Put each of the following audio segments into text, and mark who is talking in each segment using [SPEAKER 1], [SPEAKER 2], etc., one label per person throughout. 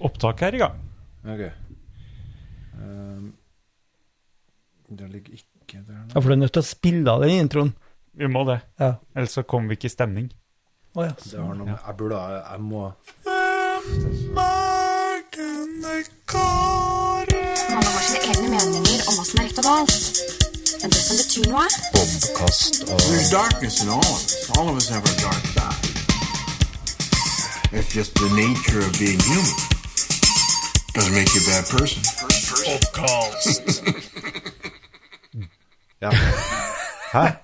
[SPEAKER 1] Opptaket er i gang.
[SPEAKER 2] Ok. Ehm, det ligger ikke der nå.
[SPEAKER 3] Ja, for du er nødt til å spille av den introen.
[SPEAKER 1] Vi må det.
[SPEAKER 3] Ja.
[SPEAKER 1] Ellers så kommer vi ikke i stemning.
[SPEAKER 3] Å ja.
[SPEAKER 2] Det har noe med Jeg burde ha Jeg må
[SPEAKER 4] Man har sine egne meninger om hva som er rett og galt. Men det som betyr noe,
[SPEAKER 5] There's darkness in all of us. All of us have our dark side. It's just the nature of being human. Doesn't make you a bad person.
[SPEAKER 2] Ja. Hæ?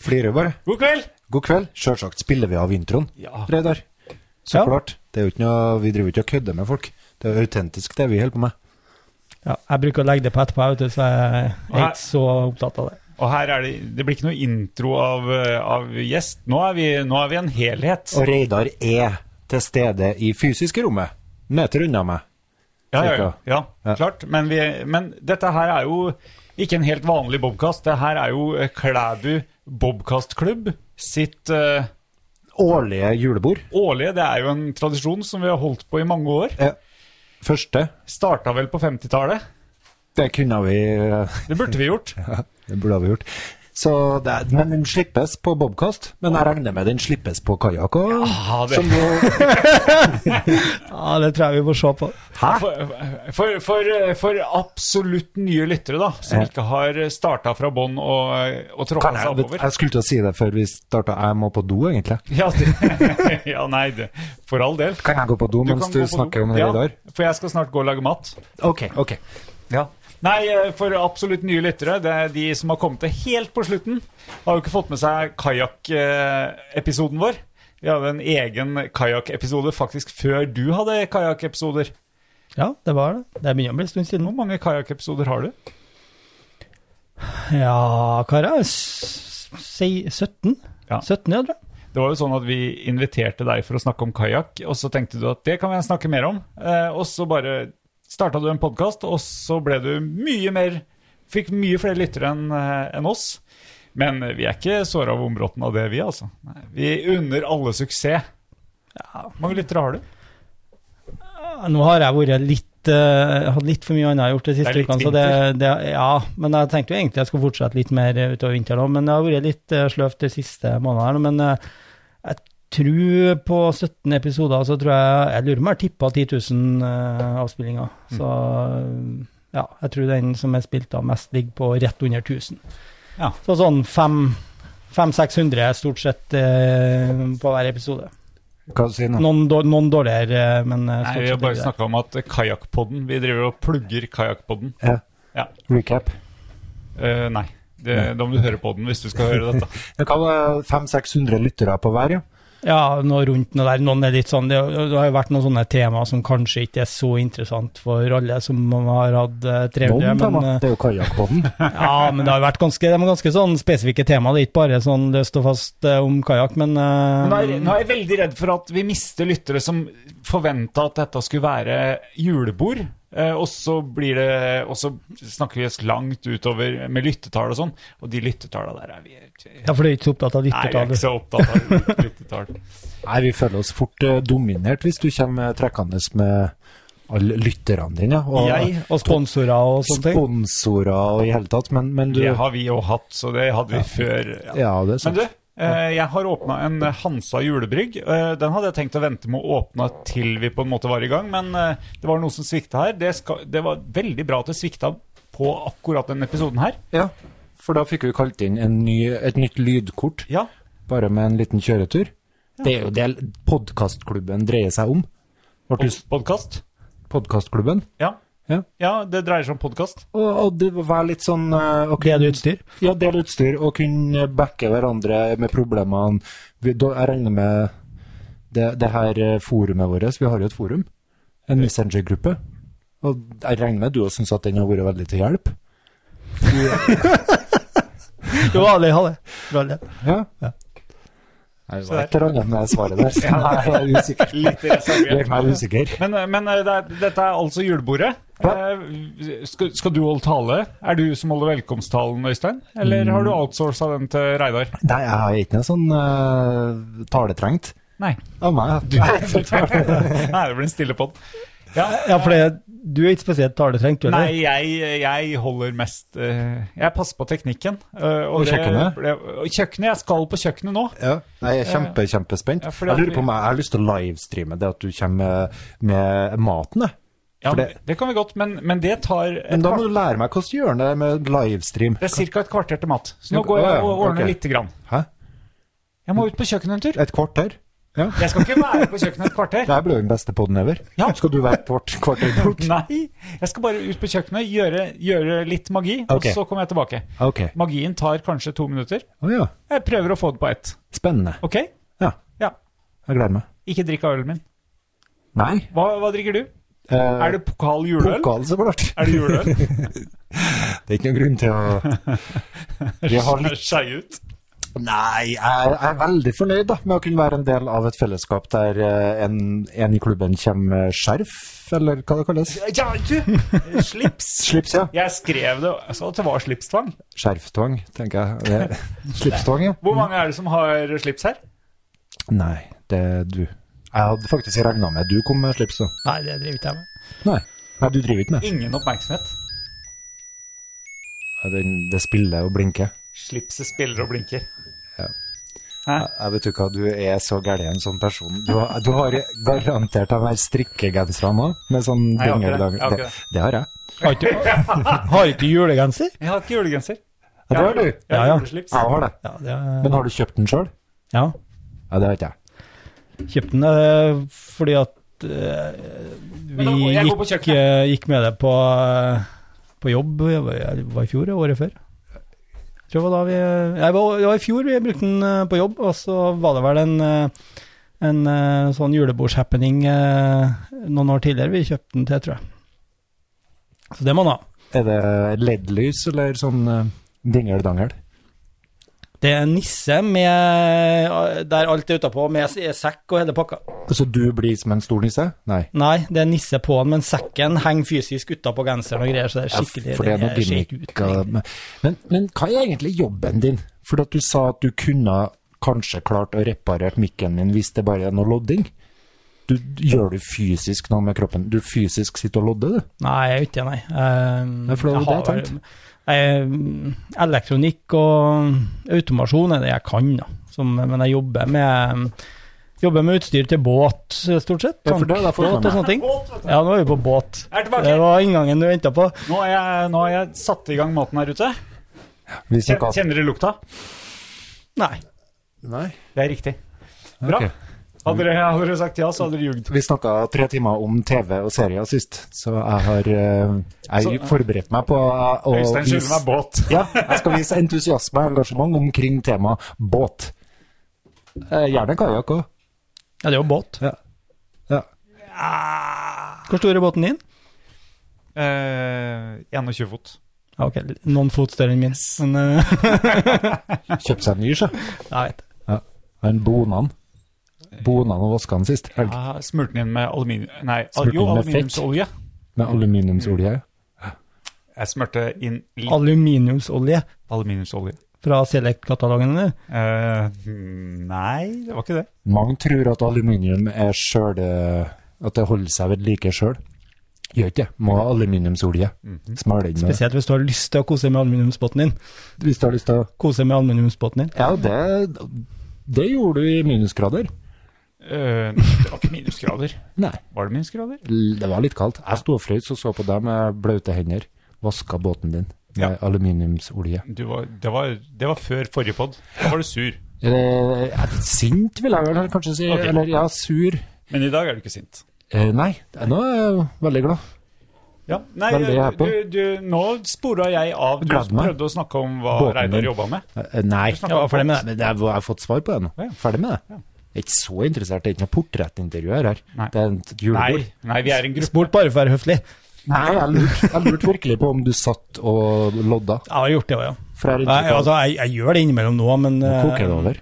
[SPEAKER 2] Flirer bare.
[SPEAKER 1] God kveld!
[SPEAKER 2] God kveld. Sjølsagt spiller vi av introen,
[SPEAKER 1] Ja.
[SPEAKER 2] Reidar. Så
[SPEAKER 3] Ja.
[SPEAKER 2] klart. Det er jo ikke noe Vi driver jo ikke og kødder med folk. Det er autentisk, det vi holder på med.
[SPEAKER 3] ja. Jeg bruker å legge det på etterpå, vet du, så jeg er
[SPEAKER 1] Nei.
[SPEAKER 3] ikke så opptatt av det.
[SPEAKER 1] Og her er det Det blir ikke noe intro av, eh, av gjest. Nå er, vi, nå er vi en helhet.
[SPEAKER 2] Og Reidar er til stede i fysiske rommet. Meter unna meg.
[SPEAKER 1] Ja, ja, ja.
[SPEAKER 2] cirka.
[SPEAKER 1] ja
[SPEAKER 2] Ja.
[SPEAKER 1] klart. Men, vi, men dette her er jo ikke en helt vanlig Bobkast. Det her er jo eh, Klæbu Bobkastklubb sitt eh,
[SPEAKER 2] Årlige julebord.
[SPEAKER 1] årlige Det er jo en tradisjon som vi har holdt på i mange år.
[SPEAKER 2] Eh, Første.
[SPEAKER 1] Starta vel på 50-tallet.
[SPEAKER 2] Det kunne vi eh,
[SPEAKER 1] Det burde vi gjort.
[SPEAKER 2] Det burde vi gjort. Så det, er- men den slippes på bobkast. Men jeg regner med den slippes på kajakk og
[SPEAKER 1] Ja, det-
[SPEAKER 2] Som jo
[SPEAKER 3] Ja, det tror jeg vi får se på.
[SPEAKER 2] Hæ?
[SPEAKER 1] For, for, for, for absolutt nye lyttere, da, som
[SPEAKER 2] Ja.
[SPEAKER 1] ikke har starta fra bånn og, og tråkka
[SPEAKER 2] Kan
[SPEAKER 1] seg
[SPEAKER 2] jeg,
[SPEAKER 1] oppover.
[SPEAKER 2] jeg skulle til å si det før vi starta. Jeg må på do, egentlig.
[SPEAKER 1] Ja, det, ja, nei, det, for all del.
[SPEAKER 2] Kan jeg gå på do
[SPEAKER 1] Du
[SPEAKER 2] mens
[SPEAKER 1] kan
[SPEAKER 2] du
[SPEAKER 1] gå på
[SPEAKER 2] snakker
[SPEAKER 1] do.
[SPEAKER 2] om Reidar?
[SPEAKER 1] Ja, for jeg skal snart gå og lage mat.
[SPEAKER 2] Ok, ok.
[SPEAKER 1] Nei, eh, for absolutt nye lyttere, det er de som har kommet til helt på slutten, har jo ikke fått med seg kajakk-episoden vår. Vi hadde en egen kajakk-episode faktisk før du hadde kajakk-episoder.
[SPEAKER 3] Ja, det var det. Det begynner å bli en stund siden nå.
[SPEAKER 1] Hvor mange kajakk-episoder har du?
[SPEAKER 3] Ja, karer. s- Si 17?
[SPEAKER 1] Ja.
[SPEAKER 3] 17, ja, tror jeg.
[SPEAKER 1] Det var jo sånn at vi inviterte deg for å snakke om kajakk, og så tenkte du at det kan vi snakke mer om. Eh, og så bare starta du en podkast, og så ble du mye mer Fikk mye flere lyttere enn eh, enn oss. Men vi er ikke såra av vombrotten av det, vi, altså. Nei, vi unner alle suksess. Hvor mange lyttere har du?
[SPEAKER 3] Ja, Nå har jeg vært litt eh, hatt litt for mye annet jeg har gjort de
[SPEAKER 1] Det
[SPEAKER 3] siste
[SPEAKER 1] er litt
[SPEAKER 3] ukene. så Det, det, ja, men jeg tenkte jo egentlig jeg skulle fortsette litt mer eh, utover vinteren òg, men det har vært litt eh, sløvt de siste månedene. her nå, Men eh, jeg tror på 17 episoder så tror jeg Jeg lurer på om jeg har tippa 10 000 eh, avspillinger.
[SPEAKER 1] Mm.
[SPEAKER 3] Så eh, ja, jeg tror den som er spilt av mest, ligger på rett under 1000.
[SPEAKER 1] Ja.
[SPEAKER 3] Så sånn 500-600 stort sett eh, på hver episode.
[SPEAKER 2] Hva sier du nå?
[SPEAKER 3] Noen, dår- noen dårligere, eh, men eh,
[SPEAKER 1] Nei, vi
[SPEAKER 3] stort
[SPEAKER 1] har
[SPEAKER 3] sett
[SPEAKER 1] bare
[SPEAKER 3] ligger der.
[SPEAKER 1] snakka om at kajakkpodden Vi driver og plugger kajakkpodden.
[SPEAKER 2] Ja.
[SPEAKER 1] Ja.
[SPEAKER 2] Recap.
[SPEAKER 1] Eh, nei. Det, da må du høre på den hvis du skal høre dette.
[SPEAKER 2] Det kan være 500-600 lyttere på hver, ja.
[SPEAKER 3] Ja, noe rundt noe der. Noen er litt sånn, det, det har jo vært noen sånne tema som kanskje ikke er så interessant for alle som har hatt eh,
[SPEAKER 2] Noen,
[SPEAKER 3] 300, men,
[SPEAKER 2] men, det er jo kajakkbåten.
[SPEAKER 3] eh, ja, men det har jo vært ganske, de er ganske sånn spesifikke tema. Det er ikke bare sånn løst og fast eh, om kajakk, men eh,
[SPEAKER 1] Men Nå er, nå er jeg veldig redd for at vi mister lyttere som forventa at dette skulle være julebord. Eh, og så blir det Og så snakker vi oss langt utover med lyttetall og sånn. Og de lyttetallene der er vi
[SPEAKER 3] Ja, for du er ikke så opptatt av
[SPEAKER 1] Nei, vi er
[SPEAKER 3] lyttertall.
[SPEAKER 1] ikke så opptatt av lyttetall.
[SPEAKER 2] Nei, vi føler oss fort eh, dominert hvis du kommer eh, trekkende med alle lytterne dine. Og
[SPEAKER 1] Jeg-
[SPEAKER 3] Og sponsorer og sånne ting.
[SPEAKER 2] sponsorer og i hele tatt. Men, men du
[SPEAKER 1] Det har vi jo hatt, så det hadde vi før. ja.
[SPEAKER 2] Ja, det er
[SPEAKER 1] Men
[SPEAKER 2] sant.
[SPEAKER 1] du, eh, jeg har åpna en Hansa julebrygg. Eh, Den hadde jeg tenkt å vente med å åpne til vi på en måte var i gang, men eh, det var noe som svikta her. Det, skal, det var veldig bra at det svikta på akkurat denne episoden her.
[SPEAKER 2] Ja, for da fikk vi kalt inn en ny, et nytt lydkort,
[SPEAKER 1] Ja,
[SPEAKER 2] bare med en liten kjøretur. Det er jo det podkastklubben dreier seg om. Ble du
[SPEAKER 1] podkast.
[SPEAKER 2] podkastklubben?
[SPEAKER 1] Ja.
[SPEAKER 2] Ja.
[SPEAKER 1] Ja, det dreier seg om podkast.
[SPEAKER 2] Og, og det var litt sånn eh, å
[SPEAKER 3] Bedre utstyr.
[SPEAKER 2] Ja, del utstyr og kunne backe hverandre med problemene. Vi, da, jeg regner med det, det her eh, forumet vårt. Vi har jo et forum, en Messenger-gruppe. Og jeg regner med du også syns at den har vært veldig til hjelp.
[SPEAKER 3] Jo, ja, det har det. For all del.
[SPEAKER 2] Ja.
[SPEAKER 3] Ja.
[SPEAKER 2] Nei, det var et eller annet med svaret der. Så jeg er usikker.
[SPEAKER 1] Litt
[SPEAKER 2] Gjør
[SPEAKER 1] reservert.
[SPEAKER 2] meg usikker.
[SPEAKER 1] Men, men eh, det er, dette er altså julebordet. Eh, Skal, skal du holde tale? Er du som holder velkomsttalen, Øystein?
[SPEAKER 2] Mm.
[SPEAKER 1] Eller har du outsourca den til Reidar?
[SPEAKER 2] Nei, jeg har ikke noe sånn eh, taletrengt.
[SPEAKER 1] Nei.
[SPEAKER 2] Av meg.
[SPEAKER 1] Nei, det blir en stille pod. Ja,
[SPEAKER 3] Ja, for det, du er ikke spesielt taletrengt, du
[SPEAKER 1] Nei, jeg, jeg holder mest eh, Jeg passer på teknikken. eh, og,
[SPEAKER 2] Og
[SPEAKER 1] det
[SPEAKER 2] kjøkkenet?
[SPEAKER 1] ble- og kjøkkenet. Jeg skal på kjøkkenet nå.
[SPEAKER 2] Ja. Nei, jeg er kjempe, kjempespent.
[SPEAKER 1] Ja, fordi
[SPEAKER 2] jeg
[SPEAKER 1] at
[SPEAKER 2] lurer
[SPEAKER 1] vi-
[SPEAKER 2] på om jeg, jeg har lyst til å livestreame det at du kommer med, med maten. jeg.
[SPEAKER 1] Ja,
[SPEAKER 2] For
[SPEAKER 1] det,
[SPEAKER 2] det-
[SPEAKER 1] kan vi godt, men, men det tar et
[SPEAKER 2] Men da må
[SPEAKER 1] kvart-
[SPEAKER 2] du lære meg hvordan du gjør det med livestream.
[SPEAKER 1] Det er ca. et kvarter til mat. Så nå
[SPEAKER 2] Ja,
[SPEAKER 1] går jeg og
[SPEAKER 2] ja,
[SPEAKER 1] ordner
[SPEAKER 2] ok.
[SPEAKER 1] lite grann.
[SPEAKER 2] Hæ?
[SPEAKER 1] Jeg må ut på kjøkkenet en tur.
[SPEAKER 2] Et kvarter? Ja.
[SPEAKER 1] Jeg skal ikke være på kjøkkenet et kvarter.
[SPEAKER 2] Det her ble jo den beste podden ever.
[SPEAKER 1] Ja.
[SPEAKER 2] Skal du være et kvart- kvarter bort?
[SPEAKER 1] Nei, jeg skal bare ut på kjøkkenet, gjøre, gjøre litt magi,
[SPEAKER 2] Ok.
[SPEAKER 1] og så kommer jeg tilbake.
[SPEAKER 2] Ok.
[SPEAKER 1] Magien tar kanskje to minutter.
[SPEAKER 2] Å ja.
[SPEAKER 1] Jeg prøver å få det på ett.
[SPEAKER 2] Spennende.
[SPEAKER 1] Ok?
[SPEAKER 2] Ja.
[SPEAKER 1] Ja.
[SPEAKER 2] Jeg gleder meg.
[SPEAKER 1] Ikke drikk av ølen min.
[SPEAKER 2] Nei.
[SPEAKER 1] Hva, hva drikker du? Er det pokal juleøl?
[SPEAKER 2] Eh, pokal, så klart?
[SPEAKER 1] Er det juleøl?
[SPEAKER 2] Det er ikke noen grunn til å Vi har litt
[SPEAKER 1] Skei ut.
[SPEAKER 2] Nei, jeg jeg er veldig fornøyd da, med å kunne være en del av et fellesskap der eh, en, en i klubben kommer med skjerf, eller hva det kalles.
[SPEAKER 1] Ja, du! Slips.
[SPEAKER 2] Slips, ja.
[SPEAKER 1] Jeg skrev det, jeg sa at det var slipstvang.
[SPEAKER 2] Skjerftvang, tenker jeg. Det- Slipstvang, ja.
[SPEAKER 1] Hvor mange er det som har slips her?
[SPEAKER 2] Nei, det er du. Jeg hadde faktisk regna med du kom med slips, da.
[SPEAKER 3] Nei, det driver ikke jeg med.
[SPEAKER 2] Nei. Nei, du driver ikke med.
[SPEAKER 1] Ingen oppmerksomhet.
[SPEAKER 2] Ja, den- Det spiller og blinker.
[SPEAKER 1] Slipset spiller og blinker.
[SPEAKER 2] Jeg, jeg vet jo hva, du er så gæren en sånn person. Du har, du har garantert de her strikkegenserne òg, med sånn
[SPEAKER 1] Nei, jeg har ikke det.
[SPEAKER 2] dingledanger.
[SPEAKER 1] Jeg har ikke
[SPEAKER 2] Det,
[SPEAKER 1] det.
[SPEAKER 2] det har jeg.
[SPEAKER 3] Har ikke, har ikke julegenser?
[SPEAKER 1] Jeg har ikke julegenser.
[SPEAKER 2] Ja, det har du.
[SPEAKER 1] Jeg har
[SPEAKER 3] Ja, ja.
[SPEAKER 1] juleslips.
[SPEAKER 2] Jeg har det.
[SPEAKER 3] Ja, det er,
[SPEAKER 2] Men har du kjøpt den sjøl?
[SPEAKER 3] ja.
[SPEAKER 2] Ja, det har ikke jeg.
[SPEAKER 3] kjøpte den eh, fordi at eh, vi
[SPEAKER 1] da må jeg gå på
[SPEAKER 3] gikk, eh, gikk med det på, eh, på jobb, det var det var i fjor, året før. Jeg tror det var da vi, nei, det var- det var i fjor vi brukte den eh, på jobb, og så var det vel en, eh, en eh, sånn julebordshappening eh, noen år tidligere vi kjøpte den til, tror jeg. Så det må man ha.
[SPEAKER 2] Er det LED-lys eller sånn eh, dingeldangel?
[SPEAKER 3] Det er en nisse med, eh, der alt er utapå, med sekk og hele pakka.
[SPEAKER 2] Så Altså, du blir som en stor nisse? Nei.
[SPEAKER 3] Nei, det er nisse på den, men sekken henger fysisk utapå genseren og greier, så det er
[SPEAKER 2] Ja,
[SPEAKER 3] skikkelig
[SPEAKER 2] for det er noe
[SPEAKER 3] ser
[SPEAKER 2] gimmick.
[SPEAKER 3] ikke ut,
[SPEAKER 2] eh,
[SPEAKER 3] egentlig.
[SPEAKER 2] men- Men, men hva er egentlig jobben din? For at du sa at du kunne kanskje klart å reparere mikken min hvis det bare er noe lodding. Du, gjør du fysisk noe med kroppen? Du fysisk sitter og lodder, du?
[SPEAKER 3] Nei, jeg er ikke det, nei. Ehm,
[SPEAKER 2] Nei, for det var
[SPEAKER 3] jeg
[SPEAKER 2] det jeg
[SPEAKER 3] har- ehm, elektronikk og ehm, automasjon er det jeg kan, da. Som, men jeg jobber med, ehm, jobber med utstyr til båt, stort sett.
[SPEAKER 2] Ja, for det er derfor jeg
[SPEAKER 3] Tankbåt og
[SPEAKER 2] kan
[SPEAKER 3] sånne ting.
[SPEAKER 1] Båt, vet du.
[SPEAKER 3] Ja, nå er vi på båt.
[SPEAKER 1] Jeg er tilbake.
[SPEAKER 3] Det var inngangen du venta på.
[SPEAKER 1] Nå har jeg, nå har jeg satt i gang maten her ute.
[SPEAKER 2] Vi snakker-
[SPEAKER 1] Kjenner dere lukta?
[SPEAKER 3] Nei.
[SPEAKER 2] Nei.
[SPEAKER 1] Det er riktig. Bra.
[SPEAKER 2] Ok.
[SPEAKER 1] Hadde dere, hadde dere sagt ja, så hadde dere ljugd.
[SPEAKER 2] Vi snakka tre timer om TV og serier sist, så jeg har eh, Jeg
[SPEAKER 1] Så-
[SPEAKER 2] forberedt meg på eh, å
[SPEAKER 1] Øystein skylder meg båt.
[SPEAKER 2] Ja, jeg skal vise entusiasme og engasjement omkring temaet båt. Eh, gjerne kajakk òg.
[SPEAKER 3] Ja, det er jo båt.
[SPEAKER 2] Ja. Ja.
[SPEAKER 1] Ah.
[SPEAKER 3] Hvor stor er båten din?
[SPEAKER 1] Eh, 21 fot.
[SPEAKER 3] Ja, ok, noen fot større enn min. Men, eh,
[SPEAKER 2] Kjøpte seg en ny, sjø.
[SPEAKER 3] jeg vet det.
[SPEAKER 2] Han bonan. Bonan og vaska den sist helg.
[SPEAKER 1] Ja, Smurte Ah, den inn med aluminium... Nei,
[SPEAKER 2] Smurte
[SPEAKER 1] jo,
[SPEAKER 2] den med
[SPEAKER 1] aluminiumsolje.
[SPEAKER 2] Med aluminiumsolje.
[SPEAKER 1] Jeg smurte inn litt
[SPEAKER 3] Aluminiumsolje
[SPEAKER 1] aluminiumsolje.
[SPEAKER 3] fra Select-katalogen. eller?
[SPEAKER 1] Eh, nei, det var ikke det.
[SPEAKER 2] Mange tror at aluminium er sjøl At det holder seg ved like sjøl. Gjør ikke det. Må ha aluminiumsolje. Smale inn med det.
[SPEAKER 3] Spesielt hvis du har lyst til å kose med aluminiumsbåten din.
[SPEAKER 2] Hvis du har lyst til å
[SPEAKER 3] Kose med aluminiumsbåten din.
[SPEAKER 2] Ja, det, det gjorde du i minusgrader.
[SPEAKER 1] Eh, det var ikke minusgrader.
[SPEAKER 2] Nei.
[SPEAKER 1] Var det minusgrader?
[SPEAKER 2] L- Det var litt kaldt. Jeg sto og frøs og så på deg med blaute hender. Vaska båten din med
[SPEAKER 1] Ja.
[SPEAKER 2] aluminiumsolje.
[SPEAKER 1] Du var, det, var, det var før forrige pod. Da var du sur.
[SPEAKER 2] Eh, jeg- sint, vil jeg vel kanskje si.
[SPEAKER 1] Ok.
[SPEAKER 2] Eller ja, sur.
[SPEAKER 1] Men i dag er du ikke sint.
[SPEAKER 2] Eh, nei, nå er jeg veldig glad.
[SPEAKER 1] Ja, nei,
[SPEAKER 2] Veldig
[SPEAKER 1] du,
[SPEAKER 2] happy.
[SPEAKER 1] du, nå spora jeg av. Du
[SPEAKER 2] Gleder meg.
[SPEAKER 1] prøvde å snakke om hva
[SPEAKER 2] Båten din.
[SPEAKER 1] Reidar jobba med.
[SPEAKER 2] Eh, Nei.
[SPEAKER 1] Du snakket
[SPEAKER 3] Jeg var ferdig med det.
[SPEAKER 2] Men jeg, jeg har fått svar på det nå.
[SPEAKER 1] Ja.
[SPEAKER 2] Ferdig med det. Jeg er ikke så interessert, det er ikke noe portrettintervju her. her.
[SPEAKER 1] Nei.
[SPEAKER 2] Det er et
[SPEAKER 1] Nei,
[SPEAKER 2] julebord.
[SPEAKER 1] nei, vi er en gruppe.
[SPEAKER 3] Spurt eh, bare for å være høflig.
[SPEAKER 2] Nei, jeg lurte jeg lurte virkelig på om du satt og lodda.
[SPEAKER 3] Jeg har gjort det òg, ja.
[SPEAKER 2] For jeg er
[SPEAKER 3] Nei,
[SPEAKER 2] inntrykk av
[SPEAKER 3] altså, jeg, jeg gjør det innimellom nå, men,
[SPEAKER 2] Nå koker det
[SPEAKER 3] eh,
[SPEAKER 2] over.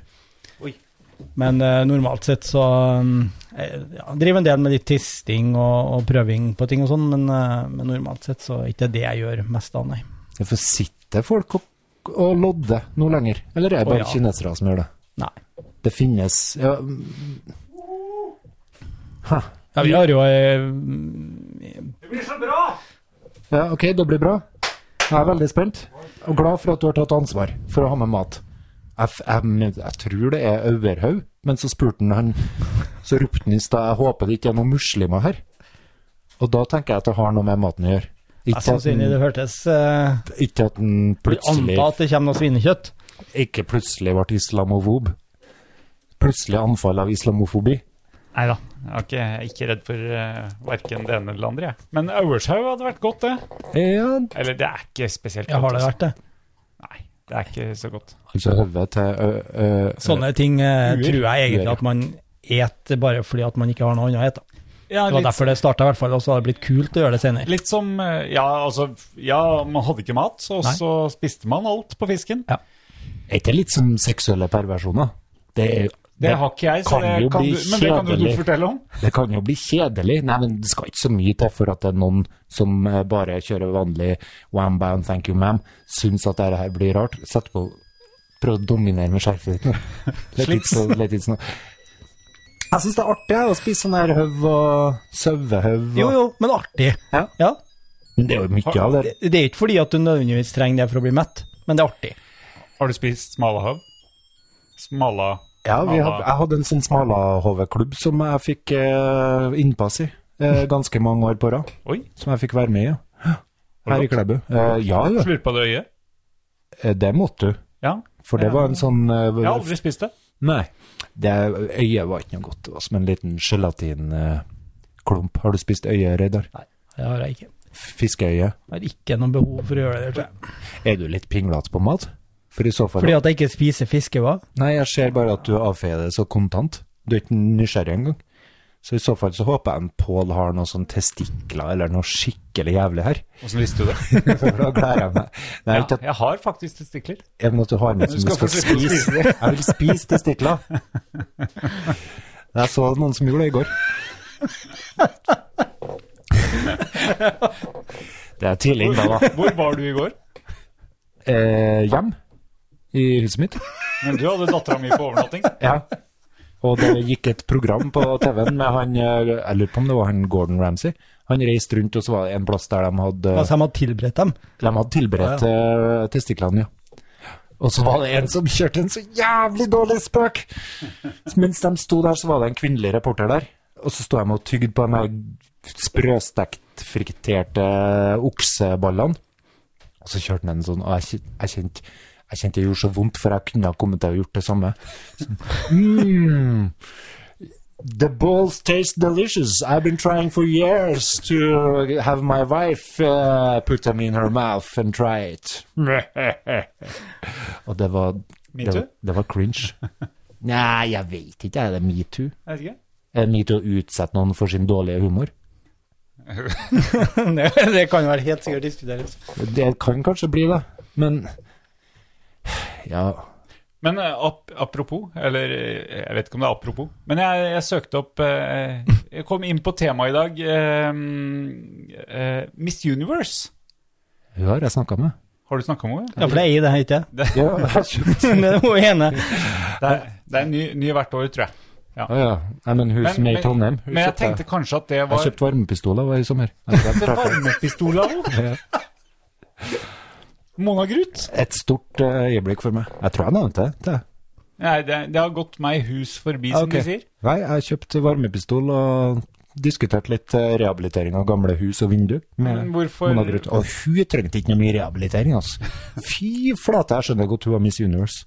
[SPEAKER 3] men eh, normalt sett så um, jeg, ja, driver en del med litt tisting og, og prøving på ting og sånn, men, eh, men normalt sett så er ikke det jeg gjør mest av, nei.
[SPEAKER 2] Hvorfor sitter folk og, og lodder nå lenger? Eller er det
[SPEAKER 3] Å,
[SPEAKER 2] bare
[SPEAKER 3] ja.
[SPEAKER 2] kinesere som gjør det?
[SPEAKER 3] Nei.
[SPEAKER 2] Det finnes ja, mm, Hæ.
[SPEAKER 6] Ja, vi har jo eh,
[SPEAKER 2] Ja, OK, det blir bra. Jeg er veldig spent og glad for at du har tatt ansvar for å ha med mat. Jeg, f- jeg, men jeg tror det er Auverhaug, men så spurte han han Så ropte han i stad Jeg håper det ikke er noen muslimer her. Og da tenker jeg at det har noe med maten å gjøre.
[SPEAKER 6] Jeg
[SPEAKER 2] Ikke at
[SPEAKER 6] sannsynlig
[SPEAKER 2] den,
[SPEAKER 6] det hørtes eh,
[SPEAKER 2] ikke at den
[SPEAKER 6] Vi
[SPEAKER 2] plutselig
[SPEAKER 6] antar at det kommer noe svinekjøtt.
[SPEAKER 2] Ikke plutselig ble islamofob. Plutselig anfall av islamofobi.
[SPEAKER 1] Nei da. Jeg er ikke, jeg er ikke redd for uh, verken det ene eller det andre. jeg. Men Auershaug hadde vært godt, det.
[SPEAKER 2] Ja,
[SPEAKER 1] Eller det er ikke spesielt
[SPEAKER 6] Ja, har det
[SPEAKER 1] altså.
[SPEAKER 6] vært det?
[SPEAKER 1] Nei, det er ikke så godt.
[SPEAKER 2] altså hodet til ø, ø,
[SPEAKER 6] Sånne ting eh,
[SPEAKER 1] Uer.
[SPEAKER 6] tror jeg
[SPEAKER 2] Uer,
[SPEAKER 6] egentlig
[SPEAKER 2] ja.
[SPEAKER 6] at man et bare fordi at man ikke har noe annet å ete.
[SPEAKER 1] Ja,
[SPEAKER 6] Det var derfor det starta, i hvert fall, og så har det blitt kult å gjøre det senere.
[SPEAKER 1] Litt som eh, Ja, altså Ja, man hadde ikke mat, så,
[SPEAKER 6] Nei.
[SPEAKER 1] så spiste man alt på fisken.
[SPEAKER 2] Er ikke det litt som seksuelle perversjoner? Det, er-
[SPEAKER 1] Det har ikke jeg, så
[SPEAKER 2] kan
[SPEAKER 1] det
[SPEAKER 2] jo
[SPEAKER 1] kan
[SPEAKER 2] bli
[SPEAKER 1] du, men det kan jo du
[SPEAKER 2] kjedelig.
[SPEAKER 1] fortelle om.
[SPEAKER 2] Det kan jo bli kjedelig. Nei, men det skal ikke så mye til for at det er noen som eh, bare kjører vanlig wham bam, thank you ma'am, syns at dette her blir rart. Sett på Prøv å dominere med skjerfet ditt. nå. Litt
[SPEAKER 1] Slips.
[SPEAKER 2] sånn- litt sånn. Jeg syns det er artig jeg, å spise sånn her høv og sauehøv. og-
[SPEAKER 6] Jo, jo, men artig.
[SPEAKER 2] Ja. Men det er jo mye av det.
[SPEAKER 6] Det det er ikke fordi at du nødvendigvis trenger det for å bli mett, men det er artig.
[SPEAKER 1] Har du spist smalahav? Smala...
[SPEAKER 2] Ja, vi
[SPEAKER 1] Smala-
[SPEAKER 2] hadde, jeg hadde en sånn smalahove-klubb som jeg fikk eh, innpass i eh, ganske mange år på rad.
[SPEAKER 1] Oi,
[SPEAKER 2] Som jeg fikk være med i. ja. Her i Klæbu. Eh, ja, ja,
[SPEAKER 1] slurpa du øyet?
[SPEAKER 2] eh, det måtte du.
[SPEAKER 1] Ja.
[SPEAKER 2] For det var en sånn eh,
[SPEAKER 1] Jeg har aldri spist det.
[SPEAKER 2] Nei. Det, øyet var ikke noe godt. Det var som en liten gelatinklump. Har du spist øye, Reidar?
[SPEAKER 6] Det har jeg ikke.
[SPEAKER 2] Fiskeøye.
[SPEAKER 6] Jeg har ikke noe behov for å gjøre det. Tror jeg.
[SPEAKER 2] Er du litt pinglete på mat? For i så fall
[SPEAKER 6] Fordi at jeg ikke spiser fiskehva.
[SPEAKER 2] Nei, jeg ser bare at du avfeier det så kontant. Du er ikke nysgjerrig engang. Så i så fall så håper jeg en Pål har noen sånn testikler eller noe skikkelig jævlig her.
[SPEAKER 1] Åssen visste du det?
[SPEAKER 2] For da gleder jeg meg. Nei,
[SPEAKER 1] Ja,
[SPEAKER 2] ikke at
[SPEAKER 1] jeg har faktisk testikler.
[SPEAKER 2] jeg vil at du har med
[SPEAKER 1] Du
[SPEAKER 2] som du
[SPEAKER 1] skal
[SPEAKER 2] skal
[SPEAKER 1] få slippe å
[SPEAKER 2] spise. Jeg vil spise testikler. Jeg så noen som gjorde det i går. Det er tidlig inne, da.
[SPEAKER 1] Hvor var du i går?
[SPEAKER 2] Eh, hjem i huset mitt.
[SPEAKER 1] Men du hadde dattera mi på overnatting.
[SPEAKER 2] Ja. Og det gikk et program på TV-en med han eh, Jeg lurer på om det var han Gordon Ramsay. Han reiste rundt, og så var det en plass der de hadde,
[SPEAKER 6] Altså, jeg må tilberede dem.
[SPEAKER 2] de hadde tilberedt eh, testiklene, ja. Og så var det en som kjørte en så jævlig dårlig spøk! Så Mens de sto der, så var det en kvinnelig reporter der. Og så sto de og tygde på de her sprøstekt, friterte okseballene. Og så kjørte han en sånn, og jeg, kjen- jeg kjente jeg kjente det gjorde så vondt, for jeg kunne ha kommet til å gjort det samme. Mm. The balls taste delicious. I've been trying for years to have my wife uh, put them in her mouth and try it. Og det var
[SPEAKER 1] Me
[SPEAKER 2] det,
[SPEAKER 1] too?
[SPEAKER 2] var- det var cringe. Nei, jeg vet ikke. Er det metoo?
[SPEAKER 1] Jeg vet ikke.
[SPEAKER 2] Er det metoo å utsette noen for sin dårlige humor?
[SPEAKER 6] det det kan jo være helt sikkert diskuteres.
[SPEAKER 2] Det kan kanskje bli det, men Ja.
[SPEAKER 1] Men eh, ap apropos, eller eh, jeg vet ikke om det er apropos, men jeg, jeg søkte opp eh, Jeg kom inn på temaet i dag. eh, eh, Miss Universe.
[SPEAKER 2] Hun har jeg snakka med.
[SPEAKER 1] Har du snakka om henne?
[SPEAKER 6] Ja, for det er i det, ikke jeg.
[SPEAKER 2] Ja,
[SPEAKER 6] Det er hun ene.
[SPEAKER 1] Det er, det er ny, ny hvert år, tror jeg.
[SPEAKER 2] Å ja. Nei, men hun
[SPEAKER 1] Men-
[SPEAKER 2] som er i
[SPEAKER 1] men-
[SPEAKER 2] Trondheim hun
[SPEAKER 1] Men jeg
[SPEAKER 2] kjøpte-
[SPEAKER 1] tenkte kanskje at det
[SPEAKER 2] Jeg
[SPEAKER 1] var
[SPEAKER 2] kjøpte varmepistoler var i sommer. Jeg
[SPEAKER 1] Det
[SPEAKER 2] har
[SPEAKER 1] er
[SPEAKER 2] pratet om
[SPEAKER 1] varmepistola vår.
[SPEAKER 2] det.
[SPEAKER 1] Mona Gruth.
[SPEAKER 2] Et stort eh, øyeblikk for meg. Jeg tror jeg nevnte det. det.
[SPEAKER 1] Nei, det, det har gått meg hus forbi, som
[SPEAKER 2] Ok.
[SPEAKER 1] de sier.
[SPEAKER 2] Nei, jeg kjøpte varmepistol og diskuterte litt eh, rehabilitering av gamle hus og vindu.
[SPEAKER 1] Men hvorfor-
[SPEAKER 2] Mona Gruth. Og hun trengte ikke noe mye rehabilitering, altså. Fy flate, jeg skjønner godt hun var Miss Universe.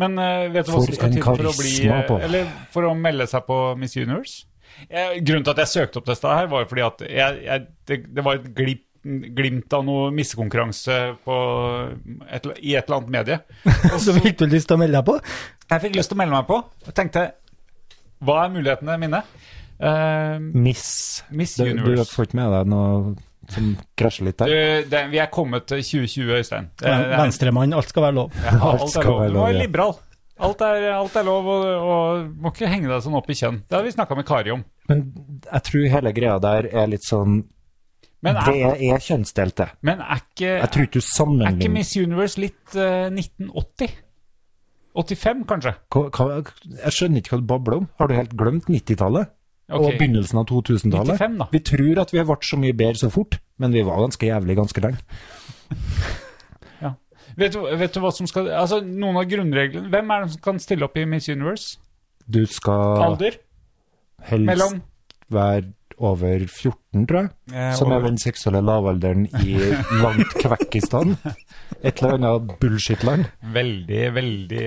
[SPEAKER 1] Men eh, vet du hva
[SPEAKER 2] For
[SPEAKER 1] som skal
[SPEAKER 2] en
[SPEAKER 1] til for å bli eh,
[SPEAKER 2] karisma på.
[SPEAKER 1] Eller for å melde seg på Miss Universe? Eh, grunnen til at jeg søkte opp dette her, var fordi at jeg, jeg, det, det var et glipp glimt av noe missekonkurranse på et, eller- i et eller annet medie.
[SPEAKER 6] Og så fikk du lyst til å melde deg på?
[SPEAKER 1] Jeg fikk lyst til å melde meg på, og tenkte hva er mulighetene mine? Eh,
[SPEAKER 2] Miss
[SPEAKER 1] Miss
[SPEAKER 2] du, du
[SPEAKER 1] Universe.
[SPEAKER 2] får ikke med deg noe som krasjer litt
[SPEAKER 1] Du,
[SPEAKER 2] der?
[SPEAKER 1] det, vi er kommet til 2020, Øystein. Det- det er-
[SPEAKER 6] Venstremann, alt skal være lov.
[SPEAKER 1] Ja, alt er
[SPEAKER 2] skal
[SPEAKER 1] lov.
[SPEAKER 2] være
[SPEAKER 1] Du må
[SPEAKER 2] lov,
[SPEAKER 1] være
[SPEAKER 2] ja.
[SPEAKER 1] liberal. Alt er, alt er lov, og, og må ikke henge deg sånn opp i kjønn. Det har vi snakka med Kari om.
[SPEAKER 2] Men jeg tror hele greia der er litt sånn
[SPEAKER 1] Men
[SPEAKER 2] Det
[SPEAKER 1] er,
[SPEAKER 2] er, er kjønnsdelt, det.
[SPEAKER 1] men er ikke,
[SPEAKER 2] Jeg tror ikke du
[SPEAKER 1] er ikke
[SPEAKER 2] sammenligner
[SPEAKER 1] Miss Universe litt eh, 1980? 85, kanskje?
[SPEAKER 2] Hva- hva- Jeg skjønner ikke hva du babler om. Har du helt glemt 90-tallet?
[SPEAKER 1] Ok.
[SPEAKER 2] og begynnelsen av 2000-tallet.
[SPEAKER 1] 95 da.
[SPEAKER 2] Vi tror at vi har vært så mye bedre så fort, men vi var ganske jævlig ganske lenge.
[SPEAKER 1] Ja. Vet, du, vet du hva som skal Altså, noen av grunnreglene Hvem er det som kan stille opp i Miss Universe?
[SPEAKER 2] Du skal
[SPEAKER 1] Alder?
[SPEAKER 2] helst
[SPEAKER 1] Mellom?
[SPEAKER 2] være over 14, tror jeg,
[SPEAKER 1] Eh,
[SPEAKER 2] som er
[SPEAKER 1] over-
[SPEAKER 2] den seksuelle lavalderen i langt Kvekkistan. Et eller annet bullshit-land.
[SPEAKER 1] Veldig, veldig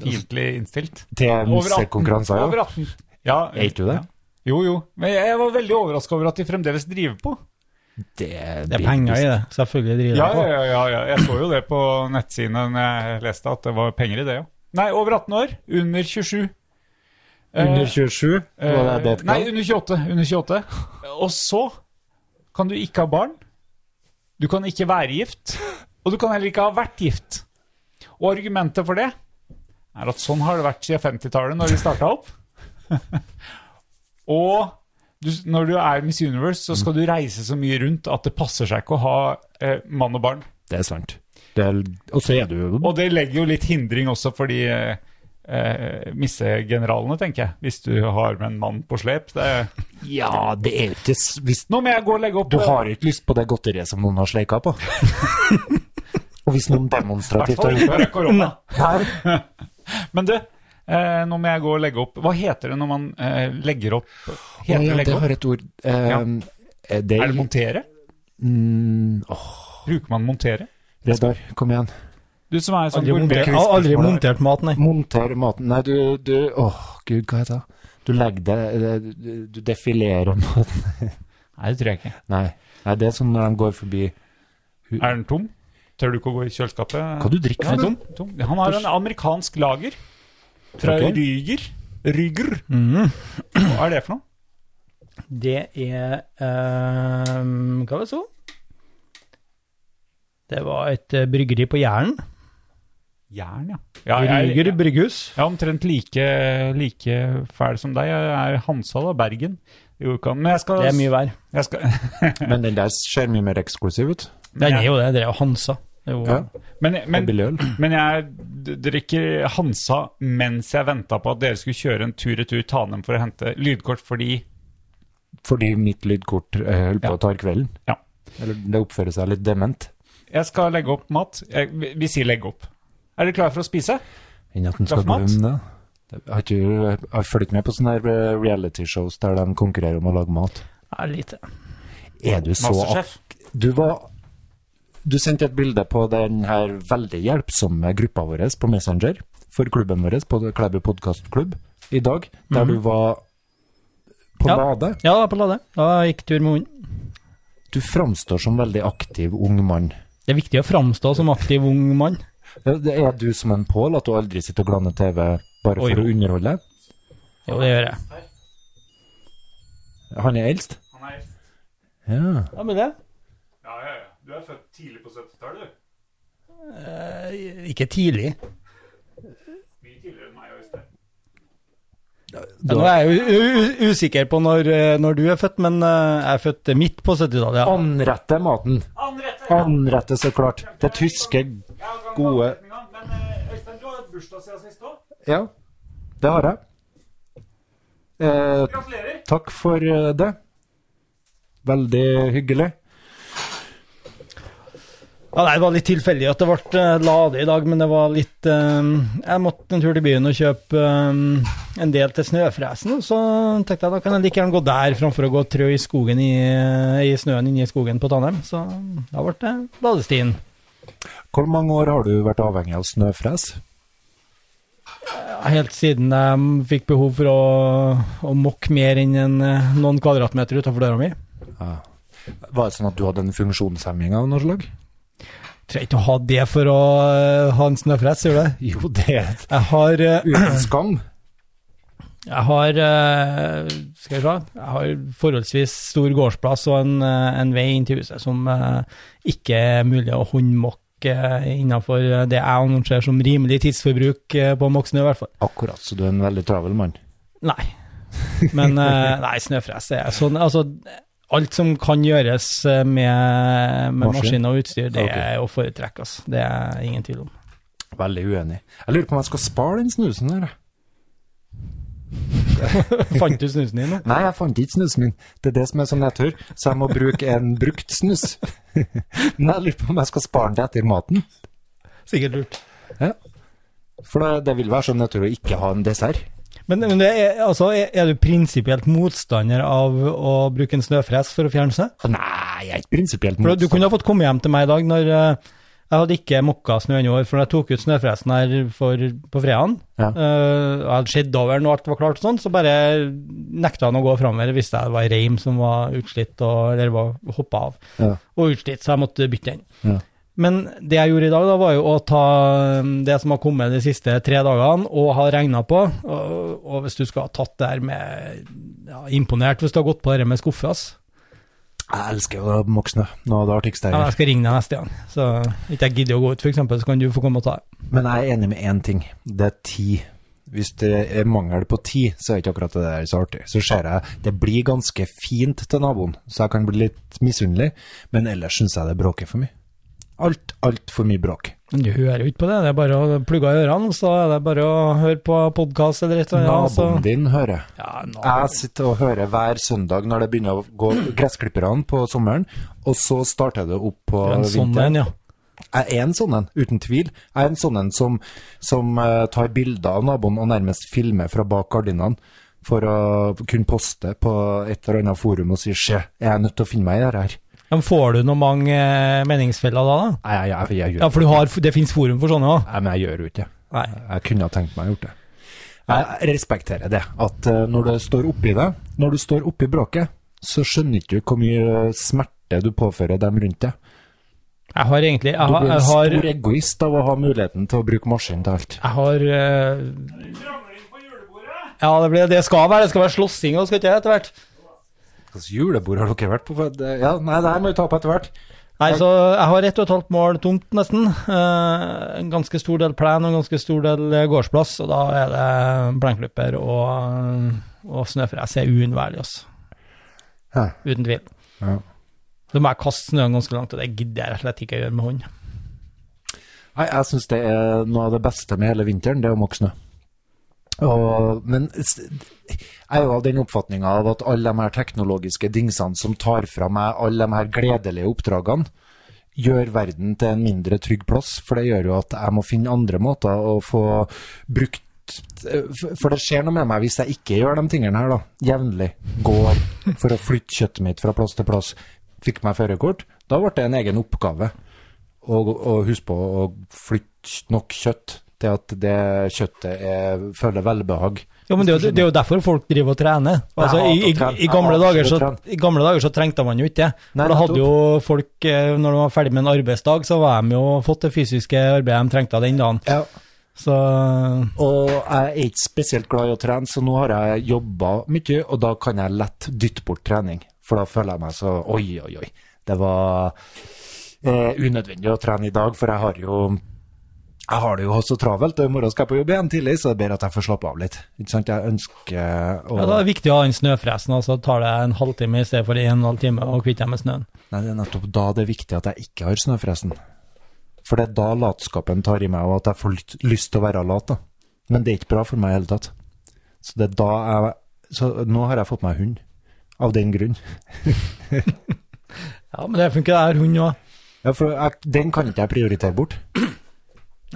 [SPEAKER 1] fiendtlig innstilt.
[SPEAKER 2] Til
[SPEAKER 1] Over 18.
[SPEAKER 2] musikkonkurranser, ja.
[SPEAKER 1] Over 18. Ja,
[SPEAKER 2] Er ikke du det?
[SPEAKER 1] Ja. Jo, jo. Men jeg jeg var veldig overraska over at de fremdeles driver på.
[SPEAKER 2] Det er,
[SPEAKER 3] Det er penger i det. Selvfølgelig driver
[SPEAKER 1] Ja, ja,
[SPEAKER 3] de på.
[SPEAKER 1] ja, ja, ja. Jeg så jo det på nettsidene når jeg leste at det var penger i det, ja. Nei, over 18 år. Under 27.
[SPEAKER 2] Under 27?
[SPEAKER 1] Eh,
[SPEAKER 2] Var det det et
[SPEAKER 1] Nei,
[SPEAKER 2] kall?
[SPEAKER 1] under 28. Under 28. Og så kan du ikke ha barn. Du kan ikke være gift. Og du kan heller ikke ha vært gift. Og argumentet for det er at sånn har det vært siden 50-tallet, når de starta opp. og du, når du er Miss Universe, så skal du reise så mye rundt at det passer seg ikke å ha eh, mann og barn.
[SPEAKER 2] Det er sant. Det er, og så er du jo
[SPEAKER 1] Og det legger jo litt hindring også for de eh, eh, missegeneralene, tenker jeg. Hvis du har med en mann på slep. Det
[SPEAKER 2] Ja, det er ikke s- hvis,
[SPEAKER 1] Nå må jeg gå og legge opp. eh,
[SPEAKER 2] Du har ikke lyst på det godteriet som noen har sleika på. og hvis noen
[SPEAKER 1] I hvert
[SPEAKER 2] demonstrativt
[SPEAKER 1] fall
[SPEAKER 2] har
[SPEAKER 1] ikke
[SPEAKER 2] gjort
[SPEAKER 1] når det er korona.
[SPEAKER 2] det
[SPEAKER 1] Men du, eh, nå må jeg gå og legge opp. Hva heter det når man eh, legger opp? Heter
[SPEAKER 2] Å ja,
[SPEAKER 1] det
[SPEAKER 2] det
[SPEAKER 1] legge opp?
[SPEAKER 2] har et ord. Eh,
[SPEAKER 1] Ja.
[SPEAKER 2] eh, det,
[SPEAKER 1] Er det montere?
[SPEAKER 2] Mm, åh,
[SPEAKER 1] Bruker man montere?
[SPEAKER 2] Reddar, kom igjen.
[SPEAKER 1] Du som er sånn
[SPEAKER 3] Aldri
[SPEAKER 1] gourmet.
[SPEAKER 3] montert, jeg har aldri montert mat, nei.
[SPEAKER 2] Monter maten Nei, du, du Åh, gud, hva heter det? Du legger det det- Du du defilerer maten
[SPEAKER 1] Nei, det tror jeg ikke.
[SPEAKER 2] Nei. Nei, det er som når de går forbi
[SPEAKER 1] Er den tom? Tør du ikke å gå i kjøleskapet?
[SPEAKER 2] Hva du drikker
[SPEAKER 1] Ja,
[SPEAKER 2] for
[SPEAKER 1] tom?
[SPEAKER 2] noe?
[SPEAKER 1] tom. Han har en amerikansk lager fra
[SPEAKER 2] Ok. Mhm.
[SPEAKER 1] Ryger. Ryger. Hva er det for noe?
[SPEAKER 3] Det er ehm, Hva var det så? Det var et eh, bryggeri på Jæren.
[SPEAKER 1] Jern, ja. ja jeg-
[SPEAKER 3] Ryger brygghus.
[SPEAKER 1] Jeg er omtrent like, like fæl som deg. Jeg er Hansa da, Bergen. Jo, kan, men jeg skal,
[SPEAKER 3] Det er mye vær.
[SPEAKER 1] Jeg skal,
[SPEAKER 2] Men den der ser mye mer eksklusiv ut.
[SPEAKER 3] Det er jo det. Det er jo Hansa. Det er jo,
[SPEAKER 2] Ja.
[SPEAKER 1] men,
[SPEAKER 2] Men,
[SPEAKER 1] men,
[SPEAKER 2] billig øl.
[SPEAKER 1] men jeg d- drikker Hansa mens jeg venta på at dere skulle kjøre en tur-retur Tanem for å hente lydkort, fordi
[SPEAKER 2] Fordi mitt lydkort eh, holder på
[SPEAKER 1] Ja.
[SPEAKER 2] å ta kvelden.
[SPEAKER 1] Ja.
[SPEAKER 2] Eller det oppfører seg litt dement.
[SPEAKER 1] jeg skal legge opp mat. Jeg, vi, vi sier legge opp. Er dere klare for å spise?
[SPEAKER 2] Enn at den skal
[SPEAKER 1] Kaffemat?
[SPEAKER 2] glemme det. Jeg har, ikke, jeg har fulgt med på sånne her, eh, reality-shows der de konkurrerer om å lage mat.
[SPEAKER 3] er lite.
[SPEAKER 2] Er du så
[SPEAKER 1] Masterchef.
[SPEAKER 2] Du var Du sendte et bilde på den her veldig hjelpsomme gruppa vår på Messenger for klubben vår på Klæbu podkastklubb i dag, der du var på
[SPEAKER 3] Mhm. Ja.
[SPEAKER 2] Lade.
[SPEAKER 3] Ja, da på Lade. Da gikk tur med hunden.
[SPEAKER 2] Du framstår som veldig aktiv ung mann.
[SPEAKER 3] Det er viktig å framstå som aktiv ung mann.
[SPEAKER 2] Ja, det Er du som en Pål, at du aldri sitter og glanner TV bare
[SPEAKER 3] Oi.
[SPEAKER 2] for å underholde?
[SPEAKER 3] Jo, det gjør jeg.
[SPEAKER 2] Han er eldst?
[SPEAKER 1] Han er,
[SPEAKER 2] Ja.
[SPEAKER 3] Ja, men det?
[SPEAKER 1] ja, ja, ja. Du er født tidlig på 70-tallet, du.
[SPEAKER 3] Ikke tidlig.
[SPEAKER 1] Mye tidligere enn meg og Øystein.
[SPEAKER 3] Ja, nå er jeg jo u- u- usikker på når, eh, når du er født, men eh, jeg er født midt på 70-tallet. Ja.
[SPEAKER 2] Anrette maten. Anrette, så klart. Det tyske gode
[SPEAKER 1] Men eh, Øystein, du har hatt bursdag siden sist òg.
[SPEAKER 2] Ja, det har jeg. Eh,
[SPEAKER 1] Gratulerer.
[SPEAKER 2] takk for eh, det. Veldig hyggelig.
[SPEAKER 3] Ja, nei, det var litt tilfeldig at det ble eh, Lade i dag, men det var litt eh, Jeg måtte en tur til byen og kjøpe eh, en del til snøfresen, og så tenkte jeg da kan jeg like gjerne gå der framfor å gå og trø i skogen i, eh, i snøen inne i skogen på Tanheim. Så da ble det Ladestien.
[SPEAKER 2] Hvor mange år har du vært avhengig av snøfres?
[SPEAKER 3] Helt siden jeg fikk behov for å, å mokke mer enn en, eh, noen kvadratmeter utafor døra mi.
[SPEAKER 2] Var det sånn at du hadde en funksjonshemming av noe slag?
[SPEAKER 3] Trenger ikke å ha det for å eh, ha en snøfres, gjør du det?
[SPEAKER 2] Jo, det er et-
[SPEAKER 3] Jeg har eh,
[SPEAKER 2] uten skam.
[SPEAKER 3] Jeg har eh, Skal vi se. Jeg har forholdsvis stor gårdsplass og en, eh, en vei inn til huset som eh, ikke er mulig å håndmokke eh, innenfor det jeg annonserer som rimelig tidsforbruk eh, på å mokke snø, i hvert fall.
[SPEAKER 2] Akkurat, så du er en veldig travel mann.
[SPEAKER 3] Nei. Men eh, nei, snøfres er sånn Altså, alt som kan gjøres eh, med, med
[SPEAKER 2] Maskin.
[SPEAKER 3] maskin og utstyr, det
[SPEAKER 2] Ok.
[SPEAKER 3] er å foretrekke, altså. Det er ingen tvil om.
[SPEAKER 2] Veldig uenig. Jeg lurer på om jeg skal spare den snusen her. jeg.
[SPEAKER 3] Fant du snusen din nå?
[SPEAKER 2] Nei, jeg fant ikke snusen min. Det er det som er så nedtur, så jeg må bruke en brukt snus. Men jeg lurer på om jeg skal spare den til etter maten.
[SPEAKER 3] Sikkert lurt.
[SPEAKER 2] For det, det vil være sånn, så nedtur å ikke ha en dessert.
[SPEAKER 3] Men, men det er, altså, er er du prinsipielt motstander av å bruke en snøfres for å fjerne seg?
[SPEAKER 2] Nei, jeg er ikke prinsipielt
[SPEAKER 3] For du
[SPEAKER 2] mot.
[SPEAKER 3] kunne ha fått komme hjem til meg i dag når eh, jeg hadde ikke mokka snø ennå, for jeg tok ut snøfresen her for, på fredagen.
[SPEAKER 2] Ja.
[SPEAKER 3] Eh, jeg hadde sett over når alt var klart, og sånn, så bare nekta han å gå framover. Jeg visste det var ei reim som var utslitt, og, eller var hoppa av.
[SPEAKER 2] Ja.
[SPEAKER 3] Og utslitt, så jeg måtte bytte den.
[SPEAKER 2] Ja.
[SPEAKER 3] Men det jeg gjorde i dag, da, var jo å ta eh, det som har kommet de siste tre dagene, og har regna på. Og, og hvis du skal ha tatt det her med ja, Imponert hvis du har gått på det her med skuffe, ass.
[SPEAKER 2] Jeg elsker jo moksnø. Noe av det artigste jeg
[SPEAKER 3] Ja,
[SPEAKER 2] gjør.
[SPEAKER 3] jeg skal ringe deg neste gang. Så ikke jeg gidder å gå ut, f.eks., så kan du få komme og ta det.
[SPEAKER 2] Men jeg er enig med én ting. Det er tid. Hvis det er mangel på tid, så er ikke akkurat det der så artig. Så ser jeg det blir ganske fint til naboen, så jeg kan bli litt misunnelig. Men ellers syns jeg det bråker for mye. Alt, altfor mye bråk.
[SPEAKER 3] Men du hører jo ikke på det, det er bare å plugge i ørene, så er det bare å høre på podkast eller et eller annet.
[SPEAKER 2] Naboen
[SPEAKER 3] Så.
[SPEAKER 2] din hører.
[SPEAKER 3] Eh, altså- Ja,
[SPEAKER 2] Jeg
[SPEAKER 3] naboen.
[SPEAKER 2] sitter og hører hver søndag når det begynner å gå gressklipperne på sommeren, og så starter det opp på
[SPEAKER 3] Du er en sånn
[SPEAKER 2] vinteren.
[SPEAKER 3] en, ja.
[SPEAKER 2] Jeg er en sånn en, uten tvil. Jeg er en sånn en som, som eh, tar bilder av naboen og nærmest filmer fra bak gardinene for å kunne poste på et eller annet forum og si 'se, jeg er nødt til å finne meg i dette her'.
[SPEAKER 3] Ja, Men får du noen mange eh, meningsfeller da? da?
[SPEAKER 2] Nei, jeg, jeg, jeg,
[SPEAKER 3] Ja,
[SPEAKER 2] gjør,
[SPEAKER 3] for du har, det finnes forum for sånne òg?
[SPEAKER 2] Nei, men jeg gjør jo ikke det.
[SPEAKER 3] Nei.
[SPEAKER 2] Jeg kunne ha tenkt meg å gjort det. Jeg respekterer det, at eh, når du står oppi det, når du står oppi bråket, så skjønner ikke du hvor mye smerte du påfører dem rundt deg.
[SPEAKER 3] Jeg har egentlig
[SPEAKER 2] Du
[SPEAKER 3] Jeg har,
[SPEAKER 2] blir en
[SPEAKER 3] jeg har,
[SPEAKER 2] stor egoist av å ha muligheten til å bruke maskin til alt.
[SPEAKER 3] jeg har eh, Ja, det, blir, det skal være det skal være slåssing og skal ikke det etter hvert?
[SPEAKER 2] Hva slags julebord har dere vært på? For det- Ja, nei, det her må vi ta på etter hvert.
[SPEAKER 3] Nei, så jeg har ett og et halvt mål tomt, nesten. Eh, en ganske stor del plen og en ganske stor del eh, gårdsplass, og da er det plenklipper og, eh, og snøfres er uunnværlig, altså.
[SPEAKER 2] Hæ.
[SPEAKER 3] Uten tvil.
[SPEAKER 2] Ja.
[SPEAKER 3] Så må jeg kaste snøen ganske langt, og det gidder jeg rett og slett ikke å gjøre med hånd.
[SPEAKER 2] Nei, jeg syns det er noe av det beste med hele vinteren, det er å måke snø. Og- Men s- jeg er jo av den oppfatninga av at alle de her teknologiske dingsene som tar fra meg alle de her gledelige oppdragene, gjør verden til en mindre trygg plass. For det gjør jo at jeg må finne andre måter å få brukt For det skjer noe med meg hvis jeg ikke gjør de tingene her, da. Jevnlig. Går for å flytte kjøttet mitt fra plass til plass. Fikk meg førerkort. Da ble det en egen oppgave og, og husk på å flytte nok kjøtt til at det kjøttet er, føler velbehag.
[SPEAKER 3] Jo, men det, er jo- det er jo derfor folk driver og trener. Altså,
[SPEAKER 2] Jeg hater
[SPEAKER 3] i,
[SPEAKER 2] å trene.
[SPEAKER 3] i, i,
[SPEAKER 2] Jeg
[SPEAKER 3] gamle
[SPEAKER 2] hater
[SPEAKER 3] dager
[SPEAKER 2] å
[SPEAKER 3] så,
[SPEAKER 2] trene.
[SPEAKER 3] I gamle dager så trengte man jo ikke det.
[SPEAKER 2] Nei,
[SPEAKER 3] For da hadde
[SPEAKER 2] nettopp.
[SPEAKER 3] jo folk, eh, når de var ferdig med en arbeidsdag, så var de jo fått det fysiske arbeidet de trengte den dagen.
[SPEAKER 2] Ja.
[SPEAKER 3] Så
[SPEAKER 2] Og jeg er ikke spesielt glad i å trene, så nå har jeg jobba mye, og da kan jeg lett dytte bort trening. For da føler jeg meg så Oi, oi, oi. Det var eh, unødvendig å trene i dag, for jeg har jo jeg har det jo så travelt, og i morgen skal jeg på jobb igjen tidlig, så det er bedre at jeg får slappe av litt. Ikke sant? Jeg ønsker å
[SPEAKER 3] Ja, da er det viktig å ha den snøfresen, altså tar det en halvtime i stedet for en og en halv time å kvitte deg med snøen.
[SPEAKER 2] Nei, det er nettopp da det er viktig at jeg ikke har snøfresen. For det er da latskapen tar i meg, og at jeg får lyst- lyst til å være lat. da. Men det er ikke bra for meg i hele tatt. Så det er da jeg Så nå har jeg fått meg hund. Av den grunn.
[SPEAKER 3] Ja, men det funker, det her hund òg.
[SPEAKER 2] Ja, for jeg, den kan ikke jeg prioritere bort.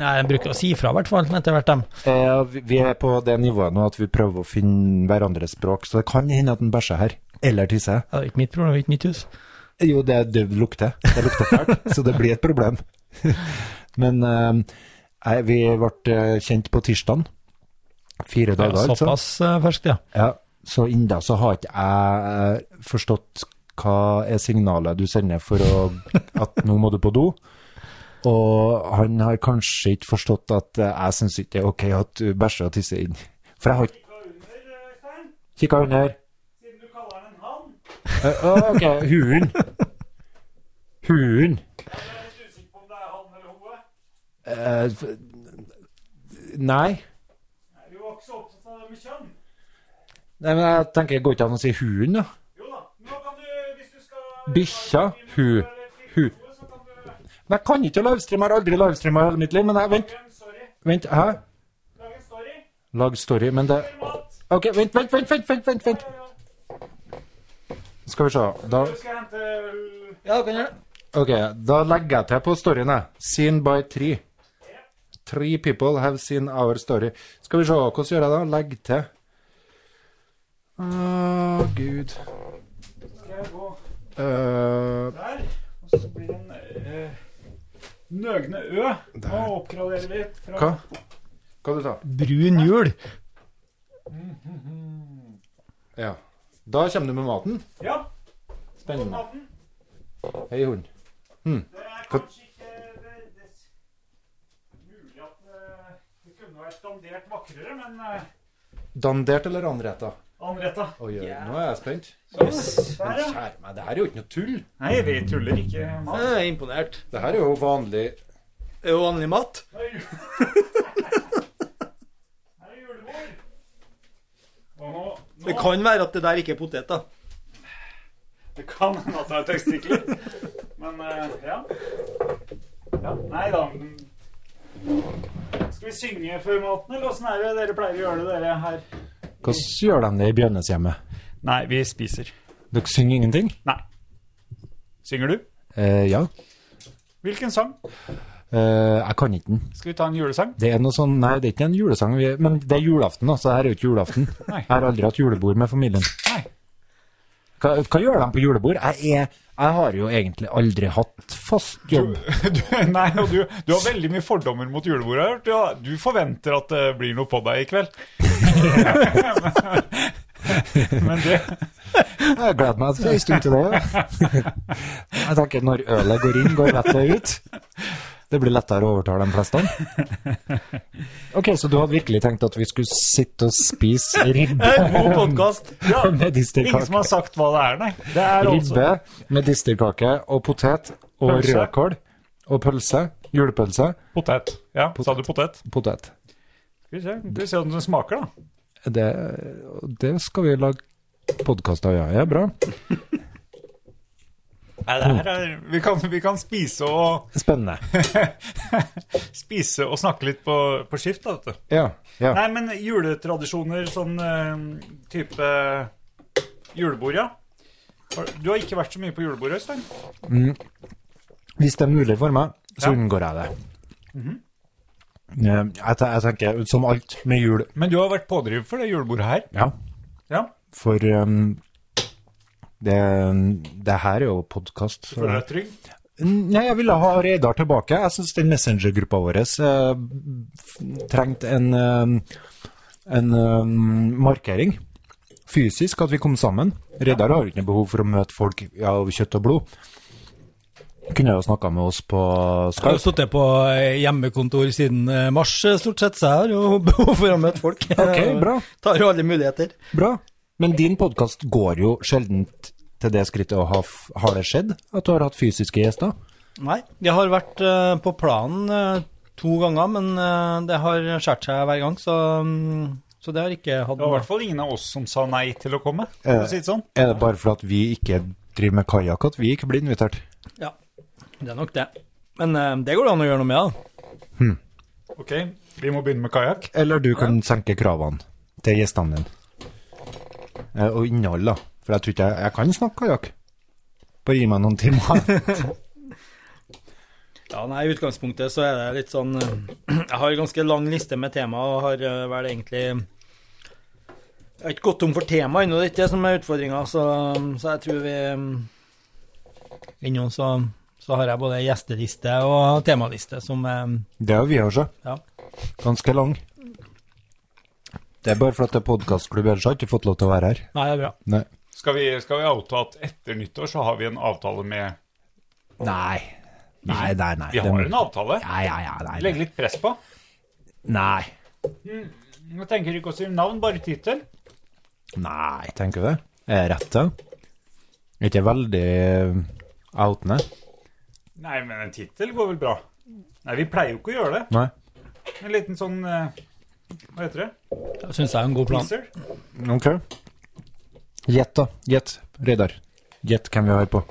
[SPEAKER 3] Jeg bruker å si fra, i hvert fall, etter hvert, dem.
[SPEAKER 2] Eh, vi- vi er på det nivået nå at vi prøver å finne hverandres språk, så det kan hende at den bæsjer her. Eller tisser.
[SPEAKER 3] Ja, Det er ikke mitt problem, det er ikke mitt hus.
[SPEAKER 2] Jo, det, det lukter. Det lukter fælt, så det blir et problem. Men eh, nei, vi ble eh, kjent på tirsdagen. Fire
[SPEAKER 3] Ja,
[SPEAKER 2] dager, altså.
[SPEAKER 3] såpass eh, ferskt, ja.
[SPEAKER 2] Ja, så enda så har ikke jeg eh, forstått hva er signalet du sender for å, at nå må du på do. Og han har kanskje ikke forstått at eh, jeg syns ikke det er ok at du bæsjer og tisser inn. For jeg har ikke Kikka under. Eh, Å, ok. Huen. Huen. Eh, f- Nei. Nei, men jeg tenker det går ikke an å si huen, da. Bikkja. Hu. Hu. Men jeg kan ikke livestreame, jeg har aldri livestreama i hele mitt liv. Men jeg, vent, vent, hæ? Lag story, men det
[SPEAKER 6] Mat.
[SPEAKER 2] OK, vent, vent, vent, vent, vent, vent, vent. Skal vi se. Da,
[SPEAKER 1] skal hente
[SPEAKER 3] Ja, kan gjøre det.
[SPEAKER 2] ok, da legger jeg til på storyen, jeg. Seen by three. Three people have seen our story. Skal vi se, hvordan gjør jeg det? Legg til. Å, gud.
[SPEAKER 1] Skal jeg gå
[SPEAKER 2] Eh,
[SPEAKER 1] der, og så blir det en eh, nøgne ø. Må oppgradere litt. Fra,
[SPEAKER 2] hva? Hva du sa du?
[SPEAKER 3] Brun jul.
[SPEAKER 2] Ja. Da kommer du med maten.
[SPEAKER 1] Ja,
[SPEAKER 2] Spennende.
[SPEAKER 1] maten.
[SPEAKER 2] Hei, hund.
[SPEAKER 1] Det er
[SPEAKER 2] Hva-
[SPEAKER 1] kanskje ikke det, det, mulig at eh, det kunne vært dandert vakrere, men eh,
[SPEAKER 2] Dandert eller anretta?
[SPEAKER 1] anretta.
[SPEAKER 2] Oi, oi, nå er jeg spent.
[SPEAKER 1] Der, ja.
[SPEAKER 2] Kjære meg, det her er jo ikke noe tull.
[SPEAKER 1] Nei, vi tuller ikke. Mats.
[SPEAKER 3] Jeg er imponert.
[SPEAKER 2] Det her er jo vanlig
[SPEAKER 3] Det er jo vanlig mat.
[SPEAKER 1] Her er jul- Her er julebord. Og nå, nå
[SPEAKER 3] Det kan være at det der ikke er poteter.
[SPEAKER 1] Det kan hende at det er testikler. Men eh, ja. ja. Nei da. Skal vi synge før maten, eller åssen er det dere pleier å gjøre det, dere her?
[SPEAKER 2] Hvordan gjør de det i Bjørneshjemmet?
[SPEAKER 1] Nei, vi spiser.
[SPEAKER 2] Dere synger ingenting?
[SPEAKER 1] Nei. Synger du?
[SPEAKER 2] Eh, ja.
[SPEAKER 1] Hvilken sang?
[SPEAKER 2] Eh, jeg kan ikke den.
[SPEAKER 1] Skal vi ta en julesang?
[SPEAKER 2] Det er noe sånn, nei, det er ikke en julesang, vi, men det er julaften, da, så det her er jo ikke julaften.
[SPEAKER 1] Nei.
[SPEAKER 2] Jeg har aldri hatt julebord med familien.
[SPEAKER 1] Nei.
[SPEAKER 2] Hva, hva gjør de på julebord? Jeg, er, jeg har jo egentlig aldri hatt fast jobb.
[SPEAKER 1] Du, nei, og du, du har veldig mye fordommer mot julebordet. har jeg hørt. Du, har- du forventer at det blir noe på deg i kveld. Men det
[SPEAKER 2] Jeg gleder meg til en stund til det. Jeg tenker når ølet går inn, går vettet ut. Det blir lettere å overtale de fleste. Ok, så du hadde virkelig tenkt at vi skulle sitte og spise ribbe
[SPEAKER 3] God podkast.
[SPEAKER 1] ja,
[SPEAKER 2] med
[SPEAKER 1] Ingen som
[SPEAKER 2] distelkake?
[SPEAKER 1] har sagt hva det er, nei. Det er altså
[SPEAKER 2] Ribbe med distelkake og potet og
[SPEAKER 1] Pølse.
[SPEAKER 2] rødkål og pølse. Julepølse.
[SPEAKER 1] potet. Ja, sa du potet?
[SPEAKER 2] Potet.
[SPEAKER 1] Skal vi se, skal vi se om den smaker, da.
[SPEAKER 2] Det, det skal vi lage podkast av, ja. ja. Bra.
[SPEAKER 1] Nei, det her er, vi, kan, vi kan spise og,
[SPEAKER 2] Spennende.
[SPEAKER 1] spise og snakke litt på, på skift, da, vet du.
[SPEAKER 2] Ja. ja.
[SPEAKER 1] Nei, men juletradisjoner, sånn eh, type julebord, ja. Har- Du har ikke vært så mye på julebord, Øystein.
[SPEAKER 2] Hvis det er mulig for meg, så
[SPEAKER 1] Ja. Mhm.
[SPEAKER 2] unngår jeg det. Eh, jeg, te- jeg tenker, som alt med jul
[SPEAKER 1] Men du har vært pådriver for det julebordet her.
[SPEAKER 2] Ja,
[SPEAKER 1] Ja,
[SPEAKER 2] for um, det, det her er jo podkast.
[SPEAKER 1] føler du deg trygg?
[SPEAKER 2] Nei, jeg ville ha Reidar tilbake. Jeg syns den Messenger-gruppa vår eh, f- trengte en, eh, en eh, markering. Fysisk, at vi kom sammen. Reidar har jo ikke noe behov for å møte folk av kjøtt og blod. Kunne jo snakka med oss på
[SPEAKER 3] Jeg har jo
[SPEAKER 2] Skype.
[SPEAKER 3] sittet på eh, hjemmekontor siden eh, mars, eh, stort sett, så jeg har jo behov for å møte folk.
[SPEAKER 2] Ok, bra.
[SPEAKER 3] Tar jo alle muligheter.
[SPEAKER 2] Bra. Men din podkast går jo sjelden til det skrittet å ha f- Har det skjedd at du har hatt fysiske gjester?
[SPEAKER 3] Nei, jeg har vært eh, på planen eh, to ganger, men eh, det har skjært seg hver gang, så, mm, så det har ikke hatt
[SPEAKER 1] Det var i
[SPEAKER 3] noe.
[SPEAKER 1] hvert fall ingen av oss som sa nei til å komme,
[SPEAKER 2] Eh.
[SPEAKER 1] for å si det sånn.
[SPEAKER 2] Er det bare fordi vi ikke driver med kajakk at vi ikke blir invitert?
[SPEAKER 3] Ja, det er nok det. Men eh, det går det an å gjøre noe med, da.
[SPEAKER 1] Ok, vi må begynne med kajakk.
[SPEAKER 2] Eller du kan senke kravene til gjestene dine. Eh, Og innhold, da. For jeg tror ikke jeg, jeg kan snakke kajakk. Bare gi meg noen timer.
[SPEAKER 3] Ja, nei, I utgangspunktet så er det litt sånn eh, Jeg har ganske lang liste med tema, og har eh, vel egentlig Jeg har ikke gått tom for tema ennå, det er ikke det som er utfordringa, så, så jeg tror vi eh, Innom så, så har jeg både gjesteliste og temaliste som eh,
[SPEAKER 2] Det har vi også.
[SPEAKER 3] Ja.
[SPEAKER 2] Ganske lang. Det er bare fordi det er podkastklubb, ellers har jeg ikke fått lov til å være her.
[SPEAKER 3] Nei, det er bra.
[SPEAKER 2] Nei.
[SPEAKER 1] Skal vi, skal vi oute at etter nyttår så har vi en avtale med
[SPEAKER 2] Nei, nei, nei. nei.
[SPEAKER 1] Vi
[SPEAKER 2] Det må-
[SPEAKER 1] har en avtale.
[SPEAKER 2] Ja, ja, ja. Nei.
[SPEAKER 1] Legge litt press på.
[SPEAKER 2] Nei.
[SPEAKER 1] Jeg tenker ikke å si navn, bare tittel.
[SPEAKER 2] Nei, tenker du det? Er jeg rett da? Ikke veldig eh, outende?
[SPEAKER 1] Nei, men en tittel går vel bra. Nei, vi pleier jo ikke å gjøre det.
[SPEAKER 2] Nei.
[SPEAKER 1] En liten sånn eh, Hva heter det?
[SPEAKER 3] Det syns jeg er en god plan.
[SPEAKER 1] Teaser?
[SPEAKER 2] Ok. Gjett, da. Gjett, Reidar. Gjett hvem vi har på.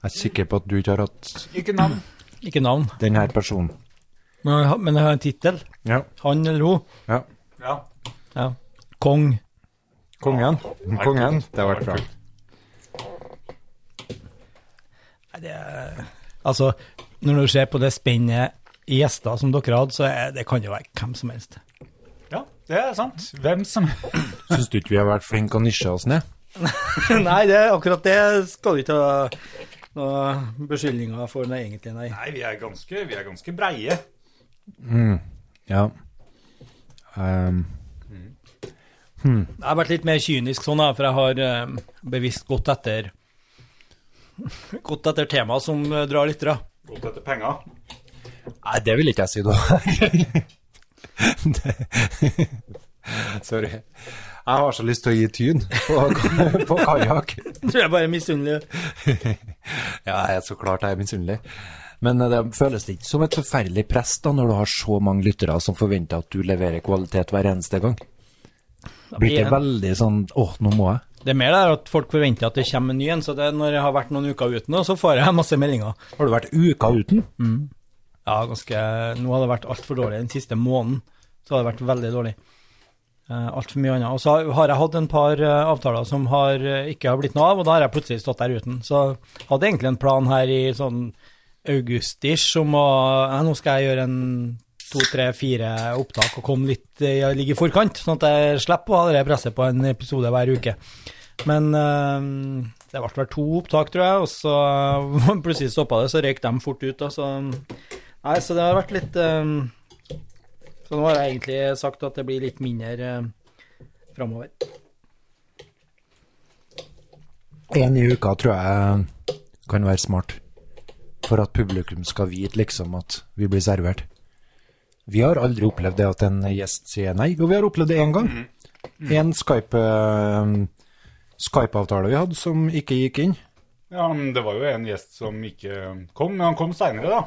[SPEAKER 2] Jeg er sikker på at du ikke har hatt
[SPEAKER 1] Ikke navn.
[SPEAKER 3] Ikke navn,
[SPEAKER 2] denne personen.
[SPEAKER 3] men jeg har- men jeg har en tittel.
[SPEAKER 2] Ja.
[SPEAKER 3] Han eller hun.
[SPEAKER 2] ja.
[SPEAKER 1] Ja.
[SPEAKER 3] Ja. Kong.
[SPEAKER 2] Kongen. Kongen. Det har vært bra.
[SPEAKER 3] Nei, det er- Altså, når du ser på det spennet i gjester som dere hadde, så er, det kan jo være hvem som helst.
[SPEAKER 1] Ja, det er sant. Hvem som
[SPEAKER 2] Syns du ikke vi har vært flinke å nisje oss ned?
[SPEAKER 3] nei, det, akkurat det skal du ikke ha noen beskyldninger for, nei, egentlig, nei.
[SPEAKER 1] Nei, vi er ganske, vi er ganske breie.
[SPEAKER 2] Ja. Ehm,
[SPEAKER 3] Jeg har vært litt mer kynisk sånn, da, for jeg har eh, bevisst gått etter Gått etter temaer som eh, drar lyttere.
[SPEAKER 1] Godt etter penga.
[SPEAKER 2] nei, det vil ikke jeg si, da. Det- Sorry. Jeg har så lyst til å gi tyn på, på kajakk.
[SPEAKER 3] Tror jeg bare er misunnelig.
[SPEAKER 2] Ja, jeg er så klart jeg er misunnelig. Men eh, det føles ikke som et forferdelig press da, når du har så mange lyttere som forventer at du leverer kvalitet hver eneste gang. Blir det veldig sånn åh, nå må jeg.
[SPEAKER 3] Det er mer der at folk forventer at det kommer en ny en, så det, er når jeg har vært noen uker uten, nå, så får jeg masse meldinger.
[SPEAKER 2] Har du vært uka uten?
[SPEAKER 3] Ja, ganske, nå har det vært altfor dårlig. Den siste måneden så har det vært veldig dårlig. Uh, altfor mye annet. Og så har- har jeg hatt en par eh, avtaler som har, eh, ikke har blitt noe av, og da har jeg plutselig stått der uten. Så hadde jeg egentlig en plan her i sånn august-ish om å ja, Nå skal jeg gjøre en to, tre, fire opptak og komme litt eh, ligge i forkant, sånn at jeg slipper å ha det presset på en episode hver uke. Men eh, det ble vel to opptak, tror jeg, og så plutselig stoppa det, så røyk de fort ut. Da, så Nei, så det har vært litt ehm, Så nå har jeg egentlig sagt at det blir litt mindre um, framover.
[SPEAKER 2] Én i uka tror jeg kan være smart. For at publikum skal vite liksom at vi blir servert. Vi har aldri opplevd det at en gjest sier nei. Jo, vi har opplevd det én gang. En Skype, eh, Skype-avtale vi hadde som ikke gikk inn.
[SPEAKER 1] Ja, men det var jo en gjest som ikke kom, men han kom seinere, da.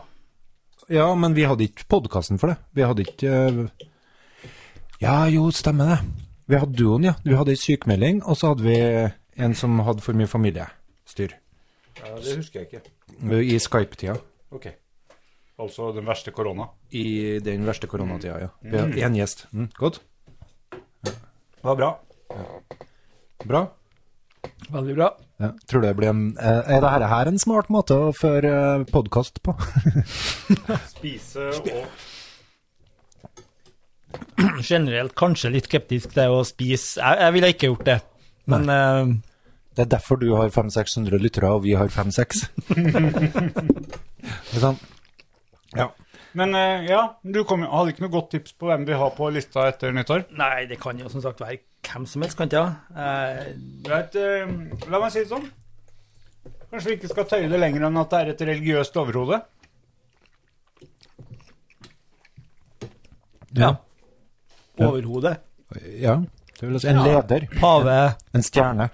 [SPEAKER 2] Ja, men vi hadde ikke podkasten for det. Vi hadde ikke eh, Ja, jo, stemmer det. Vi hadde duoen, ja. Vi hadde ei sykemelding, og så hadde vi en som hadde for mye familiestyr.
[SPEAKER 1] Ja, det husker jeg ikke.
[SPEAKER 2] I Skype-tida.
[SPEAKER 1] Ok. Altså den verste korona.
[SPEAKER 2] I den verste koronatida, ja. Vi har én gjest. Mm, godt.
[SPEAKER 1] Det var bra.
[SPEAKER 2] Bra.
[SPEAKER 3] Veldig bra.
[SPEAKER 2] Ja. Tror du det blir en eh, Er dette her en smart måte å føre podkast på?
[SPEAKER 1] Spise og
[SPEAKER 3] Generelt kanskje litt skeptisk til å spise. Jeg, jeg ville ikke gjort det. Men ehm,
[SPEAKER 2] Det er derfor du har 500-600 lyttere, og vi har 5-6. Det er sånn. Ja.
[SPEAKER 1] Men eh, ja, du kom, jo- hadde ikke noe godt tips på hvem vi har på lista etter nyttår?
[SPEAKER 3] nei, det kan jo som sagt være hvem som helst, kan det ikke det? Eh,
[SPEAKER 1] Vet, eh, la meg si det sånn. Kanskje vi ikke skal tøye det lenger enn at det er et religiøst overhode?
[SPEAKER 3] ja.
[SPEAKER 2] Ja.
[SPEAKER 3] Overhodet.
[SPEAKER 2] ja. Mm, Det vil si en leder.
[SPEAKER 3] Pave
[SPEAKER 2] En stjerne.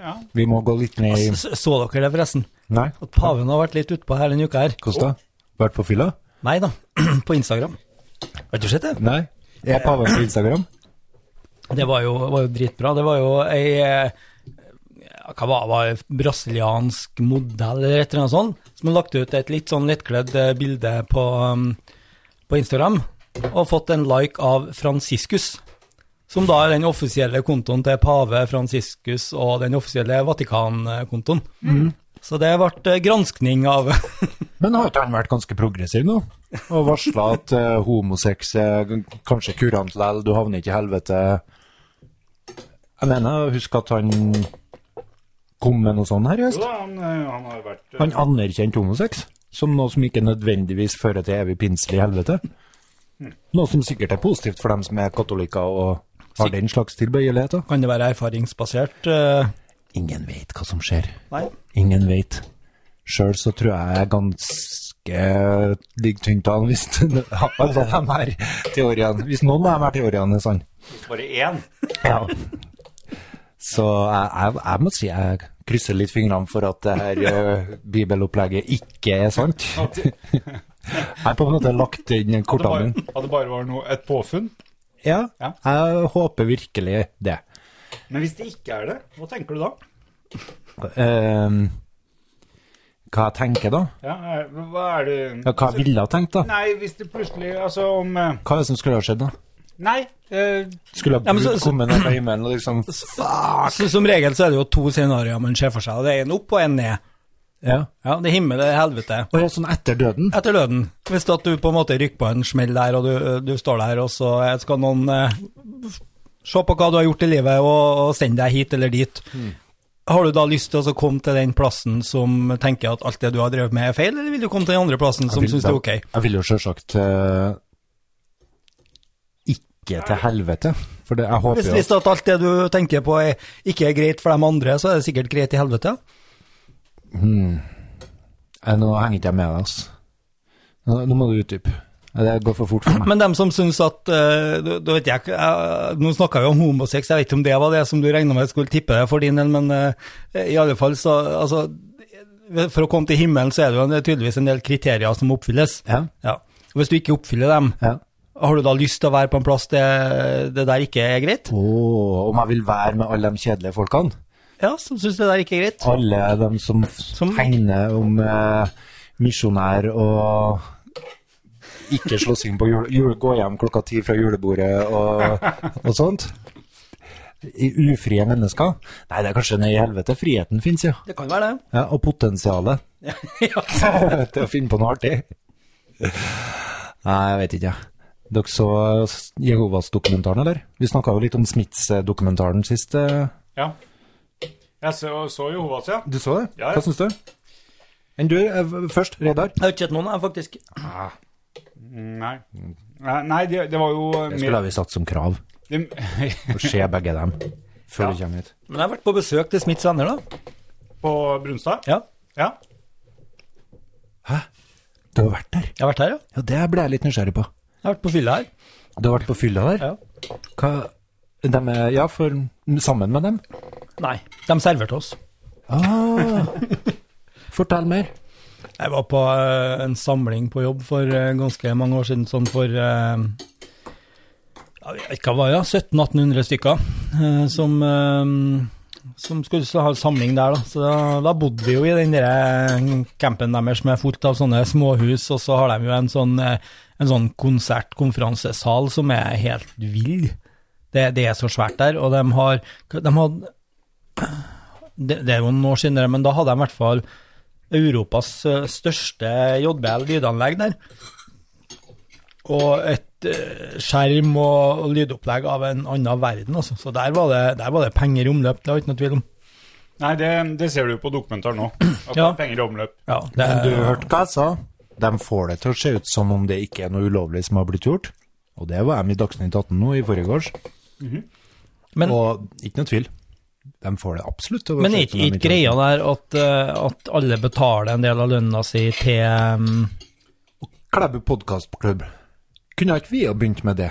[SPEAKER 1] Ja.
[SPEAKER 2] Vi må gå litt ned i
[SPEAKER 3] S- Så dere det, forresten?
[SPEAKER 2] Nei,
[SPEAKER 3] At paven har vært litt utpå her denne uka her?
[SPEAKER 2] hvordan da? Vært på fylla?
[SPEAKER 3] Nei da, på Instagram. Har du sett det?
[SPEAKER 2] Nei. Er paven på Instagram?
[SPEAKER 3] Det var jo, var jo dritbra. Det var jo ei eh, ja, hva var det, var det, brasiliansk modell eller et eller annet sånt, som har lagt ut et litt sånn lettkledd eh, bilde på, um, på Instagram, og fått en like av Franciscus, som da er den offisielle kontoen til pave Franciscus og den offisielle Vatikan-kontoen. Så det ble eh, granskning av
[SPEAKER 2] Men har ikke han vært ganske progressiv nå? Og varsla at eh, homosex er g- kanskje kurant likevel, du havner ikke i helvete. Jeg mener, husk at han kom med noe sånt her i
[SPEAKER 1] Jo
[SPEAKER 2] høst.
[SPEAKER 1] da, han, eh, han har jo vært eh,
[SPEAKER 2] Han anerkjente homosex som noe som ikke nødvendigvis fører til evig pinselig helvete. Noe som sikkert er positivt for dem som er katolikker og har den slags tilbøyeligheter.
[SPEAKER 3] Kan det være erfaringsbasert? eh,
[SPEAKER 2] Ingen veit hva som skjer.
[SPEAKER 3] Nei.
[SPEAKER 2] Ingen veit. Sjøl så tror jeg jeg er ganske ligger tynt an hvis alle de her teoriene Hvis noen av de her teoriene sånn. er sann.
[SPEAKER 1] bare én.
[SPEAKER 2] Ja. Så jeg, jeg, jeg må si jeg krysser litt fingrene for at det her eh, bibelopplegget ikke er sant.
[SPEAKER 1] At det,
[SPEAKER 2] Jeg har på en måte lagt inn
[SPEAKER 1] at det,
[SPEAKER 2] kortene
[SPEAKER 1] bare,
[SPEAKER 2] mine.
[SPEAKER 1] at det bare var noe, et påfunn.
[SPEAKER 2] Ja,
[SPEAKER 1] Ja.
[SPEAKER 2] jeg håper virkelig det.
[SPEAKER 1] Men hvis det ikke er det, hva tenker du da?
[SPEAKER 2] Eh, hva jeg tenker da?
[SPEAKER 1] Ja, er, hva er det
[SPEAKER 2] Ja, hva jeg ville ha tenkt da?
[SPEAKER 1] Nei, hvis det plutselig Altså om eh,
[SPEAKER 2] Hva er det som skulle ha skjedd da?
[SPEAKER 1] Nei. eh,
[SPEAKER 2] Skulle
[SPEAKER 3] Ja,
[SPEAKER 2] ha
[SPEAKER 3] men så-
[SPEAKER 2] Gud
[SPEAKER 3] så-
[SPEAKER 2] komme ned fra himmelen og liksom
[SPEAKER 3] Så som regel så er det jo to scenarioer man ser for seg, og det er en opp og en ned.
[SPEAKER 2] Ja.
[SPEAKER 3] Ja, Det er himmel og helvete.
[SPEAKER 2] Og sånn etter døden?
[SPEAKER 3] Etter døden, hvis at du på en måte rykker på en smell der, og du, du står der, og så skal noen eh, se på hva du har gjort i livet, og, og sende deg hit eller dit.
[SPEAKER 2] Hmm.
[SPEAKER 3] Har du da lyst til å så komme til den plassen som tenker at alt det du har drevet med er feil, eller vil du komme til den andre plassen som
[SPEAKER 2] Jeg vil-
[SPEAKER 3] syns det er ok?
[SPEAKER 2] Jeg vil jo selvsagt eh, ikke til helvete. For det, jeg håper
[SPEAKER 3] Hvis,
[SPEAKER 2] jo
[SPEAKER 3] hvis at alt det du tenker på er, ikke er greit for de andre, så er det sikkert greit i helvete.
[SPEAKER 2] Nei, Nå henger ikke jeg med deg, altså. Nå, nå må du utdype. Nei, Det går for fort for meg.
[SPEAKER 3] Men dem som syns at eh, da- da vet jeg, ikke, eh, Nå snakka vi om homosex, jeg vet ikke om det var det som du regna med skulle tippe deg for din del, men eh, i alle fall så altså, For å komme til himmelen, så er det jo en- tydeligvis en del kriterier som må oppfylles.
[SPEAKER 2] Ja,
[SPEAKER 3] Ja. Og Hvis du ikke oppfyller dem,
[SPEAKER 2] ja.
[SPEAKER 3] har du da lyst til å være på en plass det, det der ikke er greit?
[SPEAKER 2] Åh, om jeg vil være med alle de kjedelige folkene?
[SPEAKER 3] Ja, som syns det der ikke er greit?
[SPEAKER 2] Alle de som,
[SPEAKER 3] Som-
[SPEAKER 2] tegner om eh, misjonær og ikke slåssing på jule, jule, gå hjem klokka ti fra julebordet og, og sånt? I ufrie mennesker? Nei, det er kanskje nede i helvete. Friheten fins, ja.
[SPEAKER 3] Det kan være det.
[SPEAKER 2] ja. Og potensialet
[SPEAKER 3] ja.
[SPEAKER 2] til å finne på noe artig. Nei, jeg vet ikke. Dere så Jehovas-dokumentaren, eller? Vi snakka jo litt om Smiths-dokumentaren sist. eh.
[SPEAKER 1] ja. Jeg så, så jo Hovas, ja.
[SPEAKER 2] Du så det?
[SPEAKER 1] Ja, ja.
[SPEAKER 2] Hva syns du? Enn du eh, først, Reidar?
[SPEAKER 3] Jeg har ikke sett noen, jeg, faktisk.
[SPEAKER 1] Nei. Nei, Nei, det, det var jo eh,
[SPEAKER 2] Det
[SPEAKER 1] mer-
[SPEAKER 2] skulle vi satt som krav.
[SPEAKER 1] det,
[SPEAKER 2] Å se begge dem før du kommer hit.
[SPEAKER 3] Men jeg har vært på besøk til Smiths venner, da.
[SPEAKER 1] På Brunstad?
[SPEAKER 3] Ja,
[SPEAKER 1] Ja.
[SPEAKER 2] Du har vært der?
[SPEAKER 3] jeg har vært her, ja.
[SPEAKER 2] Ja, det ble jeg litt nysgjerrig på.
[SPEAKER 3] Jeg har vært på fylla her.
[SPEAKER 2] Du har vært på fylla der?
[SPEAKER 3] Ja.
[SPEAKER 2] Hva dem er, Ja, for sammen med dem?
[SPEAKER 3] Nei, de serverte oss.
[SPEAKER 2] Ah, fortell mer.
[SPEAKER 3] Jeg var på eh, en samling på jobb for eh, ganske mange år siden, sånn for eh, ja, jeg vet ikke hva det var, 1700-1800 stykker, eh, som, eh, som skulle så ha en samling der. Da. Så da, da bodde vi jo i den der campen deres som er fullt av sånne småhus, og så har de jo en sånn, eh, en sånn konsertkonferansesal som er helt vill. Det, det er så svært der, og de har, de har det, det er jo noen år siden, men da hadde de i hvert fall Europas eh, største JBL-lydanlegg der. Og et eh, skjerm og, og lydopplegg av en annen verden, altså. Så der var det, der var det penger i omløp, det var ikke noe tvil om.
[SPEAKER 1] Nei, det, det ser du jo på dokumentaren nå. At det
[SPEAKER 3] Ja.
[SPEAKER 1] er penger i omløp.
[SPEAKER 3] Ja, det,
[SPEAKER 2] Du hørte hva jeg sa. De får det til å se ut som om det ikke er noe ulovlig som har blitt gjort. Og det var de i Dagsnytt 18 nå i forgårs.
[SPEAKER 1] Mhm.
[SPEAKER 3] men
[SPEAKER 2] Og ikke noe tvil. De får det absolutt til å
[SPEAKER 3] men
[SPEAKER 2] se
[SPEAKER 3] er
[SPEAKER 2] ut
[SPEAKER 3] ikke
[SPEAKER 2] som de
[SPEAKER 3] ikke
[SPEAKER 2] har
[SPEAKER 3] greia der at, eh, at alle betaler en del av lønna si til um,
[SPEAKER 2] Klæbu podkastklubb. Kunne ikke vi ha begynt med det?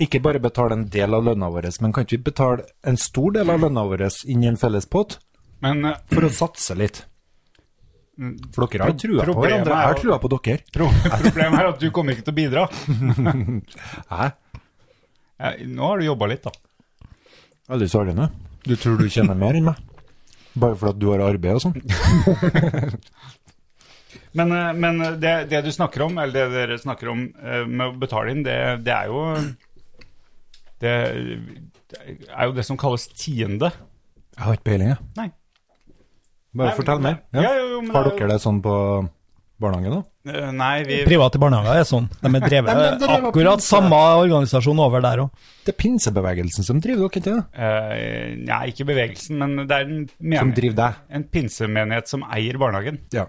[SPEAKER 2] Ikke bare betale en del av lønna vår, men kan ikke vi betale en stor del av lønna vår inn i en felles pott
[SPEAKER 1] Men eh,
[SPEAKER 2] for å satse litt? For dere har trua på
[SPEAKER 1] Problemet
[SPEAKER 2] hverandre.
[SPEAKER 1] er
[SPEAKER 2] Jeg har
[SPEAKER 1] jo-
[SPEAKER 2] trua på dere.
[SPEAKER 1] pro problemet er at du kommer ikke til å bidra.
[SPEAKER 2] Hæ?
[SPEAKER 1] Ja, Nå har du jobba litt, da.
[SPEAKER 2] Aldri sørgende. Du tror du tjener mer enn meg? Bare fordi at du har arbeid og sånn?
[SPEAKER 1] Men, eh, men det, det du snakker om, eller det dere snakker om eh, med å betale inn, det, det er jo Det er jo det som kalles tiende.
[SPEAKER 2] Jeg har ikke peiling, jeg.
[SPEAKER 1] Nei.
[SPEAKER 2] Bare
[SPEAKER 1] Nei,
[SPEAKER 2] fortell
[SPEAKER 1] men-
[SPEAKER 2] mer. Ja.
[SPEAKER 1] Ja, jo, jo, men
[SPEAKER 2] har
[SPEAKER 1] det er jo-
[SPEAKER 2] dere det sånn på barnehagen òg?
[SPEAKER 1] Eh, Nei, vi
[SPEAKER 3] Private barnehager er sånn. De er
[SPEAKER 2] men
[SPEAKER 3] drevet
[SPEAKER 2] det er jo
[SPEAKER 3] akkurat
[SPEAKER 2] pinse.
[SPEAKER 3] samme organisasjon over der òg.
[SPEAKER 2] Det er pinsebevegelsen som driver dere, ikke det?
[SPEAKER 1] eh, Nei, ikke bevegelsen, men det er en,
[SPEAKER 2] Som
[SPEAKER 1] menig,
[SPEAKER 2] driver deg.
[SPEAKER 1] en pinsemenighet som eier barnehagen.
[SPEAKER 2] Ja.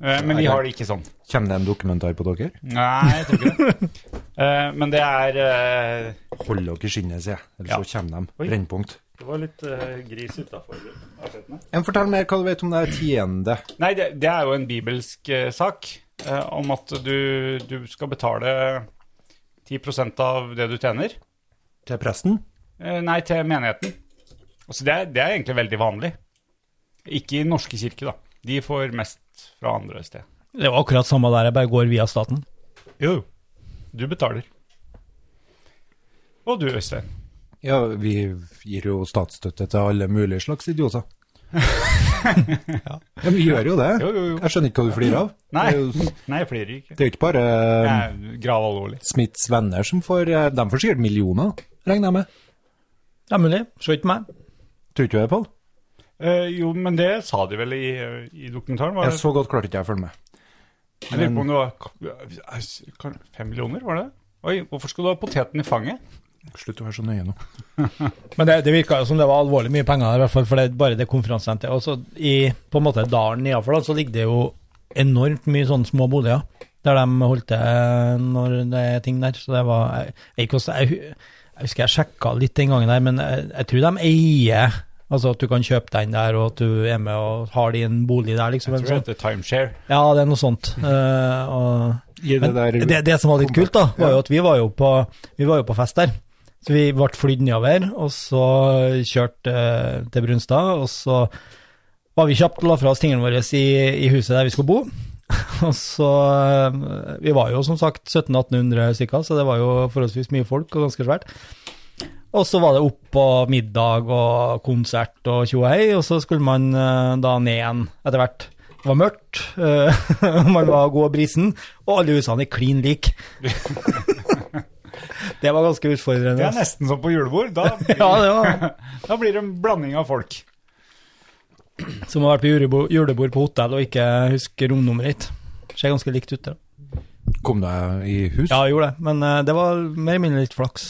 [SPEAKER 1] Eh, Men vi
[SPEAKER 2] Nei,
[SPEAKER 1] har det ikke sånn.
[SPEAKER 2] Kommer det en dokumentar på dere?
[SPEAKER 1] Nei, jeg tror ikke det. Eh, men det er eh,
[SPEAKER 2] Hold dere i skinnet, sier jeg. Ellers
[SPEAKER 1] Ja.
[SPEAKER 2] så kommer de.
[SPEAKER 1] Oi.
[SPEAKER 2] Brennpunkt.
[SPEAKER 1] Det var litt eh, gris utafor avsetene.
[SPEAKER 2] En fortell mer hva du vet om det her tiende.
[SPEAKER 1] Nei, det, det er jo en bibelsk eh, sak eh, om at du, du skal betale 10 av det du tjener.
[SPEAKER 2] Til presten?
[SPEAKER 1] Eh, nei, til menigheten. Altså, det, er, det er egentlig veldig vanlig. Ikke i norske kirke, da. De får mest fra andre sted.
[SPEAKER 3] Det er jo akkurat samme der, jeg bare går via staten.
[SPEAKER 1] Jo, jo. Du betaler. Og du, Øystein.
[SPEAKER 2] Ja, vi gir jo statsstøtte til alle mulige slags idioter. Ja, men vi gjør jo det.
[SPEAKER 1] Jo, jo, jo.
[SPEAKER 2] Jeg skjønner ikke hva du flirer av.
[SPEAKER 1] Nei,
[SPEAKER 2] Det er jo-
[SPEAKER 1] nei jeg flirer ikke.
[SPEAKER 2] det er jo ikke bare
[SPEAKER 1] Jeg
[SPEAKER 2] eh,
[SPEAKER 1] er grav alvorlig.
[SPEAKER 2] Smiths venner som får eh, De får sikkert millioner, regner jeg med.
[SPEAKER 3] Det er mulig. Se ikke meg.
[SPEAKER 2] Tror ikke du det, Pål?
[SPEAKER 1] Eh, jo, men det sa de vel i, eh, i dokumentaren? Var
[SPEAKER 2] Jeg
[SPEAKER 1] det?
[SPEAKER 2] så godt klarte ikke jeg å følge med.
[SPEAKER 1] jeg lurer på om det var fem millioner, var det? Oi, hvorfor skal du ha poteten i fanget?
[SPEAKER 2] Slutt å være så nøye nå.
[SPEAKER 3] Men det, det virka jo som det var alvorlig mye penger, der, i hvert fall for det er bare det konferansesenteret. Og så i på en måte dalen nedenfor da, så ligger det jo enormt mye sånne små boliger der de holdt til eh, når det er ting der. Så det var Jeg, jeg, gikk også- jeg, hu- jeg husker jeg sjekka litt den gangen der, men jeg, jeg tror de eier Altså at du kan kjøpe den der, og at du er med og har din bolig der, liksom.
[SPEAKER 1] Jeg
[SPEAKER 3] en
[SPEAKER 1] tror
[SPEAKER 3] sånn.
[SPEAKER 1] det heter timeshare.
[SPEAKER 3] Ja, det er noe sånt. Eh, og
[SPEAKER 2] I det
[SPEAKER 3] men
[SPEAKER 2] der
[SPEAKER 3] det, det som var litt kult, da, var jo at vi var jo på, vi var jo på fest der. Så vi ble flydd nedover, og så kjørte eh, til Brunstad. Og så var vi kjapt og la fra oss tingene våre i, i huset der vi skulle bo. og så eh, Vi var jo som sagt 1700-1800 stykker, så det var jo forholdsvis mye folk og ganske svært. Og så var det opp på middag og konsert og tjo og hei, og så skulle man eh, da ned igjen etter hvert. Det var mørkt, eh, man var god og brisen, og alle husene er klin like. det var ganske
[SPEAKER 1] Det
[SPEAKER 3] utfordrende.
[SPEAKER 1] er nesten som på julebord. Da,
[SPEAKER 3] Ja, det var
[SPEAKER 1] da blir det en blanding av folk.
[SPEAKER 3] Som har vært på julebord, julebord på hotell og ikke husker romnummeret ditt. Ser ganske likt ut. da.
[SPEAKER 2] Kom deg i hus?
[SPEAKER 3] Ja, jeg gjorde det, men eh, det var mer eller mindre litt flaks.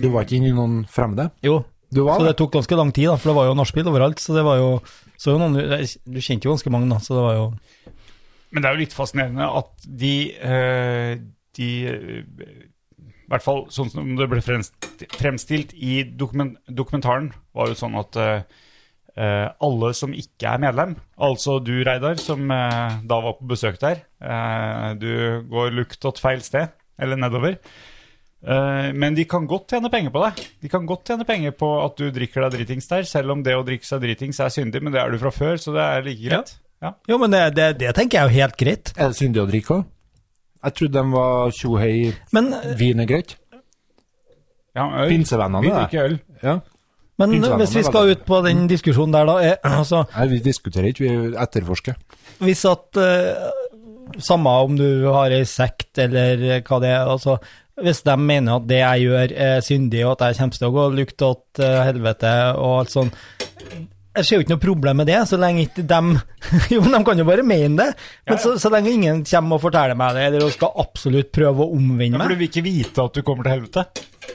[SPEAKER 2] Du var ikke inne i noen fremmede?
[SPEAKER 3] Jo,
[SPEAKER 2] Du var
[SPEAKER 3] Så
[SPEAKER 2] det?
[SPEAKER 3] det tok ganske lang tid, da, for det var jo nachspiel overalt. Så det var jo så jo noen, Du kjente jo ganske mange, da, så det var jo
[SPEAKER 1] Men det er jo litt fascinerende at de, eh, de eh, I hvert fall sånn som det ble fremst- fremstilt i dokumen- dokumentaren, var jo sånn at eh, eh, alle som ikke er medlem, altså du Reidar, som eh, da var på besøk der, eh, du går luktått feil sted, eller nedover. Eh, men de kan godt tjene penger på deg. De kan godt tjene penger på at du drikker deg dritings der, selv om det å drikke seg dritings er syndig, men det er du fra før, så det er like greit. Ja.
[SPEAKER 3] Jo, men det, det, det tenker jeg er jo helt greit.
[SPEAKER 2] Er det syndig å drikke òg? Jeg trodde de var tjohei,
[SPEAKER 3] Men,
[SPEAKER 2] vin er greit.
[SPEAKER 1] Ja, øl. Vi
[SPEAKER 2] Pinsevennene, det.
[SPEAKER 1] drikker øl.
[SPEAKER 2] Ja.
[SPEAKER 3] men
[SPEAKER 2] Pinnsvennene
[SPEAKER 3] hvis vi
[SPEAKER 2] var
[SPEAKER 3] skal
[SPEAKER 2] det.
[SPEAKER 3] ut på den diskusjonen der, da er, altså,
[SPEAKER 2] Nei, vi diskuterer ikke, vi etterforsker.
[SPEAKER 3] Hvis at eh, Samme om du har ei sekt eller hva det er, altså hvis de mener at det jeg gjør er syndig, og at jeg kommer til å gå lukt til helvete og alt sånn Jeg ser jo ikke noe problem med det, så lenge ikke dem Jo, men de kan jo bare mene det. Men Så, så lenge ingen kommer og forteller meg det, eller skal absolutt prøve å omvende
[SPEAKER 1] Ja,
[SPEAKER 3] meg
[SPEAKER 1] for du vil ikke vite at du kommer til helvete.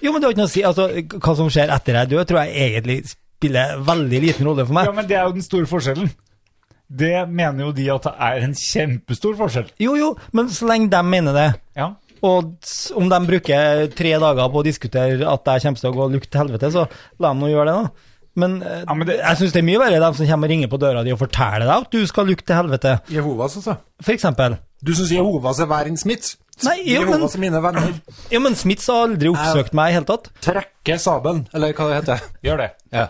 [SPEAKER 3] Jo, men det har ikke noe å si. Altså, hva som skjer etter jeg dør, tror jeg egentlig spiller veldig liten rolle for meg.
[SPEAKER 1] Ja, men det er jo den store forskjellen. Det mener jo de at det er en kjempestor forskjell.
[SPEAKER 3] Jo, jo, men så lenge de mener det,
[SPEAKER 1] Ja.
[SPEAKER 3] og s- om de bruker tre dager på å diskutere at jeg kommer til å gå og lukte til helvete, så la dem nå gjøre det, da. Men, eh,
[SPEAKER 1] Ja, men det-
[SPEAKER 3] jeg syns det er mye verre dem som kommer og ringer på døra di og forteller deg at du skal lukte til helvete,
[SPEAKER 2] Jehovas, altså.
[SPEAKER 3] for eksempel.
[SPEAKER 2] Du syns Jehovas er verre enn Smith?
[SPEAKER 3] Nei, jo, men-
[SPEAKER 2] Jehovas er mine venner.
[SPEAKER 3] Ja, men Smiths har aldri oppsøkt meg i hele tatt.
[SPEAKER 2] Trekke sabelen, eller hva det heter.
[SPEAKER 1] Gjør det.
[SPEAKER 2] Ja.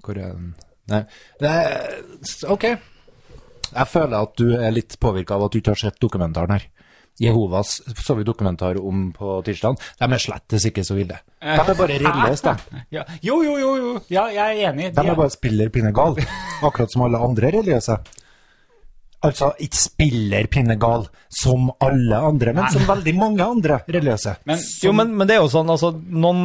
[SPEAKER 2] Hvor er den Nei. Det er, ok. Jeg føler at du er litt påvirka av at du ikke har sett dokumentaren her. Jehovas så vi dokumentar om på tirsdag. De er slettes ikke så ville. De er bare reddeløse, de.
[SPEAKER 1] Ja. Jo, jo, jo, jo. Ja, jeg er enig.
[SPEAKER 2] De er bare spiller pinnegal. Akkurat som alle andre religiøse. Altså ikke spiller pinnegal som alle andre, men som veldig mange andre religiøse.
[SPEAKER 1] Men,
[SPEAKER 3] Jo, men, men det er jo sånn, altså, noen,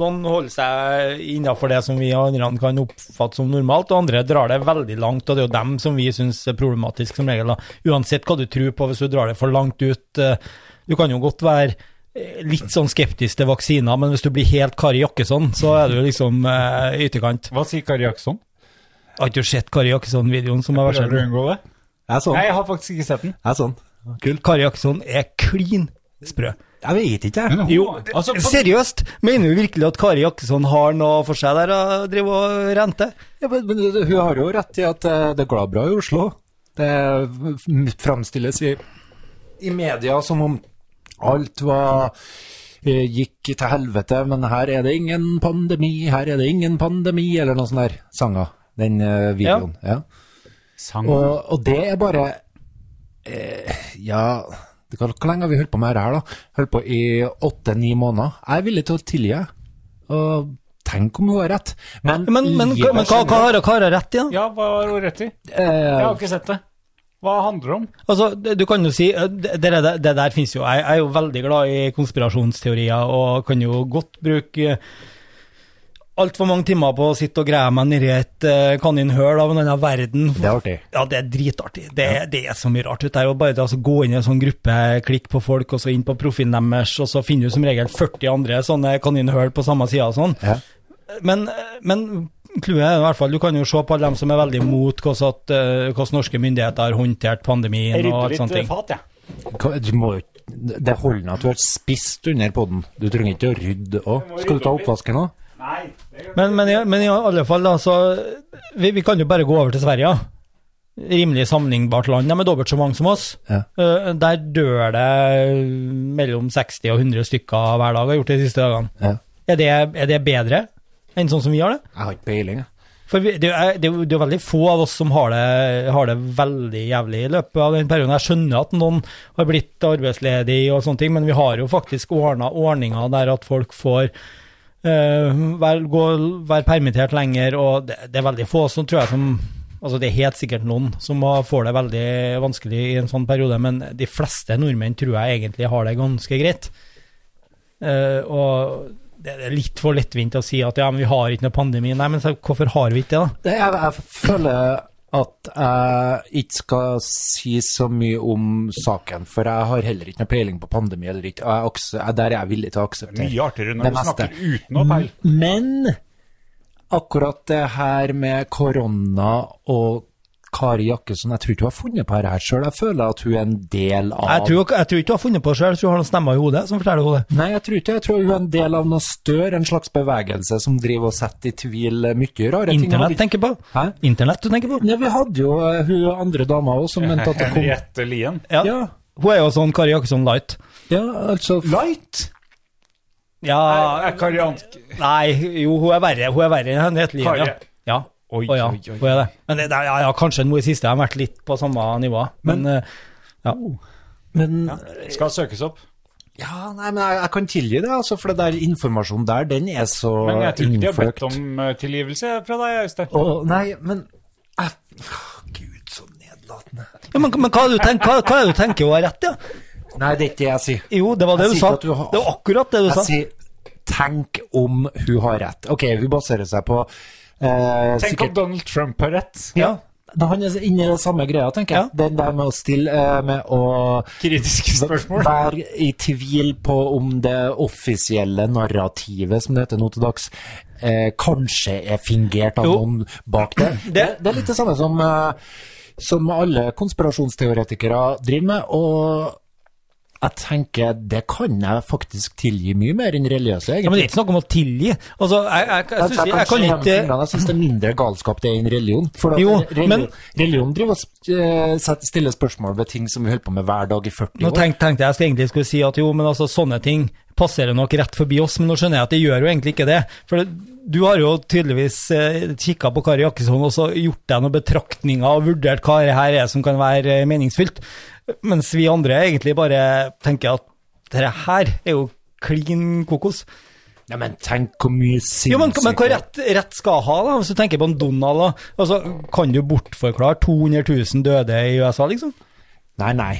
[SPEAKER 3] noen holder seg innenfor det som vi andre kan oppfatte som normalt, og andre drar det veldig langt, og det er jo dem som vi synes er problematisk som regel. Da. Uansett hva du tror på, hvis du drar det for langt ut, eh, du kan jo godt være eh, litt sånn skeptisk til vaksiner, men hvis du blir helt Kari Jakkesson, så er du liksom eh, i ytterkant.
[SPEAKER 1] hva sier Kari Jaksson?
[SPEAKER 3] Har ikke du sett Kari Jakkesson-videoen som har vært
[SPEAKER 1] Prøver du å
[SPEAKER 3] selv?
[SPEAKER 1] unngå det?
[SPEAKER 2] Jeg er sånn.
[SPEAKER 1] Nei, jeg har faktisk ikke sett den.
[SPEAKER 2] Jeg er sånn. Kult.
[SPEAKER 3] Kari Jakkesson er klin sprø.
[SPEAKER 2] Jeg vet ikke, jeg.
[SPEAKER 1] Men hun-
[SPEAKER 3] Jo,
[SPEAKER 1] altså, på-
[SPEAKER 3] seriøst? Mener du virkelig at Kari Jakkesson har noe for seg der å drive og rente?
[SPEAKER 2] Ja, men, men hun har jo rett i at eh, det går bra i Oslo. Det framstilles i, i media som om alt var eh, gikk til helvete, men her er det ingen pandemi, her er det ingen pandemi, eller noe sånt der sanger. Den eh, videoen. Ja.
[SPEAKER 1] Sang.
[SPEAKER 2] Og, og det er bare eh, Ja, det kan, hvor lenge har vi holdt på med dette her, da? Holdt på i åtte-ni måneder. Jeg er villig til å tilgi. Og Tenk om hun har rett! Men,
[SPEAKER 3] Men, men,
[SPEAKER 2] livet
[SPEAKER 3] men hva, hva har hva har jeg rett i, da?
[SPEAKER 1] Ja, hva har hun rett i?
[SPEAKER 2] eh,
[SPEAKER 1] Jeg har ikke sett det. Hva handler det om?
[SPEAKER 3] Altså, det- du kan jo si, eh, det, det, der- det der finnes jo, jeg, jeg er jo veldig glad i konspirasjonsteorier, og kan jo godt bruke altfor mange timer på å sitte og greie meg nedi et eh, kaninhøl av en annen verden.
[SPEAKER 2] Det er artig.
[SPEAKER 3] Ja, det er dritartig. Det, er- det er så mye rart ute der. Og bare det, altså, gå inn i en sånn gruppe, klikk på folk, og så inn på profilen deres, og så finner du som regel 40 andre sånne kaninhøl på samme sida og sånn.
[SPEAKER 2] Ja.
[SPEAKER 3] Men, men clouet er i hvert fall Du kan jo se på alle dem som er veldig mot hvordan, at, eh, hvordan norske myndigheter har håndtert pandemien
[SPEAKER 1] Jeg
[SPEAKER 3] og
[SPEAKER 1] rydder
[SPEAKER 3] alt
[SPEAKER 1] litt
[SPEAKER 3] sånne
[SPEAKER 1] eh,
[SPEAKER 3] ting.
[SPEAKER 1] fat, jeg.
[SPEAKER 2] Hva- Du må, jo- det holder at du har spist under podden. Du trenger ikke å rydde òg. Skal du ta oppvasken òg?
[SPEAKER 1] Nei. Det gjør
[SPEAKER 3] Men, men, i- men i alle fall, da, så vi, vi kan jo bare gå over til Sverige. ja. Rimelig sammenlignbart land. De er dobbelt så mange som oss.
[SPEAKER 2] Ja.
[SPEAKER 3] Eh, Der dør det mellom 60 og 100 stykker hver dag, har gjort det de siste dagene.
[SPEAKER 2] Ja.
[SPEAKER 3] Er det, er det bedre enn sånn som vi har det?
[SPEAKER 2] Jeg har ikke peiling, jeg.
[SPEAKER 3] For vi, det, er, det, er, jo- det er veldig få av oss som har det, har det veldig jævlig i løpet av den perioden. Jeg skjønner at noen har blitt arbeidsledig og sånne ting, men vi har jo faktisk ordna ordninger der at folk får eh, være, gå, være permittert lenger, og det, det er veldig få som tror jeg som Altså Det er helt sikkert noen som har- får det veldig vanskelig i en sånn periode, men de fleste nordmenn tror jeg egentlig har det ganske greit. Eh, og det er litt for lettvint å si at ja, men vi har ikke noe pandemi. Nei, men så, hvorfor har vi ikke det, da?
[SPEAKER 2] Det- Jeg, jeg føler at jeg ikke skal si så mye om saken, for jeg har heller ikke noe peiling på pandemi eller ikke. Og jeg akse, jeg, der er jeg villig til å akseptere.
[SPEAKER 1] Mye artigere
[SPEAKER 2] Det
[SPEAKER 1] når du
[SPEAKER 2] meste.
[SPEAKER 1] snakker uten å ha peil.
[SPEAKER 2] Men akkurat det her med korona og Kari Jakkesson, jeg tror ikke hun har funnet på det her sjøl. Jeg føler at hun er en del av
[SPEAKER 3] Jeg tror, jeg tror ikke du har funnet på det selv, jeg tror du har noen stemmer i hodet som forteller henne det.
[SPEAKER 2] Nei, jeg tror ikke Jeg tror hun er en del av noe større, en slags bevegelse som driver og setter i tvil eh, mye rare
[SPEAKER 3] Internett
[SPEAKER 2] ting.
[SPEAKER 3] tenker på.
[SPEAKER 2] Hæ?
[SPEAKER 3] Internett du tenker på.
[SPEAKER 2] Ja, vi hadde jo eh, hun andre dama òg som mente at det kom
[SPEAKER 1] Henriette Lien.
[SPEAKER 3] Ja.
[SPEAKER 2] Ja,
[SPEAKER 3] Hun er jo sånn Kari Jakkesson light.
[SPEAKER 2] ja altså
[SPEAKER 1] Light!
[SPEAKER 3] Ja,
[SPEAKER 1] Er Kari Ank...
[SPEAKER 3] nei, jo, hun er verre. Hun er verre enn Henriette Lien, ja.
[SPEAKER 1] Kari.
[SPEAKER 3] ja.
[SPEAKER 1] Oi,
[SPEAKER 3] Å ja,
[SPEAKER 1] oi, oi.
[SPEAKER 3] hun er det. Men det, det er- ja, ja, kanskje nå i siste har jeg vært litt på samme nivå. Men, eh, ja.
[SPEAKER 2] Men
[SPEAKER 1] Skal søkes opp.
[SPEAKER 2] Ja, nei, men jeg, jeg kan tilgi det, altså, for det der informasjonen der, den er så
[SPEAKER 1] Men jeg tror ikke de har bedt
[SPEAKER 2] innfløkt.
[SPEAKER 1] om eh, tilgivelse fra deg, Øystein.
[SPEAKER 2] Og- Nei, men jeg, Åh, Gud, så nedlatende.
[SPEAKER 3] ja men, men hva er det du tenker, hva, hva er det du tenker hun har rett i? Ja?
[SPEAKER 2] Nei, det er ikke det jeg sier.
[SPEAKER 3] Jo, det var det
[SPEAKER 2] Jeg
[SPEAKER 3] du
[SPEAKER 2] sier
[SPEAKER 3] sa.
[SPEAKER 2] ikke at du har-
[SPEAKER 3] Det var akkurat det du
[SPEAKER 2] Jeg
[SPEAKER 3] sa.
[SPEAKER 2] sier tenk om hun har rett. Ok, hun baserer seg på eh,
[SPEAKER 1] Tenk om
[SPEAKER 2] sikkert
[SPEAKER 1] Donald Trump har rett.
[SPEAKER 2] ja. Da han er inne i det samme greia, tenker jeg. Den der med å stille eh, Med å
[SPEAKER 1] Kritiske spørsmål.
[SPEAKER 2] Vær i tvil på om det offisielle narrativet, som det heter nå til dags, eh, kanskje er fingert av
[SPEAKER 3] Jo.
[SPEAKER 2] noen bak det. det. Det er litt det samme som, eh, som alle konspirasjonsteoretikere driver med, og jeg tenker det kan jeg faktisk tilgi mye mer enn religiøse,
[SPEAKER 3] Ja, men
[SPEAKER 2] egentlig.
[SPEAKER 3] det er ikke noe om å tilgi. Altså, jeg, jeg, jeg, synes- jeg, kan
[SPEAKER 2] slenge
[SPEAKER 3] ikke
[SPEAKER 2] fingrene. jeg syns det er mindre galskap det enn religion. For at
[SPEAKER 3] Jo,
[SPEAKER 2] religion,
[SPEAKER 3] men-
[SPEAKER 2] religion driver og sp- eh, setter- stiller spørsmål ved ting som vi holder på med hver dag i 40
[SPEAKER 3] Nå
[SPEAKER 2] år.
[SPEAKER 3] tenk, tenkte jeg skulle egentlig skulle si at jo, men altså sånne ting passerer nok rett forbi oss, men nå skjønner jeg at det gjør jo egentlig ikke det. For det, du har jo tydeligvis eh, kikka på Kari Jakkesson og så gjort deg noen betraktninger og vurdert hva det her er som kan være eh, meningsfylt, mens vi andre egentlig bare tenker at dette her er jo klin kokos.
[SPEAKER 2] Ja, men tenk hvor mye sinnssykt
[SPEAKER 3] Jo, men, men hva rett, rett skal ha, da? Hvis du tenker på en Donald, da. Altså, kan du bortforklare 200 000 døde i USA, liksom?
[SPEAKER 2] Nei, nei.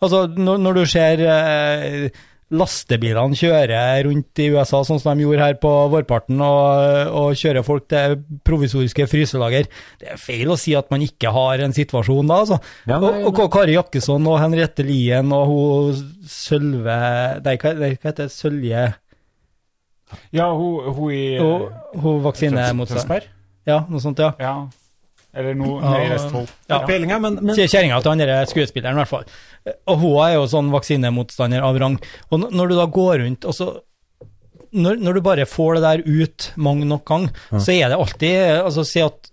[SPEAKER 3] Altså, når, når du ser eh, lastebilene kjøre rundt i USA, sånn som de gjorde her på vårparten, og, og kjører folk til provisoriske fryselager, det er feil å si at man ikke har en situasjon da, altså.
[SPEAKER 2] Ja,
[SPEAKER 3] og,
[SPEAKER 2] nei,
[SPEAKER 3] og hva Kari Jakkesson og Henriette Lien og hun Sølve Nei, hva, nei, hva heter det? Sølje
[SPEAKER 1] Ja, hun, hun i eh,
[SPEAKER 3] Hun, hun vaksinemotstander.
[SPEAKER 1] Tønsberg.
[SPEAKER 3] Ja, noe sånt, ja.
[SPEAKER 1] Ja. Eller noe nede i
[SPEAKER 3] Ja.
[SPEAKER 1] Vestfold.
[SPEAKER 3] Ja.
[SPEAKER 2] Peilinga, men, men
[SPEAKER 3] Sier kjerringa til andre skuespilleren, i hvert fall. Eh, Og hun er jo sånn vaksinemotstander av rang. Og n- når du da går rundt og så når, når du bare får det der ut mange nok ganger, så er det alltid Altså, si at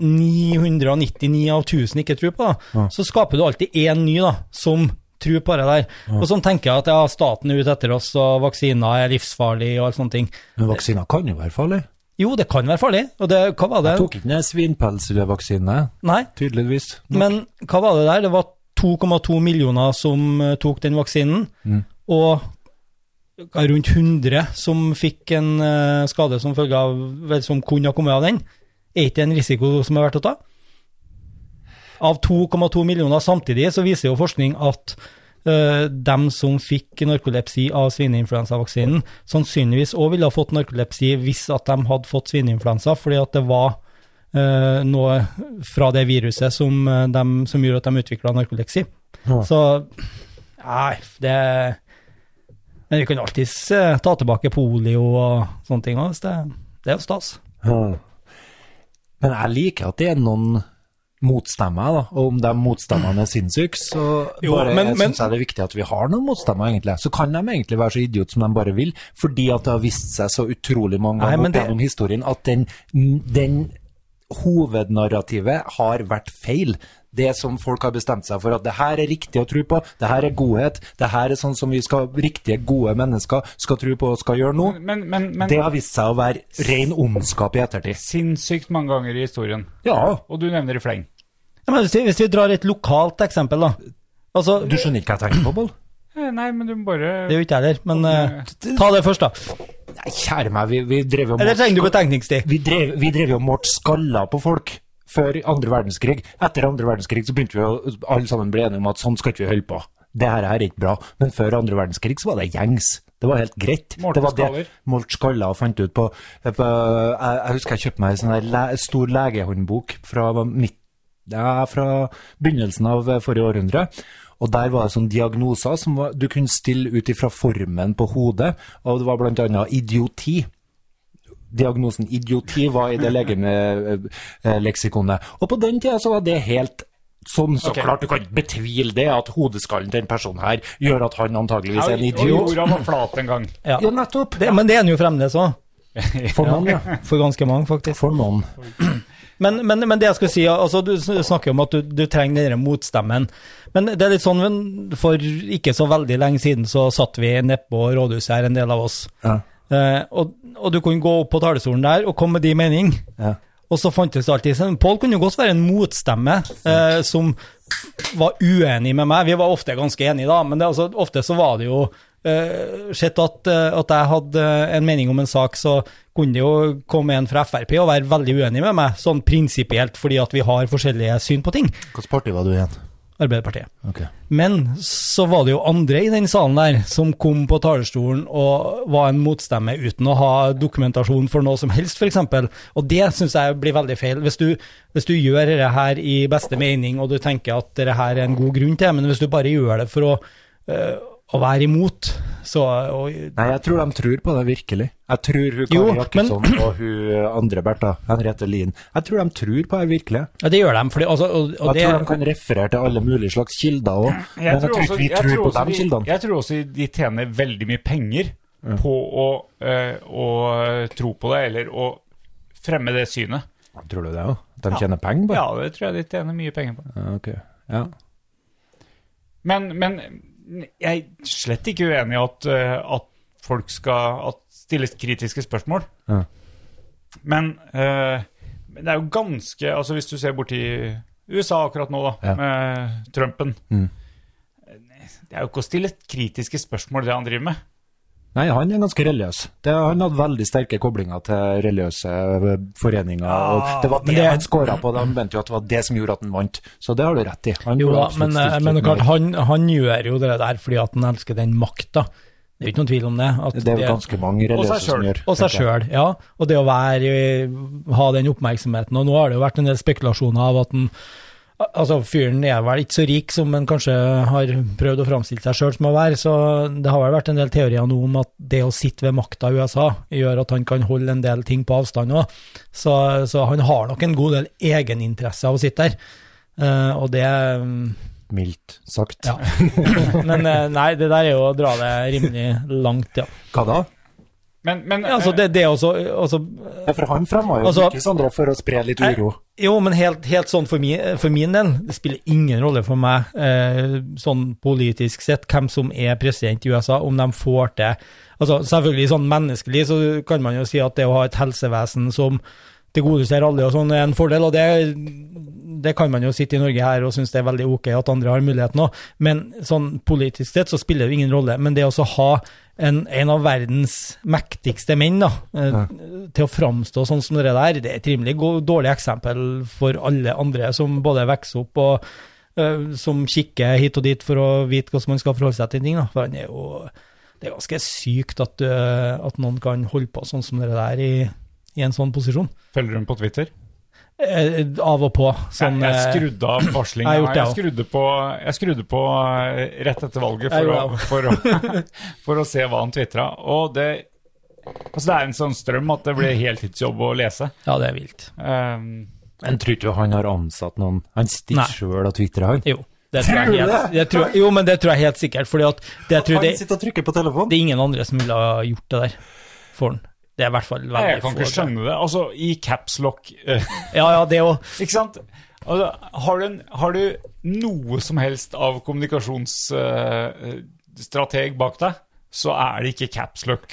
[SPEAKER 3] 999 av 1000 ikke tror på det, så skaper du alltid én ny da, som tror på det der. Og sånn tenker jeg at ja, staten er ute etter oss, og vaksiner er livsfarlig og alt sånne ting.
[SPEAKER 2] men vaksiner kan jo være farlig.
[SPEAKER 3] Jo, det kan være farlig, og det, hva var det?
[SPEAKER 2] Jeg tok ikke ned svinpelsvaksine,
[SPEAKER 3] Nei,
[SPEAKER 2] tydeligvis.
[SPEAKER 3] Men hva var det der? Det var 2,2 millioner som eh, tok den vaksinen, og rundt 100 som fikk en eh, skade som følge av vel, Som kunne ha kommet av den. Er ikke det en risiko som er verdt å ta? Av 2,2 millioner samtidig så viser jo forskning at eh, dem som fikk narkolepsi av svineinfluensavaksinen, sannsynligvis òg ville ha fått narkolepsi hvis at de hadde fått svineinfluensa, fordi at det var eh, noe fra det viruset som, eh, dem- som gjorde at de utvikla narkolepsi.
[SPEAKER 2] Ja.
[SPEAKER 3] Så nei, det Men vi kan alltids eh, ta tilbake polio og sånne ting òg, hvis det, det er jo stas.
[SPEAKER 2] Ja. Men jeg liker at det er noen motstemmer, da. Og om de motstemmene er sinnssyke, så
[SPEAKER 3] Jo,
[SPEAKER 2] bare
[SPEAKER 3] men- men-
[SPEAKER 2] syns jeg det er viktig at vi har noen motstemmer, egentlig. Så kan de egentlig være så idiote som de bare vil, fordi at det har vist seg så utrolig mange
[SPEAKER 3] Nei,
[SPEAKER 2] ganger
[SPEAKER 3] men
[SPEAKER 2] opp
[SPEAKER 3] det-
[SPEAKER 2] gjennom historien at den, den hovednarrativet har vært feil. Det som folk har bestemt seg for at det her er riktig å tro på, det her er godhet, det her er sånn som vi skal, riktige, gode mennesker skal tro på og skal gjøre nå.
[SPEAKER 1] Men, men, men
[SPEAKER 2] Det har vist seg å være ren ondskap i ettertid.
[SPEAKER 1] sinnssykt mange ganger i historien.
[SPEAKER 2] Ja,
[SPEAKER 1] Og du nevner i fleng.
[SPEAKER 3] Ja, men hvis, vi, hvis vi drar et lokalt eksempel, da. Altså,
[SPEAKER 2] Du skjønner ikke hva jeg tenker på, Boll?
[SPEAKER 1] Eh, Nei, men du må
[SPEAKER 3] det
[SPEAKER 1] bare
[SPEAKER 3] er jo ikke jeg heller, men eh, ta det først, da.
[SPEAKER 2] Nei, kjære meg, vi, vi drev jo
[SPEAKER 3] Eller
[SPEAKER 2] malt-
[SPEAKER 3] trenger du betenkningstid?
[SPEAKER 2] vi drev, vi drev jo mort skaller på folk før andre verdenskrig. Etter andre verdenskrig så begynte vi å alle sammen bli enige om at sånn skal ikke vi holde på. Det her er ikke bra. Men før andre verdenskrig så var det gjengs. Det var helt greit.
[SPEAKER 1] Målte
[SPEAKER 2] det var
[SPEAKER 1] skaller.
[SPEAKER 2] Malt skaller og fant ut på, eh, på jeg, jeg husker jeg kjøpte meg en sånn der le, stor legehåndbok fra midt ja, fra begynnelsen av eh, forrige århundre. Og der var det sånne diagnoser som var, du kunne stille ut ifra formen på hodet, og det var blant annet idioti. Diagnosen idioti var i det legeleksikonet. Og på den tida så var det helt sånn, så klart. Du kan ikke betvile det, at hodeskallen til den personen her gjør at han antageligvis er en
[SPEAKER 1] Og
[SPEAKER 2] idiot.
[SPEAKER 1] jorda var flat en gang.
[SPEAKER 3] Ja.
[SPEAKER 2] Ja, nettopp.
[SPEAKER 3] Det, men det er den jo fremdeles òg.
[SPEAKER 2] For noen, ja.
[SPEAKER 3] For ganske mange, faktisk.
[SPEAKER 2] For noen.
[SPEAKER 3] Men, men, men det jeg skulle si, altså du sn- snakker om at du, du trenger denne motstemmen. Men det er litt sånn, men for ikke så veldig lenge siden så satt vi nedpå rådhuset her, en del av oss.
[SPEAKER 2] Ja.
[SPEAKER 3] Eh, og, og du kunne gå opp på talerstolen der og komme med din mening.
[SPEAKER 2] Ja.
[SPEAKER 3] Og så fantes det alltid sånn, Pål kunne jo godt være en motstemme eh, som var uenig med meg. Vi var ofte ganske enige, da, men det, altså, ofte så var det jo eh, Sett at, eh, at jeg hadde eh, en mening om en sak, så kunne det jo komme en fra Frp og være veldig uenig med meg, sånn prinsipielt, fordi at vi har forskjellige syn på ting.
[SPEAKER 2] Hvilket parti var du igjen?
[SPEAKER 3] Arbeiderpartiet.
[SPEAKER 2] Ok.
[SPEAKER 3] Men så var det jo andre i den salen der som kom på talerstolen og var en motstemme uten å ha dokumentasjon for noe som helst, f.eks. Og det syns jeg blir veldig feil. Hvis du, hvis du gjør dette her i beste mening og du tenker at dette her er en god grunn til det, men hvis du bare gjør det for å, øh, å være imot, så og,
[SPEAKER 2] Nei, jeg tror de tror på det virkelig. Jeg tror hun
[SPEAKER 3] Jo,
[SPEAKER 2] Kari Jakkesson og hun andre Bertha, Henriette Lien, jeg tror de tror på det virkelig.
[SPEAKER 3] Ja, det gjør de. Fordi, altså, og, og
[SPEAKER 2] Jeg
[SPEAKER 3] det,
[SPEAKER 2] tror de kan referere til alle mulige slags kilder òg, men jeg tror ikke vi
[SPEAKER 1] jeg
[SPEAKER 2] tror på
[SPEAKER 1] også
[SPEAKER 2] de
[SPEAKER 1] de-
[SPEAKER 2] kildene.
[SPEAKER 1] Jeg tror også de tjener veldig mye penger på å, eh, å tro på det, eller å fremme det synet.
[SPEAKER 2] Tror du det òg? De tjener penger på det?
[SPEAKER 1] Ja, det tror jeg de tjener mye penger på.
[SPEAKER 2] Ja, ok. Ja.
[SPEAKER 1] Men, men jeg er slett ikke uenig i at, eh, at folk skal at stilles kritiske spørsmål.
[SPEAKER 2] Ja.
[SPEAKER 1] Men eh, men det er jo ganske Altså Hvis du ser borti USA akkurat nå, da,
[SPEAKER 2] Ja.
[SPEAKER 1] med Trumpen
[SPEAKER 2] Mm.
[SPEAKER 1] Det er jo ikke å stille kritiske spørsmål, det han driver med.
[SPEAKER 2] Nei, han er ganske religiøs. Det, han hadde veldig sterke koblinger til religiøse eh, foreninger. og det var det,
[SPEAKER 3] men det-
[SPEAKER 2] han scora på, de mente jo at det var det som gjorde at han vant. Så det har du rett i. Han
[SPEAKER 3] Jo
[SPEAKER 2] burde
[SPEAKER 3] da,
[SPEAKER 2] absolutt
[SPEAKER 3] men, eh,
[SPEAKER 2] stilt
[SPEAKER 3] men
[SPEAKER 2] litt
[SPEAKER 3] klart,
[SPEAKER 2] mer.
[SPEAKER 3] han, han gjør jo det der fordi at han elsker den makta. Det er jo ikke noen tvil om det. At
[SPEAKER 2] Det er jo ganske mange religiøse som
[SPEAKER 1] selv.
[SPEAKER 2] gjør.
[SPEAKER 3] Og seg
[SPEAKER 2] tenker jeg.
[SPEAKER 3] sjøl, ja. Og det å være, eh, ha den oppmerksomheten. Og nå har det jo vært en del spekulasjoner av at den, altså fyren er vel ikke så rik som en kanskje har prøvd å framstille seg sjøl som å være, så det har vel vært en del teorier nå om at det å sitte ved makta i USA gjør at han kan holde en del ting på avstand òg. Så, så han har nok en god del egeninteresse av å sitte der. Eh, og det
[SPEAKER 2] Mildt sagt.
[SPEAKER 3] Ja. Men eh, nei, det der er jo å dra det rimelig langt, ja.
[SPEAKER 2] Hva da?
[SPEAKER 1] Men, men
[SPEAKER 3] ja altså,
[SPEAKER 1] eh,
[SPEAKER 3] det, det er også, altså, også
[SPEAKER 2] Ja, for han fremma jo
[SPEAKER 3] Altså-
[SPEAKER 2] ikke Sondre for å spre litt uro.
[SPEAKER 3] Jo, men helt, helt sånn for min, for min del, det spiller ingen rolle for meg, eh, sånn politisk sett, hvem som er president i USA, om de får til Altså, selvfølgelig, sånn menneskelig så kan man jo si at det å ha et helsevesen som tilgodeser alle, og sånn er en fordel. Og det, det kan man jo sitte i Norge her og synes det er veldig ok at andre har muligheten òg, men sånn politisk sett så spiller det jo ingen rolle. Men det å så ha en, en av verdens mektigste menn da, eh,
[SPEAKER 2] Ja.
[SPEAKER 3] til å framstå sånn som det der, det er et rimelig go- dårlig eksempel for alle andre som både vokser opp og eh, som kikker hit og dit for å vite hvordan man skal forholde seg til ting. Da. For han er jo, det er ganske sykt at, eh, at noen kan holde på sånn som det der i, i en sånn posisjon.
[SPEAKER 1] Følger hun på Twitter?
[SPEAKER 3] Eh, av og på. Sånn,
[SPEAKER 1] jeg, jeg
[SPEAKER 3] eh,
[SPEAKER 1] skrudde av varslinga.
[SPEAKER 3] jeg har
[SPEAKER 1] Jeg,
[SPEAKER 3] gjort det
[SPEAKER 1] skrudde på, jeg skrudde på eh, rett etter valget
[SPEAKER 3] Jeg
[SPEAKER 1] for,
[SPEAKER 3] gjorde
[SPEAKER 1] å, for, å, for å se hva han tvitra. Og det Altså, det er en sånn strøm at det blir heltidsjobb å lese.
[SPEAKER 3] ja, det er vilt.
[SPEAKER 1] Um,
[SPEAKER 2] Men tror ikke han har ansatt noen? Han
[SPEAKER 3] Nei.
[SPEAKER 2] sitter sjøl og twitrer, han.
[SPEAKER 3] Jo. Det tror jeg helt, det tror, jeg- jo, men det tror jeg helt sikkert. Fordi at det, tror
[SPEAKER 2] Han
[SPEAKER 3] jeg det,
[SPEAKER 2] sitter og trykker på telefonen.
[SPEAKER 3] det er ingen andre som ville ha gjort det der for han. Det er i hvert fall veldig
[SPEAKER 1] nei, jeg kan
[SPEAKER 3] få,
[SPEAKER 1] ikke
[SPEAKER 3] tror jeg.
[SPEAKER 1] skjønne det. Altså, i capslock
[SPEAKER 3] Ja, ja, det òg.
[SPEAKER 1] Ikke sant? Altså, har, du en, har du noe som helst av kommunikasjonsstrateg bak deg, så er det ikke eh, capslock.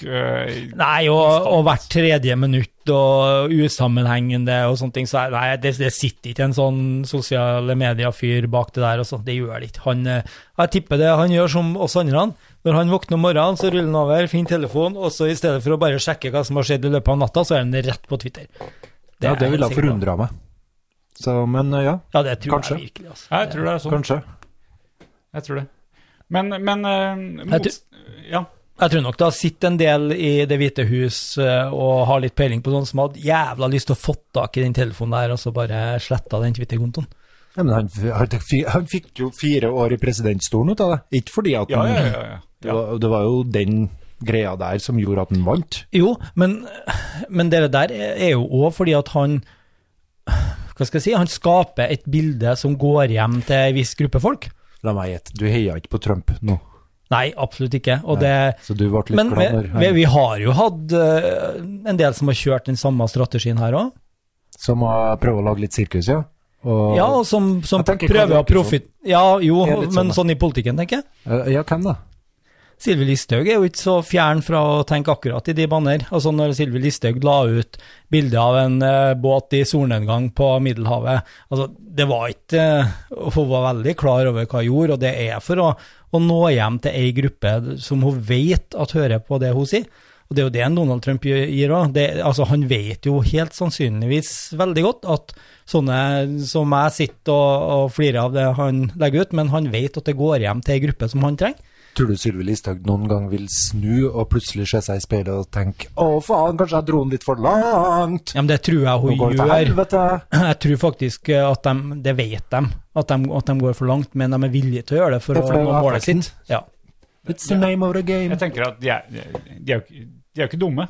[SPEAKER 3] Nei, og, og hvert tredje minutt og usammenhengende og sånne ting. Så er- nei, det, det sitter ikke en sånn sosiale medier-fyr bak det der. Og sånt. det gjør det ikke. Han, eh, jeg tipper det han gjør som oss andre. Når han våkner om morgenen, så ruller han over, finner telefonen, og så i stedet for å bare sjekke hva som har skjedd i løpet av natta, så er han rett på Twitter.
[SPEAKER 2] Ja,
[SPEAKER 3] er
[SPEAKER 2] det ville
[SPEAKER 3] jeg helt
[SPEAKER 2] ha
[SPEAKER 3] sikker på.
[SPEAKER 2] forundra meg. Så, men eh, ja,
[SPEAKER 3] Ja, det tror
[SPEAKER 2] Kanskje.
[SPEAKER 3] jeg virkelig. Altså.
[SPEAKER 1] jeg tror det er sånn.
[SPEAKER 2] kanskje.
[SPEAKER 1] Jeg tror det. Men, men eh,
[SPEAKER 3] Jeg
[SPEAKER 1] motst- Ja.
[SPEAKER 3] Jeg tror nok det har sittet en del i Det hvite hus eh, og har litt peiling på sånn som hadde jævla lyst til å få tak i den telefonen der, og så bare sletta den Twitter-kontoen.
[SPEAKER 2] Ja, men han, han, fikk- han fikk jo fire år i presidentstolen ut av det. Ikke fordi at
[SPEAKER 1] Ja,
[SPEAKER 2] han,
[SPEAKER 1] ja, ja, ja.
[SPEAKER 2] Det, var, det var jo den greia der som gjorde at han vant.
[SPEAKER 3] Jo, men, men det der er jo òg fordi at han Hva skal jeg si? Han skaper et bilde som går hjem til ei viss gruppe folk.
[SPEAKER 2] La meg gjette, du heia ikke på Trump nå,
[SPEAKER 3] Nei, absolutt ikke. Og det,
[SPEAKER 2] så du ble litt
[SPEAKER 3] men vi,
[SPEAKER 2] glad når
[SPEAKER 3] vi,
[SPEAKER 2] han
[SPEAKER 3] vi har jo hatt eh, en del som har kjørt den samme strategien her òg.
[SPEAKER 2] Som har prøvd å lage litt sirkus, ja. Og,
[SPEAKER 3] Ja, og som, som
[SPEAKER 2] Jeg tenker Karl
[SPEAKER 3] prøver å
[SPEAKER 2] Jakob
[SPEAKER 3] profit... Ja,
[SPEAKER 2] Det
[SPEAKER 3] jo,
[SPEAKER 2] sånn- er litt
[SPEAKER 3] men
[SPEAKER 2] sånn,
[SPEAKER 3] sånn i politikken, tenker jeg.
[SPEAKER 2] Eh, ja, hvem da?
[SPEAKER 3] Sylvi Listhaug er jo ikke så fjern fra å tenke akkurat i de banner. Altså når Sylvi Listhaug la ut bilde av en eh, båt i solnedgang på Middelhavet, altså det var ikke eh, Hun var veldig klar over hva hun gjorde, og det er for å, å nå hjem til ei gruppe som hun vet at hører på det hun sier. Og det er jo det en Donald Trump gj- gir òg. Altså, han vet jo helt sannsynligvis veldig godt at sånne som jeg sitter og, og flirer av det han legger ut, men han vet at det går hjem til ei gruppe som han trenger.
[SPEAKER 2] Tror du Sylvi Listhaug noen gang vil snu og plutselig se seg i speilet og tenke å faen, kanskje jeg dro den litt for langt?
[SPEAKER 3] Ja, men det tror jeg
[SPEAKER 2] Nå
[SPEAKER 3] hun
[SPEAKER 2] går det til
[SPEAKER 3] gjør.
[SPEAKER 2] helvete.
[SPEAKER 3] Jeg tror faktisk eh, at de, det vet de at, de, at de går for langt, men de er villige til å gjøre det for
[SPEAKER 2] Det er
[SPEAKER 3] å
[SPEAKER 2] fordi
[SPEAKER 3] nå
[SPEAKER 2] de har
[SPEAKER 3] målet
[SPEAKER 2] effekten.
[SPEAKER 3] sitt. Ja.
[SPEAKER 2] It's the name of the game.
[SPEAKER 1] Jeg tenker at de er, de er, jo ikke- de er jo ikke dumme.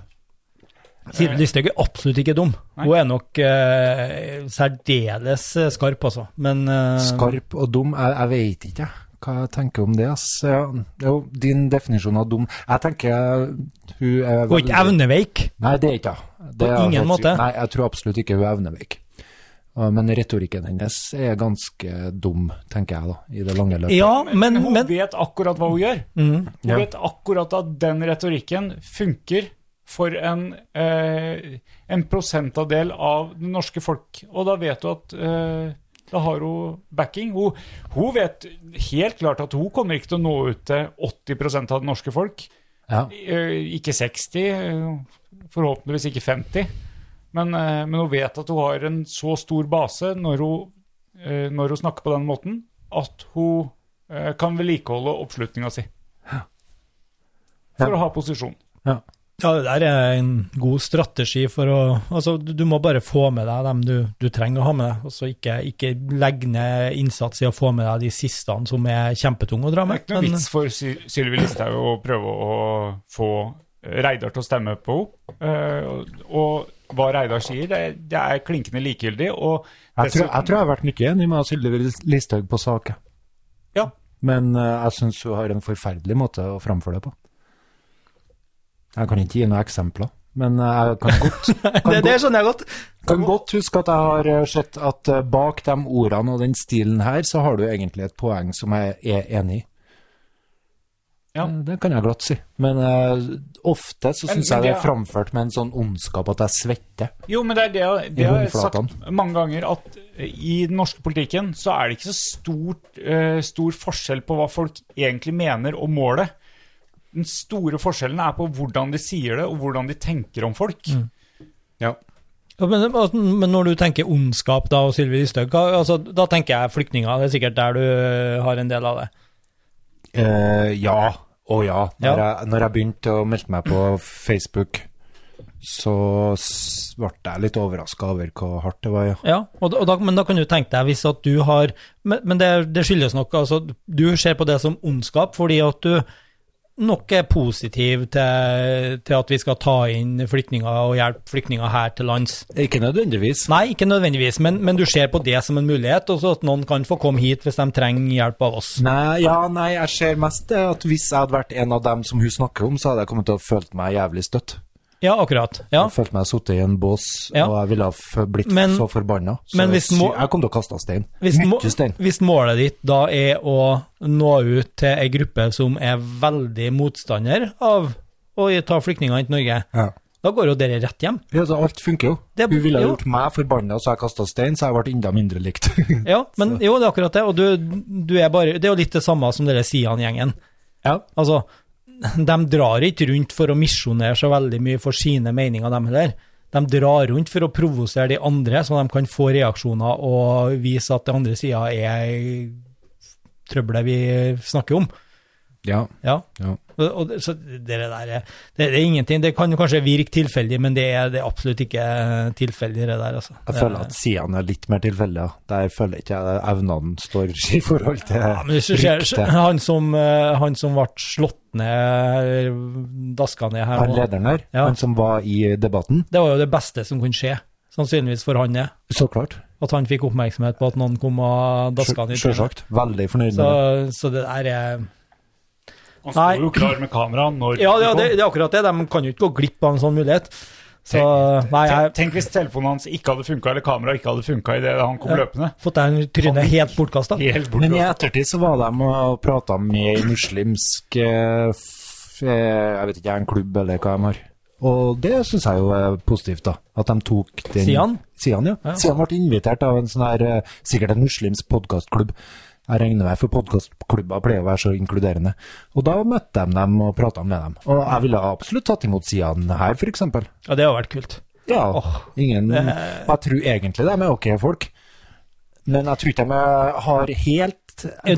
[SPEAKER 3] Siv Listhaug er absolutt ikke dum.
[SPEAKER 1] Nei.
[SPEAKER 3] Hun er nok eh, særdeles eh, skarp, altså. Men eh,
[SPEAKER 2] Skarp og dum, jeg, jeg vet ikke jeg, hva jeg tenker om det. Ass. Ja, jo, din definisjon av dum Jeg tenker eh, hun er
[SPEAKER 3] hun er ikke evneveik.
[SPEAKER 2] Nei, det er ikke hun. Det
[SPEAKER 3] På
[SPEAKER 2] er
[SPEAKER 3] ingen
[SPEAKER 2] helt sikkert-
[SPEAKER 3] måte.
[SPEAKER 2] Nei, jeg tror absolutt ikke hun er evneveik. Uh, Men retorikken hennes er ganske dum, tenker jeg, da, i det lange løpet.
[SPEAKER 3] Ja, men,
[SPEAKER 1] Hun
[SPEAKER 3] men
[SPEAKER 1] vet akkurat hva hun gjør.
[SPEAKER 3] mm,
[SPEAKER 1] Hun
[SPEAKER 2] Ja.
[SPEAKER 1] vet akkurat at den retorikken funker for en, eh, en prosentandel av det norske folk. Og da vet du at eh, da har hun backing. Hun, hun vet helt klart at hun kommer ikke til å nå ut til 80 av det norske folk.
[SPEAKER 2] Ja.
[SPEAKER 1] Eh, Ikke 60, eh, forhåpentligvis ikke 50. Men, eh, men hun vet at hun har en så stor base når hun, eh, når hun snakker på den måten, at hun eh, kan vedlikeholde oppslutninga si. For å ha posisjon.
[SPEAKER 3] ja, det der er en god strategi for å Altså, du, du må bare få med deg dem du, du trenger å ha med deg, og så ikke, ikke legge ned innsats i å få med deg de siste som er kjempetunge å dra
[SPEAKER 1] Det er
[SPEAKER 3] med.
[SPEAKER 1] ikke noe
[SPEAKER 3] men-
[SPEAKER 1] vits for Sy- Sylvi Listhaug å prøve å få Reidar til å stemme på henne. Eh, Og hva Reidar sier, det, det er klinkende likegyldig. Og
[SPEAKER 2] Jeg, tror, jeg
[SPEAKER 1] dessuten-
[SPEAKER 2] tror jeg har vært mye enig med Sylvi Listhaug på saken.
[SPEAKER 1] Ja.
[SPEAKER 2] Men eh, jeg syns hun har en forferdelig måte å framføre det på. Jeg kan ikke gi noen eksempler, men eh, jeg kan godt, kan
[SPEAKER 3] Det, det skjønner jeg godt.
[SPEAKER 2] Kan godt huske at jeg har eh, sett at eh, bak de ordene og den stilen her, så har du egentlig et poeng som jeg er enig i.
[SPEAKER 1] Ja.
[SPEAKER 2] Eh, Det kan jeg glatt si. Men eh, ofte så
[SPEAKER 1] Men-
[SPEAKER 2] syns
[SPEAKER 1] men
[SPEAKER 2] jeg det er
[SPEAKER 1] det er-
[SPEAKER 2] framført med en sånn ondskap at jeg svetter.
[SPEAKER 1] Jo, men det er det, jeg- det
[SPEAKER 2] I
[SPEAKER 1] jeg har jeg
[SPEAKER 2] håndflatan.
[SPEAKER 1] sagt mange ganger, at eh, i den norske politikken så er det ikke så stort, eh, stor forskjell på hva folk egentlig mener og målet. Den store forskjellen er på hvordan de sier det, og hvordan de tenker om folk.
[SPEAKER 3] Ja, men, altså, men når du tenker ondskap da, og Sylvi Listhaug, hva- altså, da tenker jeg flyktninger. Det er sikkert der du øh, har en del av det.
[SPEAKER 2] Eh, ja. Å ja.
[SPEAKER 3] Ja.
[SPEAKER 2] Når, jeg, når jeg begynte å melde meg på Facebook, så s- ble jeg litt overraska over hvor hardt det var, ja.
[SPEAKER 3] Ja, og, da- og da, Men da kan du tenke deg hvis at du har Men, men det, det skyldes nok altså, Du ser på det som ondskap fordi at du nok er positiv til, til at vi skal ta inn flyktninger og hjelpe flyktninger her til lands.
[SPEAKER 2] Ikke nødvendigvis.
[SPEAKER 3] Nei, ikke nødvendigvis, men, men du ser på det som en mulighet, og så at noen kan få komme hit hvis de trenger hjelp av oss.
[SPEAKER 2] Nei, ja, nei, jeg ser mest det at hvis jeg hadde vært en av dem som hun snakker om, så hadde jeg kommet til å følt meg jævlig støtt.
[SPEAKER 3] Ja, akkurat. Ja.
[SPEAKER 2] Jeg følte meg sittet i en bås,
[SPEAKER 3] Ja.
[SPEAKER 2] og jeg ville ha f- blitt
[SPEAKER 3] Men-
[SPEAKER 2] så forbanna. Så
[SPEAKER 3] men hvis
[SPEAKER 2] sy-
[SPEAKER 3] må-
[SPEAKER 2] jeg kom til å kaste stein.
[SPEAKER 3] Hvis, må,
[SPEAKER 2] Mye stein.
[SPEAKER 3] hvis målet ditt da er å nå ut til ei gruppe som er veldig motstander av å ta flyktninger inn til Norge,
[SPEAKER 2] Ja.
[SPEAKER 3] da går jo dere rett hjem.
[SPEAKER 2] Ja, så alt funker jo.
[SPEAKER 3] Det-
[SPEAKER 2] Hun ville ha
[SPEAKER 3] jo.
[SPEAKER 2] gjort meg forbanna så jeg kasta stein, så jeg ble enda mindre likt.
[SPEAKER 3] Ja, men jo, det er akkurat det. Og du, du er bare Det er jo litt det samme som dere Sian-gjengen.
[SPEAKER 2] Ja.
[SPEAKER 3] Altså, de drar ikke rundt for å misjonere så veldig mye for sine meninger, dem heller. De drar rundt for å provosere de andre, så de kan få reaksjoner og vise at den andre sida er trøbbelet vi snakker om.
[SPEAKER 2] ja.
[SPEAKER 3] Ja.
[SPEAKER 2] Ja.
[SPEAKER 3] Og, og, det- så det der er- det, det er ingenting. Det kan jo kanskje virke tilfeldig, men det er, det er absolutt ikke tilfeldig, det der, altså.
[SPEAKER 2] Jeg
[SPEAKER 3] Det-
[SPEAKER 2] føler at sidene er litt mer tilfeldige. Der føler jeg ikke jeg evnene står i forhold til
[SPEAKER 3] ja, men hvis du ser, han, som, eh, han som ble slått ned, daska ned her
[SPEAKER 2] Han
[SPEAKER 3] nå,
[SPEAKER 2] lederen her,
[SPEAKER 3] Ja.
[SPEAKER 2] han som var i debatten.
[SPEAKER 3] det var jo det beste som kunne skje, sannsynligvis for han det.
[SPEAKER 2] Så klart.
[SPEAKER 3] At han fikk oppmerksomhet på at noen kom og daska han i trynet.
[SPEAKER 2] Sjølsagt. Veldig fornøyd med det.
[SPEAKER 3] Så, så det der er
[SPEAKER 1] Han
[SPEAKER 3] Nei.
[SPEAKER 1] sto jo klar med kamera når
[SPEAKER 3] Ja,
[SPEAKER 1] de
[SPEAKER 3] ja
[SPEAKER 1] kom.
[SPEAKER 3] det, det er akkurat det. De kan jo ikke gå glipp av en sånn mulighet. Så nei, jeg
[SPEAKER 1] Tenk, tenk hvis telefonen hans ikke hadde funka, eller kameraet ikke hadde funka idet han kom
[SPEAKER 3] Ja.
[SPEAKER 1] løpende.
[SPEAKER 3] fått deg en tryne helt bortkasta.
[SPEAKER 1] Helt bort altså.
[SPEAKER 2] Men i ettertid så var de og prata med ei muslimsk eh, f- eh, Jeg vet ikke, en klubb eller hva de har. Og det syns jeg jo er positivt, da. At de tok den
[SPEAKER 3] Sian?
[SPEAKER 2] Sian, ja.
[SPEAKER 3] Ja.
[SPEAKER 2] Sian ble invitert av en sånn her eh, Sikkert en muslimsk podkastklubb. Jeg regner med for podkastklubber pleier å være så inkluderende. Og da møtte de dem og prata med dem. Og jeg ville absolutt tatt imot Sian her, f.eks.
[SPEAKER 3] Ja, det har vært kult.
[SPEAKER 2] Ja.
[SPEAKER 3] Åh,
[SPEAKER 2] ingen Jeg tror egentlig de er ok folk, men jeg tror ikke de har helt
[SPEAKER 3] Det,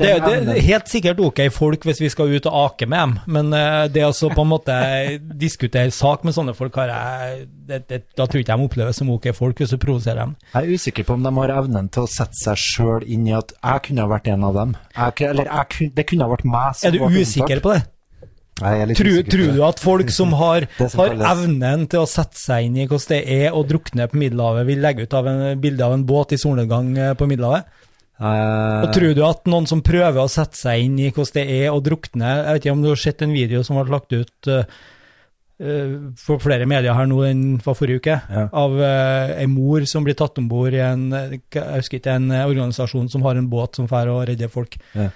[SPEAKER 2] den
[SPEAKER 3] er- det
[SPEAKER 2] evnen.
[SPEAKER 3] er helt sikkert ok folk hvis vi skal ut og ake med dem, men eh, det å så på en måte diskutere sak med sånne folk, har jeg, det, det, da tror jeg ikke de oppleves som ok folk hvis du provoserer dem.
[SPEAKER 2] Jeg er usikker på om de har evnen til å sette seg sjøl inn i at jeg kunne ha vært en av dem. Jeg, ku- eller jeg, ku- det kunne ha vært meg som
[SPEAKER 3] Er du usikker på det?
[SPEAKER 2] det?
[SPEAKER 3] Tror, tror du at folk som har,
[SPEAKER 2] Det som
[SPEAKER 3] har
[SPEAKER 2] kalles-
[SPEAKER 3] evnen til å sette seg inn i hvordan det er å drukne på Middelhavet, vil legge ut av en bilde av en båt i solnedgang eh, på Middelhavet?
[SPEAKER 2] Eh,
[SPEAKER 3] Og tror du at noen som prøver å sette seg inn i hvordan det er å drukne Jeg vet ikke om du har sett en video som ble lagt ut eh, eh, for flere medier her nå enn for forrige uke,
[SPEAKER 2] Ja.
[SPEAKER 3] av uh, ei mor som blir tatt om bord i en, eh, jeg husker ikke, en eh, organisasjon som har en båt som drar og redder folk.
[SPEAKER 2] Ja.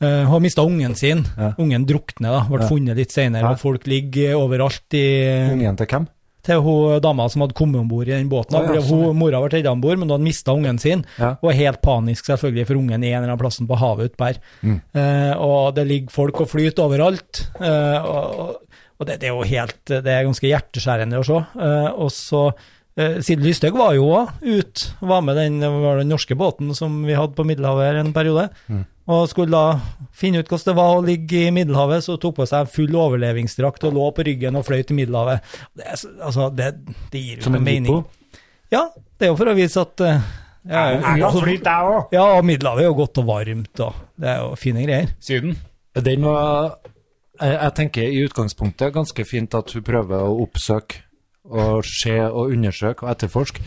[SPEAKER 3] Eh, har mista ungen sin.
[SPEAKER 2] Ja.
[SPEAKER 3] Ungen drukner, da. Ble
[SPEAKER 2] Ja.
[SPEAKER 3] funnet litt senere,
[SPEAKER 2] Ja.
[SPEAKER 3] og folk ligger overalt i
[SPEAKER 2] Ungen til hvem?
[SPEAKER 3] til hun dama som hadde kommet om bord i den båten.
[SPEAKER 2] Å, ja,
[SPEAKER 3] fordi hun, mora ble redda om bord, men hun hadde mista ungen sin.
[SPEAKER 2] Ja.
[SPEAKER 3] Og er helt panisk, selvfølgelig, for ungen er en eller annen plassen på havet utpå her.
[SPEAKER 2] Mm.
[SPEAKER 3] Eh, og det ligger folk og flyter overalt. Eh, og og, og det, det er jo helt Det er ganske hjerteskjærende å se. Eh, og så eh, Siden Lysthaug var jo òg ute, var med den, var den norske båten som vi hadde på Middelhavet her en periode.
[SPEAKER 2] Mm.
[SPEAKER 3] Og skulle da finne ut hvordan det var å ligge i Middelhavet, så tok på seg full overlevingsdrakt og lå på ryggen og fløy til Middelhavet. Det, er så- altså, det, det gir jo
[SPEAKER 2] Som
[SPEAKER 3] ikke
[SPEAKER 2] en
[SPEAKER 3] mening.
[SPEAKER 2] hippo?
[SPEAKER 3] Ja, det er jo for å vise at eh, ja, ja, ja, og Middelhavet er jo godt og varmt, og det er jo fine greier.
[SPEAKER 1] Syden.
[SPEAKER 2] Den var jeg, jeg tenker i utgangspunktet ganske fint at hun prøver å oppsøke og se og undersøke og etterforske.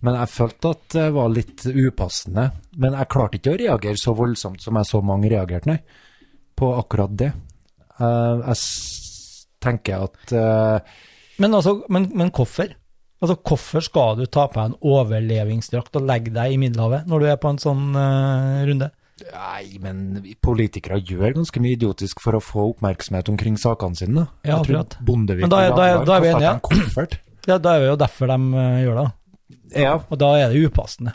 [SPEAKER 2] Men jeg følte at det var litt upassende. Men jeg klarte ikke å reagere så voldsomt som jeg så mange reagerte, nei, på akkurat det. Eh, Jeg s- tenker at eh,
[SPEAKER 3] Men, altså, men, men hvorfor? Altså, hvorfor skal du ta på deg en overlevingsdrakt og legge deg i Middelhavet når du er på en sånn eh, runde?
[SPEAKER 2] Nei, men politikere gjør ganske mye idiotisk for å få oppmerksomhet omkring sakene sine. da.
[SPEAKER 3] Ja,
[SPEAKER 2] Jeg tror
[SPEAKER 3] akkurat.
[SPEAKER 2] Bondevik
[SPEAKER 3] Men da er-
[SPEAKER 2] og
[SPEAKER 3] da er-
[SPEAKER 2] Ragnvald
[SPEAKER 3] da er vi
[SPEAKER 2] kastet
[SPEAKER 3] enige.
[SPEAKER 2] en koffert.
[SPEAKER 3] Ja, da er det jo derfor de eh, gjør det.
[SPEAKER 2] Ja,
[SPEAKER 3] Og da er det upassende.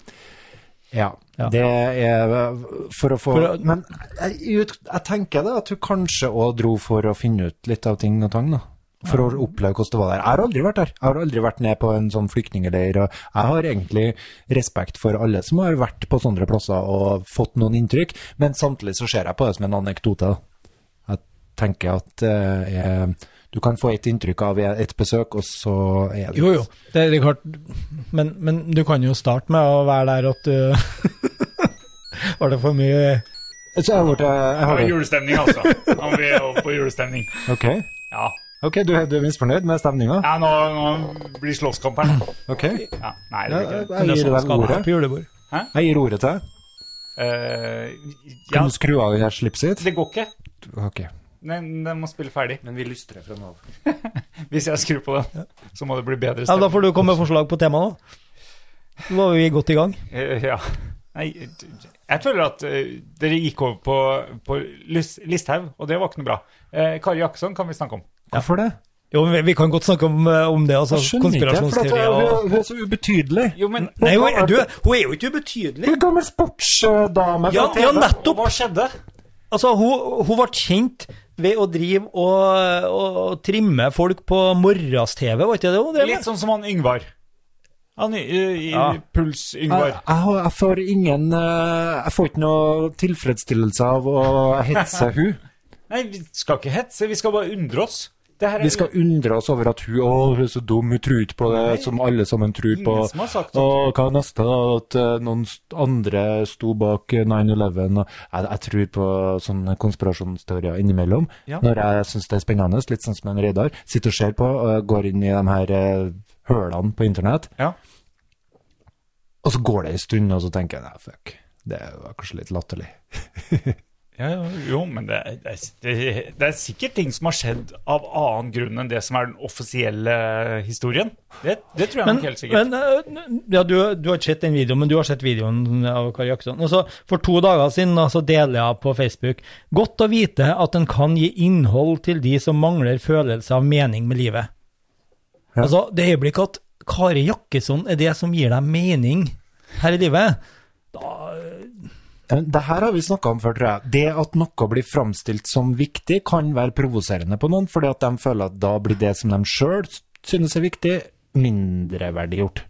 [SPEAKER 2] ja.
[SPEAKER 3] Ja.
[SPEAKER 2] Det er for å få
[SPEAKER 3] For å-
[SPEAKER 2] Men jeg, ut- jeg tenker det at du kanskje òg dro for å finne ut litt av ting og tang, da. For å oppleve hvordan det var der. Jeg har aldri vært der. Jeg har aldri vært ned på en sånn flyktningleir. Og jeg har egentlig respekt for alle som har vært på sånne plasser og fått noen inntrykk, men samtidig så ser jeg på det som en anekdote. da. Jeg tenker at eh, jeg, du kan få et inntrykk av et besøk, og så er det
[SPEAKER 3] Jo, jo, det er klart. Men, men du kan jo starte med å være der at du Var det for mye
[SPEAKER 2] Så jeg har vært jeg har
[SPEAKER 1] Det er
[SPEAKER 2] vært-
[SPEAKER 1] julestemning, altså. Nå må vi over på julestemning.
[SPEAKER 2] Ok,
[SPEAKER 1] Ja.
[SPEAKER 2] Ok, du, er- du er misfornøyd med stemninga?
[SPEAKER 1] ja nå, nå blir slåsskamp her. nå.
[SPEAKER 2] Ok,
[SPEAKER 1] Ja, nei, det blir
[SPEAKER 2] ja,
[SPEAKER 1] ikke det.
[SPEAKER 2] jeg gir
[SPEAKER 3] som
[SPEAKER 2] deg
[SPEAKER 3] sånn skal
[SPEAKER 2] ordet.
[SPEAKER 3] være på julebord?
[SPEAKER 2] Jeg gir ordet til deg.
[SPEAKER 1] Eh, ja,
[SPEAKER 2] Kan du skru av det her slipset ditt?
[SPEAKER 1] det går ikke.
[SPEAKER 2] Ok.
[SPEAKER 1] Den, den må spille ferdig.
[SPEAKER 2] Men vi lystrer fra nå av.
[SPEAKER 1] Hvis jeg skrur på den, så må det bli bedre
[SPEAKER 3] Ja, da
[SPEAKER 1] stemning.
[SPEAKER 3] får du komme med forslag på temaet, da. Nå var vi godt i gang.
[SPEAKER 1] Eh, Ja. Nei, jeg føler at eh, dere gikk over på, på Lys- Listhaug, og det var ikke noe bra. Eh, Kari Jakkesson kan vi snakke om.
[SPEAKER 2] Hvorfor det?
[SPEAKER 3] Jo, men vi, vi kan godt snakke om, eh, om det, altså.
[SPEAKER 2] Jeg skjønner ikke, for at
[SPEAKER 3] Konspirasjonsteori
[SPEAKER 2] hun
[SPEAKER 3] og
[SPEAKER 2] er- hun er så ubetydelig.
[SPEAKER 1] Jo, men
[SPEAKER 3] Nei, hun er, du, hun er jo ikke ubetydelig.
[SPEAKER 2] Hun er gammel sportsdame. fra
[SPEAKER 3] Ja,
[SPEAKER 2] TV.
[SPEAKER 3] ja, nettopp!
[SPEAKER 1] Hva skjedde?
[SPEAKER 3] Altså, hun, hun ble kjent ved å drive og, og trimme folk på morgens-TV, var ikke det hun drev
[SPEAKER 1] Litt
[SPEAKER 3] med?
[SPEAKER 1] sånn som han Yngvar. Han i, eh, i
[SPEAKER 3] Ja.
[SPEAKER 1] Puls-Yngvar.
[SPEAKER 2] Jeg, jeg, har- jeg får ingen eh, Jeg får ikke noe tilfredsstillelse av å hetse hun.
[SPEAKER 1] Nei, vi skal ikke hetse, vi skal bare undre oss. Det her er
[SPEAKER 2] Vi skal undre oss over at hun Å, hun er så dum, hun tror ikke på det som alle sammen tror på.
[SPEAKER 1] ingen som har sagt det.
[SPEAKER 2] Og hva er neste, da? At eh, noen st- andre sto bak eh, 9-11? og- Jeg, jeg tror på sånne konspirasjonsteorier innimellom.
[SPEAKER 1] Ja.
[SPEAKER 2] Når jeg syns det er spennende, litt sånn som en radar. Sitter og ser på, og jeg går inn i de her eh, hølene på internett.
[SPEAKER 1] Ja.
[SPEAKER 2] Og så går det en stund, og så tenker jeg nei, fuck. Det var kanskje litt latterlig.
[SPEAKER 1] Ja, ja, jo, men det, er- det, er- det, er- det er sikkert ting som har skjedd av annen grunn enn det som er den offisielle historien. Det, det tror jeg
[SPEAKER 3] Men,
[SPEAKER 1] nok helt sikkert.
[SPEAKER 3] men eh, ja, du, du har ikke sett den videoen, men du har sett videoen av Kari Jakkesson. Og så for to dager siden da, så deler jeg på Facebook Godt å vite at en kan gi innhold til de som mangler følelse av mening med livet.
[SPEAKER 2] Ja.
[SPEAKER 3] Altså, det øyeblikket at Kari Jakkesson er det som gir deg mening her i livet
[SPEAKER 2] Men Eh, Det her har vi snakka om før, tror jeg. Det at noe blir framstilt som viktig, kan være provoserende på noen, fordi at de føler at da blir det som de sjøl synes er viktig, mindreverdigjort.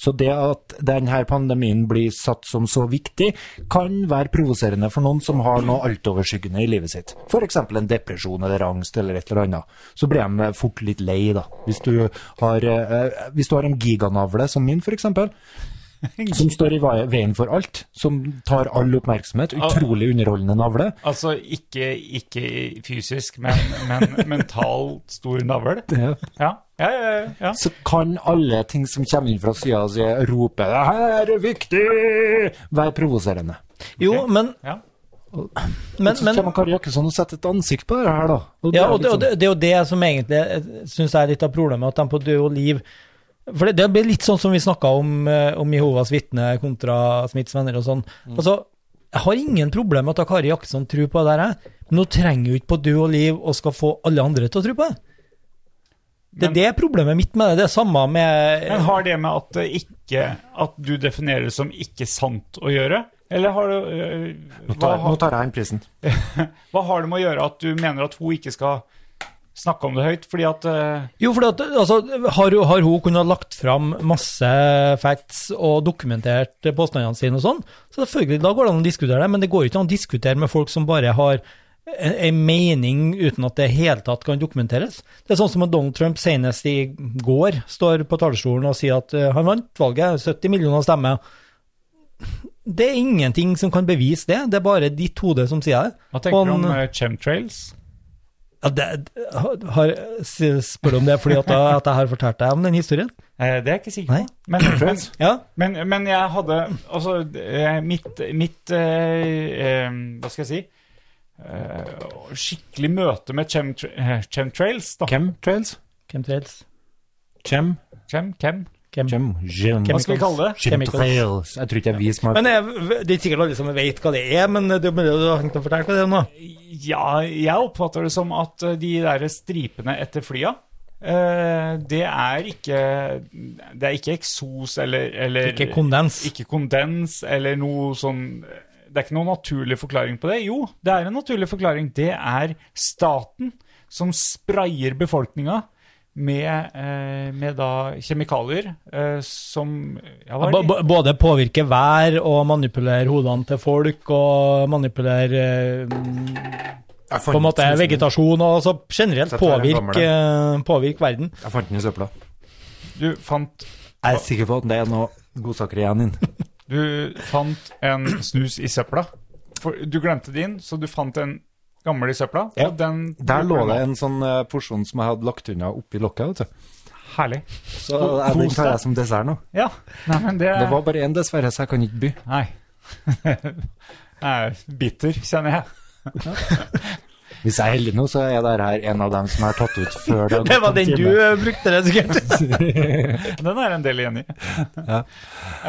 [SPEAKER 2] Så det at denne pandemien blir satt som så viktig, kan være provoserende for noen som har noe altoverskyggende i livet sitt. F.eks. en depresjon eller angst eller et eller annet. Så blir de fort litt lei, da. Hvis du har, eh, hvis du har en giganavle som min, f.eks., som står i vei- veien for alt, som tar all oppmerksomhet. Utrolig underholdende navle.
[SPEAKER 1] Altså ikke, ikke fysisk, men, men mentalt stor navl. Ja, ja, ja. ja, ja.
[SPEAKER 2] Så kan alle ting som kommer inn fra sida si rope 'Det her er viktig!' være provoserende.
[SPEAKER 3] Jo,
[SPEAKER 1] Ok.
[SPEAKER 3] men,
[SPEAKER 1] ja.
[SPEAKER 3] men,
[SPEAKER 2] Så
[SPEAKER 3] men
[SPEAKER 2] kommer Kari Jakkesson og setter et ansikt på det her, da. Og
[SPEAKER 3] Ja,
[SPEAKER 2] er
[SPEAKER 3] og det, og
[SPEAKER 2] liksom-
[SPEAKER 3] det, det er jo det som egentlig syns jeg er litt av problemet, at de på Død og liv For det, det blir litt sånn som vi snakka om, eh, om Jehovas vitne kontra Smiths venner og sånn. Altså, jeg har ingen problem med at da Kari Jakkesson tror på det der, jeg. Men hun trenger jo ikke på Død og liv og skal få alle andre til å tro på det. Det
[SPEAKER 1] Men-
[SPEAKER 3] er det problemet mitt med det. Det er samme med
[SPEAKER 1] Men har det med at, det ikke, at du definerer det som ikke sant å gjøre? Eller har det øh,
[SPEAKER 2] Nå
[SPEAKER 1] hva,
[SPEAKER 2] tar, nå
[SPEAKER 1] har-
[SPEAKER 2] tar jeg inn prisen.
[SPEAKER 1] hva har det med å gjøre at du mener at hun ikke skal snakke om det høyt? Fordi at øh,
[SPEAKER 3] Jo, for at, altså, har, hun- har hun kunnet lagt fram masse facts og dokumentert påstandene sine og sånn, så selvfølgelig, da går det an å diskutere det, men det går jo ikke an å diskutere med folk som bare har en en mening uten at det i hele tatt kan dokumenteres. Det er sånn som at Donald Trump senest i går står på talerstolen og sier at eh, han vant valget, 70 millioner stemmer. Det er ingenting som kan bevise det, det er bare ditt hode som sier det.
[SPEAKER 1] Hva tenker du om
[SPEAKER 3] Han-
[SPEAKER 1] øh, chemtrails?
[SPEAKER 3] Ja, det har, spør du om det fordi at, da- at jeg har fortalt deg om den historien?
[SPEAKER 1] Eh, det er jeg ikke sikker
[SPEAKER 3] Nei.
[SPEAKER 1] på. Men, men,
[SPEAKER 3] Ja,
[SPEAKER 1] Men, men jeg hadde Altså, eh, mitt, mitt eh, eh, Hva skal jeg si? Eh, skikkelig møte med chemtra eh, chemtrails, da.
[SPEAKER 2] Chemtrails?
[SPEAKER 3] Chemtrails.
[SPEAKER 2] Chem?
[SPEAKER 1] Chem, chem.
[SPEAKER 3] Hvem?
[SPEAKER 2] Gem, gem,
[SPEAKER 1] Hva skal vi kalle det?
[SPEAKER 2] gem
[SPEAKER 3] Chemicals.
[SPEAKER 2] trails. Jeg tror ikke jeg viser meg
[SPEAKER 3] Men jeg, Det er ikke sikkert alle som vet hva det er, men det er mulig du har tenkt å fortelle hva det er nå.
[SPEAKER 1] Ja, jeg oppfatter det som at eh, de der stripene etter flya eh, det er ikke Det er ikke eksos eller, eller
[SPEAKER 3] Ikke kondens.
[SPEAKER 1] ikke kondens eller noe sånn Det er ikke noen naturlig forklaring på det. Jo, det er en naturlig forklaring. Det er staten som sprayer befolkninga med, eh, med da kjemikalier eh, som ja, hva er
[SPEAKER 3] B
[SPEAKER 1] det?
[SPEAKER 3] b- både påvirke vær og manipulere hodene til folk og manipulere eh,
[SPEAKER 2] Jeg
[SPEAKER 3] på en måte vegetasjon og altså generelt
[SPEAKER 2] Dette er en gammel
[SPEAKER 3] påvirke, eh, påvirke verden.
[SPEAKER 2] Jeg fant den i søpla.
[SPEAKER 1] Du fant
[SPEAKER 2] Jeg er sikker på at det er noe godsaker igjen inn.
[SPEAKER 1] Du fant en snus i søpla. For, du glemte din, så du fant en gammel i søpla.
[SPEAKER 2] Ja,
[SPEAKER 1] og den
[SPEAKER 2] Der lå det en sånn eh, porsjon som jeg hadde lagt unna oppi lokket, vet du.
[SPEAKER 1] Herlig.
[SPEAKER 2] Så eh, den tar jeg som dessert nå.
[SPEAKER 1] Ja. Nei, men det,
[SPEAKER 2] Det var bare én, dessverre, så jeg kan ikke by.
[SPEAKER 1] Nei. Jeg er bitter, kjenner jeg.
[SPEAKER 2] Hvis jeg er heldig nå, så er det her en av dem som jeg har tatt ut før det har gått
[SPEAKER 3] Det var
[SPEAKER 2] en
[SPEAKER 3] den
[SPEAKER 2] time.
[SPEAKER 3] du eh, brukte, det sikkert.
[SPEAKER 1] Den er en del igjen i.
[SPEAKER 2] Ja.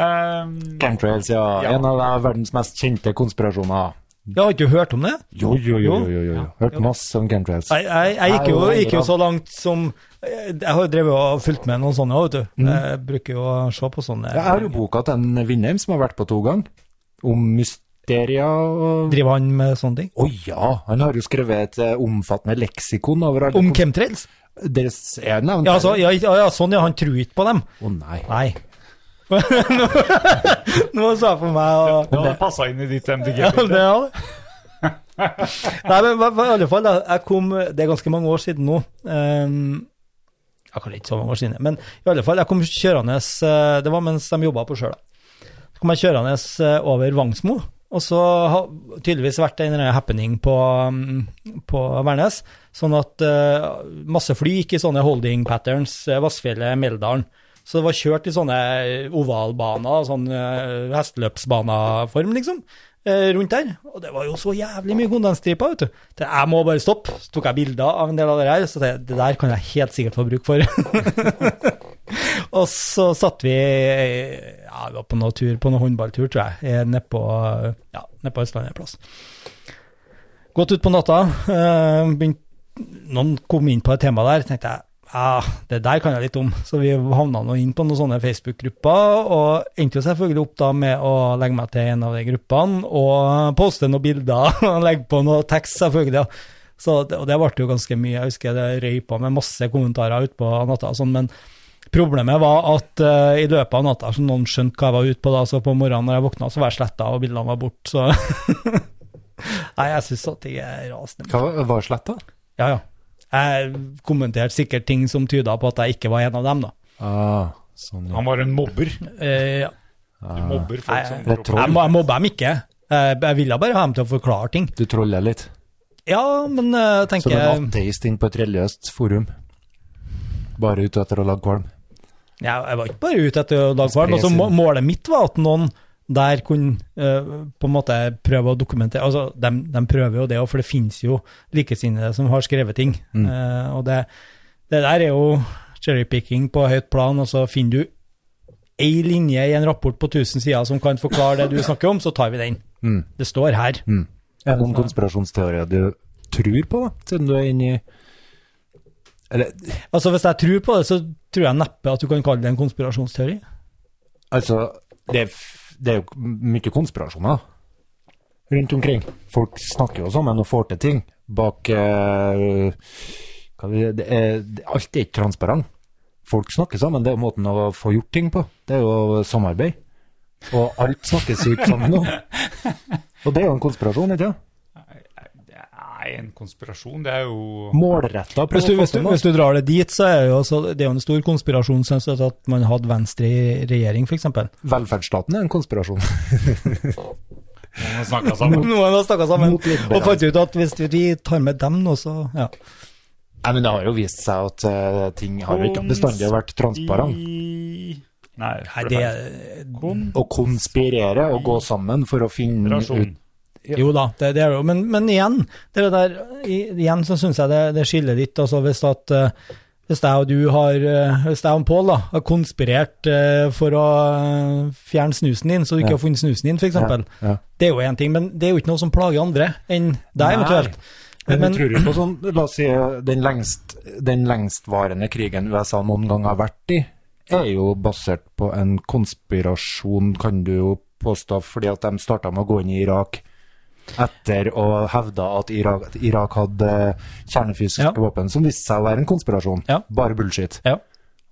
[SPEAKER 1] Ehm,
[SPEAKER 2] Chemtrails, ja.
[SPEAKER 1] Ja.
[SPEAKER 2] En av de verdens mest kjente konspirasjoner.
[SPEAKER 3] Jeg har ikke hørt om det.
[SPEAKER 2] Jo, jo, jo, jo, jo, jo. Hørt masse om chemtrails.
[SPEAKER 3] Jeg, jeg, jeg gikk, jo, gikk jo så langt som Jeg jeg har jo drevet og fulgt med noen sånne, vet du. Jeg bruker jo å se på sånne.
[SPEAKER 2] Jeg har jo boka til en Vindheim som har vært på to ganger, om mysteria og
[SPEAKER 3] Driver han med sånne ting?
[SPEAKER 2] Å ja, han har jo skrevet et eh, omfattende leksikon over alle
[SPEAKER 3] Om chemtrails?
[SPEAKER 2] Deres er nevnt
[SPEAKER 3] Ja, altså, ja, ja, ja, sånn, ja. Han tror ikke på dem.
[SPEAKER 2] Å nei.
[SPEAKER 3] Nei. Nå sa jeg for meg å
[SPEAKER 1] det hadde passa inn i ditt MDG.
[SPEAKER 3] Ja, det har det. Nei, men hva- hva- i alle fall, da, jeg kom Det er ganske mange år siden nå. Um, jeg kan ikke så mange år siden, men i alle fall, jeg kom kjørende eh, Det var mens de jobba på Sjøla. Så kom jeg kjørende eh, over Vangsmo, og så har tydeligvis vært en eller annen happening på, um, på Værnes. Sånn at eh, masse fly gikk i sånne holding patterns, eh, Vassfjellet, Meldalen. Så det var kjørt i sånne eh, ovalbaner, sånn eh, hesteløpsbaneform, liksom, eh, rundt der. Og det var jo så jævlig mye kondensstriper, vet du. Det, jeg må bare stoppe. Så tok jeg bilder av en del av det her, så det, det der kan jeg helt sikkert få bruk for. og så satt vi ja, vi var på noe tur, på noe håndballtur, tror jeg, eh, nede på, ja, ned på Østlandet en plass. Gått ut på natta, eh, begynt, noen kom inn på et tema der, tenkte jeg, ja, det der kan jeg litt om. Så vi havna nå inn på noen sånne Facebook-grupper, og endte jo selvfølgelig opp da med å legge meg til en av de gruppene, og poste noen bilder, og legge på noe tekst selvfølgelig. Ja. Så, det- og det ble jo ganske mye, jeg husker det røy på med masse kommentarer utpå natta og sånn, men problemet var at eh, i løpet av natta, så noen skjønte hva jeg var ute på da, så på morgenen når jeg våkna, så var jeg sletta, og bildene var borte, så Nei, jeg syns at jeg er rasende.
[SPEAKER 2] Hva var sletta?
[SPEAKER 3] Ja, ja. Jeg kommenterte sikkert ting som tyda på at jeg ikke var en av dem, da.
[SPEAKER 2] Ah, sånn, ja.
[SPEAKER 1] Han var en mobber.
[SPEAKER 3] Eh, ja.
[SPEAKER 1] Du mobber folk som
[SPEAKER 2] det er troll.
[SPEAKER 3] jeg, må- jeg mobba dem ikke. Eh, Jeg ville bare ha dem til å forklare ting.
[SPEAKER 2] Du troller litt.
[SPEAKER 3] Ja, men eh, tenker
[SPEAKER 2] Som en
[SPEAKER 3] jeg
[SPEAKER 2] ateist inn på et religiøst forum. Bare ute etter å lage kvalm.
[SPEAKER 3] ja, Jeg var ikke bare ute etter å lage kvalm.
[SPEAKER 2] Spre
[SPEAKER 3] Altså,
[SPEAKER 2] sin-
[SPEAKER 3] må- målet mitt var at noen der kunne eh, på en måte prøve å dokumentere Altså, de, de prøver jo det, og for det finnes jo likesinnede som har skrevet ting.
[SPEAKER 2] Mm.
[SPEAKER 3] Eh, og det, det der er jo cherrypicking på høyt plan, og så finner du ei linje i en rapport på 1000 sider som kan forklare det du snakker om, så tar vi den.
[SPEAKER 2] Mm.
[SPEAKER 3] Det står her.
[SPEAKER 2] Er det noen konspirasjonsteorier du tror på, da? Siden du er inne i Eller
[SPEAKER 3] Altså, hvis jeg tror på det, så tror jeg neppe at du kan kalle det en konspirasjonsteori.
[SPEAKER 2] altså Det er, f- det er jo mye konspirasjoner rundt omkring. Folk snakker jo sammen og får til ting bak eh, hva vi, det er, det, Alt er ikke transparent. Folk snakker sammen, det er jo måten å få gjort ting på. Det er jo samarbeid. Og alt snakkes jo ikke sammen nå. Og det er jo en konspirasjon, ikke sant?
[SPEAKER 1] Nei, en konspirasjon, det er jo
[SPEAKER 2] Målretta
[SPEAKER 3] Hvis du, hvis, du, hvis du drar det dit, så er det jo, så det er jo en stor konspirasjon synes jeg, at man hadde Venstre i regjering, f.eks.
[SPEAKER 2] Velferdsstaten er en konspirasjon.
[SPEAKER 1] Man snakker sammen.
[SPEAKER 3] Noen har snakka sammen
[SPEAKER 2] Mot liberal.
[SPEAKER 3] og fant ut at hvis vi tar med dem nå, så ja.
[SPEAKER 2] Nei, men det har jo vist seg at eh, ting har jo ikke bestandig vært transparent.
[SPEAKER 1] I- Nei,
[SPEAKER 3] Nei, det
[SPEAKER 2] Å konspirere og gå sammen for å finne
[SPEAKER 1] Konspirasjon.
[SPEAKER 2] Mm, ut
[SPEAKER 3] Jo da, det, det er det jo. Men, men igjen, det er det der, i- igjen så syns jeg det, det skiller litt. Altså hvis at eh, Hvis jeg og du har, eh, hvis jeg og Pål da, har konspirert eh, for å eh, fjerne snusen din, så du
[SPEAKER 2] Ja.
[SPEAKER 3] ikke har funnet snusen din, f.eks. eksempel
[SPEAKER 2] Ja, ja.
[SPEAKER 3] Det er jo én ting, men det er jo ikke noe som plager andre enn deg, eventuelt.
[SPEAKER 2] Men, jeg
[SPEAKER 3] Men-
[SPEAKER 2] tror jo på sånn, la oss si den, lengst, den lengstvarende krigen USA noen gang har vært i, er jo basert på en konspirasjon, kan du jo påstå, fordi at de starta med å gå inn i Irak etter å hevde at Irak, Irak hadde kjernefysiske
[SPEAKER 3] Ja.
[SPEAKER 2] våpen, som viste seg å være en konspirasjon.
[SPEAKER 3] Ja.
[SPEAKER 2] Bare bullshit.
[SPEAKER 3] Ja.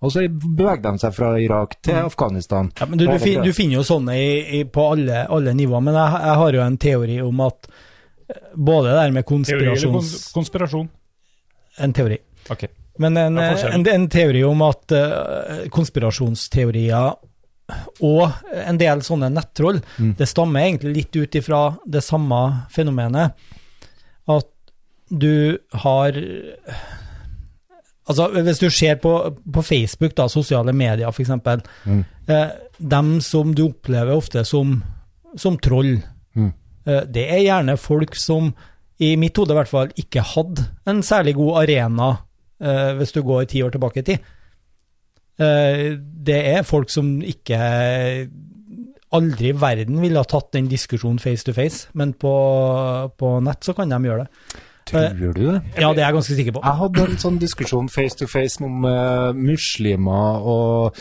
[SPEAKER 2] Og så bevegde de seg fra Irak
[SPEAKER 3] Mm.
[SPEAKER 2] til Afghanistan.
[SPEAKER 3] Ja, men du, du, fin, du finner jo sånne i, i, på alle, alle nivåer, men jeg, jeg har jo en teori om at eh, både det der med
[SPEAKER 1] Teori eller
[SPEAKER 3] konspirasjons...
[SPEAKER 1] kons- konspirasjon?
[SPEAKER 3] En teori.
[SPEAKER 1] Ok.
[SPEAKER 3] Men en,
[SPEAKER 1] Ja, forskjell.
[SPEAKER 3] en, en teori om at eh, konspirasjonsteorier og en del sånne nettroll,
[SPEAKER 2] Mm.
[SPEAKER 3] det stammer egentlig litt ut ifra det samme fenomenet. At du har Altså, hvis du ser på, på Facebook, da, sosiale medier f.eks.,
[SPEAKER 2] Mm.
[SPEAKER 3] eh, dem som du opplever ofte som, som troll,
[SPEAKER 2] Mm.
[SPEAKER 3] eh, det er gjerne folk som, i mitt hode i hvert fall, ikke hadde en særlig god arena eh, hvis du går ti år tilbake i tid. Eh, det er folk som ikke Aldri i verden ville ha tatt den diskusjonen face to face, men på, på nett så kan de gjøre det. Eh,
[SPEAKER 2] Tror du det?
[SPEAKER 3] Ja, det er jeg ganske sikker på.
[SPEAKER 2] Jeg hadde en sånn diskusjon face to face om eh, muslimer og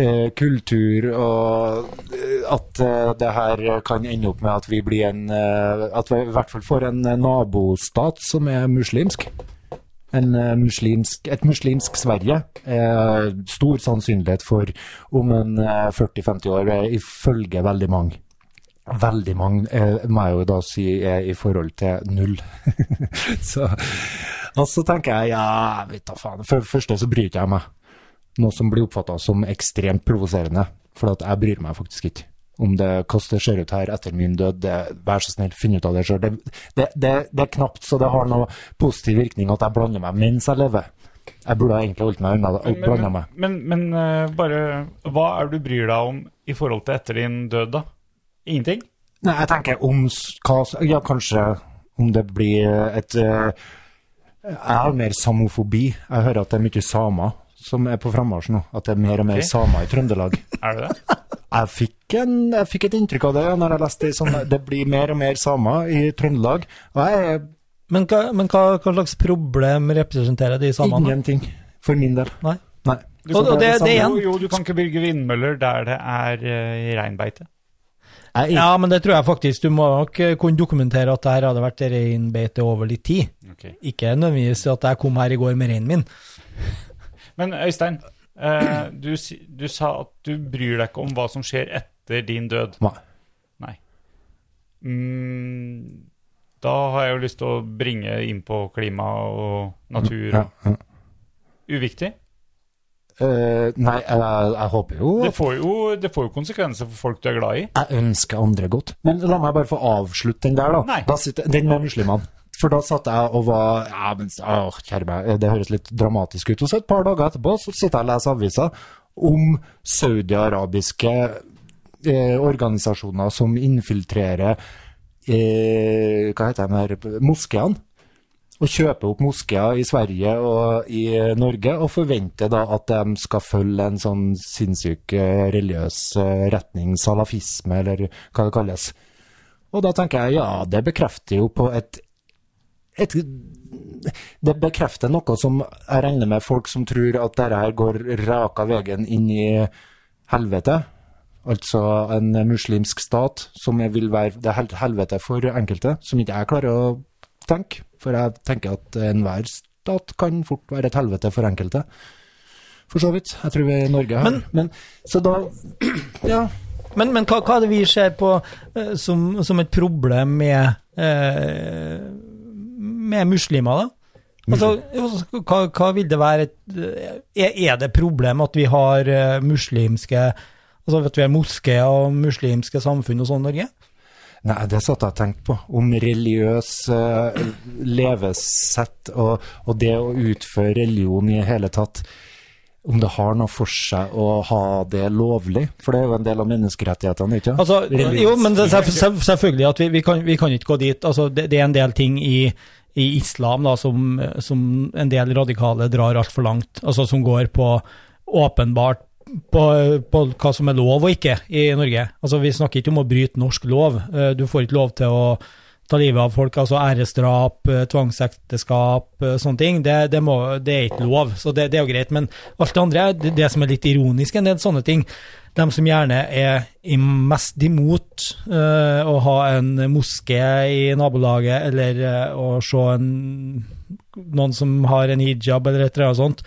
[SPEAKER 2] eh, kultur, og eh, at eh, det her kan ende opp med at vi blir en eh, At vi i hvert fall får en eh, nabostat som er muslimsk. En, eh, muslimsk, et muslimsk Sverige. Eh, stor sannsynlighet for om en eh, 40-50 år, eh, ifølge veldig mange. Veldig mange, eh, må jeg jo da si, er i forhold til null. Så og så tenker jeg ja, jeg vet da faen. For det første så bryr ikke jeg meg. Noe som blir oppfatta som ekstremt provoserende. For at jeg bryr meg faktisk ikke om det hvordan det ser ut her etter min død. Det, vær så snill, finn ut av det sjøl. Det, det, det, det er knapt så det har noe positiv virkning at jeg blander meg mens jeg lever. Jeg burde egentlig holdt meg unna det og blanda meg.
[SPEAKER 1] men, men eh, bare Hva er det du bryr deg om i forhold til etter din død, da? Ingenting?
[SPEAKER 2] Nei, jeg tenker om s- hva s- Ja, kanskje om det blir et eh, Jeg har mer samofobi. Jeg hører at det er mye samer som er på frammarsj nå. At det er mer og mer
[SPEAKER 1] Ok.
[SPEAKER 2] samer i Trøndelag.
[SPEAKER 1] Er det det?
[SPEAKER 2] Jeg fikk, en, jeg fikk et inntrykk av det når jeg leste i sånn Det blir mer og mer samer i Trøndelag. Og jeg er
[SPEAKER 3] Men hva, men hva, hva slags problem representerer de samene?
[SPEAKER 2] ingenting, for min del.
[SPEAKER 3] Nei.
[SPEAKER 2] Nei.
[SPEAKER 1] Du
[SPEAKER 3] Og-
[SPEAKER 1] kan-
[SPEAKER 3] og det- det igjen-
[SPEAKER 1] jo, jo, du kan ikke bygge vindmøller der det er eh, reinbeite.
[SPEAKER 2] Jeg er ikke
[SPEAKER 3] Ja, men det tror jeg faktisk. Du må nok eh, kunne dokumentere at det her hadde vært reinbeite over litt tid. Ikke nødvendigvis at jeg kom her i går med reinen min.
[SPEAKER 1] Men Øystein, eh, du, si- du sa at du bryr deg ikke om hva som skjer etter din død.
[SPEAKER 2] Nei.
[SPEAKER 1] Nei. Mm, da har jeg jo lyst til å bringe inn på klima og natur.
[SPEAKER 2] ja, ja.
[SPEAKER 1] Uviktig.
[SPEAKER 2] Eh, nei, jeg, jeg håper jo
[SPEAKER 1] Det får, jo, det får jo konsekvenser for folk du er glad i.
[SPEAKER 2] jeg ønsker andre godt. Men la meg bare få avslutte den der, da.
[SPEAKER 1] Nei.
[SPEAKER 2] da sitter, den med muslimene. For da satt jeg og var ja, men, åh, kjære meg, eh, Det høres litt dramatisk ut. Og så et par dager etterpå så sitter jeg og leser aviser om saudi-arabiske eh, organisasjoner som infiltrerer eh, Hva heter de her Moskeene. Og kjøper opp moskeer i Sverige og i Norge, og forventer da at de skal følge en sånn sinnssyk eh, religiøs eh, retning, salafisme, eller hva det kalles. Og da tenker jeg ja, det bekrefter jo på et, et Det bekrefter noe som jeg regner med folk som tror at dette her går raka veien inn i helvete. Altså en muslimsk stat som jeg vil være det er hel- helvete for enkelte, som ikke jeg klarer å tenke. For jeg tenker at enhver stat kan fort være et helvete for enkelte. For så vidt. Jeg tror vi i Norge har
[SPEAKER 3] Men-
[SPEAKER 2] men Så da Ja.
[SPEAKER 3] Men, men hva, hva er det vi ser på eh, som, som et problem med, eh, med muslimer, da? Altså, jo, hva, hva vil det være et, eh, er, er det et problem at vi har eh, muslimske Altså at vi har moskeer og muslimske samfunn og sånn i Norge?
[SPEAKER 2] Nei, det satt jeg og tenkte på. Om religiøs eh, levesett og, og det å utføre religion i hele tatt. Om det har noe for seg å ha det lovlig, for det er jo en del av menneskerettighetene, ikke sant?
[SPEAKER 3] Altså, jo, men det, selv, selv- selvfølgelig at vi, vi, kan, vi kan ikke gå dit. Altså, det, det er en del ting i, i islam, da, som, som en del radikale drar altfor langt. Altså som går på åpenbart på, på hva som er lov og ikke i Norge. Altså Vi snakker ikke om å bryte norsk lov. Eh, Du får ikke lov til å ta livet av folk, altså æresdrap, eh, tvangsekteskap, eh, sånne ting. Det, det, må, det er ikke lov, så det, det er jo greit. Men alt det andre, det, det som er litt ironisk, en del sånne ting De som gjerne er i- mest imot eh, å ha en moské i nabolaget, eller eh, å se en, noen som har en hijab eller et eller annet sånt,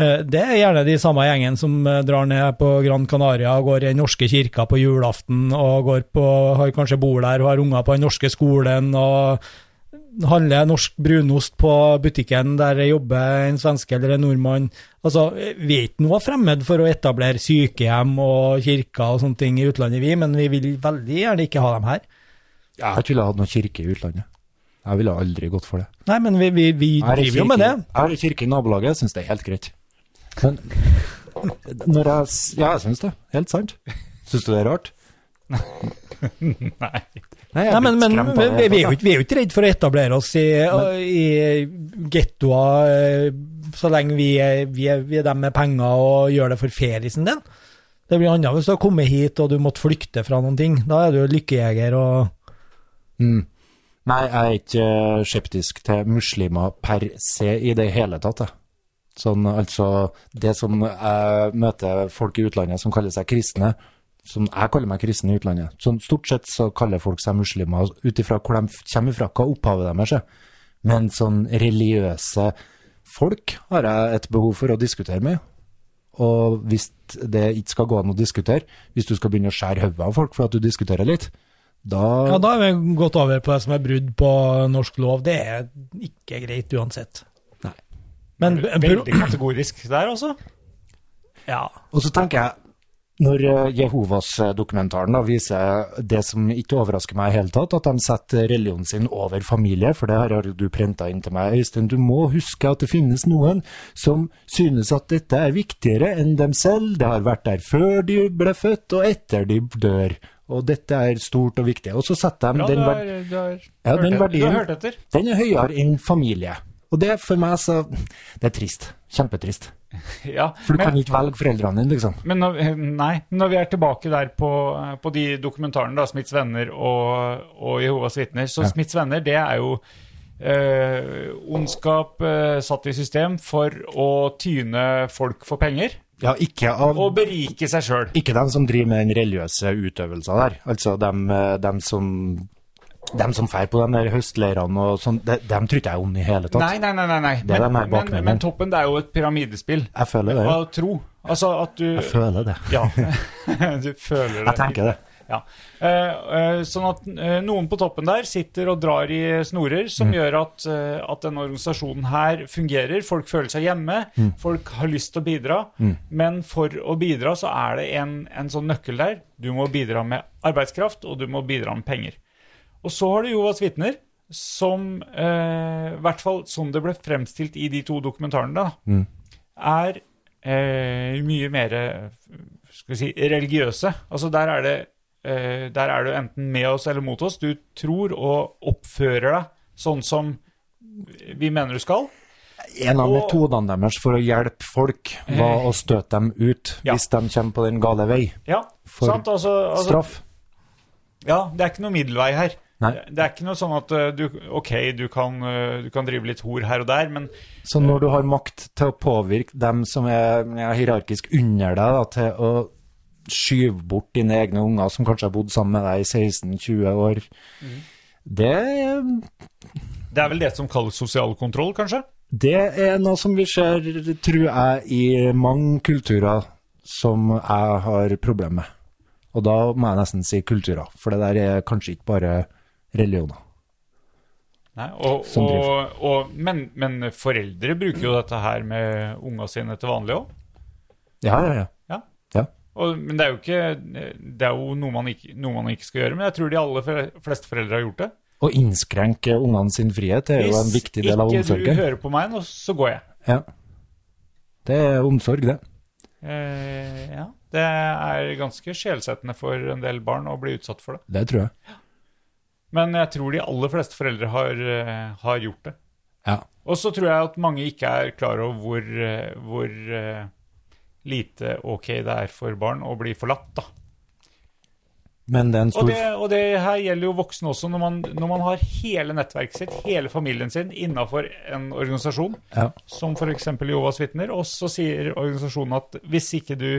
[SPEAKER 3] Eh, Det er gjerne de samme gjengen som eh, drar ned på Gran Canaria og går i den norske kirka på julaften, og går på, har kanskje bor der og har unger på den norske skolen, og handler norsk brunost på butikken der det jobber en svenske eller en nordmann. Altså, eh, Vi er ikke noe fremmed for å etablere sykehjem og kirker og sånne ting i utlandet, vi, men vi vil veldig gjerne ikke ha dem her.
[SPEAKER 2] Jeg har ikke villet ha noen kirke i utlandet. Jeg ville aldri gått for det.
[SPEAKER 3] Nei, men vi, vi, vi
[SPEAKER 2] Jeg har en
[SPEAKER 3] driver jo
[SPEAKER 2] kirke-
[SPEAKER 3] med det.
[SPEAKER 2] Jeg har en kirke i nabolaget, jeg syns det er helt greit. Men når jeg s- Ja, jeg syns det. Helt sant. Syns du det er rart? Nei. jeg
[SPEAKER 3] Nei,
[SPEAKER 2] er
[SPEAKER 3] men,
[SPEAKER 2] blitt
[SPEAKER 3] men
[SPEAKER 2] skremt av
[SPEAKER 3] vi,
[SPEAKER 2] det.
[SPEAKER 3] vi, vi, er jo ikke, vi er jo ikke redd for å etablere oss i, i gettoer eh, så lenge vi er, vi, er, vi er dem med penger og gjør det for feriesen din. Det blir annet hvis du har kommet hit og du måtte flykte fra noen ting. Da er du lykkejeger og
[SPEAKER 2] Mm. Nei, jeg er ikke eh, skeptisk til muslimer per se i det hele tatt. Jeg. Sånn, altså, det som jeg møter folk i utlandet som kaller seg kristne, som jeg kaller meg kristen i utlandet, sånn stort sett så kaller folk seg muslimer ut ifra hvor de f- kommer fra, hva opphavet deres er. Men sånn religiøse folk har jeg et behov for å diskutere med. Og hvis det ikke skal gå an å diskutere, hvis du skal begynne å skjære hodet av folk for at du diskuterer litt, da
[SPEAKER 3] Ja, da har vi gått over på det som er brudd på norsk lov. Det er ikke greit uansett.
[SPEAKER 2] Nei.
[SPEAKER 3] Men
[SPEAKER 1] Veldig kategorisk der, altså.
[SPEAKER 3] Ja.
[SPEAKER 2] Og så tenker jeg, når eh, Jehovas-dokumentaren da viser det som ikke overrasker meg i hele tatt, at de setter religionen sin over familie, for det her har jo du prenta inn til meg, Øystein. Du må huske at det finnes noen som synes at dette er viktigere enn dem selv. Det har vært der før de ble født, og etter de dør. Og dette er stort og viktig. Og så setter de
[SPEAKER 1] Bra,
[SPEAKER 2] den
[SPEAKER 1] du har,
[SPEAKER 2] verdi...
[SPEAKER 1] du har,
[SPEAKER 2] Ja, den
[SPEAKER 1] hørt, etter. du har
[SPEAKER 2] verdien-
[SPEAKER 1] hørt etter.
[SPEAKER 2] Den er høyere enn familie. Og det er for meg så Det er trist. Kjempetrist.
[SPEAKER 1] Ja,
[SPEAKER 2] For du
[SPEAKER 1] men-
[SPEAKER 2] kan ikke velge foreldrene dine, liksom.
[SPEAKER 1] Men når, nei, når vi er tilbake der på, på de dokumentarene, da, Smiths venner og, og Jehovas vitner Så
[SPEAKER 2] Ja.
[SPEAKER 1] Smiths venner, det er jo eh, ondskap eh, satt i system for å tyne folk for penger
[SPEAKER 2] Ja, ikke av
[SPEAKER 1] og berike seg sjøl.
[SPEAKER 2] Ikke dem som driver med den religiøse utøvelsen der. Altså dem, eh, dem som dem som feier på de der høstleirene og sånn, de, dem tror ikke jeg om i hele tatt.
[SPEAKER 1] Nei, nei, nei. nei, nei.
[SPEAKER 2] er
[SPEAKER 1] Men,
[SPEAKER 2] den her
[SPEAKER 1] men,
[SPEAKER 2] bakgrunnen.
[SPEAKER 1] men toppen, det er jo et pyramidespill
[SPEAKER 2] Jeg føler det.
[SPEAKER 1] av tro. Altså at du
[SPEAKER 2] Jeg føler det.
[SPEAKER 1] Ja. du føler det.
[SPEAKER 2] Jeg tenker det.
[SPEAKER 1] Ja. Eh, eh, sånn at eh, noen på toppen der sitter og drar i snorer, som gjør at, eh, at denne organisasjonen her fungerer. Folk føler seg hjemme, folk har lyst til å bidra. Men for å bidra så er det en, en sånn nøkkel der. Du må bidra med arbeidskraft, og du må bidra med penger. Og så har du Jovas vitner, som eh, i hvert fall som det ble fremstilt i de to dokumentarene, da, er eh, mye mer eh, skal vi si, religiøse. Altså der er det eh, der er du enten med oss eller mot oss. Du tror og oppfører deg sånn som vi mener du skal.
[SPEAKER 2] En av
[SPEAKER 1] Og-
[SPEAKER 2] metodene deres for å hjelpe folk var å støte dem ut
[SPEAKER 1] Ja.
[SPEAKER 2] hvis de kommer på den gale vei.
[SPEAKER 1] Ja,
[SPEAKER 2] For
[SPEAKER 1] sant? Altså, altså,
[SPEAKER 2] Straff.
[SPEAKER 1] Ja, det er ikke noe middelvei her.
[SPEAKER 2] Nei.
[SPEAKER 1] Det er ikke noe sånn at eh, du, OK, du kan, eh, du kan drive litt hor her og der, men
[SPEAKER 2] Så når du har makt til å påvirke dem som er ja, hierarkisk under deg, da, til å skyve bort dine egne unger som kanskje har bodd sammen med deg i 16-20 år,
[SPEAKER 1] Mhm.
[SPEAKER 2] det,
[SPEAKER 1] det er vel det som kalles sosial kontroll, kanskje?
[SPEAKER 2] det er noe som vi ser, tror jeg, i mange kulturer som jeg har problemer med. Og da må jeg nesten si kulturer, for det der er kanskje ikke bare religioner.
[SPEAKER 1] Nei, og,
[SPEAKER 2] Som driver.
[SPEAKER 1] og, og, men, men foreldre bruker jo dette her med unga sine til vanlig òg.
[SPEAKER 2] Ja, ja, ja.
[SPEAKER 1] Og, men det er jo ikke Det er jo noe man, ikke, noe man ikke skal gjøre, men jeg tror de aller fre- fleste foreldre har gjort det.
[SPEAKER 2] Å innskrenke ungene sin frihet er jo en viktig del av
[SPEAKER 1] ikke du
[SPEAKER 2] omsorgen.
[SPEAKER 1] hører på meg nå, så går jeg.
[SPEAKER 2] Ja. Det er omsorg, det.
[SPEAKER 1] Eh, ja. Det er ganske sjelsettende for en del barn å bli utsatt for det.
[SPEAKER 2] Det tror jeg.
[SPEAKER 1] Men jeg tror de aller fleste foreldre har, eh, har gjort det.
[SPEAKER 2] Ja.
[SPEAKER 1] Og så tror jeg at mange ikke er klar over hvor, eh, hvor eh, lite ok det er for barn å bli forlatt, da.
[SPEAKER 2] Men det er en
[SPEAKER 1] Og
[SPEAKER 2] stor
[SPEAKER 1] det, og det her gjelder jo voksne også, når man, når man har hele nettverket sitt, hele familien sin, innafor en organisasjon,
[SPEAKER 2] Ja.
[SPEAKER 1] som f.eks. Jovas vitner, og så sier organisasjonen at hvis ikke du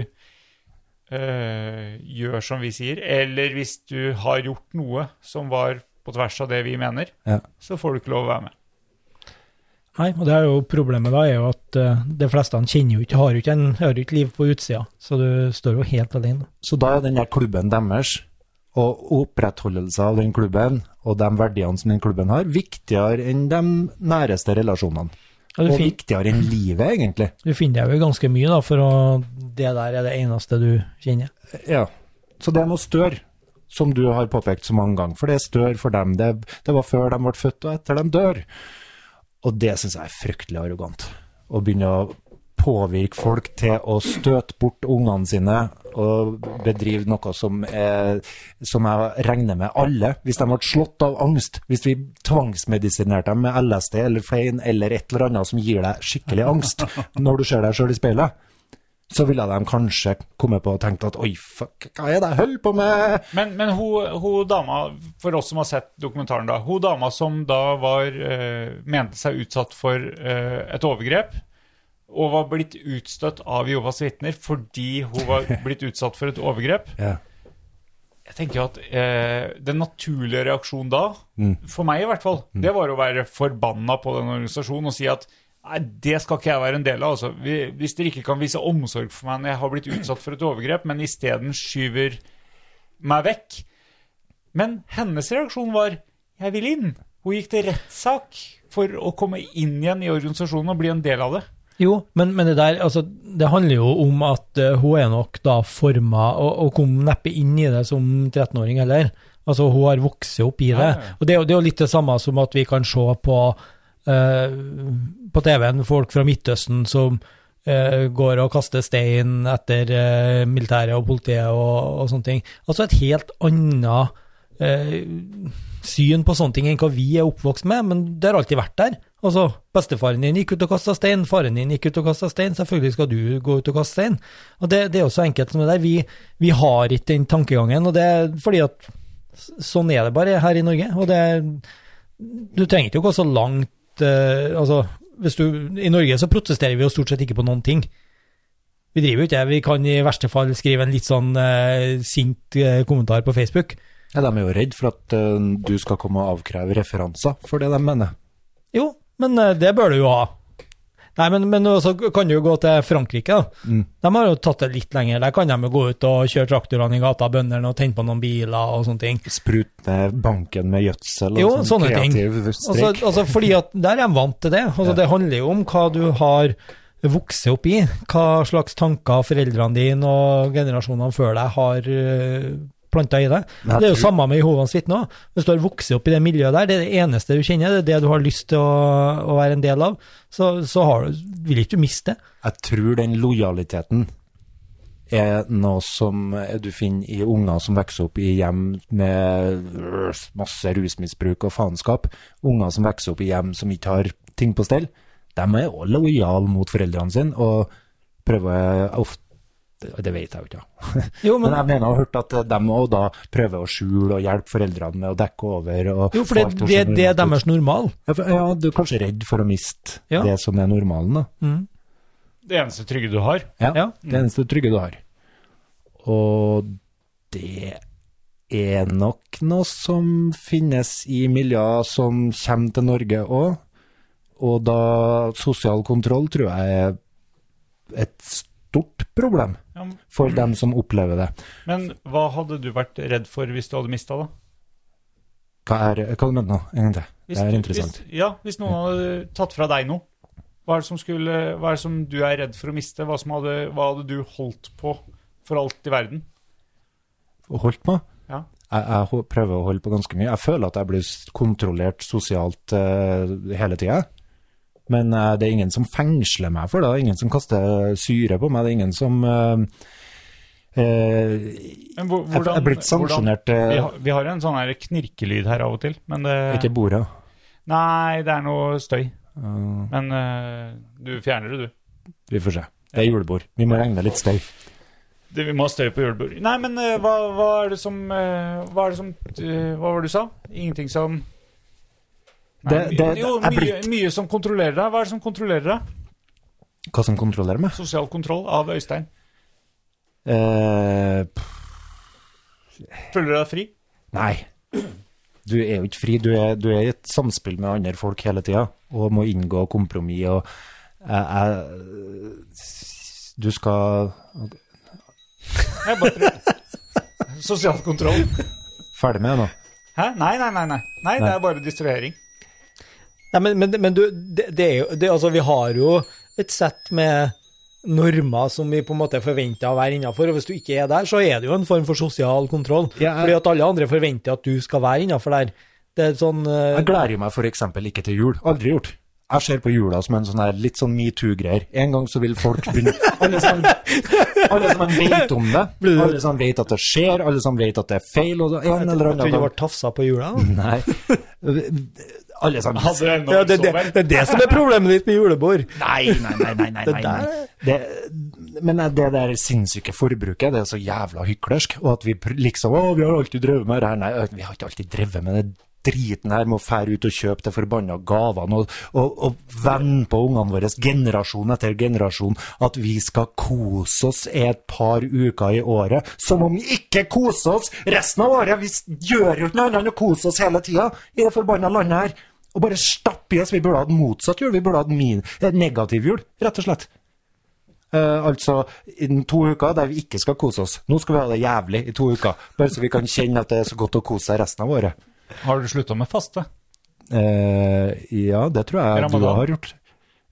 [SPEAKER 1] eh, gjør som vi sier, eller hvis du har gjort noe som var på tvers av det vi mener,
[SPEAKER 2] Ja.
[SPEAKER 1] så får du ikke lov å være med.
[SPEAKER 3] Nei, og det er jo problemet da, er jo at eh, de fleste han kjenner jo ikke, har jo ikke, en, har jo ikke liv på utsida, så du står jo helt alene.
[SPEAKER 2] Så da er den der klubben deres, og opprettholdelse av den klubben, og de verdiene som den klubben har, viktigere enn de næreste relasjonene.
[SPEAKER 3] Og du,
[SPEAKER 2] Og
[SPEAKER 3] fin,
[SPEAKER 2] viktigere enn livet, egentlig.
[SPEAKER 3] du finner deg jo i ganske mye, da, for å, det der er det eneste du kjenner.
[SPEAKER 2] Ja. Så det er noe større, som du har påpekt så mange ganger. For det er større for dem. Det, det var før de ble født, og etter de dør. Og det syns jeg er fryktelig arrogant. Å begynne å påvirke folk til å støte bort ungene sine og bedrive noe som, er, som jeg regner med alle. Hvis de ble slått av angst, hvis vi tvangsmedisinerte dem med LSD eller Fein eller et eller annet som gir deg skikkelig angst når du ser deg sjøl i speilet, så ville de kanskje komme på og tenkt at oi, fuck, hva er det jeg holder på med?
[SPEAKER 1] Men, men hun, hun dama, for oss som har sett dokumentaren da, hun dama som da var, eh, mente seg utsatt for eh, et overgrep, og var blitt utstøtt av Jehovas vitner fordi hun var blitt utsatt for et overgrep,
[SPEAKER 2] Ja.
[SPEAKER 1] jeg tenker jo at eh, den naturlige reaksjonen da,
[SPEAKER 2] Mm.
[SPEAKER 1] for meg i hvert fall, det var å være forbanna på den organisasjonen og si at Nei, det skal ikke jeg være en del av. Altså. Vi- Hvis dere ikke kan vise omsorg for meg når jeg har blitt utsatt for et overgrep, men isteden skyver meg vekk. Men hennes reaksjon var 'jeg vil inn'. Hun gikk til rettssak for å komme inn igjen i organisasjonen og bli en del av det.
[SPEAKER 3] Jo, men, men det der, altså, det handler jo om at eh, hun er nok da forma, og, og kom neppe inn i det som 13-åring heller. Altså, hun har vokst opp i det.
[SPEAKER 1] Ja, ja.
[SPEAKER 3] Og det, er jo- det er jo litt det samme som at vi kan se på, eh, på TV-en folk fra Midtøsten som eh, går og kaster stein etter eh, militæret og politiet og, og sånne ting. Altså et helt annet eh, syn på sånne ting enn hva vi er oppvokst med, men det har alltid vært der. Altså, bestefaren din gikk ut og kasta stein, faren din gikk ut og kasta stein, selvfølgelig skal du gå ut og kaste stein. Og det, det er jo så enkelt som det der. Vi, vi har ikke den tankegangen, og det er fordi at s- sånn er det bare her i Norge. Og det Du trenger ikke å gå så langt eh, Altså, hvis du I Norge så protesterer vi jo stort sett ikke på noen ting. Vi driver jo ikke det. Vi kan i verste fall skrive en litt sånn eh, sint eh, kommentar på Facebook.
[SPEAKER 2] Ja, de er jo redd for at eh, du skal komme og avkreve referanser for det de mener.
[SPEAKER 3] Jo, men eh, det bør du jo ha. Nei, men, men så kan du jo gå til Frankrike, da.
[SPEAKER 2] Mm.
[SPEAKER 3] De har jo tatt det litt lenger. Der kan de jo gå ut og kjøre traktorene i gata, bøndene, og tenne på noen biler og sånne ting.
[SPEAKER 2] Sprute banken med gjødsel og
[SPEAKER 3] Jo,
[SPEAKER 2] sånn
[SPEAKER 3] sånne ting.
[SPEAKER 2] kreativ
[SPEAKER 3] Altså,
[SPEAKER 2] strek.
[SPEAKER 3] altså fordi at der er de vant til det. Altså,
[SPEAKER 2] Ja.
[SPEAKER 3] Det handler jo om hva du har vokst opp i. Hva slags tanker foreldrene dine og generasjonene før deg har uh, planta i deg.
[SPEAKER 2] Men jeg
[SPEAKER 3] Det er jo
[SPEAKER 2] tror-
[SPEAKER 3] samme med Jehovas vitne òg. Hvis du har vokst opp i det miljøet der, det er det eneste du kjenner, det er det du har lyst til å, å være en del av, så, så har du, vil ikke du miste det.
[SPEAKER 2] Jeg tror den lojaliteten er noe som du finner i unger som vokser opp i hjem med øh, masse rusmisbruk og faenskap. Unger som vokser opp i hjem som ikke har ting på stell. De er også lojale mot foreldrene sine og prøver ofte Det vet jeg jo ikke, ja.
[SPEAKER 3] Jo,
[SPEAKER 2] Men jeg mener å ha hørt at de òg da prøver å skjule og hjelpe foreldrene med å dekke over. Og
[SPEAKER 3] jo for det,
[SPEAKER 2] få alt til å
[SPEAKER 3] det,
[SPEAKER 2] se
[SPEAKER 3] det er
[SPEAKER 2] normalt ut.
[SPEAKER 3] deres normal.
[SPEAKER 2] Ja, for- ja, du er kanskje redd for å miste
[SPEAKER 3] Ja.
[SPEAKER 2] det som er normalen, da.
[SPEAKER 1] Det eneste trygge du har.
[SPEAKER 2] Ja,
[SPEAKER 3] Ja.
[SPEAKER 2] Det eneste trygge du har. Og det er nok noe som finnes i miljøer som kommer til Norge òg. Og da sosial kontroll tror jeg er et stort problem
[SPEAKER 1] Ja,
[SPEAKER 2] for dem som opplever det.
[SPEAKER 1] men hva hadde du vært redd for hvis du hadde mista det?
[SPEAKER 2] Hva er hva du mener nå? En gang til.
[SPEAKER 1] Hvis,
[SPEAKER 2] Det er
[SPEAKER 1] du-
[SPEAKER 2] interessant.
[SPEAKER 1] Hvis, ja, hvis noen hadde tatt fra deg noe, hva er, det som skulle, hva er det som du er redd for å miste? Hva, som hadde, hva hadde du holdt på for alt i verden?
[SPEAKER 2] holdt på.
[SPEAKER 1] Ja.
[SPEAKER 2] Jeg, jeg ho- prøver å holde på ganske mye. Jeg føler at jeg blir s- kontrollert sosialt eh, hele tida. Men eh, det er ingen som fengsler meg for det. Det er ingen som kaster syre på meg. Det er ingen som eh, eh,
[SPEAKER 1] Men hvor-
[SPEAKER 2] Jeg jeg blir ikke sanksjonert
[SPEAKER 1] Vi
[SPEAKER 2] eh,
[SPEAKER 1] har, vi har en sånn her knirkelyd her av og til, men det
[SPEAKER 2] Ikke bordet.
[SPEAKER 1] Nei, det er noe støy.
[SPEAKER 2] Eh,
[SPEAKER 1] Men eh, du fjerner det, du.
[SPEAKER 2] vi får se. Det er julebord. Vi må regne litt støy.
[SPEAKER 1] Det, vi må ha støy på julebord. Nei, men eh, hva, hva er det som eh, Hva er det som eh, Hva var det du sa? Ingenting som Nei,
[SPEAKER 2] Det-
[SPEAKER 1] my-
[SPEAKER 2] det-
[SPEAKER 1] Jo,
[SPEAKER 2] jeg
[SPEAKER 1] mye, mye som kontrollerer deg. Hva er det som kontrollerer deg?
[SPEAKER 2] Hva som kontrollerer meg?
[SPEAKER 1] Sosial kontroll av Øystein.
[SPEAKER 2] Eh, pff,
[SPEAKER 1] Føler du deg fri?
[SPEAKER 2] nei. Du er jo ikke fri. Du er, du er i et samspill med andre folk hele tida og må inngå kompromiss og jeg- jeg- Du skal
[SPEAKER 1] Jeg bare prøver. Sosial kontroll.
[SPEAKER 2] Ferdig med det nå.
[SPEAKER 1] Hæ? Nei, nei, nei. Nei, nei det er bare distrahering.
[SPEAKER 3] Nei, men, men, men du, det, det er jo det, Altså, vi har jo et sett med normer som vi på en måte forventer å være innafor, og hvis du ikke er der, så er det jo en form for sosial kontroll.
[SPEAKER 2] Ja, jeg-
[SPEAKER 3] Fordi at alle andre forventer at du skal være innafor der. Det er sånn eh,
[SPEAKER 2] Jeg gleder meg f.eks. ikke til jul. Aldri gjort. Jeg ser på jula som en sånn her, litt sånn metoo-greier. En gang så vil folk begynne Alle sammen, alle sammen vet om det. Alle sammen vet at det skjer, alle sammen vet at det er feil. Og det, en eller
[SPEAKER 3] Jeg tror
[SPEAKER 2] annen
[SPEAKER 3] du
[SPEAKER 2] gang.
[SPEAKER 3] ble tafsa på jula.
[SPEAKER 2] Nei. Alle sammen
[SPEAKER 1] Hadde jeg nå
[SPEAKER 3] Ja, det, det,
[SPEAKER 1] sovet.
[SPEAKER 3] det er det som er problemet ditt med julebord.
[SPEAKER 2] Nei, nei, nei. nei, nei,
[SPEAKER 3] Det
[SPEAKER 2] nei,
[SPEAKER 3] der er-
[SPEAKER 2] nei. Det, men det der sinnssyke forbruket, det er så jævla hyklersk. Og at vi pr- liksom Å, vi har alltid drevet med det her. Nei, vi har ikke alltid drevet med det driten her med å fære ut og kjøpe de forbanna gavene og, og, og vende på ungene våre generasjon etter generasjon at vi skal kose oss et par uker i året. Som om vi ikke koser oss resten av året! Vi s- gjør jo ikke noe annet enn å kose oss hele tida i det forbanna landet her. Og bare stapp i oss. Vi burde hatt motsatt jul. Vi burde hatt min, eh, negativ jul, rett og slett. Eh, altså innen to uker der vi ikke skal kose oss. Nå skal vi ha det jævlig i to uker, bare så vi kan kjenne at det er så godt å kose seg resten av året.
[SPEAKER 1] Har du slutta med faste?
[SPEAKER 2] Eh, ja, det tror jeg du
[SPEAKER 1] Ramadan.
[SPEAKER 2] har gjort.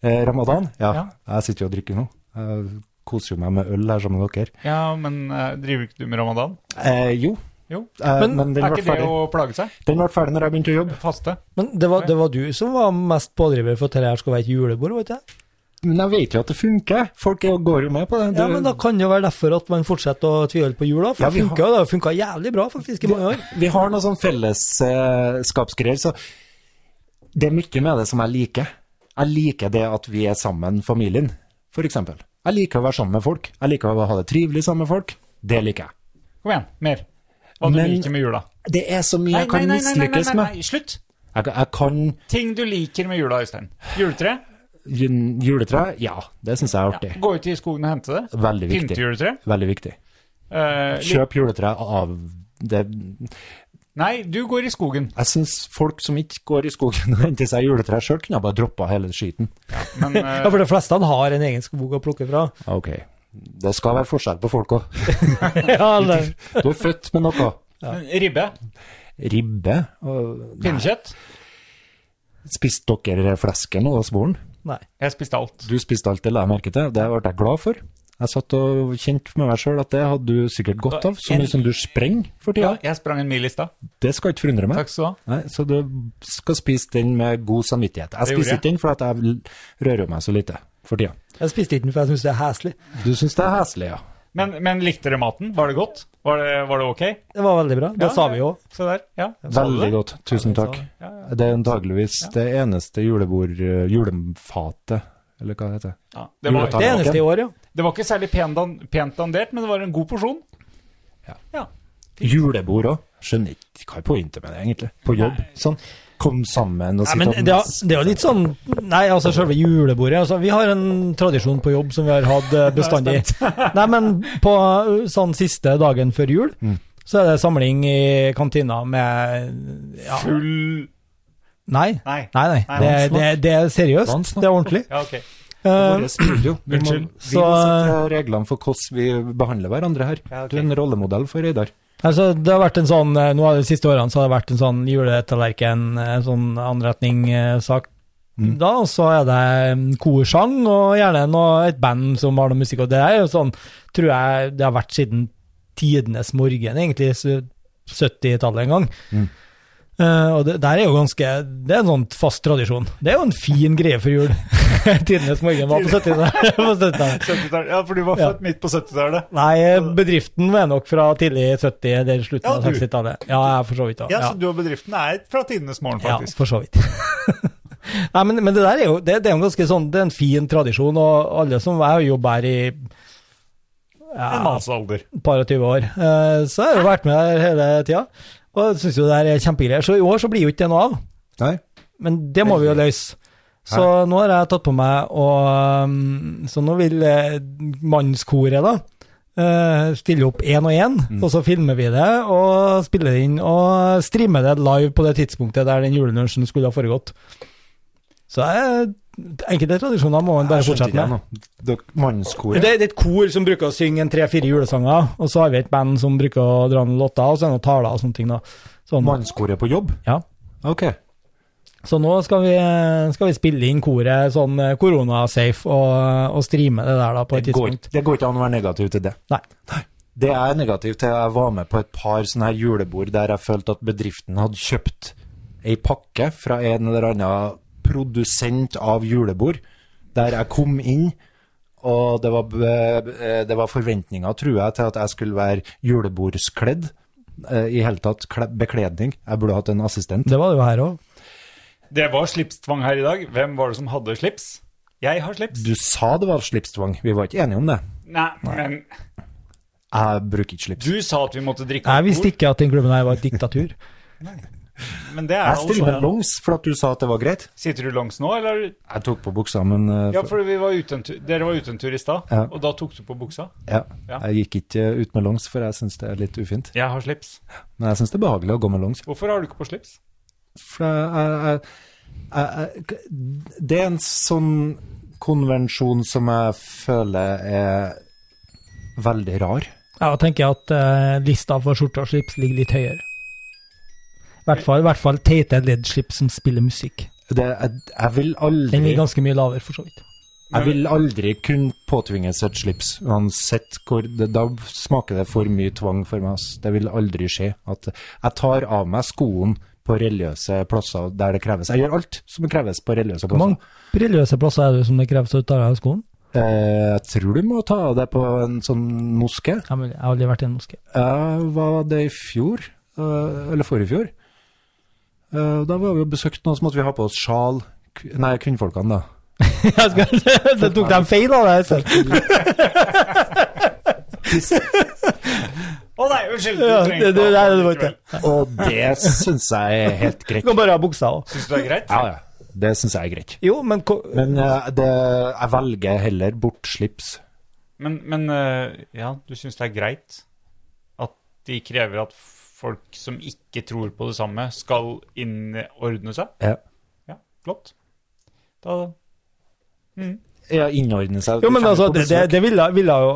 [SPEAKER 2] Eh, Ramadan? Ja.
[SPEAKER 1] Ja.
[SPEAKER 2] Jeg sitter jo og drikker nå. Jeg koser jo meg med øl her sammen med dere.
[SPEAKER 1] Ja, men eh, driver ikke du med ramadan?
[SPEAKER 2] Eh, jo,
[SPEAKER 1] Jo.
[SPEAKER 2] eh, men, den
[SPEAKER 1] er
[SPEAKER 2] ble
[SPEAKER 1] ikke det
[SPEAKER 2] ferdig.
[SPEAKER 1] å plage seg?
[SPEAKER 2] Den ble ferdig når jeg begynte å jobbe.
[SPEAKER 1] Faste?
[SPEAKER 3] Men det var, det var du som var mest pådriver for at dette her skulle være et julebord, var det ikke det?
[SPEAKER 2] Men jeg vet jo at det funker. Folk er- går jo med på det.
[SPEAKER 3] Ja,
[SPEAKER 2] Det-
[SPEAKER 3] men da kan det jo være derfor at man fortsetter å tvile på jula, for
[SPEAKER 2] Ja, vi
[SPEAKER 3] det funka, det har funka jævlig bra faktisk i mange år.
[SPEAKER 2] Vi har noe sånn fellesskapsgreier, så det er mye med det som jeg liker. Jeg liker det at vi er sammen, familien, f.eks. Jeg liker å være sammen med folk. Jeg liker å ha det trivelig sammen med folk. Det liker jeg.
[SPEAKER 1] Kom igjen, mer. Hva du
[SPEAKER 2] Men-
[SPEAKER 1] liker med jula?
[SPEAKER 2] Det er så mye jeg kan mislykkes med.
[SPEAKER 1] slutt!
[SPEAKER 2] Jeg, kan- jeg kan
[SPEAKER 1] Ting du liker med jula, Øystein. Juletre?
[SPEAKER 2] jun- Juletre, ja, det syns jeg er artig.
[SPEAKER 1] Gå ut i skogen og hente det.
[SPEAKER 2] Veldig
[SPEAKER 1] Pynte
[SPEAKER 2] viktig.
[SPEAKER 1] juletre.
[SPEAKER 2] Veldig viktig.
[SPEAKER 1] Eh, li-
[SPEAKER 2] Kjøp juletre av det.
[SPEAKER 1] Nei, du går i skogen.
[SPEAKER 2] Jeg syns folk som ikke går i skogen og henter seg juletre sjøl, kunne ha bare droppa hele skiten.
[SPEAKER 1] Men eh,
[SPEAKER 3] Ja, for de fleste han har en egen skog å plukke fra.
[SPEAKER 2] Ok. Det skal være forskjell på folk òg.
[SPEAKER 3] Ja, det-
[SPEAKER 2] Du er født med noe.
[SPEAKER 1] men ribbe?
[SPEAKER 2] Ribbe. Og...
[SPEAKER 1] Pinnekjøtt?
[SPEAKER 2] Spiste dere flesken og svoren?
[SPEAKER 3] Nei.
[SPEAKER 1] Jeg spiste alt.
[SPEAKER 2] Du spiste alt det la jeg merke til. Det ble jeg glad for. Jeg satt og kjente med meg sjøl at det hadde du sikkert godt av, så mye som du sprenger for
[SPEAKER 1] Ja,
[SPEAKER 2] tida.
[SPEAKER 1] jeg sprang en mil i stad.
[SPEAKER 2] Det skal ikke forundre meg.
[SPEAKER 1] Takk skal du ha.
[SPEAKER 2] Nei, så du skal spise den med god samvittighet. Jeg
[SPEAKER 1] Det gjorde
[SPEAKER 2] spiser ikke den fordi at jeg l- rører meg så lite for tida.
[SPEAKER 3] Jeg spiste ikke den, for jeg syns det er heslig.
[SPEAKER 2] Du syns det er heslig, ja.
[SPEAKER 1] Men, men likte dere maten? Var det godt? Var det, var det ok?
[SPEAKER 3] Det var veldig bra. Det
[SPEAKER 1] Ja,
[SPEAKER 3] sa vi jo.
[SPEAKER 1] Se der. Ja. Sa du
[SPEAKER 2] Veldig
[SPEAKER 1] det?
[SPEAKER 2] godt. Tusen
[SPEAKER 3] Ja, vi
[SPEAKER 2] takk.
[SPEAKER 3] sa
[SPEAKER 1] Ja, ja.
[SPEAKER 2] Det er antageligvis det eneste julebord... eh, julefatet, eller hva det heter.
[SPEAKER 1] Ja. Det, var,
[SPEAKER 3] Det
[SPEAKER 1] det,
[SPEAKER 3] eneste i år, ja.
[SPEAKER 1] det var ikke særlig pen dan, pent dandert, men det var en god porsjon.
[SPEAKER 2] Julebord òg. Skjønner ikke hva er pointet med det, egentlig. På jobb. Sånn. Kom sammen og
[SPEAKER 3] Nei,
[SPEAKER 2] sitte
[SPEAKER 3] men det, er- det er jo litt sånn Nei, altså, selve julebordet altså, Vi har en tradisjon på jobb som vi har hatt eh, bestandig. Nei, men på eh, sånn siste dagen før jul,
[SPEAKER 1] Mm.
[SPEAKER 3] så er det samling i kantina med ja,
[SPEAKER 1] Full
[SPEAKER 3] Nei.
[SPEAKER 1] Nei.
[SPEAKER 3] Nei, nei.
[SPEAKER 1] Nei,
[SPEAKER 3] Det, er- det, er- det er seriøst.
[SPEAKER 2] Vannsnakk.
[SPEAKER 3] Det er ordentlig.
[SPEAKER 1] Ja, ok.
[SPEAKER 3] Eh,
[SPEAKER 2] Våre studio. Vi må,
[SPEAKER 1] Unnskyld.
[SPEAKER 2] vi må sette reglene for hvordan vi behandler hverandre her.
[SPEAKER 1] Ja, ok.
[SPEAKER 2] Du er en rollemodell for Reidar.
[SPEAKER 3] Altså, det har vært en sånn, eh, nå de siste årene så har det vært en sånn juletallerken, eh, sånn anretning-sak.
[SPEAKER 2] Mm.
[SPEAKER 3] Da, og så er det mm, korsang, og gjerne noe, et band som har noe musikk, og det er jo sånn, tror jeg det har vært siden tidenes morgen, egentlig, så 70-tallet en gang.
[SPEAKER 2] Mm.
[SPEAKER 3] Eh, og det der er jo ganske, det er en sånn fast tradisjon. Det er jo en fin greie for jul. tidenes morgen var på 70-tallet. på 70-tallet.
[SPEAKER 1] 70-tallet. Ja, for du var
[SPEAKER 3] Ja.
[SPEAKER 1] født midt på 70-tallet.
[SPEAKER 3] Nei, bedriften var nok fra tidlig 70- eller slutten
[SPEAKER 1] Ja,
[SPEAKER 3] av
[SPEAKER 1] du.
[SPEAKER 3] 60-tallet. Ja, jeg er for så vidt da.
[SPEAKER 1] Ja,
[SPEAKER 3] Ja,
[SPEAKER 1] så du og bedriften er fra tidenes morgen,
[SPEAKER 3] ja
[SPEAKER 1] faktisk.
[SPEAKER 3] for så vidt. Nei, men, men det der er jo det, det er jo en ganske sånn, det er en fin tradisjon, og alle som jeg har jobbet her i
[SPEAKER 1] En manns alder.
[SPEAKER 3] et par og tyve år, eh, så har jeg jo vært med her hele tida. Og jeg syns jo det her er kjempegreier. Så i år så blir jo ikke det noe av.
[SPEAKER 2] Nei.
[SPEAKER 3] Men det må vi jo løse. Så nå har jeg tatt på meg å um, Så nå vil eh, mannskoret, da, eh, stille opp én og én, og så filmer vi det og spiller det inn og streamer det live på det tidspunktet der den julelunsjen skulle ha foregått. Så jeg, enkelte tradisjoner må man bare fortsette med.
[SPEAKER 2] Mannskoret.
[SPEAKER 3] Det, det er et kor som bruker å synge en tre-fire julesanger, og så har vi et band som bruker å dra noen låter, og så er det noen taler og sånne ting. da. Sånn,
[SPEAKER 2] Mannskoret på jobb?
[SPEAKER 3] Ja.
[SPEAKER 2] Ok.
[SPEAKER 3] Så nå skal vi, skal vi spille inn koret sånn eh, koronasafe og, og streame det der da på et
[SPEAKER 2] Det går,
[SPEAKER 3] tidspunkt.
[SPEAKER 2] det går ikke an å være negativ til det.
[SPEAKER 3] Nei.
[SPEAKER 2] Det jeg er negativ til, jeg var med på et par sånne her julebord der jeg følte at bedriften hadde kjøpt ei pakke fra en eller annen produsent av julebord, der jeg kom inn, og det var, b- eh, det var forventninger, tror jeg, til at jeg skulle være julebordskledd. eh, I hele tatt kle- bekledning. Jeg burde hatt en assistent.
[SPEAKER 3] Det var det jo her òg.
[SPEAKER 1] Det var slipstvang her i dag. Hvem var det som hadde slips? Jeg har slips.
[SPEAKER 2] Du sa det var slipstvang, vi var ikke enige om det.
[SPEAKER 1] Nei, men
[SPEAKER 2] Jeg bruker ikke slips.
[SPEAKER 1] du sa at vi måtte drikke
[SPEAKER 3] Jeg visste ikke at den klubben her var et diktatur.
[SPEAKER 1] Men det er
[SPEAKER 2] Jeg stiller
[SPEAKER 1] altså
[SPEAKER 2] longs for at du sa at det var greit.
[SPEAKER 1] Sitter du langs nå, eller?
[SPEAKER 2] Jeg tok på buksa, men eh,
[SPEAKER 1] Ja, for vi var ute en tur. dere var ute en tur i stad,
[SPEAKER 2] Ja.
[SPEAKER 1] og da tok du på buksa.
[SPEAKER 2] Ja.
[SPEAKER 1] Ja.
[SPEAKER 2] Jeg gikk ikke ut med longs, for jeg syns det er litt ufint.
[SPEAKER 1] Jeg har slips.
[SPEAKER 2] Men jeg syns det er behagelig å gå med longs.
[SPEAKER 1] Hvorfor har du ikke på slips?
[SPEAKER 2] For jeg, jeg, jeg, jeg, det er en sånn konvensjon som jeg føler er veldig rar.
[SPEAKER 3] Ja, og tenker jeg at eh, lista for skjorte og slips ligger litt høyere. I hvert fall, i hvert fall teite ledd-slips som spiller musikk.
[SPEAKER 2] Det, jeg, jeg, vil
[SPEAKER 3] Den
[SPEAKER 2] aldri,
[SPEAKER 3] ligger ganske mye lavere, for så vidt.
[SPEAKER 2] jeg vil aldri kunne påtvinges et slips, uansett hvor det, Da smaker det for mye tvang for meg. ass. Det vil aldri skje. At jeg tar av meg skoen på religiøse plasser der det kreves. Jeg gjør alt som kreves på religiøse
[SPEAKER 3] Hvor
[SPEAKER 2] plasser.
[SPEAKER 3] mange brilleløse plasser er det som det kreves å ta av skoen?
[SPEAKER 2] Eh, Jeg tror du må ta av deg på en sånn moské.
[SPEAKER 3] Ja, men Jeg har aldri vært i en moské.
[SPEAKER 2] Jeg var det i fjor, eh, eller forrige fjor. Eh, og Da var vi og besøkte noen, så måtte vi ha på oss sjal. K- Nei, kvinnfolkene, da.
[SPEAKER 3] Jeg skal- Det tok dem feil av deg. selv.
[SPEAKER 1] Å nei, unnskyld!
[SPEAKER 3] Ja,
[SPEAKER 1] trenger
[SPEAKER 3] det- det-
[SPEAKER 1] ikke
[SPEAKER 3] nei, det var
[SPEAKER 1] likevel.
[SPEAKER 3] ikke-
[SPEAKER 2] Og det syns jeg er helt
[SPEAKER 3] Du
[SPEAKER 2] greit.
[SPEAKER 3] kan bare ha buksa òg.
[SPEAKER 1] Syns du det er greit?
[SPEAKER 2] Ja, ja. Det syns jeg er greit.
[SPEAKER 3] Jo, men ko-
[SPEAKER 2] Men eh, det, jeg velger heller bort slips.
[SPEAKER 1] Men, men eh, ja, du syns det er greit at de krever at folk som ikke tror på det samme, skal innordne seg?
[SPEAKER 2] Ja.
[SPEAKER 1] Ja, flott. Da
[SPEAKER 2] Ja, innordne seg.
[SPEAKER 3] Jo, men altså, det, det, det ville, ville jo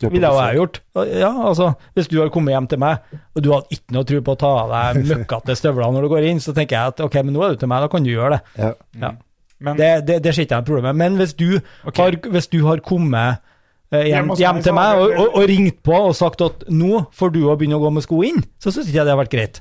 [SPEAKER 2] Du er på
[SPEAKER 3] ville jo jeg
[SPEAKER 2] besøk.
[SPEAKER 3] gjort. Ja, altså, Hvis du har kommet hjem til meg, og du hadde ikke noe tro på å ta av deg møkkete støvler når du går inn, så tenker jeg at ok, men nå er du til meg, da kan du gjøre det.
[SPEAKER 2] Ja.
[SPEAKER 3] Ja.
[SPEAKER 1] Mm. Men-
[SPEAKER 3] det, det, det ser ikke jeg noe problem med. Men hvis du,
[SPEAKER 1] Ok.
[SPEAKER 3] har, hvis du har kommet eh, hjem,
[SPEAKER 1] Hjem hos
[SPEAKER 3] hjem
[SPEAKER 1] meg,
[SPEAKER 3] til
[SPEAKER 1] så-
[SPEAKER 3] meg og, og, og ringt på og sagt at nå får du å begynne å gå med sko inn, så syns ikke jeg det har vært greit.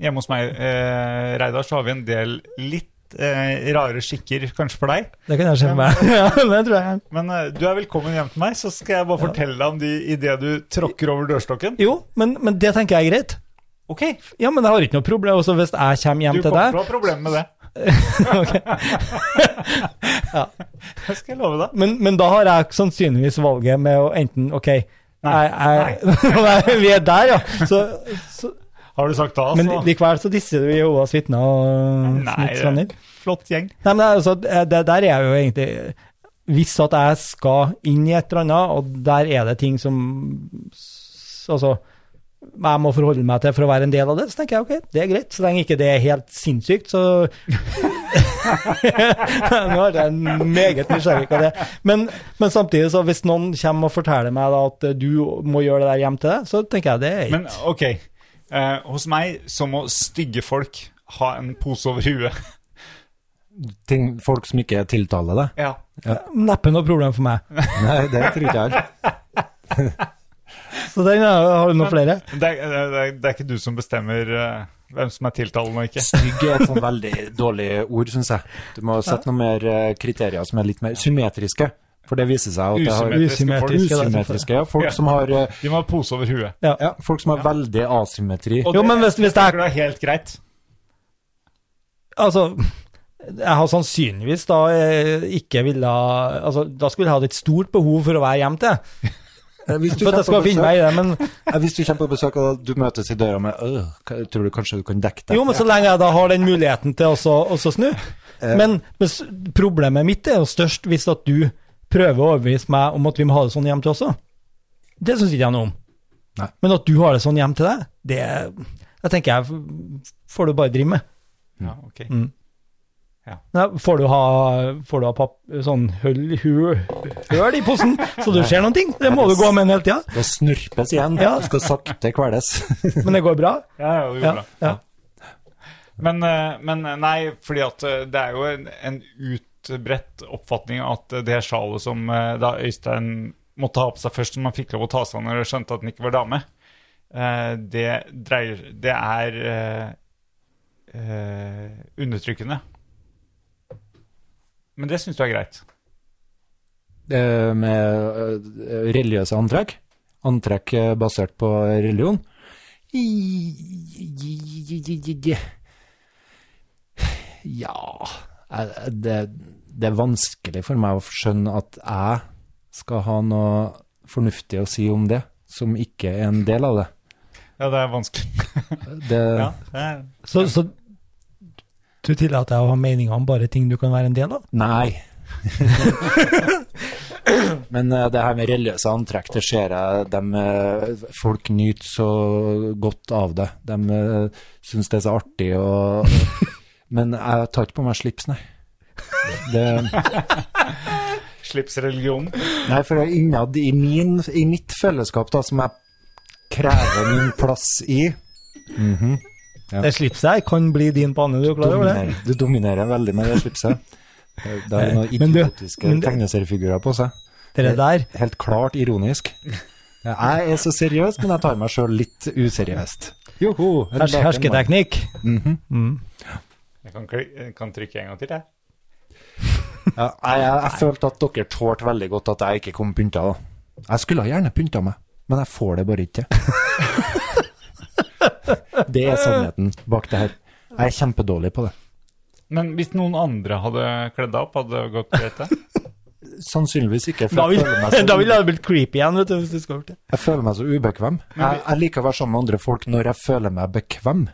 [SPEAKER 1] Hjemme hos meg, eh, Reidar, så har vi en del litt eh, rare skikker, kanskje for deg.
[SPEAKER 3] Det kan jeg se for meg. Ja, det tror jeg.
[SPEAKER 1] Men eh, du er velkommen hjem til meg, så skal jeg bare fortelle deg om de idet du tråkker over dørstokken.
[SPEAKER 3] Jo, men, men det tenker jeg er greit.
[SPEAKER 1] Ok,
[SPEAKER 3] Ja, men jeg har ikke noe problem. Også hvis jeg kommer
[SPEAKER 1] du
[SPEAKER 3] hjem til
[SPEAKER 1] kommer
[SPEAKER 3] deg
[SPEAKER 1] til å ha problemer med det. Det skal jeg love deg.
[SPEAKER 3] men, men da har jeg sannsynligvis valget med å enten OK
[SPEAKER 1] Nei.
[SPEAKER 3] Jeg, jeg, nei. vi er der, ja. Så, så,
[SPEAKER 1] Har du sagt da,
[SPEAKER 3] men
[SPEAKER 1] så
[SPEAKER 3] likevel så disser du Jehovas vitner og
[SPEAKER 1] Altså- Nei,
[SPEAKER 3] Smiths venner.
[SPEAKER 1] flott gjeng.
[SPEAKER 3] Nei, men altså, det, der er jeg jo egentlig Hvis at jeg skal inn i et eller annet, og der er det ting som s- Altså jeg må forholde meg til for å være en del av det, så tenker jeg ok, det er greit. Så lenge ikke det er helt sinnssykt, så Nå er jeg meget nysgjerrig på det. Men, men samtidig, så hvis noen kommer og forteller meg da at du må gjøre det der hjem til deg, så tenker jeg det er
[SPEAKER 1] Men ok, eh, hos meg så må stygge folk ha en pose over huet.
[SPEAKER 2] Ting, folk som ikke tiltaler deg.
[SPEAKER 1] Ja.
[SPEAKER 3] neppe noe problem for meg.
[SPEAKER 2] Nei, det tror ikke jeg.
[SPEAKER 3] Så den er- har du noen flere?
[SPEAKER 1] Det, er- det, er- det er ikke du som bestemmer eh, hvem som er tiltalende og ikke.
[SPEAKER 2] Stygg er et sånn veldig dårlig ord, syns jeg. Du må sette noen mer eh, kriterier som er litt mer symmetriske. For det viser seg at det har
[SPEAKER 1] Usymmetriske folk.
[SPEAKER 3] Usymmetriske, da, selvfølgelig.
[SPEAKER 2] Usymmetriske, ja. Folk som har, eh,
[SPEAKER 1] De må ha pose over huet.
[SPEAKER 2] ja, folk som har veldig asymmetri.
[SPEAKER 1] Og
[SPEAKER 3] Jo,
[SPEAKER 1] det
[SPEAKER 3] men hvis, hvis jeg
[SPEAKER 1] er helt greit.
[SPEAKER 3] Altså, jeg har sannsynligvis da eh, ikke ville ha- altså, Da skulle jeg hatt et stort behov for å være hjemme til.
[SPEAKER 2] Eh, Hvis
[SPEAKER 3] For at jeg skal finne meg i det. Men,
[SPEAKER 2] Ja, Hvis du kommer på besøk og du møtes i døra med «Øh, hva- Tror du kanskje du kan dekke deg?
[SPEAKER 3] jo, men så lenge jeg da har den muligheten til også å snu.
[SPEAKER 2] Eh,
[SPEAKER 3] Men, men s- problemet mitt er jo størst hvis at du prøver å overbevise meg om at vi må ha det sånn hjem til også. Det syns ikke jeg noe om.
[SPEAKER 2] Nei.
[SPEAKER 3] Men at du har det sånn hjem til deg, det jeg tenker jeg f- får du bare drive med.
[SPEAKER 1] Ja, ok.
[SPEAKER 3] Nei, får du ha, får du ha papp, sånn høl, høl, høl i posen, så du ser noen ting? Det må du gå med en hele tida.
[SPEAKER 2] Det snurpes igjen.
[SPEAKER 3] Ja.
[SPEAKER 2] Det skal sakte kveles.
[SPEAKER 3] Men det går bra.
[SPEAKER 1] Ja, ja, det går
[SPEAKER 3] Ja,
[SPEAKER 1] bra.
[SPEAKER 3] ja.
[SPEAKER 1] Men, eh, men nei, fordi at eh, det er jo en, en utbredt oppfatning at eh, det sjalet som eh, da Øystein måtte ha på seg først, som han fikk lov å ta seg av når han skjønte at han ikke var dame, eh, det, dreier, det er eh, eh, undertrykkende. Men det syns du er greit?
[SPEAKER 2] Eh, Med eh, religiøse antrekk. Antrekk eh, basert på religion. Ja eh, det, det er vanskelig for meg å skjønne at jeg skal ha noe fornuftig å si om det, som ikke er en del av det.
[SPEAKER 1] Ja, det er vanskelig.
[SPEAKER 2] det
[SPEAKER 1] Ja, det er,
[SPEAKER 3] Så, så du tillater deg å ha meninger om bare ting du kan være en del av?
[SPEAKER 2] Nei. Men eh, det her med religiøse antrekk, det ser jeg dem, eh, Folk nyter så godt av det. De uh, syns det er så artig og Men jeg tar ikke på meg slips, nei. Det,
[SPEAKER 1] slipsreligion.
[SPEAKER 2] nei, for innad i, min, i mitt fellesskap, da, som jeg krever min plass i Ja.
[SPEAKER 3] Det slipset her kan bli din panne, du er klar over det?
[SPEAKER 2] dominer, Du dominerer veldig med det slipset. Det det har noen
[SPEAKER 3] Men du-
[SPEAKER 2] idiotiske
[SPEAKER 3] men du-
[SPEAKER 2] tegneseriefigurer på seg.
[SPEAKER 3] Det der.
[SPEAKER 2] helt klart ironisk. Jeg er så seriøs, men jeg tar meg sjøl litt useriøst. Joho!
[SPEAKER 3] Hers hersketeknikk.
[SPEAKER 1] Jeg kan, kli- jeg kan trykke en gang til, jeg.
[SPEAKER 2] Ja, jeg, jeg, jeg følte at dere tålte veldig godt at jeg ikke kom pynta. da. Jeg skulle ha gjerne pynta meg, men jeg får det bare ikke til. Det er sannheten bak det her. Jeg er kjempedårlig på det.
[SPEAKER 1] Men hvis noen andre hadde kledd deg opp, hadde det gått greit? det?
[SPEAKER 2] Sannsynligvis ikke,
[SPEAKER 3] Da
[SPEAKER 2] for jeg
[SPEAKER 3] ville
[SPEAKER 2] føler meg så
[SPEAKER 3] da ville det blitt creepy igjen, vet du, hvis du skulle gjort det.
[SPEAKER 2] Jeg føler meg så ubekvem. Jeg, jeg liker å være sammen med andre folk når jeg føler meg bekvem.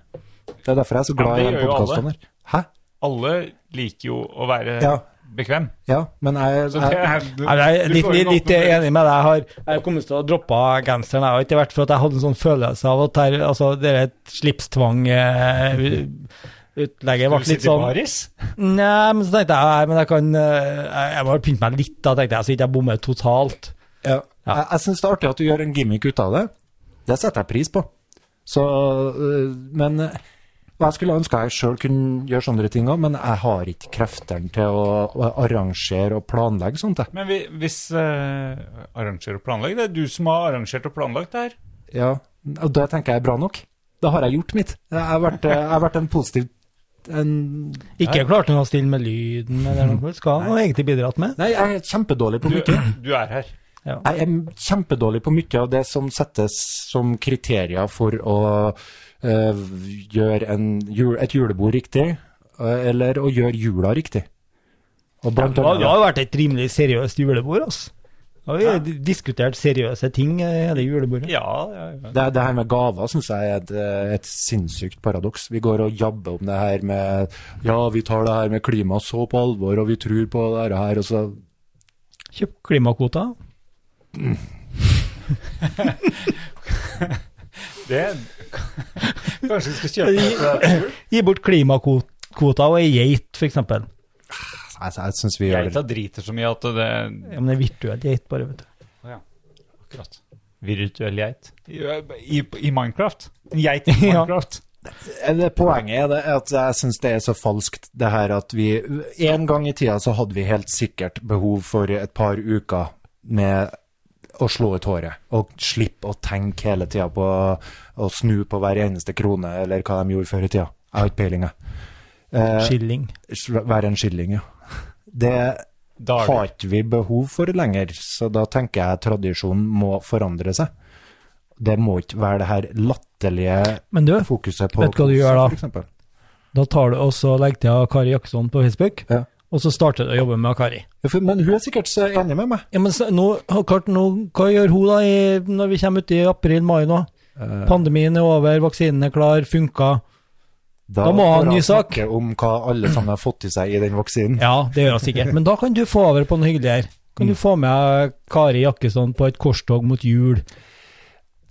[SPEAKER 2] Det er derfor jeg er så glad
[SPEAKER 1] Ja,
[SPEAKER 2] i
[SPEAKER 1] det
[SPEAKER 2] denne
[SPEAKER 1] gjør jo alle.
[SPEAKER 2] podkasten her. Hæ?
[SPEAKER 1] Alle liker jo å være
[SPEAKER 2] Ja.
[SPEAKER 1] bekvem.
[SPEAKER 2] Ja, men jeg,
[SPEAKER 1] Så det
[SPEAKER 2] jeg
[SPEAKER 1] er, du,
[SPEAKER 3] Nei, Jeg er
[SPEAKER 1] du
[SPEAKER 3] litt,
[SPEAKER 1] får jo
[SPEAKER 3] litt,
[SPEAKER 1] en
[SPEAKER 3] litt
[SPEAKER 1] åpen dør.
[SPEAKER 3] enig med deg. Jeg har jeg har kommet til å droppe genseren, jeg har ikke vært for at jeg hadde en sånn følelse av at her, altså, det er et slipstvang eh, u- Utlegget ble
[SPEAKER 1] Skulle
[SPEAKER 3] litt
[SPEAKER 1] sitte i
[SPEAKER 3] sånn
[SPEAKER 1] baris?
[SPEAKER 3] Nei, men så tenkte jeg nei, men jeg kan eh, Jeg jeg må vel pynte meg litt, da, tenkte jeg, så ikke jeg bommer totalt.
[SPEAKER 2] Ja. Jeg, jeg syns det er artig at du gjør en gimmick ut av det. Det setter jeg pris på. Så, øh, men øh, Jeg skulle ønske jeg sjøl kunne gjøre sånne ting òg, men jeg har ikke kreftene til å, å arrangere og planlegge sånt. Jeg.
[SPEAKER 1] Men vi, hvis uh, arranger og planlegg, det er du som har arrangert og planlagt det her.
[SPEAKER 2] Ja. Og det tenker jeg er bra nok. Da har jeg gjort mitt. Jeg har vært, øh, jeg har vært en positiv en,
[SPEAKER 3] Ikke klarte hun å stille med lyden eller noe, skal han egentlig bidratt med.
[SPEAKER 2] Nei, jeg er kjempedårlig på
[SPEAKER 1] Du,
[SPEAKER 2] mye.
[SPEAKER 1] du er her.
[SPEAKER 2] Jeg er kjempedårlig på mye av det som settes som kriterier for å eh, gjøre en, jul- et julebord riktig, eh, eller å gjøre jula riktig. Og blant
[SPEAKER 3] Det har det
[SPEAKER 2] annet,
[SPEAKER 3] har vært et rimelig seriøst julebord, altså. Da har vi d- diskutert seriøse ting eh, hele julebordet.
[SPEAKER 1] Ja, ja, ja.
[SPEAKER 2] det, det her med gaver syns jeg er et, eh, et sinnssykt paradoks. Vi går og jabber om det her med Ja, vi tar det her med klima så på alvor, og vi tror på det her, og så
[SPEAKER 3] Kjøpt klimakvoter.
[SPEAKER 1] Det Kanskje vi skal kjøpe det for deg?
[SPEAKER 3] Gi bort klimakvoter og ei geit, f.eks. Ja,
[SPEAKER 2] Jeg, altså, jeg syns vi gjør det.
[SPEAKER 1] Geita driter så mye at det
[SPEAKER 3] men det er virtuell geit, bare, vet du.
[SPEAKER 1] Akkurat. Virtuell geit. I, i, i Minecraft. En geit i Minecraft.
[SPEAKER 2] Eh, det- Poenget er det at jeg syns det er så falskt, det her at vi En gang i tida så hadde vi helt sikkert behov for et par uker med å slå ut håret. Og slippe å tenke hele tida på å snu på hver eneste krone, eller hva de gjorde før i tida. Jeg har ikke peiling, jeg. Eh,
[SPEAKER 3] Skilling.
[SPEAKER 2] være en skilling, ja. Det
[SPEAKER 1] Daler.
[SPEAKER 2] har ikke vi behov for lenger, så da tenker jeg tradisjonen må forandre seg. Det må ikke være det her latterlige
[SPEAKER 3] Men du,
[SPEAKER 2] fokuset på
[SPEAKER 3] vet du hva du gjør da?
[SPEAKER 2] for eksempel.
[SPEAKER 3] Da tar du også legger til Kari Jackson på Facebook,
[SPEAKER 2] Ja.
[SPEAKER 3] og så starter du å jobbe med Kari.
[SPEAKER 2] Ja, for- Men hun er sikkert så enig med meg.
[SPEAKER 3] Ja, men så- nå, klart, nå, hva gjør hun da i, når vi kommer ut i april-mai nå? Pandemien er over, vaksinen er klar, funka. Da må
[SPEAKER 2] får
[SPEAKER 3] han ny sak.
[SPEAKER 2] snakke om hva alle sammen har fått i seg i den vaksinen.
[SPEAKER 3] Ja, det gjør hun sikkert. Men da kan du få over på noe hyggeligere. Kan du få med Kari Jakkesson på et korstog mot jul?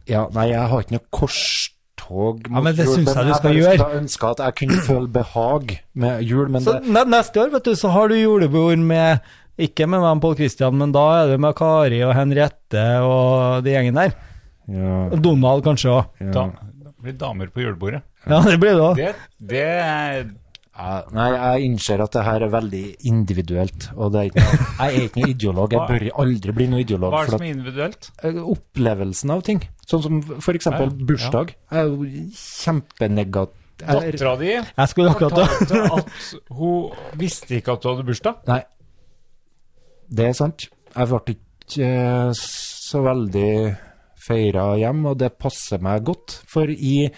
[SPEAKER 2] Ja, nei, jeg har ikke noe korstog mot
[SPEAKER 3] Ja, men det
[SPEAKER 2] jul,
[SPEAKER 3] synes jeg du skal
[SPEAKER 2] bare
[SPEAKER 3] gjøre.
[SPEAKER 2] skulle ønske at jeg kunne føle behag med jul, men
[SPEAKER 3] Så
[SPEAKER 2] det,
[SPEAKER 3] ne- neste år, vet du, så har du julebord med ikke med meg og Pål Christian, men da er det med Kari og Henriette og de gjengen der.
[SPEAKER 2] ja,
[SPEAKER 3] Og Donald kanskje òg.
[SPEAKER 1] Da,
[SPEAKER 2] ja.
[SPEAKER 1] da blir det damer på julebordet.
[SPEAKER 3] Ja, det blir det òg.
[SPEAKER 1] Det, det er
[SPEAKER 2] Ja, Nei, jeg innser at det her er veldig individuelt, og det er ikke noe, jeg er ikke noe ideolog. Jeg bør aldri bli noe ideolog.
[SPEAKER 1] Hva er det
[SPEAKER 2] for
[SPEAKER 1] som
[SPEAKER 2] at- eh,
[SPEAKER 1] er individuelt?
[SPEAKER 2] opplevelsen av ting. Sånn som for eksempel
[SPEAKER 1] Ja, ja.
[SPEAKER 2] bursdag. Jeg er jo kjempenegativ.
[SPEAKER 1] Dattera di
[SPEAKER 3] Jeg skulle akkurat da
[SPEAKER 1] fortalte at hun visste ikke at du hadde bursdag.
[SPEAKER 2] Nei, det er sant. Jeg ble ikke eh, så veldig feira hjem, og det passer meg godt. For i,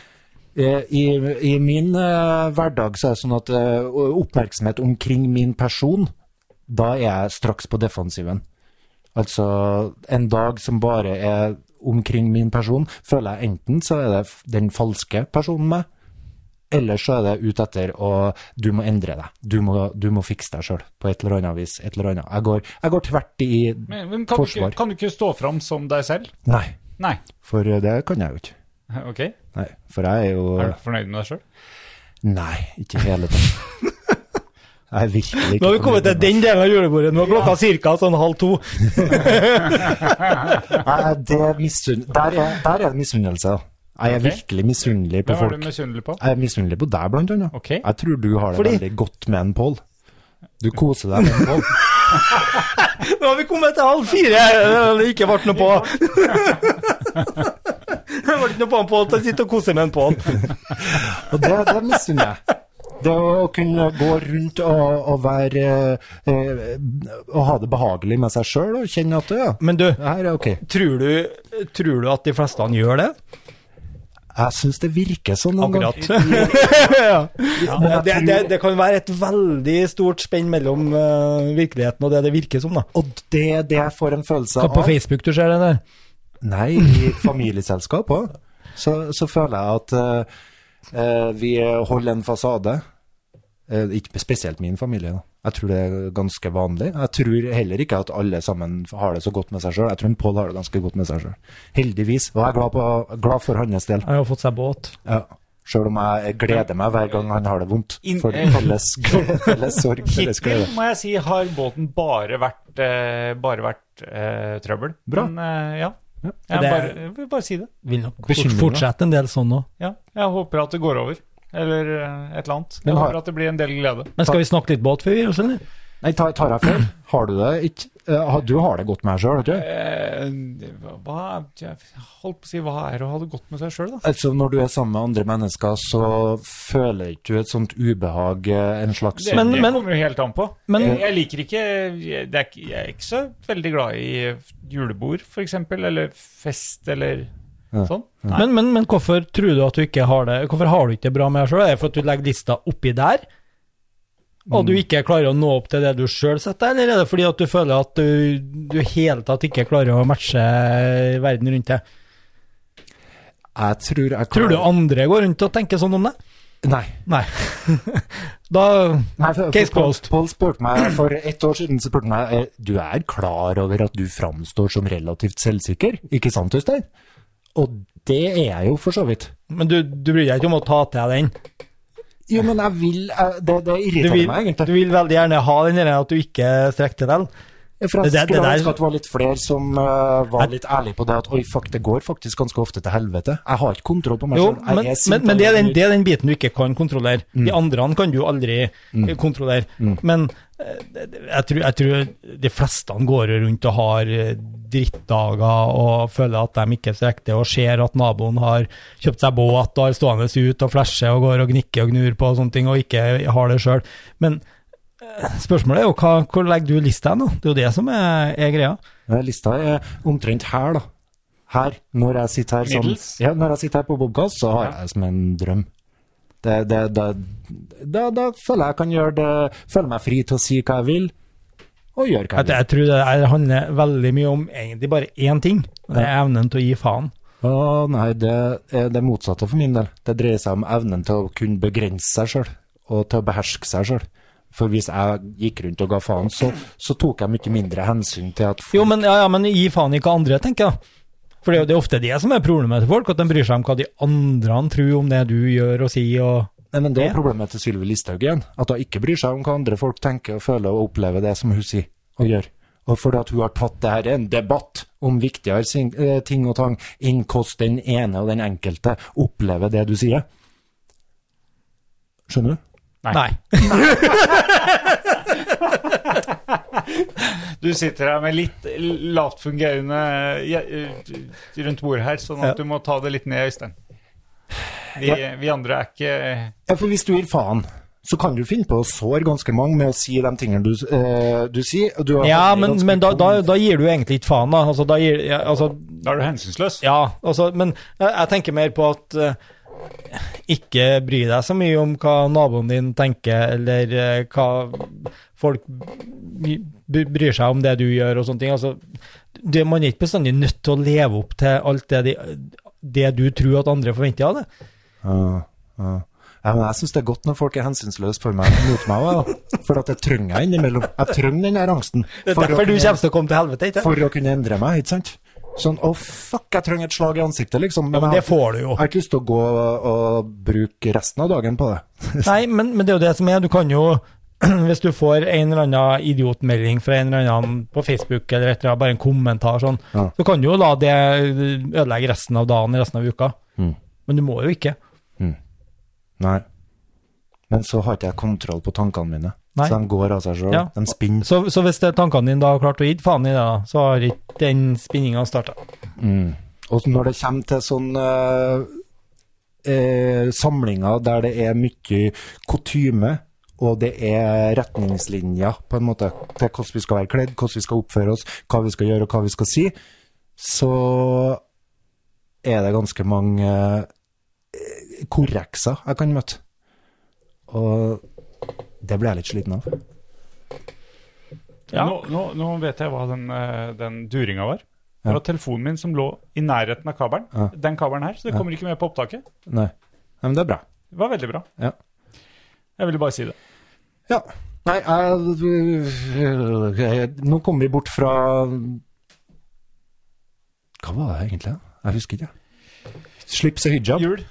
[SPEAKER 2] eh, i, i min eh, hverdag så er det sånn at eh, oppmerksomhet omkring min person, da er jeg straks på defensiven. Altså, en dag som bare er omkring min person, føler jeg enten så er det f- den falske personen meg, eller så er det ut etter å Du må endre deg. Du må, du må fikse deg sjøl på et eller annet vis. Et eller annet. Jeg går, jeg går tvert i
[SPEAKER 1] Men, men kan, du ikke,
[SPEAKER 2] Forsvar.
[SPEAKER 1] kan du ikke stå fram som deg selv?
[SPEAKER 2] Nei,
[SPEAKER 1] Nei.
[SPEAKER 2] for eh, det kan jeg jo ikke.
[SPEAKER 1] Ok, er
[SPEAKER 2] Nei, for jeg er jo
[SPEAKER 1] du fornøyd med deg sjøl?
[SPEAKER 2] Nei, ikke i hele tatt. Jeg er virkelig ikke
[SPEAKER 3] Nå har vi kommet
[SPEAKER 2] fornøyd
[SPEAKER 3] til
[SPEAKER 2] med
[SPEAKER 3] den delen av julebordet. Nå er klokka ca. sånn halv to.
[SPEAKER 2] meg. Nei, det er misunn... Der er, der er det misunnelse. da. Jeg er
[SPEAKER 1] Ok.
[SPEAKER 2] virkelig misunnelig på
[SPEAKER 1] Hvem er
[SPEAKER 2] folk.
[SPEAKER 1] du misunnelig på?
[SPEAKER 2] Jeg er misunnelig på deg, blant annet.
[SPEAKER 1] Ok.
[SPEAKER 2] Jeg tror du har det
[SPEAKER 3] Fordi-
[SPEAKER 2] veldig godt med en Pål. Du koser deg med en Pål.
[SPEAKER 3] Nå har vi kommet til halv fire! Det ikke ble noe på. Det ble ikke noe på han Pål til å sitte og kose med en Pål.
[SPEAKER 2] Og det, det misunner jeg. Det å kunne gå rundt og, og være eh, eh, Å ha det behagelig med seg sjøl og kjenne at ja,
[SPEAKER 3] Men du,
[SPEAKER 2] det her er ok.
[SPEAKER 3] tror du, tror du at de fleste han gjør det?
[SPEAKER 2] Jeg syns det virker sånn noen
[SPEAKER 3] Akkurat.
[SPEAKER 2] ganger.
[SPEAKER 3] Ja.
[SPEAKER 2] Men jeg
[SPEAKER 3] Det,
[SPEAKER 2] tror-
[SPEAKER 3] det, det kan være et veldig stort spenn mellom eh, virkeligheten og det det virker som, da.
[SPEAKER 2] Og det er det jeg får en følelse av.
[SPEAKER 3] Facebook du ser det der?
[SPEAKER 2] Nei, i familieselskap òg. Så, så føler jeg at eh, eh, vi holder en fasade. Eh, ikke spesielt min familie, da. Jeg tror det er ganske vanlig. Jeg tror heller ikke at alle sammen har det så godt med seg sjøl. Jeg tror en Pål har det ganske godt med seg sjøl. Heldigvis. Og jeg er glad, på, glad for hans del.
[SPEAKER 3] Han har fått seg båt.
[SPEAKER 2] Ja. Sjøl om jeg gleder meg hver gang han har det vondt.
[SPEAKER 1] In-
[SPEAKER 2] For felles, glede, felles sorg, felles
[SPEAKER 1] Hittil
[SPEAKER 2] glede.
[SPEAKER 1] må jeg si har båten bare vært, eh, bare vært eh, trøbbel.
[SPEAKER 2] Bra.
[SPEAKER 1] Men eh, ja.
[SPEAKER 2] Ja.
[SPEAKER 1] Jeg,
[SPEAKER 3] Det-
[SPEAKER 1] bare, jeg vil bare si det.
[SPEAKER 3] Vil nok
[SPEAKER 2] Bekymringer.
[SPEAKER 3] fortsette en del sånn òg.
[SPEAKER 1] Ja. Jeg håper at det går over. Eller eh, et eller annet.
[SPEAKER 2] Men
[SPEAKER 1] Jeg
[SPEAKER 2] har-
[SPEAKER 1] håper at det blir en del glede.
[SPEAKER 3] Men skal vi snakke litt båt før vi gir oss, eller?
[SPEAKER 2] Nei, tar, tar jeg feil? Har du det ikke? Eh, har- Du har det godt med deg sjøl, vet du?
[SPEAKER 1] Eh, hva, jeg holdt på å si hva er å ha det godt med seg sjøl, da?
[SPEAKER 2] Altså, når du er sammen med andre mennesker, så føler ikke du et sånt ubehag, eh, en slags
[SPEAKER 1] Det,
[SPEAKER 3] Men-
[SPEAKER 1] det
[SPEAKER 3] men-
[SPEAKER 1] kommer jo helt an på.
[SPEAKER 3] men-
[SPEAKER 1] jeg, jeg liker ikke jeg, det er, ikke- Jeg er ikke så veldig glad i julebord, f.eks., eller fest, eller
[SPEAKER 2] Ja.
[SPEAKER 1] sånn.
[SPEAKER 3] Men, men, men hvorfor tror du at du ikke har det Hvorfor har du ikke det bra med deg sjøl? Er det for at du legger lista oppi der, og du ikke klarer å nå opp til det du sjøl setter, eller er det fordi at du føler at du, du hele tatt ikke klarer å matche verden rundt deg?
[SPEAKER 2] Jeg tror jeg
[SPEAKER 3] Tror du andre går rundt og tenker sånn om deg?
[SPEAKER 2] Nei.
[SPEAKER 3] Nei. da
[SPEAKER 2] Nei for,
[SPEAKER 3] Case
[SPEAKER 2] for Pål-
[SPEAKER 3] closed.
[SPEAKER 2] Pål spurte meg for ett år siden så spurte han meg eh, du er klar over at du framstår som relativt selvsikker, ikke sant, Øystein? Og det er jeg jo, for så vidt.
[SPEAKER 3] Men du, du bryr deg ikke om å ta til deg den?
[SPEAKER 2] Jo, men jeg vil jeg, Det, det
[SPEAKER 3] Du
[SPEAKER 2] irriterer
[SPEAKER 3] vil,
[SPEAKER 2] meg,
[SPEAKER 3] du
[SPEAKER 2] egentlig.
[SPEAKER 3] vil veldig gjerne ha den der at du ikke strekker til den?
[SPEAKER 2] For jeg
[SPEAKER 3] det- det
[SPEAKER 2] skulle
[SPEAKER 3] der-
[SPEAKER 2] ønske at det var litt flere som eh, var litt ærlige på det at oi, fuck, det går faktisk ganske ofte til helvete. Jeg har ikke kontroll på meg
[SPEAKER 3] Jo,
[SPEAKER 2] sjøl. Jeg
[SPEAKER 3] men,
[SPEAKER 2] er sint,
[SPEAKER 3] men, men det,
[SPEAKER 2] jeg
[SPEAKER 3] er den,
[SPEAKER 2] blir-
[SPEAKER 3] det er den biten du ikke kan kontrollere. De andre kan du aldri eh, kontrollere. Men eh, det- det- jeg tror, jeg tror de fleste går rundt og har eh, drittdager og føler at de ikke strekker til, og ser at naboen har kjøpt seg båt og har stående ut og flasher og går og gnikker og gnur på og sånne ting, og ikke har det sjøl. Men eh, spørsmålet er jo hva, hvor legger du lista nå? Det er jo det som er, er greia.
[SPEAKER 2] Ja, Lista er omtrent her, da. Her, når jeg sitter her, sånn,
[SPEAKER 1] Middels?
[SPEAKER 2] ja, når jeg sitter her på Bobcast, så har jeg det som en drøm. Det, det, det, da, da føler jeg jeg kan gjøre det Føler meg fri til å si hva jeg vil, og gjøre hva
[SPEAKER 3] Jeg,
[SPEAKER 2] jeg vil.
[SPEAKER 3] jeg tror det her handler veldig mye om egentlig bare én ting, og det er evnen til å gi faen.
[SPEAKER 2] Å nei, det er det motsatte for min del. Det dreier seg om evnen til å kunne begrense seg sjøl, og til å beherske seg sjøl. For hvis jeg gikk rundt og ga faen, så, så tok jeg mye mindre hensyn til at
[SPEAKER 3] Jo, men, ja, ja, men gi faen i hva andre tenker, da. For det er jo det er ofte det som er problemet til folk, at de bryr seg om hva de andre tror om det du gjør og sier. og...
[SPEAKER 2] Nei, men Det er problemet til Sylvi Listhaug igjen. At hun ikke bryr seg om hva andre folk tenker og føler og opplever det som hun sier og gjør. Og fordi at hun har tatt det her i en debatt om viktigere sin- eh, ting og tang enn hvordan den ene og den enkelte opplever det du sier. Skjønner du?
[SPEAKER 3] Nei.
[SPEAKER 1] Du sitter her med litt lavtfungerende eh, rundt bordet her, sånn at
[SPEAKER 3] Ja.
[SPEAKER 1] du må ta det litt ned, Øystein. Vi, vi andre er ikke
[SPEAKER 2] Ja, for hvis du gir faen, så kan du finne på å såre ganske mange med å si de tingene du, eh, du sier. og Du har-
[SPEAKER 3] Ja, men, men da, da, da gir du egentlig ikke faen, da. Altså, da gir, ja, altså,
[SPEAKER 1] Da er du hensynsløs.
[SPEAKER 3] ja, altså, men jeg, jeg tenker mer på at eh, ikke bry deg så mye om hva naboen din tenker, eller eh, hva folk b- bryr seg om det du gjør og sånne ting. Altså, det, man er ikke bestandig nødt til å leve opp til alt det, de, det du tror at andre forventer av det.
[SPEAKER 2] Ja, ja. Ja, men jeg syns det er godt når folk er hensynsløse for meg, mot meg òg, for at jeg trenger jeg innimellom. Jeg trenger den der angsten.
[SPEAKER 3] Det er
[SPEAKER 2] For å
[SPEAKER 3] derfor du
[SPEAKER 2] kunne-
[SPEAKER 3] kommer til å komme til helvete, ikke
[SPEAKER 2] for å kunne endre meg, ikke sant? Sånn, å fuck, jeg trenger et slag i ansiktet, liksom.
[SPEAKER 3] Ja, men
[SPEAKER 2] jeg
[SPEAKER 3] det får du jo.
[SPEAKER 2] jeg har ikke lyst til å gå og bruke resten av dagen på det.
[SPEAKER 3] Nei, men, men det er jo det som er. Du kan jo Hvis du får en eller annen idiotmelding fra en eller annen på Facebook, eller et eller annet, bare en kommentar sånn,
[SPEAKER 2] Ja.
[SPEAKER 3] så kan du jo la det ødelegge resten av dagen, resten av uka.
[SPEAKER 2] Mm.
[SPEAKER 3] Men du må jo ikke.
[SPEAKER 2] Nei. Men så har ikke jeg kontroll på tankene mine.
[SPEAKER 3] Nei.
[SPEAKER 2] Så de går av seg sjøl.
[SPEAKER 3] Ja.
[SPEAKER 2] De spinner.
[SPEAKER 3] Så, så hvis det er tankene dine da har klart å gi faen i det, da, så har ikke den spinninga starta.
[SPEAKER 2] Mm. Og når det kommer til sånn eh, eh, samlinger der det er mye kutyme, og det er retningslinjer på en måte til hvordan vi skal være kledd, hvordan vi skal oppføre oss, hva vi skal gjøre og hva vi skal si, så er det ganske mange eh, korrekser jeg kan møte. Og det blir jeg litt sliten av.
[SPEAKER 3] Ja.
[SPEAKER 1] Nå, nå, nå vet jeg hva den, eh, den duringa var. Det
[SPEAKER 2] Ja.
[SPEAKER 1] var telefonen min som lå i nærheten av kabelen.
[SPEAKER 2] Ja.
[SPEAKER 1] Den kabelen her, så det
[SPEAKER 2] Ja.
[SPEAKER 1] kommer ikke med på opptaket.
[SPEAKER 2] Nei. Nei, men det er bra.
[SPEAKER 1] Det var veldig bra.
[SPEAKER 2] Ja.
[SPEAKER 1] Jeg ville bare si det.
[SPEAKER 2] Ja. Nei, jeg, jeg, nå kommer vi bort fra Hva var det egentlig? Jeg husker ikke. Slips og hijab.
[SPEAKER 1] Jul.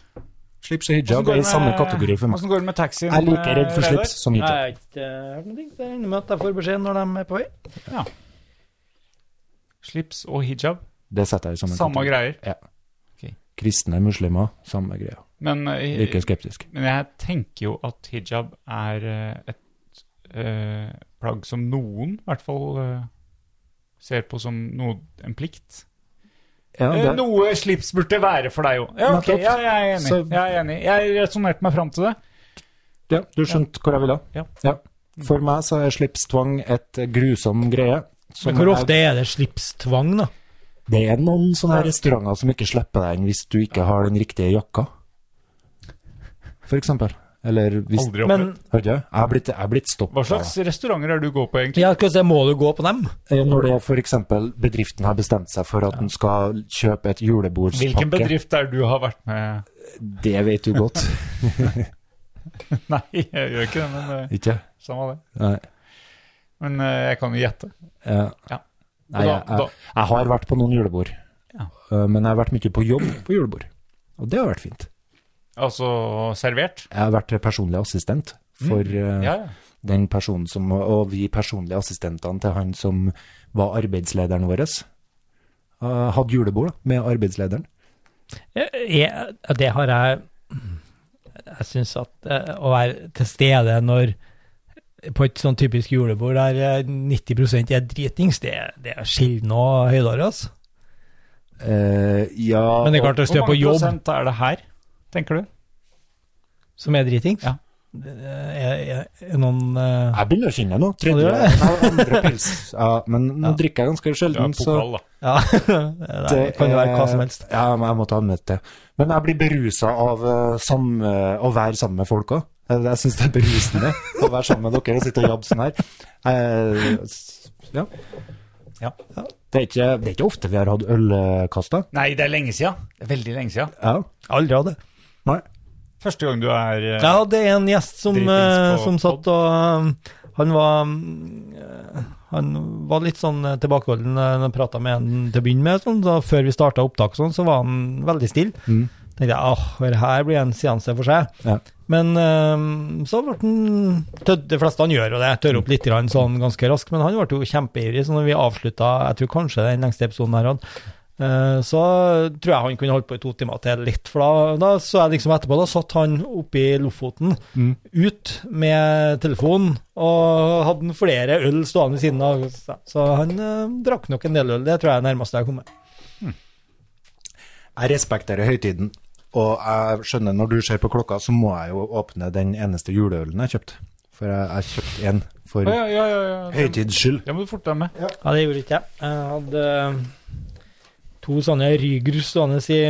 [SPEAKER 2] Slips og hijab er i samme kategori for meg.
[SPEAKER 1] Hvordan går det med taxien?
[SPEAKER 2] Jeg er like redd for
[SPEAKER 1] eh, Reidar?
[SPEAKER 2] slips som hijab.
[SPEAKER 3] har ikke hørt noe. Det regner med at jeg får beskjed når de er på vei.
[SPEAKER 1] Slips og hijab,
[SPEAKER 2] Det setter jeg i samme
[SPEAKER 1] samme
[SPEAKER 2] kategori.
[SPEAKER 1] greier.
[SPEAKER 2] Kristne, muslimer, samme greia.
[SPEAKER 1] Men, eh,
[SPEAKER 2] Like skeptisk.
[SPEAKER 1] men jeg tenker jo at hijab er eh, et eh, plagg som noen, i hvert fall, eh, ser på som noe, en plikt.
[SPEAKER 2] Ja,
[SPEAKER 1] Eh,
[SPEAKER 2] det,
[SPEAKER 1] Noe slips burde være for deg òg. Ja, ok,
[SPEAKER 2] Nettopp.
[SPEAKER 1] ja, jeg er enig.
[SPEAKER 2] Så-
[SPEAKER 1] Jeg er enig. Jeg resonnerte meg fram til det.
[SPEAKER 2] ja, du skjønte hvor jeg ville?
[SPEAKER 1] Ja.
[SPEAKER 2] For meg så er slipstvang et grusom greie. som
[SPEAKER 3] Men hvor
[SPEAKER 2] jeg-
[SPEAKER 3] ofte er det slipstvang, da?
[SPEAKER 2] Det er noen sånne her restauranter som ikke slipper deg inn hvis du ikke har den riktige jakka. For eksempel. Eller hvis
[SPEAKER 1] Aldri
[SPEAKER 3] Men
[SPEAKER 1] opplevd.
[SPEAKER 2] Hørte jeg? Jeg er blitt, jeg er blitt stoppet.
[SPEAKER 1] Hva slags restauranter er du går på, egentlig?
[SPEAKER 3] ja, skal vi se, må du gå på dem?
[SPEAKER 2] Eh, Når det er for eksempel bedriften har bestemt seg for at den skal kjøpe et julebordspakke.
[SPEAKER 1] Hvilken bedrift er du har vært med
[SPEAKER 2] Det vet du godt.
[SPEAKER 1] Nei, jeg gjør ikke det, men eh,
[SPEAKER 2] ikke?
[SPEAKER 1] samme det.
[SPEAKER 2] Nei.
[SPEAKER 1] Men eh, jeg kan jo gjette.
[SPEAKER 2] Ja.
[SPEAKER 1] Ja.
[SPEAKER 2] Nei,
[SPEAKER 1] Og da-
[SPEAKER 2] jeg, jeg, jeg har vært på noen julebord.
[SPEAKER 1] Ja.
[SPEAKER 2] Eh, Men jeg har vært mye på jobb på julebord. Og det har vært fint.
[SPEAKER 1] Altså servert?
[SPEAKER 2] Jeg har vært personlig assistent for eh,
[SPEAKER 1] Mm. Ja, ja.
[SPEAKER 2] den personen som, og vi personlige assistentene til han som var arbeidslederen vår, eh, hadde julebord da, med arbeidslederen.
[SPEAKER 3] Jeg, jeg, det har jeg Jeg syns at eh, å være til stede når på et sånn typisk julebord der eh, 90 er dritings, det, det er sjelden og høydere, altså.
[SPEAKER 2] Eh, ja,
[SPEAKER 3] Men det er klart, hvis du
[SPEAKER 1] Hvor
[SPEAKER 3] er på
[SPEAKER 1] mange
[SPEAKER 3] jobb
[SPEAKER 1] prosent er det her, tenker du?
[SPEAKER 3] som er dritings
[SPEAKER 1] Ja.
[SPEAKER 3] Er, er, er noen eh,
[SPEAKER 2] Jeg begynner å kjenne det nå.
[SPEAKER 3] du
[SPEAKER 2] Tredje
[SPEAKER 3] gjør
[SPEAKER 2] Nei, andre pils. Ja, men nå
[SPEAKER 3] Ja.
[SPEAKER 2] drikker jeg ganske
[SPEAKER 1] Du er
[SPEAKER 2] sjelden, så
[SPEAKER 1] pokal, da.
[SPEAKER 3] Ja, det kan jo være hva som helst.
[SPEAKER 2] Ja, men jeg måtte anmelde det. Men jeg blir berusa av eh, samme, å være sammen med folk òg. Jeg syns det er berusende å være sammen med dere og sitte og jabbe sånn her. Eh, s- ja.
[SPEAKER 1] Ja.
[SPEAKER 2] Det, er ikke, det er ikke ofte vi har hatt eh, ølkaster.
[SPEAKER 1] Nei, det er lenge siden. Det er veldig lenge siden.
[SPEAKER 2] Ja.
[SPEAKER 3] Aldri hadde.
[SPEAKER 2] Nei.
[SPEAKER 1] Første gang du er eh,
[SPEAKER 3] Jeg hadde en gjest som,
[SPEAKER 1] Dritings på
[SPEAKER 3] eh, som satt og eh, Han var eh, han var litt sånn eh, tilbakeholden eh, når jeg prata med han til å begynne med. Sånn, så før vi starta opptak, og sånn, så var han veldig stille.
[SPEAKER 2] Mm.
[SPEAKER 3] tenkte jeg åh, det her blir en seanse for seg.
[SPEAKER 2] Ja.
[SPEAKER 3] Men eh, så ble han tødd, De fleste han gjør jo det, tør opp litt grann, sånn ganske raskt, men han ble jo kjempeivrig. Så når vi avslutta, jeg tror kanskje den lengste episoden her hadde, eh, så tror jeg han kunne holdt på i to timer til litt. For da, da så jeg liksom etterpå, da satt han oppe i Lofoten
[SPEAKER 2] Mm.
[SPEAKER 3] ut med telefonen og hadde flere øl stående ved siden av. Så- Så han eh, drakk nok en del øl, det tror jeg er nærmest jeg kom med.
[SPEAKER 2] Jeg respekterer høytiden, og jeg skjønner når du ser på klokka, så må jeg jo åpne den eneste juleølen jeg kjøpte. For jeg, jeg kjøpte en
[SPEAKER 1] Å,
[SPEAKER 2] for
[SPEAKER 1] ja, ja, ja, ja.
[SPEAKER 2] høytids skyld.
[SPEAKER 1] Det må du forte deg med.
[SPEAKER 3] Ja, det gjorde ikke jeg. Jeg hadde to sånne Ryger stående i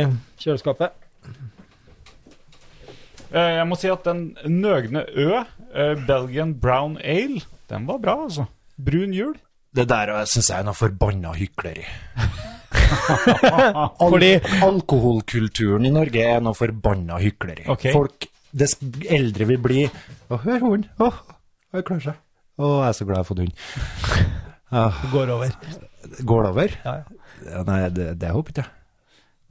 [SPEAKER 3] kjøleskapet.
[SPEAKER 1] Eh, Jeg må si at den nøgne Ø, eh, Belgian Brown Ale, den var bra, altså. Brun jul.
[SPEAKER 2] Det der syns jeg er noe forbanna hykleri.
[SPEAKER 3] Fordi
[SPEAKER 2] Alkoholkulturen i Norge er noe forbanna hykleri.
[SPEAKER 1] Ok.
[SPEAKER 2] Folk, Dess eldre vi blir Å, hør hunden! Å, jeg klarer seg. Å, jeg er så glad jeg har fått hund.
[SPEAKER 3] det går over.
[SPEAKER 2] Går det over?
[SPEAKER 3] Ja, ja.
[SPEAKER 2] Nei, det, det håper ikke jeg.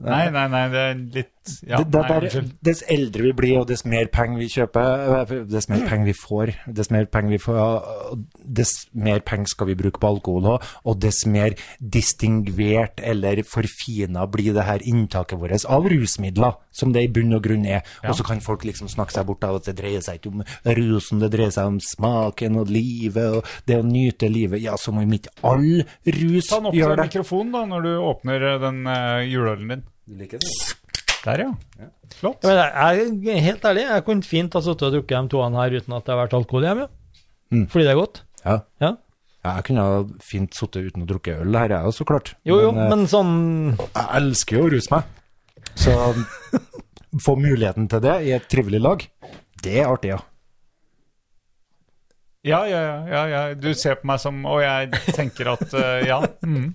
[SPEAKER 1] Nei, nei, nei, det er litt Ja,
[SPEAKER 2] det, det,
[SPEAKER 1] nei,
[SPEAKER 2] er bare-
[SPEAKER 1] unnskyld.
[SPEAKER 2] dess eldre vi blir, og dess mer penger vi kjøper, eh, dess mer penger vi får, dess mer penger vi får, ja, og dess mer penger skal vi bruke på alkohol òg, og dess mer distingvert eller forfina blir det her inntaket vårt av rusmidler, som det i bunn og grunn er. Og så kan folk liksom snakke seg bort av at det dreier seg ikke om rusen, det dreier seg om smaken og livet og det å nyte livet. Ja, som om ikke all rus
[SPEAKER 1] Ta den opp til
[SPEAKER 2] gjør det.
[SPEAKER 1] mikrofonen da, når du åpner eh, den eh, juleølen din. Der, ja. Flott.
[SPEAKER 3] Men jeg, jeg, helt ærlig, jeg kunne fint ha sittet og drukket de toene her uten at det har vært alkohol hjemme. ja.
[SPEAKER 2] Mm.
[SPEAKER 3] Fordi det er godt.
[SPEAKER 2] Ja.
[SPEAKER 3] Ja.
[SPEAKER 2] Ja, jeg kunne ha fint sittet uten å drukke øl, det her er jeg jo så klart.
[SPEAKER 3] Jo, jo,
[SPEAKER 2] eh,
[SPEAKER 3] men sånn
[SPEAKER 2] jeg elsker jo å ruse meg. Så um, få muligheten til det i et trivelig lag, det er artig, ja.
[SPEAKER 1] Ja, ja, ja, ja, ja. Du ser på meg som Og jeg tenker at eh, ja. Mm.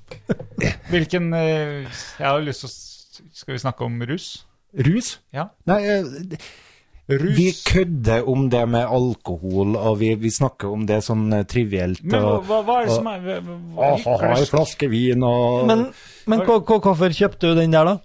[SPEAKER 1] Hvilken eh, Jeg har jo lyst til å s- Skal vi snakke om rus?
[SPEAKER 2] Rus?
[SPEAKER 1] Ja.
[SPEAKER 2] Nei, eh,
[SPEAKER 1] Rus.
[SPEAKER 2] vi kødder om det med alkohol, og vi, vi snakker om det sånn eh, trivielt.
[SPEAKER 1] Men hva,
[SPEAKER 2] og,
[SPEAKER 1] hva, hva er det som er hva- hva- hva-
[SPEAKER 2] Aha, ei flaske vin og
[SPEAKER 3] Men, men hva- hva- hvorfor kjøpte du den der, da?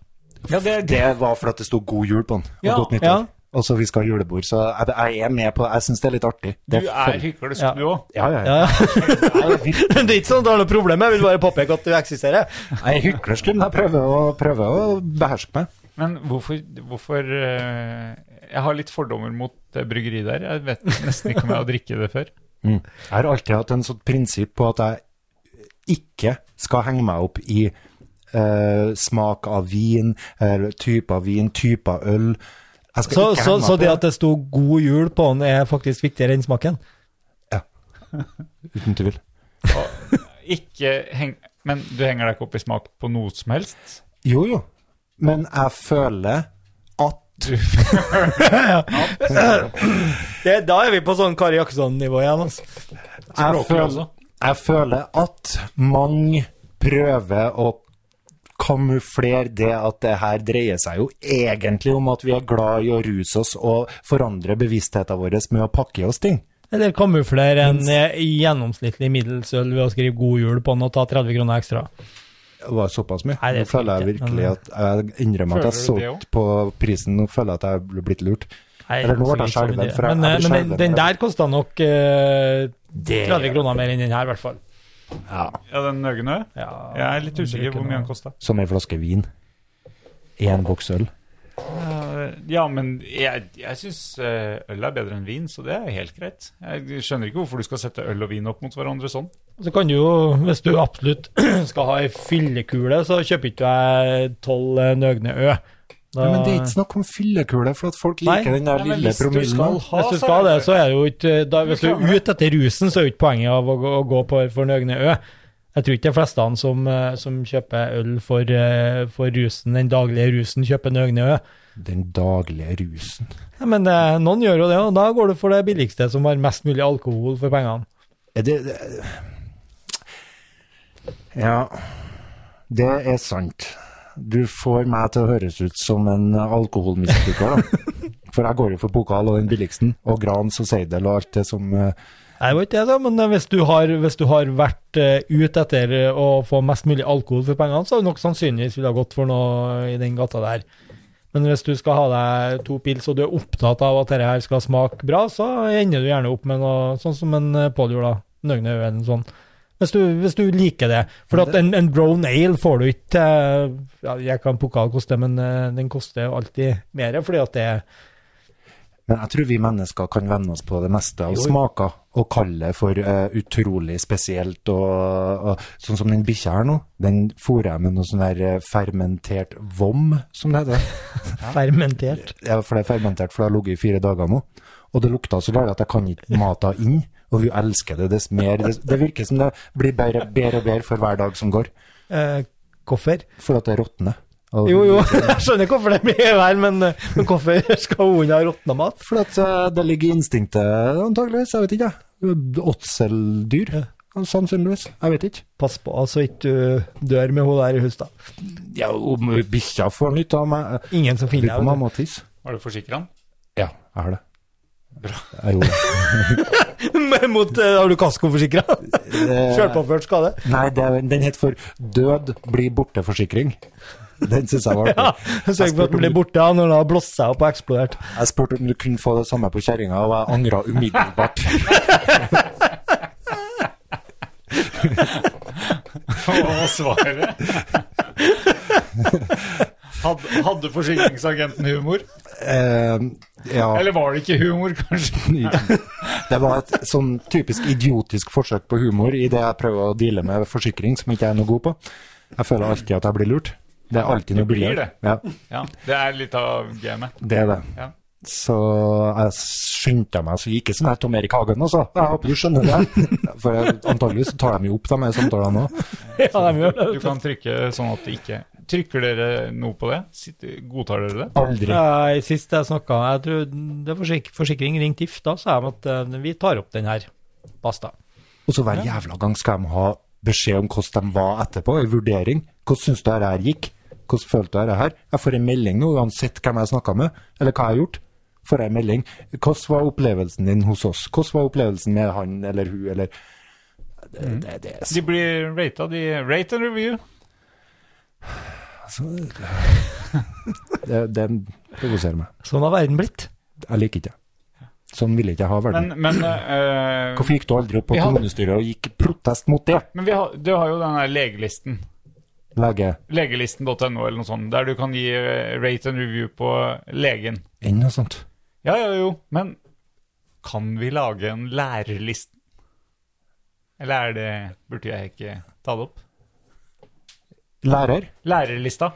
[SPEAKER 1] Ja, det, det,
[SPEAKER 2] Det var for at det sto god jul på den, og
[SPEAKER 1] Ja,
[SPEAKER 2] godt nyttår.
[SPEAKER 3] ja.
[SPEAKER 2] Og så vi skal ha julebord, så jeg, jeg er med på det. Jeg syns det er litt artig.
[SPEAKER 1] du
[SPEAKER 2] Det
[SPEAKER 1] er
[SPEAKER 2] føl-
[SPEAKER 1] hyklersk,
[SPEAKER 3] Ja.
[SPEAKER 1] du òg.
[SPEAKER 2] Ja, ja, ja.
[SPEAKER 3] Ja. det er ikke sånn at det er noe problem, jeg vil bare påpeke at du eksisterer.
[SPEAKER 2] Jeg er hyklersk, men jeg prøver å, prøver å beherske meg.
[SPEAKER 1] Men hvorfor, hvorfor eh, Jeg har litt fordommer mot det bryggeriet der. Jeg vet nesten ikke om jeg har drikket det før.
[SPEAKER 2] Jeg har alltid hatt en sånn prinsipp på at jeg ikke skal henge meg opp i eh, smak av vin, eller type av vin, type av øl. Jeg skal
[SPEAKER 3] Så,
[SPEAKER 2] ikke
[SPEAKER 3] så,
[SPEAKER 2] henge meg
[SPEAKER 3] så
[SPEAKER 2] på
[SPEAKER 3] det at det sto 'god jul' på den, er faktisk viktigere enn smaken?
[SPEAKER 2] Uten tvil.
[SPEAKER 1] Ikke heng, men du henger deg ikke opp i smak på noe som helst?
[SPEAKER 2] Jo, jo. Men jeg føler at
[SPEAKER 1] Du,
[SPEAKER 3] Det, da er vi på sånn Kari Jakkesson-nivå igjen, altså.
[SPEAKER 2] jeg
[SPEAKER 1] Språklig
[SPEAKER 2] føler,
[SPEAKER 1] også.
[SPEAKER 2] jeg føler at mange prøver å kamuflere det at det her dreier seg jo egentlig om at vi er glad i å ruse oss og forandre bevisstheten vår med å pakke i oss ting.
[SPEAKER 3] Eller kamuflere en eh, gjennomsnittlig middelsøl ved å skrive 'god jul' på den og ta 30 kroner ekstra.
[SPEAKER 2] Det var såpass mye.
[SPEAKER 3] Nei, det
[SPEAKER 2] Nå føler jeg
[SPEAKER 3] tenkte jeg.
[SPEAKER 2] virkelig at jeg innrømmer at jeg
[SPEAKER 1] Føler du det
[SPEAKER 2] solgte på prisen. Nå føler jeg at jeg ble blitt lurt.
[SPEAKER 3] Nei,
[SPEAKER 2] Eller nå ble jeg
[SPEAKER 3] sikkert så
[SPEAKER 2] skjelven,
[SPEAKER 3] mye.
[SPEAKER 2] for jeg-
[SPEAKER 3] Men,
[SPEAKER 2] jeg
[SPEAKER 3] eh,
[SPEAKER 2] blir
[SPEAKER 3] men den,
[SPEAKER 2] skjelven.
[SPEAKER 3] den der kosta nok eh,
[SPEAKER 2] Det-
[SPEAKER 3] 30 kroner mer enn den her, i hvert fall.
[SPEAKER 2] Ja,
[SPEAKER 1] ja, den nøgne?
[SPEAKER 3] Ja,
[SPEAKER 1] Jeg er litt usikker hvor mye den kosta.
[SPEAKER 2] Som ei flaske vin. Én boks øl.
[SPEAKER 1] Eh, Ja, men jeg, jeg syns øl er bedre enn vin, så det er helt greit. Jeg skjønner ikke hvorfor du skal sette øl og vin opp mot hverandre sånn.
[SPEAKER 3] Så kan du jo, hvis du absolutt skal ha ei fyllekule, så kjøper ikke du deg tolv eh, nøgne ø.
[SPEAKER 6] Da,
[SPEAKER 2] men det er ikke snakk om fyllekule, for at folk
[SPEAKER 6] Nei,
[SPEAKER 2] liker den der
[SPEAKER 1] Nei, men
[SPEAKER 2] lille
[SPEAKER 1] hvis du skal
[SPEAKER 2] promillen.
[SPEAKER 1] ha,
[SPEAKER 3] Hvis du
[SPEAKER 1] så er
[SPEAKER 3] skal det, så er det jo ikke da, Hvis du
[SPEAKER 1] Du
[SPEAKER 3] er
[SPEAKER 1] klarer det.
[SPEAKER 3] ute etter rusen, så er jo ikke poenget av å gå, å gå på for den øgne ø. Jeg tror ikke de fleste han som, eh, som kjøper øl for, eh, for rusen, den daglige rusen, kjøper en øgne ø.
[SPEAKER 2] Den daglige rusen.
[SPEAKER 3] Ja, Men eh, noen gjør jo det, og da går du for det billigste som har mest mulig alkohol for pengene.
[SPEAKER 2] Er det, det Ja, det er sant. Du får meg til å høres ut som en alkoholmisbruker, da. For jeg går jo for pokal og den billigsten, og Grans og Seidel og alt det som eh,
[SPEAKER 3] Nei, det var ikke det, da, men eh, hvis du har, hvis du har vært eh, ute etter eh, å få mest mulig alkohol for pengene, så har du nok sannsynligvis ville ha gått for noe i den gata der. Men hvis du skal ha deg to pils, og du er opptatt av at dette her skal smake bra, så ender du gjerne opp med noe sånn som en eh, Pål gjorde, da. Nøgne øyne eller sånn. Hvis du, hvis du liker det. For at en, en brown ale får du ikke eh, ja, Jeg kan pokal koste, men eh, den koster jo alltid mer, fordi at det er
[SPEAKER 2] Men jeg tror vi mennesker kan venne oss på det meste av
[SPEAKER 3] Jo, jo.
[SPEAKER 2] smaker, og kalle det for eh, utrolig spesielt. Og, og, sånn som den bikkja her nå, den fôrer jeg med noe sånn der eh, fermentert vom, som det heter.
[SPEAKER 3] fermentert.
[SPEAKER 2] Ja, for det er fermentert, for det har ligget i fire dager nå. Og det lukta så galt at jeg kan ikke mata inn. Og hun elsker det dess mer. Dess, det virker som det blir bedre, bedre og bedre for hver dag som går.
[SPEAKER 3] Eh, hvorfor?
[SPEAKER 2] For at det råtner. Og-
[SPEAKER 3] Jo, jo, jeg skjønner hvorfor det blir vær, men, men hvorfor skal hunden ha råtna mat?
[SPEAKER 2] For at eh, det ligger i instinktet, antageligvis. Jeg vet ikke, jeg. Åtseldyr. Sannsynligvis. Jeg vet ikke.
[SPEAKER 3] Pass på altså ikke du dør med hun der i huset. da.
[SPEAKER 2] Ja, om bikkja får nytt av meg
[SPEAKER 3] Ingen som
[SPEAKER 2] Lurer på
[SPEAKER 3] finner
[SPEAKER 2] om jeg
[SPEAKER 3] deg.
[SPEAKER 2] må tisse.
[SPEAKER 1] Har du forsikra den?
[SPEAKER 2] Ja, jeg har det. Jeg gjorde det.
[SPEAKER 3] Men Mot, eh, har du kaskoforsikra? Sjølpåført skade?
[SPEAKER 2] Nei, det, er- den het for Død blir borte-forsikring. Den syns jeg var
[SPEAKER 3] Ja,
[SPEAKER 2] artig.
[SPEAKER 3] Sørg for at den blir borte ja, når den har blåst seg opp og eksplodert.
[SPEAKER 2] Jeg spurte om du kunne få det samme på kjerringa, og jeg angra umiddelbart.
[SPEAKER 1] Og svaret hadde, hadde forsikringsagenten humor?
[SPEAKER 2] Eh, ja.
[SPEAKER 1] Eller var det ikke humor, kanskje?
[SPEAKER 2] Det var et sånn typisk idiotisk forsøk på humor i det jeg prøver å deale med forsikring, som ikke jeg er noe god på. Jeg føler alltid at jeg blir lurt. Det er alltid noe
[SPEAKER 1] Du blir
[SPEAKER 2] billigere. Ja,
[SPEAKER 1] Ja, Det er litt av gamet.
[SPEAKER 2] det er det.
[SPEAKER 1] Ja.
[SPEAKER 2] Så jeg skyndte meg, så ikke sånn her Tom Erik Hagen, altså. Jeg håper du skjønner det. For jeg- antageligvis så tar de jo opp de her samtalene òg.
[SPEAKER 3] Ja, de gjør det.
[SPEAKER 1] Du kan trykke sånn at det ikke Trykker dere noe på det? Sitter, godtar dere det?
[SPEAKER 2] Aldri.
[SPEAKER 3] Nei, Sist jeg snakka, jeg tror det er forsik forsikring ringte If, da sa de at eh, vi tar opp den her. Basta.
[SPEAKER 2] Og så hver jævla gang skal de ha beskjed om hvordan de var etterpå, en vurdering. Hvordan syns du dette her gikk? Hvordan følte du dette her? Jeg får en melding nå, uansett hvem jeg snakka med, eller hva jeg har gjort. Får jeg en melding. Hvordan var opplevelsen din hos oss? Hvordan var opplevelsen med han eller hun, eller det, det, det er så
[SPEAKER 1] De blir rata, de Rate and review.
[SPEAKER 2] Altså, det, det provoserer meg.
[SPEAKER 3] Sånn har verden blitt.
[SPEAKER 2] Jeg liker ikke det. Sånn vil jeg ikke ha verden.
[SPEAKER 1] Men, men eh,
[SPEAKER 2] Hvorfor gikk du aldri opp på
[SPEAKER 1] Vi hadde-
[SPEAKER 2] kommunestyret og gikk i protest mot det?
[SPEAKER 1] Men vi har, du har jo den der legelisten.
[SPEAKER 2] Lege.
[SPEAKER 1] Legelisten.no eller noe sånt, der du kan gi eh, rate and review på legen.
[SPEAKER 2] Enn noe sånt.
[SPEAKER 1] Ja, ja, jo, men kan vi lage en lærerliste? Eller er det Burde jeg ikke ta det opp?
[SPEAKER 2] Lærer.
[SPEAKER 1] Lærerlista.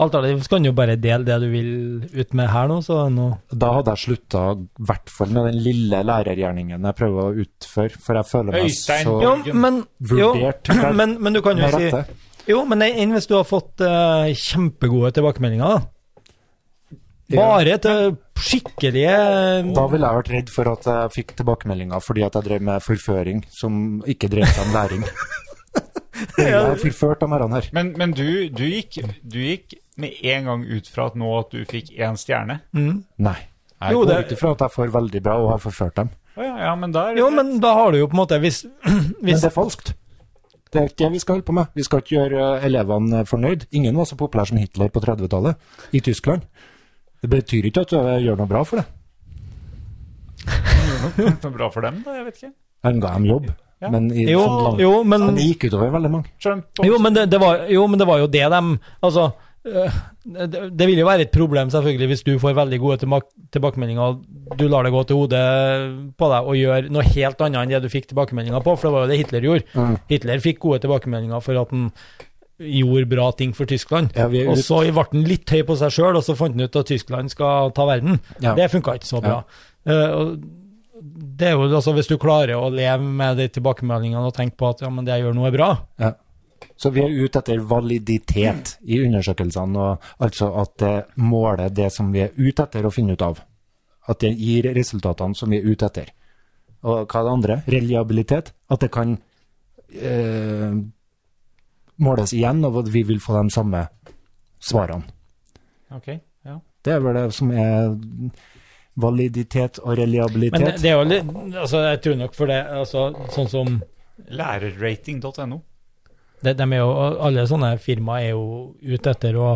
[SPEAKER 3] Alternativt så kan du jo bare dele det du vil ut med her nå, så nå
[SPEAKER 2] Da hadde jeg slutta i hvert fall med den lille lærergjerningen jeg prøver å utføre, for jeg føler meg
[SPEAKER 1] Øystein,
[SPEAKER 2] så
[SPEAKER 3] Jo,
[SPEAKER 1] Jørgen.
[SPEAKER 3] men, jo,
[SPEAKER 2] Vurdert, vel?
[SPEAKER 3] men, men du kan jo
[SPEAKER 2] med
[SPEAKER 3] si
[SPEAKER 2] rette.
[SPEAKER 3] Jo, men enn hvis du har fått eh, kjempegode tilbakemeldinger, da. Bare til skikkelige
[SPEAKER 2] Da ville jeg vært redd for at jeg fikk tilbakemeldinger fordi at jeg drev med forføring, som ikke drev seg om læring. Jeg er forført av disse her.
[SPEAKER 1] Men, men du, du, gikk, du gikk med en gang ut fra at nå at du fikk én stjerne.
[SPEAKER 2] Nei. Jeg
[SPEAKER 3] Jo,
[SPEAKER 2] går
[SPEAKER 3] det-
[SPEAKER 2] ut ifra at jeg får veldig bra og har forført dem.
[SPEAKER 1] Å ja, ja, men da er det
[SPEAKER 3] Jo, men da har du jo på en måte Hvis,
[SPEAKER 2] Men
[SPEAKER 3] hvis
[SPEAKER 2] det er falskt. Det er ikke det vi skal holde på med. Vi skal ikke gjøre eh, elevene fornøyd. Ingen var så populær som Hitler på 30-tallet i Tyskland. Det betyr ikke at du gjør noe bra for det.
[SPEAKER 1] så bra for dem, da. Jeg vet ikke.
[SPEAKER 2] Han ga dem jobb,
[SPEAKER 1] Ja.
[SPEAKER 2] men i
[SPEAKER 3] Jo,
[SPEAKER 2] sånn land-
[SPEAKER 3] jo, men,
[SPEAKER 2] Men det gikk utover veldig mange.
[SPEAKER 1] Trump
[SPEAKER 3] jo, men, det, det var, jo men det var jo det dem Altså, eh, det, det vil jo være et problem, selvfølgelig, hvis du får veldig gode tilbak- tilbakemeldinger, og du lar det gå til hodet på deg og gjør noe helt annet enn det du fikk tilbakemeldinger på, for det var jo det Hitler gjorde. Hitler fikk gode tilbakemeldinger for at han gjorde bra ting for Tyskland.
[SPEAKER 2] Ja, vi er
[SPEAKER 3] Og
[SPEAKER 2] litt-
[SPEAKER 3] så ble han litt høy på seg sjøl, og så fant han ut at Tyskland skal ta verden.
[SPEAKER 2] Ja.
[SPEAKER 3] Det funka ikke så bra. Eh, og det er jo, altså, hvis du klarer å leve med de tilbakemeldingene og tenke på at ja, men det jeg gjør nå, er bra,
[SPEAKER 2] Så vi er ute etter validitet i undersøkelsene, og altså at det måler det som vi er ute etter å finne ut av. At det gir resultatene som vi er ute etter. Og hva er det andre? Reliabilitet. At det kan eh, måles igjen, og at vi vil få de samme svarene. Det er vel det som er validitet og reliabilitet.
[SPEAKER 3] Men det, det er jo litt altså, Jeg tror nok for det altså, Sånn som
[SPEAKER 1] Lærerrating.no.
[SPEAKER 3] det, de er jo, Alle sånne firmaer er jo ute etter å,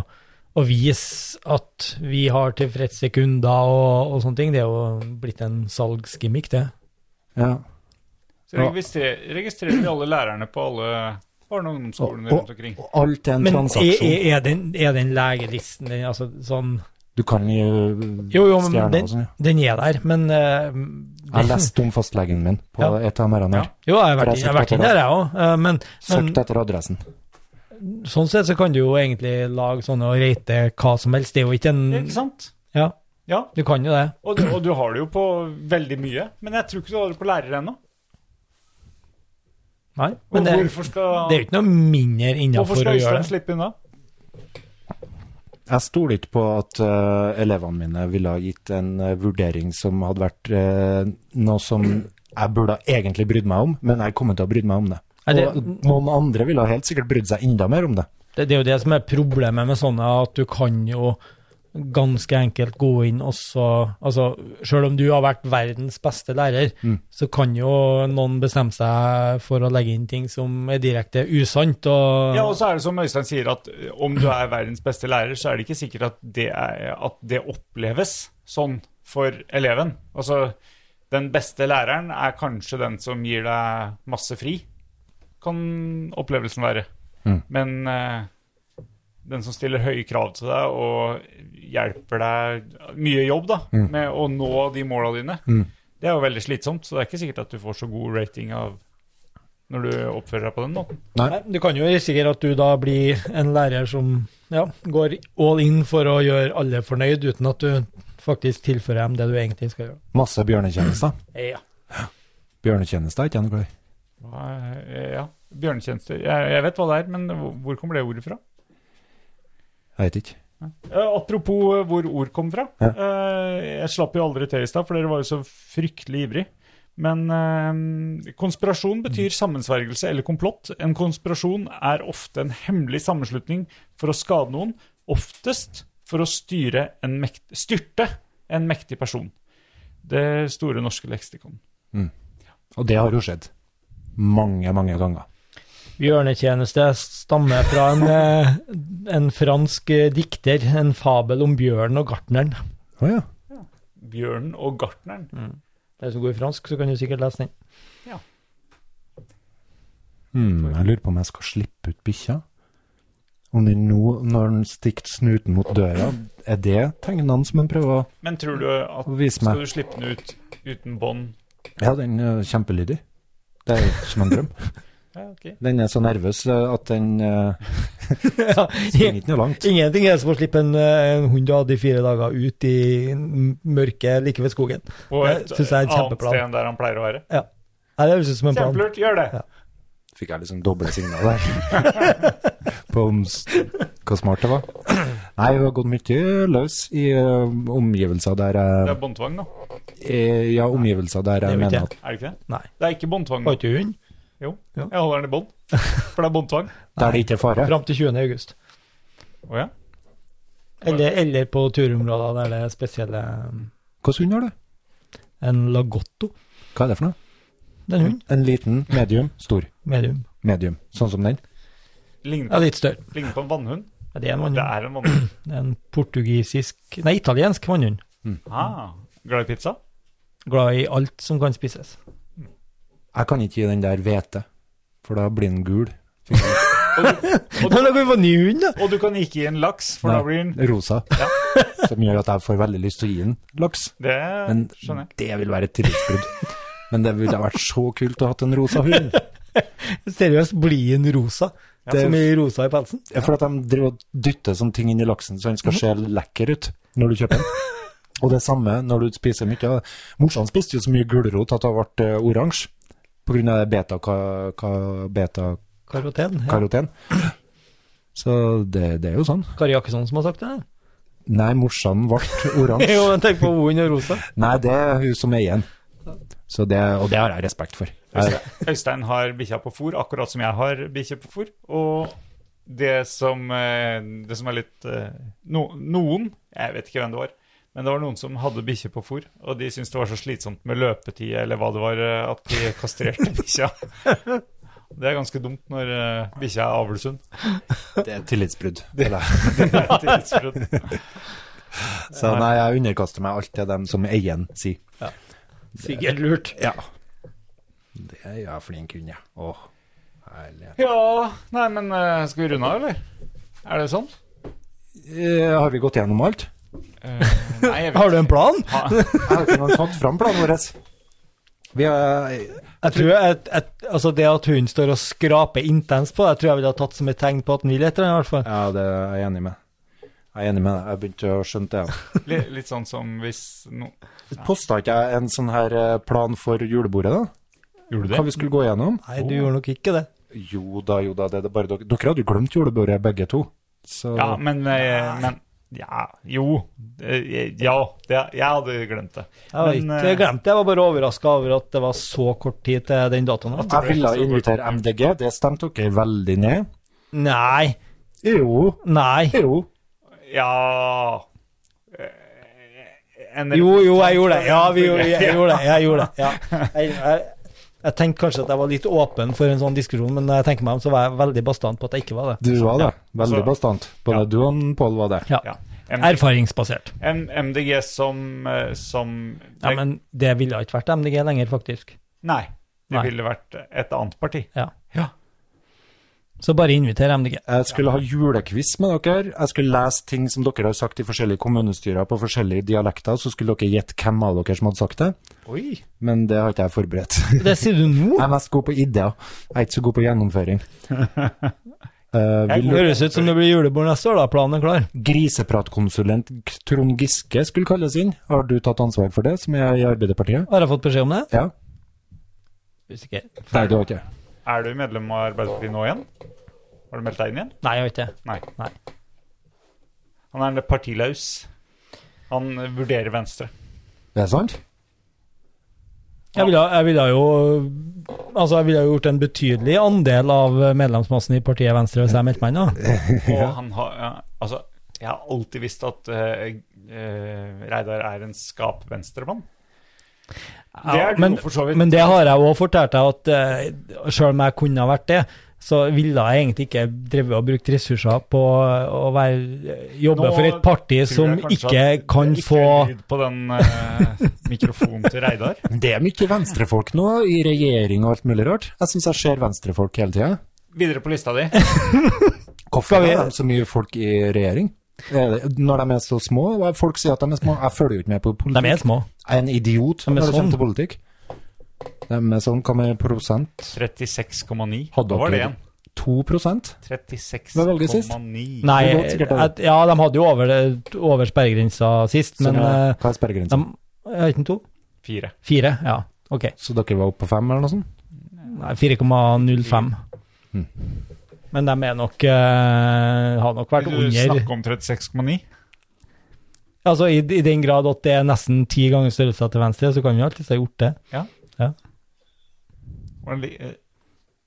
[SPEAKER 3] å vise at vi har tilfredse kunder og, og sånne ting. Det er jo blitt en salgsgimmick, det.
[SPEAKER 2] ja.
[SPEAKER 1] Så registrer, registrerer vi alle lærerne på alle barne- og ungdomsskolene
[SPEAKER 2] Og-
[SPEAKER 1] rundt omkring.
[SPEAKER 2] Og alt er en
[SPEAKER 3] Men er,
[SPEAKER 2] transaksjon.
[SPEAKER 3] er, er, den, er den legelisten den, altså, sånn,
[SPEAKER 2] Du kan jo
[SPEAKER 3] Jo, jo, men
[SPEAKER 2] stjerne
[SPEAKER 3] den-
[SPEAKER 2] og sånn. ja.
[SPEAKER 3] Den er der, men eh,
[SPEAKER 2] Jeg leste om fastlegen min på
[SPEAKER 3] Ja.
[SPEAKER 2] et av mr her.
[SPEAKER 3] Jo, jeg har vært,
[SPEAKER 2] For jeg
[SPEAKER 3] jeg har vært
[SPEAKER 2] søkte
[SPEAKER 3] inn
[SPEAKER 2] etter
[SPEAKER 3] der, jeg òg. Men, men
[SPEAKER 2] Søkte etter adressen.
[SPEAKER 3] sånn sett så kan du jo egentlig lage sånne og rate hva som helst. Det er jo ikke en
[SPEAKER 1] Ikke sant?
[SPEAKER 3] Ja,
[SPEAKER 1] Ja,
[SPEAKER 3] du kan jo det.
[SPEAKER 1] og, og du har det jo på veldig mye, men jeg tror ikke du har det på lærere ennå.
[SPEAKER 3] Nei,
[SPEAKER 1] Og
[SPEAKER 3] men det,
[SPEAKER 1] hvorfor skal,
[SPEAKER 3] det er jo ikke noe mindre
[SPEAKER 1] hvorfor
[SPEAKER 3] innafor å
[SPEAKER 1] skal
[SPEAKER 3] gjøre
[SPEAKER 1] Øystein
[SPEAKER 3] det.
[SPEAKER 1] slippe unna?
[SPEAKER 2] Jeg stoler ikke på at eh, elevene mine ville ha gitt en eh, vurdering som hadde vært eh, noe som jeg burde ha egentlig brydd meg om, men jeg kommer til å bry meg om det.
[SPEAKER 3] Nei, det-
[SPEAKER 2] Og noen andre ville ha helt sikkert brydd seg enda mer om det.
[SPEAKER 3] det. Det er jo det som er problemet med sånne, at du kan jo ganske enkelt gå inn og så Altså, sjøl om du har vært verdens beste lærer,
[SPEAKER 2] Mm.
[SPEAKER 3] så kan jo noen bestemme seg for å legge inn ting som er direkte usant, og
[SPEAKER 1] Ja, og så er det som Øystein sier, at ø, om du er verdens beste lærer, så er det ikke sikkert at det, er, at det oppleves sånn for eleven. Altså, den beste læreren er kanskje den som gir deg masse fri, kan opplevelsen være.
[SPEAKER 2] Mm.
[SPEAKER 1] Men ø, den som stiller høye krav til deg og hjelper deg mye jobb da,
[SPEAKER 2] Mm.
[SPEAKER 1] med å nå de måla dine,
[SPEAKER 2] Mm.
[SPEAKER 1] det er jo veldig slitsomt, så det er ikke sikkert at du får så god rating av når du oppfører deg på den måten.
[SPEAKER 3] Nei, Du kan jo risikere at du da blir en lærer som ja, går all in for å gjøre alle fornøyd, uten at du faktisk tilfører dem det du egentlig skal gjøre.
[SPEAKER 2] Masse bjørnetjenester.
[SPEAKER 3] Ja.
[SPEAKER 2] Bjørnetjenester er ikke jeg noe glad i.
[SPEAKER 1] Hva er- eh, Ja, bjørnetjenester. Jeg, jeg vet hva det er, men hvor- hvor kommer det ordet fra?
[SPEAKER 2] Jeg vet ikke.
[SPEAKER 1] Eh, apropos eh, hvor ord kom fra.
[SPEAKER 2] Ja.
[SPEAKER 1] Eh, jeg slapp jo aldri til i stad, for dere var jo så fryktelig ivrig. Men eh, konspirasjon betyr sammensvergelse eller komplott. En konspirasjon er ofte en hemmelig sammenslutning for å skade noen, oftest for å styre en mekt styrte en mektig person. Det store norske leksikon.
[SPEAKER 2] Og det har jo skjedd. Mange, mange ganger.
[SPEAKER 3] Bjørnetjeneste stammer fra en, eh, en fransk eh, dikter, en fabel om bjørnen og gartneren.
[SPEAKER 2] Å ja.
[SPEAKER 1] Bjørnen og gartneren.
[SPEAKER 3] Det er så god i fransk, så kan du sikkert lese den.
[SPEAKER 2] Hmm, jeg lurer på om jeg skal slippe ut bikkja. Om den nå, når den stikker snuten mot døra, er det tegnene som en prøver å
[SPEAKER 1] Men tror du at
[SPEAKER 2] vise meg?
[SPEAKER 1] Skal du slippe den ut uten bånd?
[SPEAKER 2] Ja, den er kjempelydig. Det er jo som en drøm.
[SPEAKER 1] Ja, ok.
[SPEAKER 2] Den er så nervøs eh, at den uh,
[SPEAKER 3] Ja,
[SPEAKER 2] springer ikke noe langt.
[SPEAKER 3] Ingenting er som å slippe en, eh, en hund du hadde i fire dager ut i mørket like ved skogen.
[SPEAKER 1] På
[SPEAKER 3] Det
[SPEAKER 1] et
[SPEAKER 3] synes jeg er en
[SPEAKER 1] annet
[SPEAKER 3] kjempeplan.
[SPEAKER 1] sted enn der han pleier å være.
[SPEAKER 3] Nei, det høres ut som en plan.
[SPEAKER 1] Kjempelurt, gjør det!
[SPEAKER 3] Ja.
[SPEAKER 2] Fikk jeg liksom doble signal der. på om, s- hvor smart det var. Nei, vi har gått mye løs i eh, omgivelser der
[SPEAKER 1] Det
[SPEAKER 2] jeg
[SPEAKER 1] er båndtvang, da.
[SPEAKER 2] eh, Ja, omgivelser der
[SPEAKER 3] Det er
[SPEAKER 2] jeg
[SPEAKER 3] jo
[SPEAKER 2] mener
[SPEAKER 3] ikke
[SPEAKER 2] at
[SPEAKER 1] Er det ikke det?
[SPEAKER 3] Nei.
[SPEAKER 1] Det er ikke båndtvang.
[SPEAKER 3] Har ikke du hund?
[SPEAKER 1] Jo,
[SPEAKER 3] Ja.
[SPEAKER 1] jeg holder den i bånd. For det er båndtvang.
[SPEAKER 2] Der det ikke er fare.
[SPEAKER 3] Fram til 20. august.
[SPEAKER 1] Å ja.
[SPEAKER 3] Eller, eller på turområder der det er spesielle um,
[SPEAKER 2] Hvordan hund har du?
[SPEAKER 3] En lagotto.
[SPEAKER 2] Hva er det for noe?
[SPEAKER 3] Den hunden.
[SPEAKER 2] En liten, medium, stor.
[SPEAKER 3] Medium.
[SPEAKER 2] Medium. Sånn som den.
[SPEAKER 1] Ligner,
[SPEAKER 3] Ja, litt større.
[SPEAKER 1] ligner på en vannhund.
[SPEAKER 3] Ja, Det er en
[SPEAKER 1] Det
[SPEAKER 3] vannhund.
[SPEAKER 1] er en vannhund.
[SPEAKER 3] Det er En portugisisk Nei, italiensk vannhund.
[SPEAKER 1] Ah, glad i pizza?
[SPEAKER 3] Glad i alt som kan spises.
[SPEAKER 2] Jeg kan ikke gi den der hvete, for da blir den gul.
[SPEAKER 3] Og da kan vi få ny hund, da!
[SPEAKER 1] Og du kan ikke gi en laks, for
[SPEAKER 2] Nei,
[SPEAKER 1] da blir den
[SPEAKER 2] Rosa. som gjør at jeg får veldig lyst til å gi den laks.
[SPEAKER 1] Det
[SPEAKER 2] Men
[SPEAKER 1] skjønner jeg.
[SPEAKER 2] det vil være et tillitsbrudd. Men det ville ha vært så kult å ha hatt en rosa hund.
[SPEAKER 3] Seriøst, bli en rosa.
[SPEAKER 2] Det,
[SPEAKER 3] Som i rosa i pelsen.
[SPEAKER 2] Ja, for at de driver og dytter sånne ting inn i laksen, så den
[SPEAKER 3] Mhm.
[SPEAKER 2] skal se lekker ut når du kjøper den. Og det samme når du spiser mye. av det. Morsan spiste jo så mye gulrot at hun ble eh, oransje pga. beta-karoten. Beta
[SPEAKER 3] Karoten. Ja.
[SPEAKER 2] karoten. så det, det er jo sånn.
[SPEAKER 3] Kari Jakkesson som har sagt det?
[SPEAKER 2] Nei, morsan ble oransje.
[SPEAKER 3] jo, men tenk på Voen og rosa.
[SPEAKER 2] Nei, det er hun som er igjen. Så det, og det har jeg respekt for. Jeg,
[SPEAKER 1] Øystein har bikkja på fôr, akkurat som jeg har bikkje på fôr. Og det som, eh, det som er litt eh, no, Noen, jeg vet ikke hvem det var, men det var noen som hadde bikkje på fôr, og de syntes det var så slitsomt med løpetid eller hva det var, eh, at de kastrerte bikkja. Det er ganske dumt når eh, bikkja er avlsund.
[SPEAKER 2] det er tillitsbrudd.
[SPEAKER 1] Det er tidsfrutt.
[SPEAKER 2] Så nei, jeg underkaster meg alt det dem som er igjen sier.
[SPEAKER 3] Sikkert lurt.
[SPEAKER 2] Ja. Det er jeg flink hund, jeg. Åh, herlighet.
[SPEAKER 1] Ja, nei, men eh, skal vi runde av, eller? Er det sånn?
[SPEAKER 2] Eh, har vi gått gjennom alt?
[SPEAKER 1] Eh, nei, jeg vet
[SPEAKER 3] Har du en plan?
[SPEAKER 1] ikke.
[SPEAKER 2] Jeg har ikke engang tatt fram planen vår. Vi har
[SPEAKER 3] Jeg tror jeg, jeg, altså Det at hunden står og skraper intens på, jeg tror jeg ville ha tatt som et tegn på at den vil etter den. i hvert fall.
[SPEAKER 2] Ja, det er jeg enig med. Jeg er enig med deg. Jeg begynte å skjønne det. ja.
[SPEAKER 1] Litt, litt sånn som hvis no...
[SPEAKER 2] Posta ikke jeg en sånn her eh, plan for julebordet, da?
[SPEAKER 1] Gjorde
[SPEAKER 2] Hva vi skulle gå gjennom?
[SPEAKER 3] Nei, du gjorde nok ikke det.
[SPEAKER 2] Jo da, jo da. Det er det bare dere. Dere hadde jo glemt julebordet, begge to. Så
[SPEAKER 1] Ja, men, eh, men Ja, jo. eh, Ja, det, jeg hadde glemt det.
[SPEAKER 3] Jeg, var
[SPEAKER 1] Men,
[SPEAKER 3] ikke, jeg
[SPEAKER 1] eh,
[SPEAKER 3] glemte det. Jeg var bare overraska over at det var så kort tid til den datoen. her.
[SPEAKER 2] jeg ville invitere MDG. Det stemte dere veldig ned.
[SPEAKER 3] Nei,
[SPEAKER 2] Jo.
[SPEAKER 3] nei.
[SPEAKER 2] Jo.
[SPEAKER 1] Ja eh, en-
[SPEAKER 3] Jo, jo, jeg gjorde det. Ja, vi, gjorde- jeg gjorde det. Jeg gjorde det. Ja. Jeg, jeg, jeg tenkte kanskje at jeg var litt åpen for en sånn diskusjon, men når jeg tenker meg om, så var jeg veldig bastant på at jeg ikke var det.
[SPEAKER 2] Du var det. Veldig
[SPEAKER 1] Så-
[SPEAKER 2] bastant. Både
[SPEAKER 1] Ja.
[SPEAKER 2] du og Pål var det.
[SPEAKER 1] ja. M-
[SPEAKER 3] Erfaringsbasert.
[SPEAKER 1] M- MDG som, eh, som
[SPEAKER 3] Ja, men det ville ikke vært MDG lenger, faktisk.
[SPEAKER 1] Nei. Det
[SPEAKER 3] Nei.
[SPEAKER 1] ville vært et annet parti.
[SPEAKER 3] Ja.
[SPEAKER 1] Ja.
[SPEAKER 3] Så bare inviter MDG.
[SPEAKER 2] Jeg skulle ha julequiz med dere. Jeg skulle lese ting som dere har sagt i forskjellige kommunestyrer på forskjellige dialekter, så skulle dere gjette hvem av dere som hadde sagt det.
[SPEAKER 1] Oi.
[SPEAKER 2] Men det har ikke jeg forberedt.
[SPEAKER 3] Det sier du nå?
[SPEAKER 2] Jeg er mest god på ideer. Jeg er ikke så god på gjennomføring. Eh, vil du,
[SPEAKER 3] Høres ut som det blir julebord neste år, da. Planen er klar.
[SPEAKER 2] grisepratkonsulent Trond Giske skulle kalles inn. Har du tatt ansvar for det, som er i Arbeiderpartiet?
[SPEAKER 3] Har jeg fått beskjed om det?
[SPEAKER 2] Ja?
[SPEAKER 3] Usikker.
[SPEAKER 2] Nei, du har ikke.
[SPEAKER 1] Er du medlem av Arbeiderpartiet nå igjen? Har du meldt deg inn igjen?
[SPEAKER 3] Nei, jeg vet ikke.
[SPEAKER 1] Nei.
[SPEAKER 3] Nei.
[SPEAKER 1] Han er partilaus. Han vurderer venstre.
[SPEAKER 2] Det er sant?
[SPEAKER 3] Jeg ville, jeg ville jo Altså, jeg ville jo gjort en betydelig andel av medlemsmassen i partiet Venstre hvis jeg meldte meg inn, da.
[SPEAKER 1] Og han har ja, Altså, jeg har alltid visst at eh, eh, Reidar er en skapvenstremann. Det er du
[SPEAKER 3] men,
[SPEAKER 1] for så vidt.
[SPEAKER 3] men det har jeg òg fortalt deg, at eh, selv om jeg kunne ha vært det, så ville jeg egentlig ikke drevet og brukt ressurser på å være, jobbe
[SPEAKER 1] Nå
[SPEAKER 3] for et parti
[SPEAKER 1] tror jeg
[SPEAKER 3] som
[SPEAKER 1] kanskje
[SPEAKER 3] ikke
[SPEAKER 1] at det
[SPEAKER 3] kan
[SPEAKER 1] ikke
[SPEAKER 3] få
[SPEAKER 1] er lyd på den eh, mikrofonen til Reidar.
[SPEAKER 2] Men Det er mye venstrefolk nå, i regjering og alt mulig rart. Jeg syns jeg ser venstrefolk hele tida.
[SPEAKER 1] Videre på lista di.
[SPEAKER 2] Hvorfor er det så mye folk i regjering? Er det- Når de er så små? og Folk sier at de er små. Jeg følger jo ikke med på politikk.
[SPEAKER 3] De er små.
[SPEAKER 2] Jeg er en idiot
[SPEAKER 3] De er
[SPEAKER 2] når det
[SPEAKER 3] sånn.
[SPEAKER 2] kommer til politikk. De er sånn, hva med prosent?
[SPEAKER 1] 36,9.
[SPEAKER 2] Hadde
[SPEAKER 1] Hva var det
[SPEAKER 2] dere-
[SPEAKER 1] igjen?
[SPEAKER 2] 2 prosent?
[SPEAKER 1] Hva
[SPEAKER 2] valget sist?
[SPEAKER 1] 36,9.
[SPEAKER 3] Nei,
[SPEAKER 2] Det går sikkert over.
[SPEAKER 3] at- ja, de hadde jo over, det- over sperregrensa sist,
[SPEAKER 1] Sånn
[SPEAKER 2] Men,
[SPEAKER 3] men eh,
[SPEAKER 2] hva er sperregrensa?
[SPEAKER 3] de, er ikke den to?
[SPEAKER 1] Fire.
[SPEAKER 3] Fire? Ja, ok.
[SPEAKER 2] Så dere var oppe på fem, eller noe sånt?
[SPEAKER 3] Nei, 4,05.
[SPEAKER 2] Mm.
[SPEAKER 3] Men de er nok eh, har nok vært
[SPEAKER 1] Vil du
[SPEAKER 3] under
[SPEAKER 1] snakke om 36,9?
[SPEAKER 3] Altså i, I den grad at det er nesten ti ganger størrelsen til venstre, så kan vi alltids ha gjort det.
[SPEAKER 1] Var det li- eh,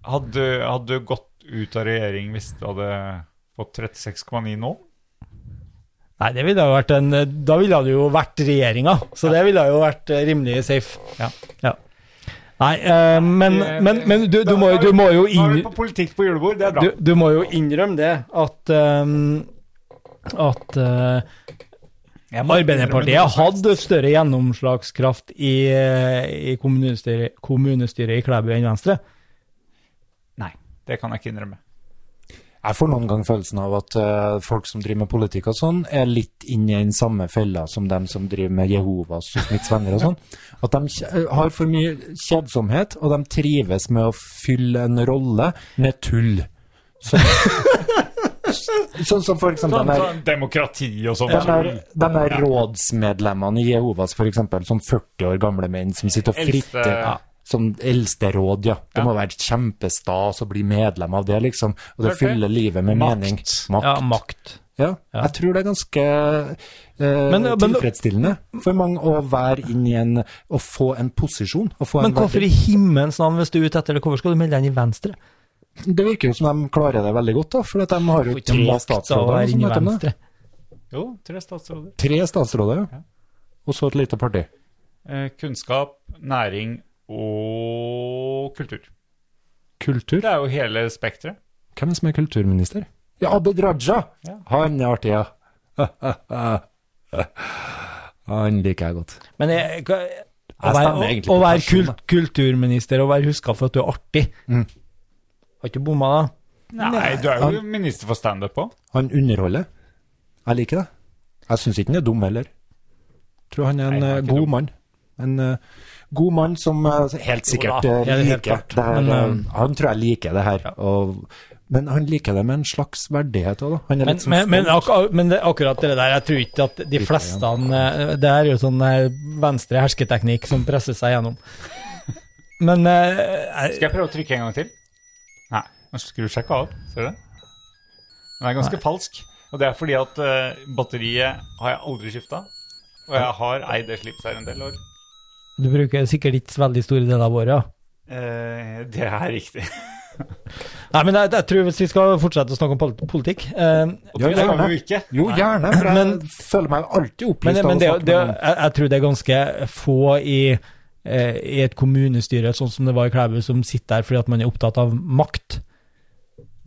[SPEAKER 1] Hadde, hadde du gått ut av regjering hvis du hadde fått 36,9 nå?
[SPEAKER 3] Nei, det ville jo vært en Da ville det jo vært regjeringa, så det ville jo vært eh, rimelig safe.
[SPEAKER 1] Ja.
[SPEAKER 3] Nei, eh, men, men, men du, du, må, jo- du må jo
[SPEAKER 1] Nå er
[SPEAKER 3] inn...
[SPEAKER 1] vi på politikk på julebord, det er bra.
[SPEAKER 3] Du, du må jo innrømme det at ehm, at eh, Arbeiderpartiet hadde større gjennomslagskraft i, eh, i kommunestyret, kommunestyret i Klæbu enn Venstre.
[SPEAKER 1] Nei, det kan jeg ikke innrømme.
[SPEAKER 2] Jeg får noen gang følelsen av at eh, folk som driver med politikk og sånn, er litt inne i den samme fella som dem som driver med Jehovas og Smiths venner og sånn. At de kje- har for mye kjedsomhet, og de trives med å fylle en rolle med tull. Sånn som for eksempel
[SPEAKER 1] Sånn,
[SPEAKER 2] den her
[SPEAKER 1] sånn demokrati og sånn.
[SPEAKER 2] De er, de er rådsmedlemmene i Jehovas, for eksempel, sånn 40 år gamle menn som sitter og
[SPEAKER 1] Eldste-
[SPEAKER 2] fritter. Ja. Som eldste råd, ja. Det må være kjempestas å bli medlem av det, liksom. Og det
[SPEAKER 1] Hørte jeg.
[SPEAKER 2] fyller livet med
[SPEAKER 1] Makt.
[SPEAKER 2] mening.
[SPEAKER 3] Ja,
[SPEAKER 2] Makt.
[SPEAKER 3] makt.
[SPEAKER 2] Ja. Jeg tror det er ganske eh,
[SPEAKER 3] Men- men-
[SPEAKER 2] tilfredsstillende for mange å være inn i en Å få en posisjon. Å få
[SPEAKER 3] Men
[SPEAKER 2] en
[SPEAKER 3] hvorfor i
[SPEAKER 2] verdi.
[SPEAKER 3] himmelens navn, hvis du er ute etter det, hvorfor skal du melde deg inn i Venstre?
[SPEAKER 2] Det virker jo som de klarer det veldig godt, da. For at de har jo
[SPEAKER 3] Ikke
[SPEAKER 2] tre
[SPEAKER 3] makt å
[SPEAKER 2] statsråder.
[SPEAKER 3] være
[SPEAKER 2] som
[SPEAKER 3] inn i
[SPEAKER 2] heter det.
[SPEAKER 3] Venstre.
[SPEAKER 1] Jo, tre statsråder.
[SPEAKER 2] Tre statsråder, ja. Og så et lite parti.
[SPEAKER 1] Eh, kunnskap, næring og kultur.
[SPEAKER 2] Kultur.
[SPEAKER 1] Det er jo hele spekteret.
[SPEAKER 2] Hvem er det som er kulturminister? Ja, Abid Raja!
[SPEAKER 1] Ja.
[SPEAKER 2] Han er artig, ja. Han liker jeg godt.
[SPEAKER 3] Men jeg, hva- å
[SPEAKER 2] Jeg stemmer
[SPEAKER 3] være,
[SPEAKER 2] egentlig
[SPEAKER 3] å, å
[SPEAKER 2] på
[SPEAKER 3] være
[SPEAKER 2] person,
[SPEAKER 3] kult, kulturminister og være huska for at du er artig
[SPEAKER 2] Mm.
[SPEAKER 3] Har ikke bomma, da?
[SPEAKER 1] Nei, du er jo minister for standup òg.
[SPEAKER 2] Han underholder. Jeg liker det. Jeg syns ikke han er dum heller. Tror han er
[SPEAKER 1] Nei,
[SPEAKER 2] en
[SPEAKER 1] han er
[SPEAKER 2] eh,
[SPEAKER 1] ikke
[SPEAKER 2] god
[SPEAKER 1] dum.
[SPEAKER 2] mann. En eh, god mann som eh, helt sikkert
[SPEAKER 3] da,
[SPEAKER 2] eh,
[SPEAKER 3] ja, det er helt
[SPEAKER 2] liker
[SPEAKER 3] klart.
[SPEAKER 2] det her.
[SPEAKER 3] Men,
[SPEAKER 2] eh, han tror jeg liker det her. Og, men han liker det med en slags verdighet òg, da. Han er
[SPEAKER 3] Men,
[SPEAKER 2] litt sånn
[SPEAKER 3] men, men,
[SPEAKER 2] stolt.
[SPEAKER 3] akkurat, men det, akkurat det der, jeg tror ikke at de fleste eh, Det er jo sånn eh, venstre hersketeknikk som presser seg gjennom. Men eh, jeg-
[SPEAKER 1] Skal jeg prøve å trykke en gang til? Nei, den skrur seg ikke av. Ser du det? Den er ganske falsk. Og det er fordi at eh, batteriet har jeg aldri skifta. Og jeg har eid det slipset her en del år.
[SPEAKER 3] du bruker sikkert ikke veldig store deler av året. Ja.
[SPEAKER 1] Eh, det er riktig.
[SPEAKER 3] Nei, men jeg, jeg tror hvis vi skal fortsette å snakke om pol- politikk eh,
[SPEAKER 1] Og det
[SPEAKER 2] Ja,
[SPEAKER 1] skal
[SPEAKER 2] gjerne.
[SPEAKER 1] vi jo ikke.
[SPEAKER 2] Jo, gjerne, for jeg
[SPEAKER 3] Men-
[SPEAKER 2] føler meg alltid
[SPEAKER 3] Men,
[SPEAKER 2] opplyst
[SPEAKER 3] men det,
[SPEAKER 2] av
[SPEAKER 3] er
[SPEAKER 2] å
[SPEAKER 3] jo- det,
[SPEAKER 2] snakke med
[SPEAKER 3] er jo-
[SPEAKER 2] noen.
[SPEAKER 3] jeg, jeg tror det er ganske få i, eh, i et kommunestyre, sånn som det var i Klæbu, som sitter der fordi at man er opptatt av makt.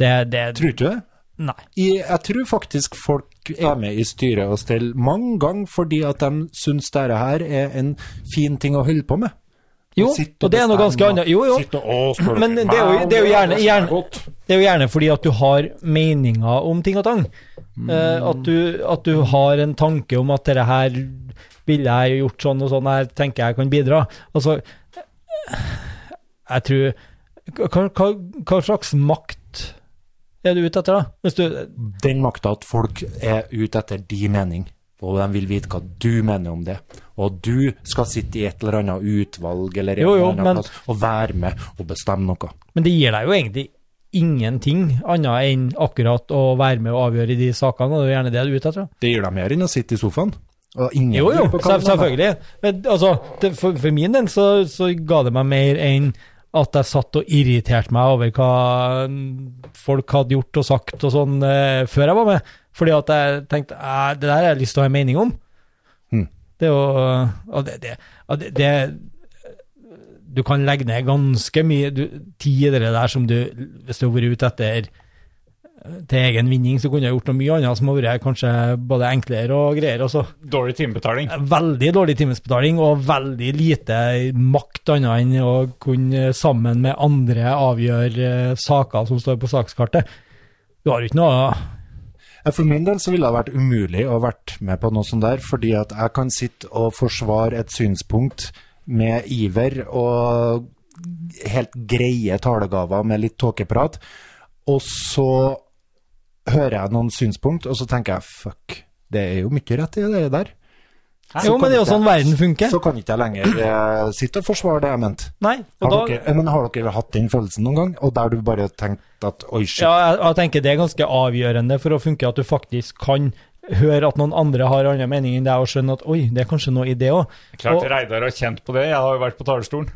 [SPEAKER 3] Det, det
[SPEAKER 2] Tror du ikke det?
[SPEAKER 3] Nei.
[SPEAKER 2] I, jeg tror faktisk folk er med i styret og stell mange ganger fordi at de syns dette her er en fin ting å holde på med.
[SPEAKER 3] Jo,
[SPEAKER 2] Sitte
[SPEAKER 3] og det er noe ganske
[SPEAKER 2] bestemme,
[SPEAKER 3] annet. Jo, jo.
[SPEAKER 2] sitte og spørre
[SPEAKER 3] Men det
[SPEAKER 2] meg
[SPEAKER 3] er jo,
[SPEAKER 2] om
[SPEAKER 3] det er jo gjerne,
[SPEAKER 2] det er
[SPEAKER 3] gjerne,
[SPEAKER 2] godt.
[SPEAKER 3] det er jo gjerne fordi at du har meninger om ting og tang. Eh, at, du, at du har en tanke om at dette her ville jeg gjort sånn og sånn, her tenker jeg kan bidra. Altså, jeg tror Hva, hva, hva slags makt er du ute etter, da? Hvis du,
[SPEAKER 2] Den makta at folk er ute etter din mening, og de vil vite hva du mener om det. Og du skal sitte i et eller annet utvalg eller en
[SPEAKER 3] Jo, jo,
[SPEAKER 2] eller annen
[SPEAKER 3] men-
[SPEAKER 2] plass og være med og bestemme noe.
[SPEAKER 3] men det gir deg jo egentlig ingenting annet enn akkurat å være med og avgjøre de sakene, og det er jo gjerne det du er ute etter. da.
[SPEAKER 2] Det gir dem mer enn å sitte i sofaen. Og ingen
[SPEAKER 3] Jo, jo,
[SPEAKER 2] lurer på hva de
[SPEAKER 3] selv-
[SPEAKER 2] mener.
[SPEAKER 3] selvfølgelig. Men altså, det, for, for min del så, så ga det meg mer enn at jeg satt og irriterte meg over hva folk hadde gjort og sagt og sånn eh, før jeg var med. Fordi at jeg tenkte "Æ, det der har jeg lyst til å ha en mening om.
[SPEAKER 2] Mhm.
[SPEAKER 3] Det er jo eh, Og det, det, og det, det Du kan legge ned ganske mye du, tid i det der som du Hvis du har vært ute etter eh, til egen vinning, så kunne jeg gjort noe mye annet som har vært kanskje både enklere og altså. greier også.
[SPEAKER 1] Dårlig timebetaling.
[SPEAKER 3] Veldig dårlig timesbetaling og veldig lite makt annet enn å kunne sammen med andre avgjøre eh, saker som står på sakskartet. Du har jo ikke noe
[SPEAKER 2] Ja, For min del så ville det vært umulig å vært med på noe sånt der, fordi at jeg kan sitte og forsvare et synspunkt med iver og helt greie talegaver med litt tåkeprat, og så hører jeg noen synspunkt, og så tenker jeg fuck, det er jo mye rett i det der. Så
[SPEAKER 3] Jo,
[SPEAKER 2] kan
[SPEAKER 3] men det er jo
[SPEAKER 2] ikke jeg-
[SPEAKER 3] sånn verden funker.
[SPEAKER 2] Så kan ikke jeg lenger eh, sitte og forsvare det jeg mente.
[SPEAKER 3] Nei, og
[SPEAKER 2] Har,
[SPEAKER 3] da
[SPEAKER 2] dere, men har dere hatt den følelsen noen gang, og der du bare tenkte at oi, shit,
[SPEAKER 3] Ja, jeg, jeg tenker det er ganske avgjørende for å funke at du faktisk kan høre at noen andre har annen mening enn deg, og skjønne at oi, det er kanskje noe i det òg.
[SPEAKER 1] Klart
[SPEAKER 3] Og-
[SPEAKER 1] Reidar har kjent på det. Jeg har jo vært på talerstolen.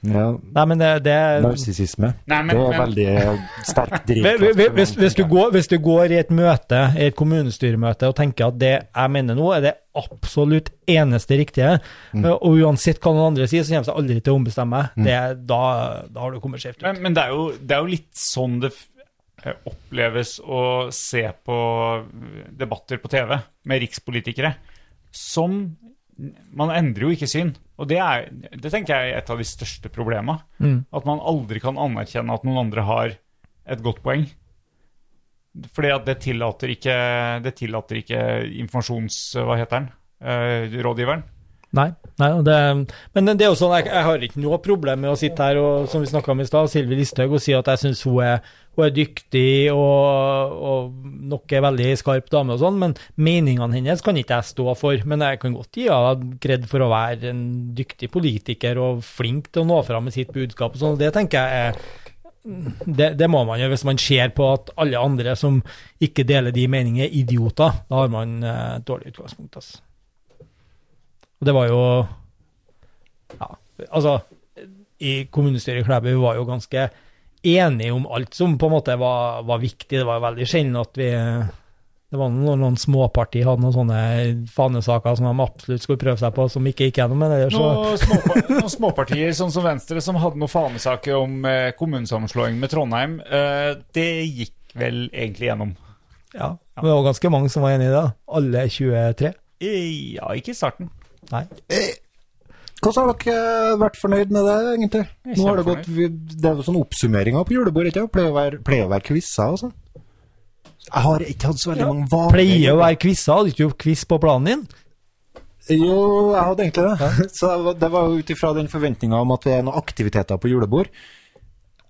[SPEAKER 2] ja,
[SPEAKER 3] Nei, men det, det
[SPEAKER 2] narsissisme.
[SPEAKER 1] Eh, Nei, men-
[SPEAKER 2] det er
[SPEAKER 1] men-
[SPEAKER 2] veldig sterk altså,
[SPEAKER 3] Hvis-
[SPEAKER 2] drivkraft.
[SPEAKER 3] hvis, hvis, hvis, du går, hvis du går i et møte, i et kommunestyremøte, og tenker at det jeg mener nå, er det absolutt eneste riktige, og uansett hva noen andre sier, så kommer jeg aldri til å ombestemme meg, Det- da, da har du kommet skjevt ut.
[SPEAKER 1] Men, men det, er jo, det er jo litt sånn det f- eh, oppleves å se på eh, debatter på TV med rikspolitikere. Som Man endrer jo ikke syn. Og det, er, det tenker jeg er et av de største problemene.
[SPEAKER 3] Mm.
[SPEAKER 1] At man aldri kan anerkjenne at noen andre har et godt poeng. Fordi at det tillater ikke, det tillater ikke informasjons... Hva heter den? Eh, rådgiveren.
[SPEAKER 3] Nei. nei og det, men det er jo sånn, jeg, jeg har ikke noe problem med å sitte her og som vi snakket om i stad, Silvi Listhaug, og si at jeg syns hun, er- hun er dyktig og, og nok er veldig skarp dame og sånn, men meningene hennes kan ikke jeg stå for. Men jeg kan godt gi henne kred for å være en dyktig politiker og flink til å nå fram med sitt budskap og sånn. og Det tenker jeg er det, det må man gjøre hvis man ser på at alle andre som ikke deler de meningene, er idioter. Da har man eh, et dårlig utgangspunkt. Altså. Og det var jo Ja, altså I kommunestyret i Klæbu var jo ganske enige om alt som på en måte var, var viktig. Det var veldig sjelden at vi Det var noen, noen småparti hadde noen sånne fanesaker som de absolutt skulle prøve seg på, som ikke gikk gjennom. Men ellers så
[SPEAKER 1] Noen, småpa noen småpartier, sånn som Venstre, som hadde noen fanesaker om eh, kommunesammenslåing med Trondheim. Eh, det gikk vel egentlig gjennom.
[SPEAKER 3] Ja. Men det var ganske mange som var enig i det. da. Alle 23.
[SPEAKER 1] Eh, ja, ikke i starten.
[SPEAKER 3] Nei.
[SPEAKER 2] Hvordan har dere eh, vært fornøyd med det, egentlig?
[SPEAKER 1] Jeg er
[SPEAKER 2] Nå har Det
[SPEAKER 1] kjempefornøyd.
[SPEAKER 2] gått, vi- det er jo sånn oppsummeringer på julebordet, ikke? Det Pleier å være, pleier å være quizer og sånn. Jeg har ikke hatt så veldig mange vanlige
[SPEAKER 3] Pleier å være quizer. Hadde ikke du quiz på planen din?
[SPEAKER 2] Jo, jeg hadde egentlig det. Så det var- det var jo ut ifra den forventninga om at det er noen aktiviteter på julebord.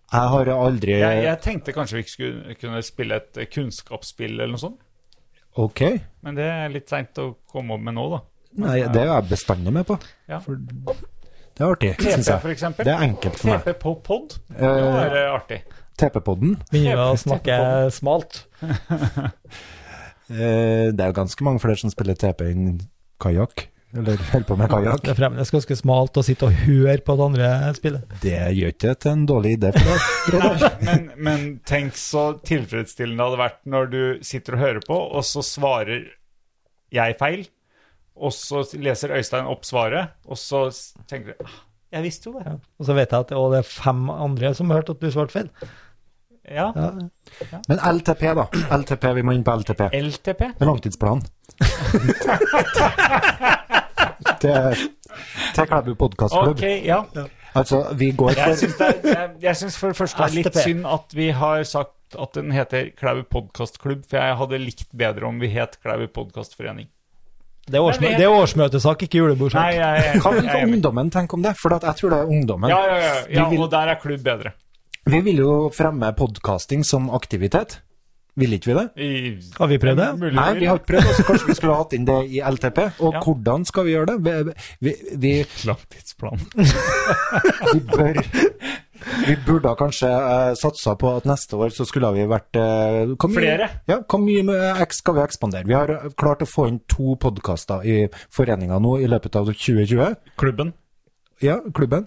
[SPEAKER 2] Jeg har aldri
[SPEAKER 1] Jeg, jeg tenkte kanskje vi ikke skulle kunne spille et eh, kunnskapsspill eller noe sånt.
[SPEAKER 2] Ok.
[SPEAKER 1] Men det er litt seint å komme opp med nå, da.
[SPEAKER 2] Nei, det er jo jeg bestandig med på.
[SPEAKER 1] Ja.
[SPEAKER 2] For det er artig,
[SPEAKER 1] TP,
[SPEAKER 2] syns jeg.
[SPEAKER 1] for eksempel.
[SPEAKER 2] Det er enkelt for meg.
[SPEAKER 1] TP på pod. Det
[SPEAKER 2] Eh,
[SPEAKER 1] var eh, artig.
[SPEAKER 2] TP-podden.
[SPEAKER 3] Begynner vi å snakke smalt?
[SPEAKER 2] Eh, Det er jo ganske mange flere som spiller TP enn kajakk. Eller holder på med kajakk.
[SPEAKER 3] Det er fremdeles ganske smalt å sitte og høre på at andre spiller.
[SPEAKER 2] Det gjør ikke til en dårlig idé for deg. Reidar.
[SPEAKER 1] Men, men tenk så tilfredsstillende det hadde vært når du sitter og hører på, og så svarer jeg feil, og så leser Øystein opp svaret, og så s- tenker du «Ah, Jeg visste jo det.
[SPEAKER 3] Og så vet jeg at å, det er fem andre som hørte at du svarte feil.
[SPEAKER 1] Ja.
[SPEAKER 3] Ja.
[SPEAKER 2] Men LTP, da. LTP, Vi må inn på LTP.
[SPEAKER 1] LTP.
[SPEAKER 2] Det er langtidsplanen. til til Klæbu podkastklubb.
[SPEAKER 1] Ok, ja.
[SPEAKER 2] Altså, vi går for
[SPEAKER 1] Jeg syns, det, er- jeg, jeg syns for det første det er litt
[SPEAKER 3] LTP.
[SPEAKER 1] synd at vi har sagt at den heter Klæbu podkastklubb, for jeg hadde likt bedre om vi het Klæbu podkastforening.
[SPEAKER 3] Det er, årsmø
[SPEAKER 1] Men vi-
[SPEAKER 3] det er årsmøtesak, ikke
[SPEAKER 1] Nei,
[SPEAKER 3] julebordsak.
[SPEAKER 1] jeg, jeg,
[SPEAKER 2] Hva
[SPEAKER 1] jeg,
[SPEAKER 2] vil
[SPEAKER 1] er enig.
[SPEAKER 2] ungdommen tenke om det? For at jeg tror det er ungdommen.
[SPEAKER 1] Ja, ja, ja, ja.
[SPEAKER 2] Vi vil-
[SPEAKER 1] Og der er klubb bedre.
[SPEAKER 2] Vi vil jo fremme podkasting som aktivitet. Vil ikke vi det?
[SPEAKER 1] I,
[SPEAKER 3] Har vi prøvd det?
[SPEAKER 1] Mulig
[SPEAKER 2] Nei,
[SPEAKER 1] vi
[SPEAKER 2] vi
[SPEAKER 1] vil.
[SPEAKER 2] har ikke prøvd, så kanskje vi skulle hatt inn det i LTP. Og
[SPEAKER 1] Ja.
[SPEAKER 2] hvordan skal vi gjøre det? Vi, vi, vi
[SPEAKER 1] Langtidsplan.
[SPEAKER 2] vi bør Vi burde ha kanskje eh, satsa på at neste år så skulle vi vært eh, hvor mye-
[SPEAKER 1] Flere?
[SPEAKER 2] Ja, hvor mye med X skal vi ekspandere? Vi har eh, klart å få inn to podkaster i foreninga nå i løpet av 2020.
[SPEAKER 1] Klubben.
[SPEAKER 2] Ja, klubben.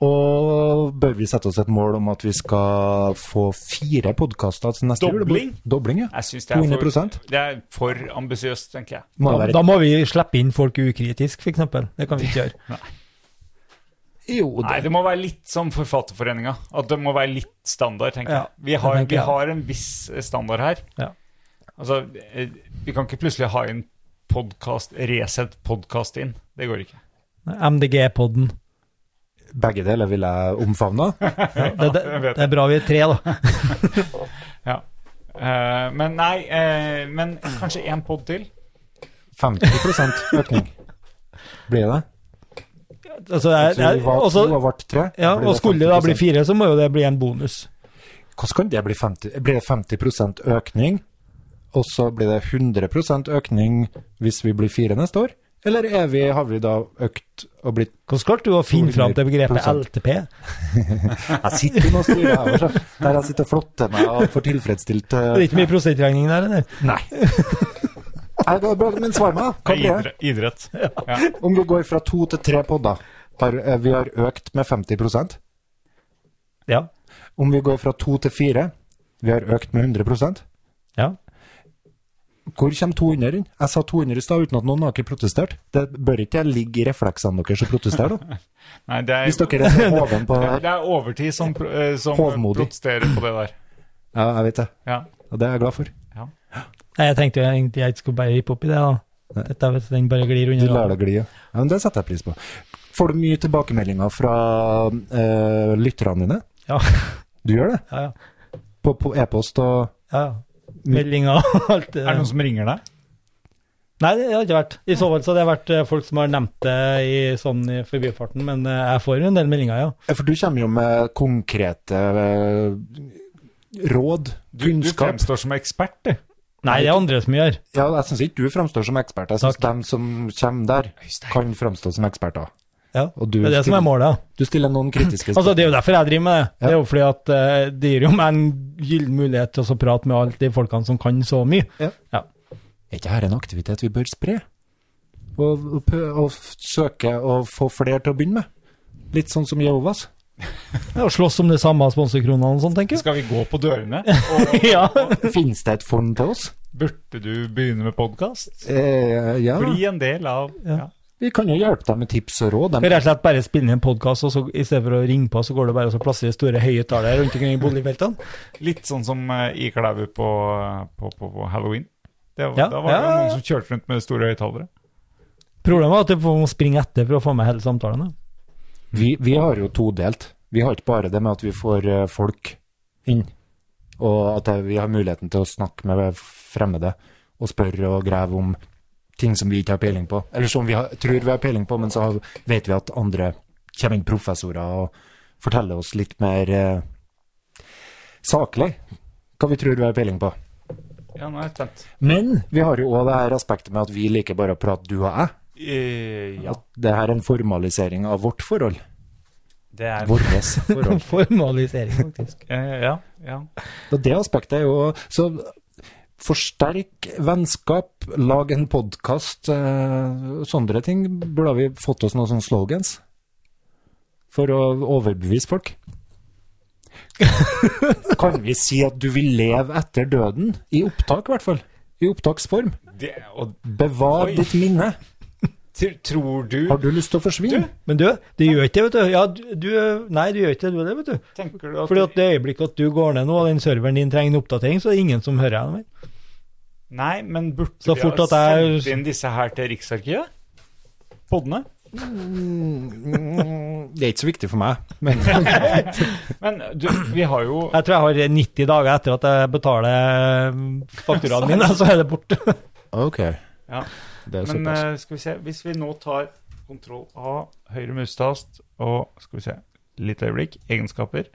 [SPEAKER 2] Og bør vi sette oss et mål om at vi skal få fire podkaster til neste jul?
[SPEAKER 1] Dobling?
[SPEAKER 2] Dobling, ja.
[SPEAKER 1] Jeg synes det er
[SPEAKER 2] 200%.
[SPEAKER 1] for, det er for ambisiøst, tenker jeg.
[SPEAKER 2] Må
[SPEAKER 3] Da,
[SPEAKER 2] være-
[SPEAKER 3] da må vi slippe inn folk ukritisk, f.eks. Det kan vi ikke gjøre.
[SPEAKER 2] Jo,
[SPEAKER 1] Nei, det må være litt som Forfatterforeninga. At det må være litt standard, tenker
[SPEAKER 3] Ja,
[SPEAKER 1] jeg. Vi har,
[SPEAKER 3] det tenker
[SPEAKER 1] vi
[SPEAKER 3] jeg.
[SPEAKER 1] har en viss eh, standard her.
[SPEAKER 3] Ja.
[SPEAKER 1] Altså, eh, vi kan ikke plutselig ha en podcast, Resett podkast inn. Det går ikke.
[SPEAKER 3] MDG-podden.
[SPEAKER 2] Begge deler vil jeg omfavne.
[SPEAKER 3] Ja, det, det,
[SPEAKER 1] jeg vet
[SPEAKER 3] det er bra vi er tre, da.
[SPEAKER 1] Eh, men nei, eh, men kanskje én pod til?
[SPEAKER 2] 50 økning blir det.
[SPEAKER 3] Altså, jeg,
[SPEAKER 2] Så vi
[SPEAKER 3] jeg,
[SPEAKER 2] var
[SPEAKER 3] også,
[SPEAKER 2] to og ble tre.
[SPEAKER 3] ja,
[SPEAKER 2] blir
[SPEAKER 3] og skulle det da
[SPEAKER 2] 50%.
[SPEAKER 3] bli fire, så må jo det bli en bonus.
[SPEAKER 2] Hvordan kan det bli 50 Blir det 50 økning, og så blir det 100 økning hvis vi blir fire neste år? Eller er vi, har vi da økt og blitt
[SPEAKER 3] Hvordan klarte du å finne fram til begrepet
[SPEAKER 2] 200%.
[SPEAKER 3] LTP?
[SPEAKER 2] Jeg sitter jo nå og styrer her, altså. der jeg sitter og flotter meg og får tilfredsstilt eh,
[SPEAKER 3] Det er ikke mye prosentregning der, eller?
[SPEAKER 2] Nei. Nei, det var bra, men svar meg, da. Hva
[SPEAKER 1] Det er
[SPEAKER 2] blir det?
[SPEAKER 1] idre- idrett. Ja.
[SPEAKER 2] Om vi går fra to til tre podder, har, eh, vi har økt med 50
[SPEAKER 3] Ja.
[SPEAKER 2] Om vi går fra to til fire, vi har økt med 100
[SPEAKER 3] ja.
[SPEAKER 2] Hvor kommer 200 inn? Jeg sa 200 i stad uten at noen har ikke protestert. Det bør ikke jeg ligge i refleksene deres og protestere, da.
[SPEAKER 1] Nei, det
[SPEAKER 2] Hvis
[SPEAKER 1] er,
[SPEAKER 2] dere er så hoven på det her.
[SPEAKER 1] det er overtid som, pro- eh, som
[SPEAKER 2] Hovmodig.
[SPEAKER 1] protesterer på det der.
[SPEAKER 2] Ja, jeg vet det.
[SPEAKER 1] Ja.
[SPEAKER 2] Og det er jeg glad for.
[SPEAKER 3] Nei, jeg tenkte jo egentlig jeg ikke skulle bare rippe opp i det, da.
[SPEAKER 2] Nei.
[SPEAKER 3] Dette er hvis den bare glir
[SPEAKER 2] Du
[SPEAKER 3] under.
[SPEAKER 2] lar
[SPEAKER 3] radaren.
[SPEAKER 2] det gli, ja. Ja, Men det setter jeg pris på. Får du mye tilbakemeldinger fra eh, lytterne dine?
[SPEAKER 3] Ja.
[SPEAKER 2] Du gjør det?
[SPEAKER 3] Ja, ja.
[SPEAKER 2] På, på e-post og
[SPEAKER 3] ja. ja. Meldinger og alt det
[SPEAKER 1] Er det noen som ringer deg?
[SPEAKER 3] Nei, det har ikke vært. I så fall så har det vært eh, folk som har nevnt det i, sånn i forbifarten, men eh, jeg får jo en del meldinger, ja.
[SPEAKER 2] Ja, For du kommer jo med konkrete eh, råd,
[SPEAKER 1] Du, du
[SPEAKER 2] kunnskap.
[SPEAKER 1] fremstår som ekspert, du.
[SPEAKER 3] Nei, det er andre som gjør.
[SPEAKER 2] Ja, jeg syns ikke du fremstår som ekspert. Jeg syns
[SPEAKER 3] Takk.
[SPEAKER 2] dem som kommer der, kan fremstå som eksperter.
[SPEAKER 3] Ja,
[SPEAKER 2] Og du
[SPEAKER 3] Det er det som
[SPEAKER 2] stiller-
[SPEAKER 3] er målet. ja.
[SPEAKER 2] Du stiller noen kritiske
[SPEAKER 3] Altså,
[SPEAKER 2] spørsmål.
[SPEAKER 3] det er jo derfor jeg driver med det. Det er jo fordi at eh, det gir jo meg en gyllen mulighet til å så prate med alle de folkene som kan så mye.
[SPEAKER 2] Er ikke dette en aktivitet vi bør spre? Og, og, pø- og f- søke å få flere til å begynne med? Litt sånn som Jehovas.
[SPEAKER 3] Ja, og slåss om de samme sponsorkronene og sånn, tenker jeg.
[SPEAKER 1] Skal vi gå på dørene?
[SPEAKER 3] Ja.
[SPEAKER 2] Finnes det et fond til oss?
[SPEAKER 1] Burde du begynne med podkast?
[SPEAKER 2] Eh, ja.
[SPEAKER 1] Bli en del av ja.
[SPEAKER 2] Vi kan jo hjelpe deg med tips og råd.
[SPEAKER 3] Skal
[SPEAKER 2] Dem.
[SPEAKER 3] rett og slett bare spille inn en podkast, og så i stedet for å ringe på, så går det bare og så plasserer store høyttalere rundt omkring i boligfeltene?
[SPEAKER 1] Litt sånn som eh, i Klæbu på, på, på, på halloween. Det, var-
[SPEAKER 3] Ja,
[SPEAKER 1] Da var det
[SPEAKER 3] ja, ja.
[SPEAKER 1] noen som kjørte rundt med store høyttalere.
[SPEAKER 3] Problemet er at jeg må springe etter for å få med hele samtalen. da.
[SPEAKER 2] Vi, vi har jo todelt. Vi har ikke bare det med at vi får eh, folk inn, og at eh, vi har muligheten til å snakke med fremmede og spørre og grave om ting som vi ikke har peiling på, eller som vi har, tror vi har peiling på, men så har, vet vi at andre kommer inn professorer og forteller oss litt mer eh, saklig hva vi tror vi har peiling på.
[SPEAKER 1] Ja, nå er jeg spent.
[SPEAKER 2] Men vi har jo òg det her aspektet med at vi liker bare å prate du og jeg.
[SPEAKER 1] Eh, ja,
[SPEAKER 2] At det her er en formalisering av vårt forhold.
[SPEAKER 1] det er
[SPEAKER 2] Vårt forhold.
[SPEAKER 3] Formalisering, faktisk.
[SPEAKER 1] Eh, Ja, ja.
[SPEAKER 2] Og det aspektet er jo Så forsterk vennskap, lag en podkast, eh, sånne ting. Burde vi fått oss noen sånne slogans? For å overbevise folk? kan vi si at du vil leve etter døden? I opptak, i hvert fall. I opptaksform.
[SPEAKER 1] Det, og
[SPEAKER 2] Bevar
[SPEAKER 1] Oi.
[SPEAKER 2] ditt minne.
[SPEAKER 1] tr- tror du
[SPEAKER 2] Har du lyst til å forsvinne?
[SPEAKER 3] Men du, det gjør ikke det, vet du. Ja, du- du Nei, du gjør ikke det, du heller, vet du.
[SPEAKER 1] Tenker du at,
[SPEAKER 3] Fordi at det øyeblikket at du går ned nå, og den serveren din trenger en oppdatering, så er det ingen som hører deg mer.
[SPEAKER 1] Nei, men burde
[SPEAKER 3] Så
[SPEAKER 1] vi
[SPEAKER 3] fort
[SPEAKER 1] ha
[SPEAKER 3] at jeg-
[SPEAKER 1] sendt inn disse her til Riksarkivet? Podene?
[SPEAKER 2] Mm, Det er ikke så viktig for meg, men
[SPEAKER 1] Men du, vi har jo
[SPEAKER 3] Jeg tror jeg har 90 dager etter at jeg betaler eh, fakturaen min, så er det borte.
[SPEAKER 2] OK.
[SPEAKER 1] Ja.
[SPEAKER 2] Det er
[SPEAKER 1] Men
[SPEAKER 2] såpass.
[SPEAKER 1] eh, skal vi se, hvis vi nå tar kontroll A, høyre mustast, og skal vi se, litt øyeblikk, egenskaper,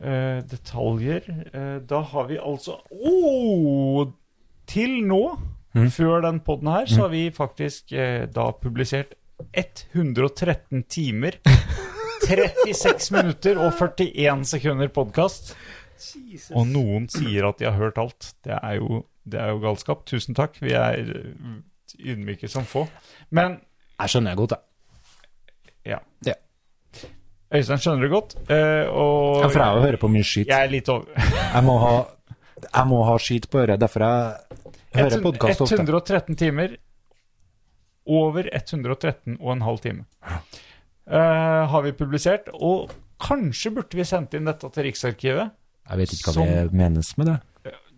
[SPEAKER 1] eh, detaljer, eh, da har vi altså, åh, til nå,
[SPEAKER 2] Mhm.
[SPEAKER 1] før den podden her, så
[SPEAKER 2] Mm.
[SPEAKER 1] har vi faktisk eh, da publisert 113 timer, 36 minutter og 41 sekunder podcast. Og noen sier at de har hørt alt. Det er jo, det er jo galskap. Tusen takk. Vi er eh, ydmyke som få. Men
[SPEAKER 2] Jeg skjønner godt, jeg.
[SPEAKER 1] Øystein skjønner det godt. eh, og
[SPEAKER 2] Ja, for jeg hører på mye skitt.
[SPEAKER 1] jeg er litt over
[SPEAKER 2] Jeg må ha, jeg må ha skit på øret, derfor jeg hører podkast ofte.
[SPEAKER 1] 113 timer. Over 113 og en halv time eh, har vi publisert. Og kanskje burde vi sendt inn dette til Riksarkivet.
[SPEAKER 2] Jeg vet ikke hva
[SPEAKER 1] Som-
[SPEAKER 2] det menes med det.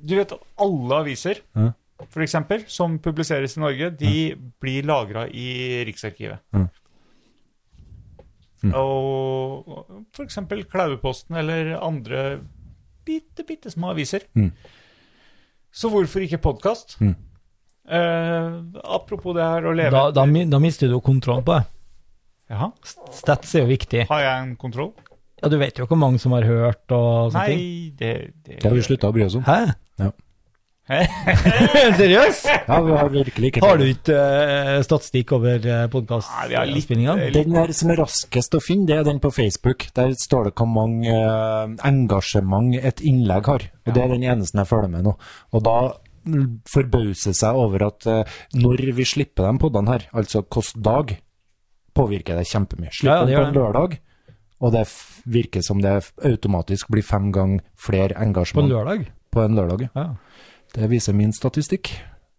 [SPEAKER 1] Du vet at alle aviser,
[SPEAKER 2] Ja.
[SPEAKER 1] for eksempel, som publiseres i Norge, de blir lagra i Riksarkivet.
[SPEAKER 2] Ja. Mm.
[SPEAKER 1] Og og for eksempel Klauveposten eller andre bitte, bitte små aviser.
[SPEAKER 2] Mm.
[SPEAKER 1] Så hvorfor ikke podkast?
[SPEAKER 2] Mm.
[SPEAKER 1] Eh, apropos det her å leve
[SPEAKER 3] Da, da, mi- da mister du jo kontrollen på det.
[SPEAKER 1] Jaha,
[SPEAKER 3] Stats er jo viktig.
[SPEAKER 1] Har jeg en kontroll?
[SPEAKER 3] Ja, du vet jo hvor mange som har hørt og sånne ting.
[SPEAKER 1] Nei, det, det,
[SPEAKER 2] Det har vi slutta å bry oss om.
[SPEAKER 3] Hæ?
[SPEAKER 2] Ja.
[SPEAKER 3] Seriøst?
[SPEAKER 2] Ja, vi har virkelig ikke
[SPEAKER 3] Har du ikke eh, statistikk over
[SPEAKER 1] Nei,
[SPEAKER 3] uh,
[SPEAKER 1] vi har litt-
[SPEAKER 3] podkastspillinga?
[SPEAKER 2] Den der som er raskest å finne, det er den på Facebook. Der står det hvor mange eh, engasjement et innlegg har. Og Det er den eneste jeg følger med nå. Og da mm, forbauser jeg seg over at eh, når vi slipper de podene her, altså hvilken dag, påvirker det kjempemye.
[SPEAKER 3] Ja,
[SPEAKER 2] Slipper
[SPEAKER 3] ja, det
[SPEAKER 2] dem på en
[SPEAKER 3] gjør
[SPEAKER 2] lørdag, og det f- virker som det automatisk blir fem ganger flere
[SPEAKER 3] På
[SPEAKER 2] engasjement
[SPEAKER 3] lørdag?
[SPEAKER 2] på en lørdag.
[SPEAKER 3] Ja.
[SPEAKER 2] Det viser min statistikk,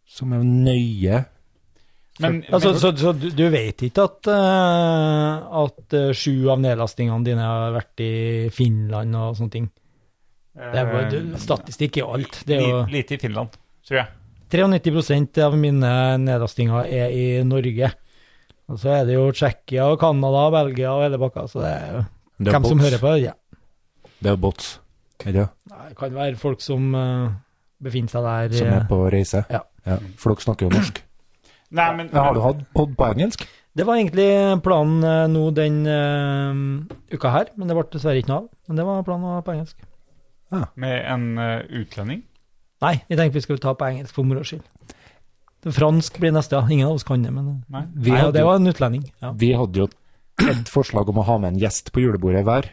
[SPEAKER 2] som er nøye.
[SPEAKER 1] men,
[SPEAKER 3] Altså,
[SPEAKER 1] men,
[SPEAKER 3] så, så du, du vet ikke at, eh, at eh, sju av nedlastingene dine har vært i Finland og sånne ting? Det er
[SPEAKER 1] Eh,
[SPEAKER 3] bare, du, statistikk er jo alt. Det er jo
[SPEAKER 1] Li- Lite i Finland, tror jeg.
[SPEAKER 3] 93 av mine nedlastinger er i Norge. Og så er det jo Tsjekkia og Canada og Belgia og hele bakka, så det er jo
[SPEAKER 2] Det er
[SPEAKER 3] Hvem som
[SPEAKER 2] bots.
[SPEAKER 3] hører på? Ja.
[SPEAKER 2] Det er bots. Er det?
[SPEAKER 3] Nei, Det kan være folk som eh, befinner seg der.
[SPEAKER 2] som
[SPEAKER 3] eh,
[SPEAKER 2] er på reise.
[SPEAKER 3] Ja.
[SPEAKER 2] For dere snakker jo norsk.
[SPEAKER 1] Nei, men,
[SPEAKER 2] Har du hatt pod på engelsk?
[SPEAKER 3] Det var egentlig planen eh, nå den eh, uka her, men det ble dessverre ikke noe av. Men det var planen å ha på engelsk.
[SPEAKER 1] med en eh, utlending?
[SPEAKER 3] Nei, jeg tenkte vi skulle ta på engelsk for moro skyld. Det fransk blir neste, ja. Ingen av oss kan det, men
[SPEAKER 1] Nei.
[SPEAKER 2] Vi
[SPEAKER 3] Nei, og
[SPEAKER 2] hadde,
[SPEAKER 3] det
[SPEAKER 2] jo-
[SPEAKER 3] var en utlending. Ja.
[SPEAKER 2] vi hadde jo et forslag om å ha med en gjest på julebordet hver.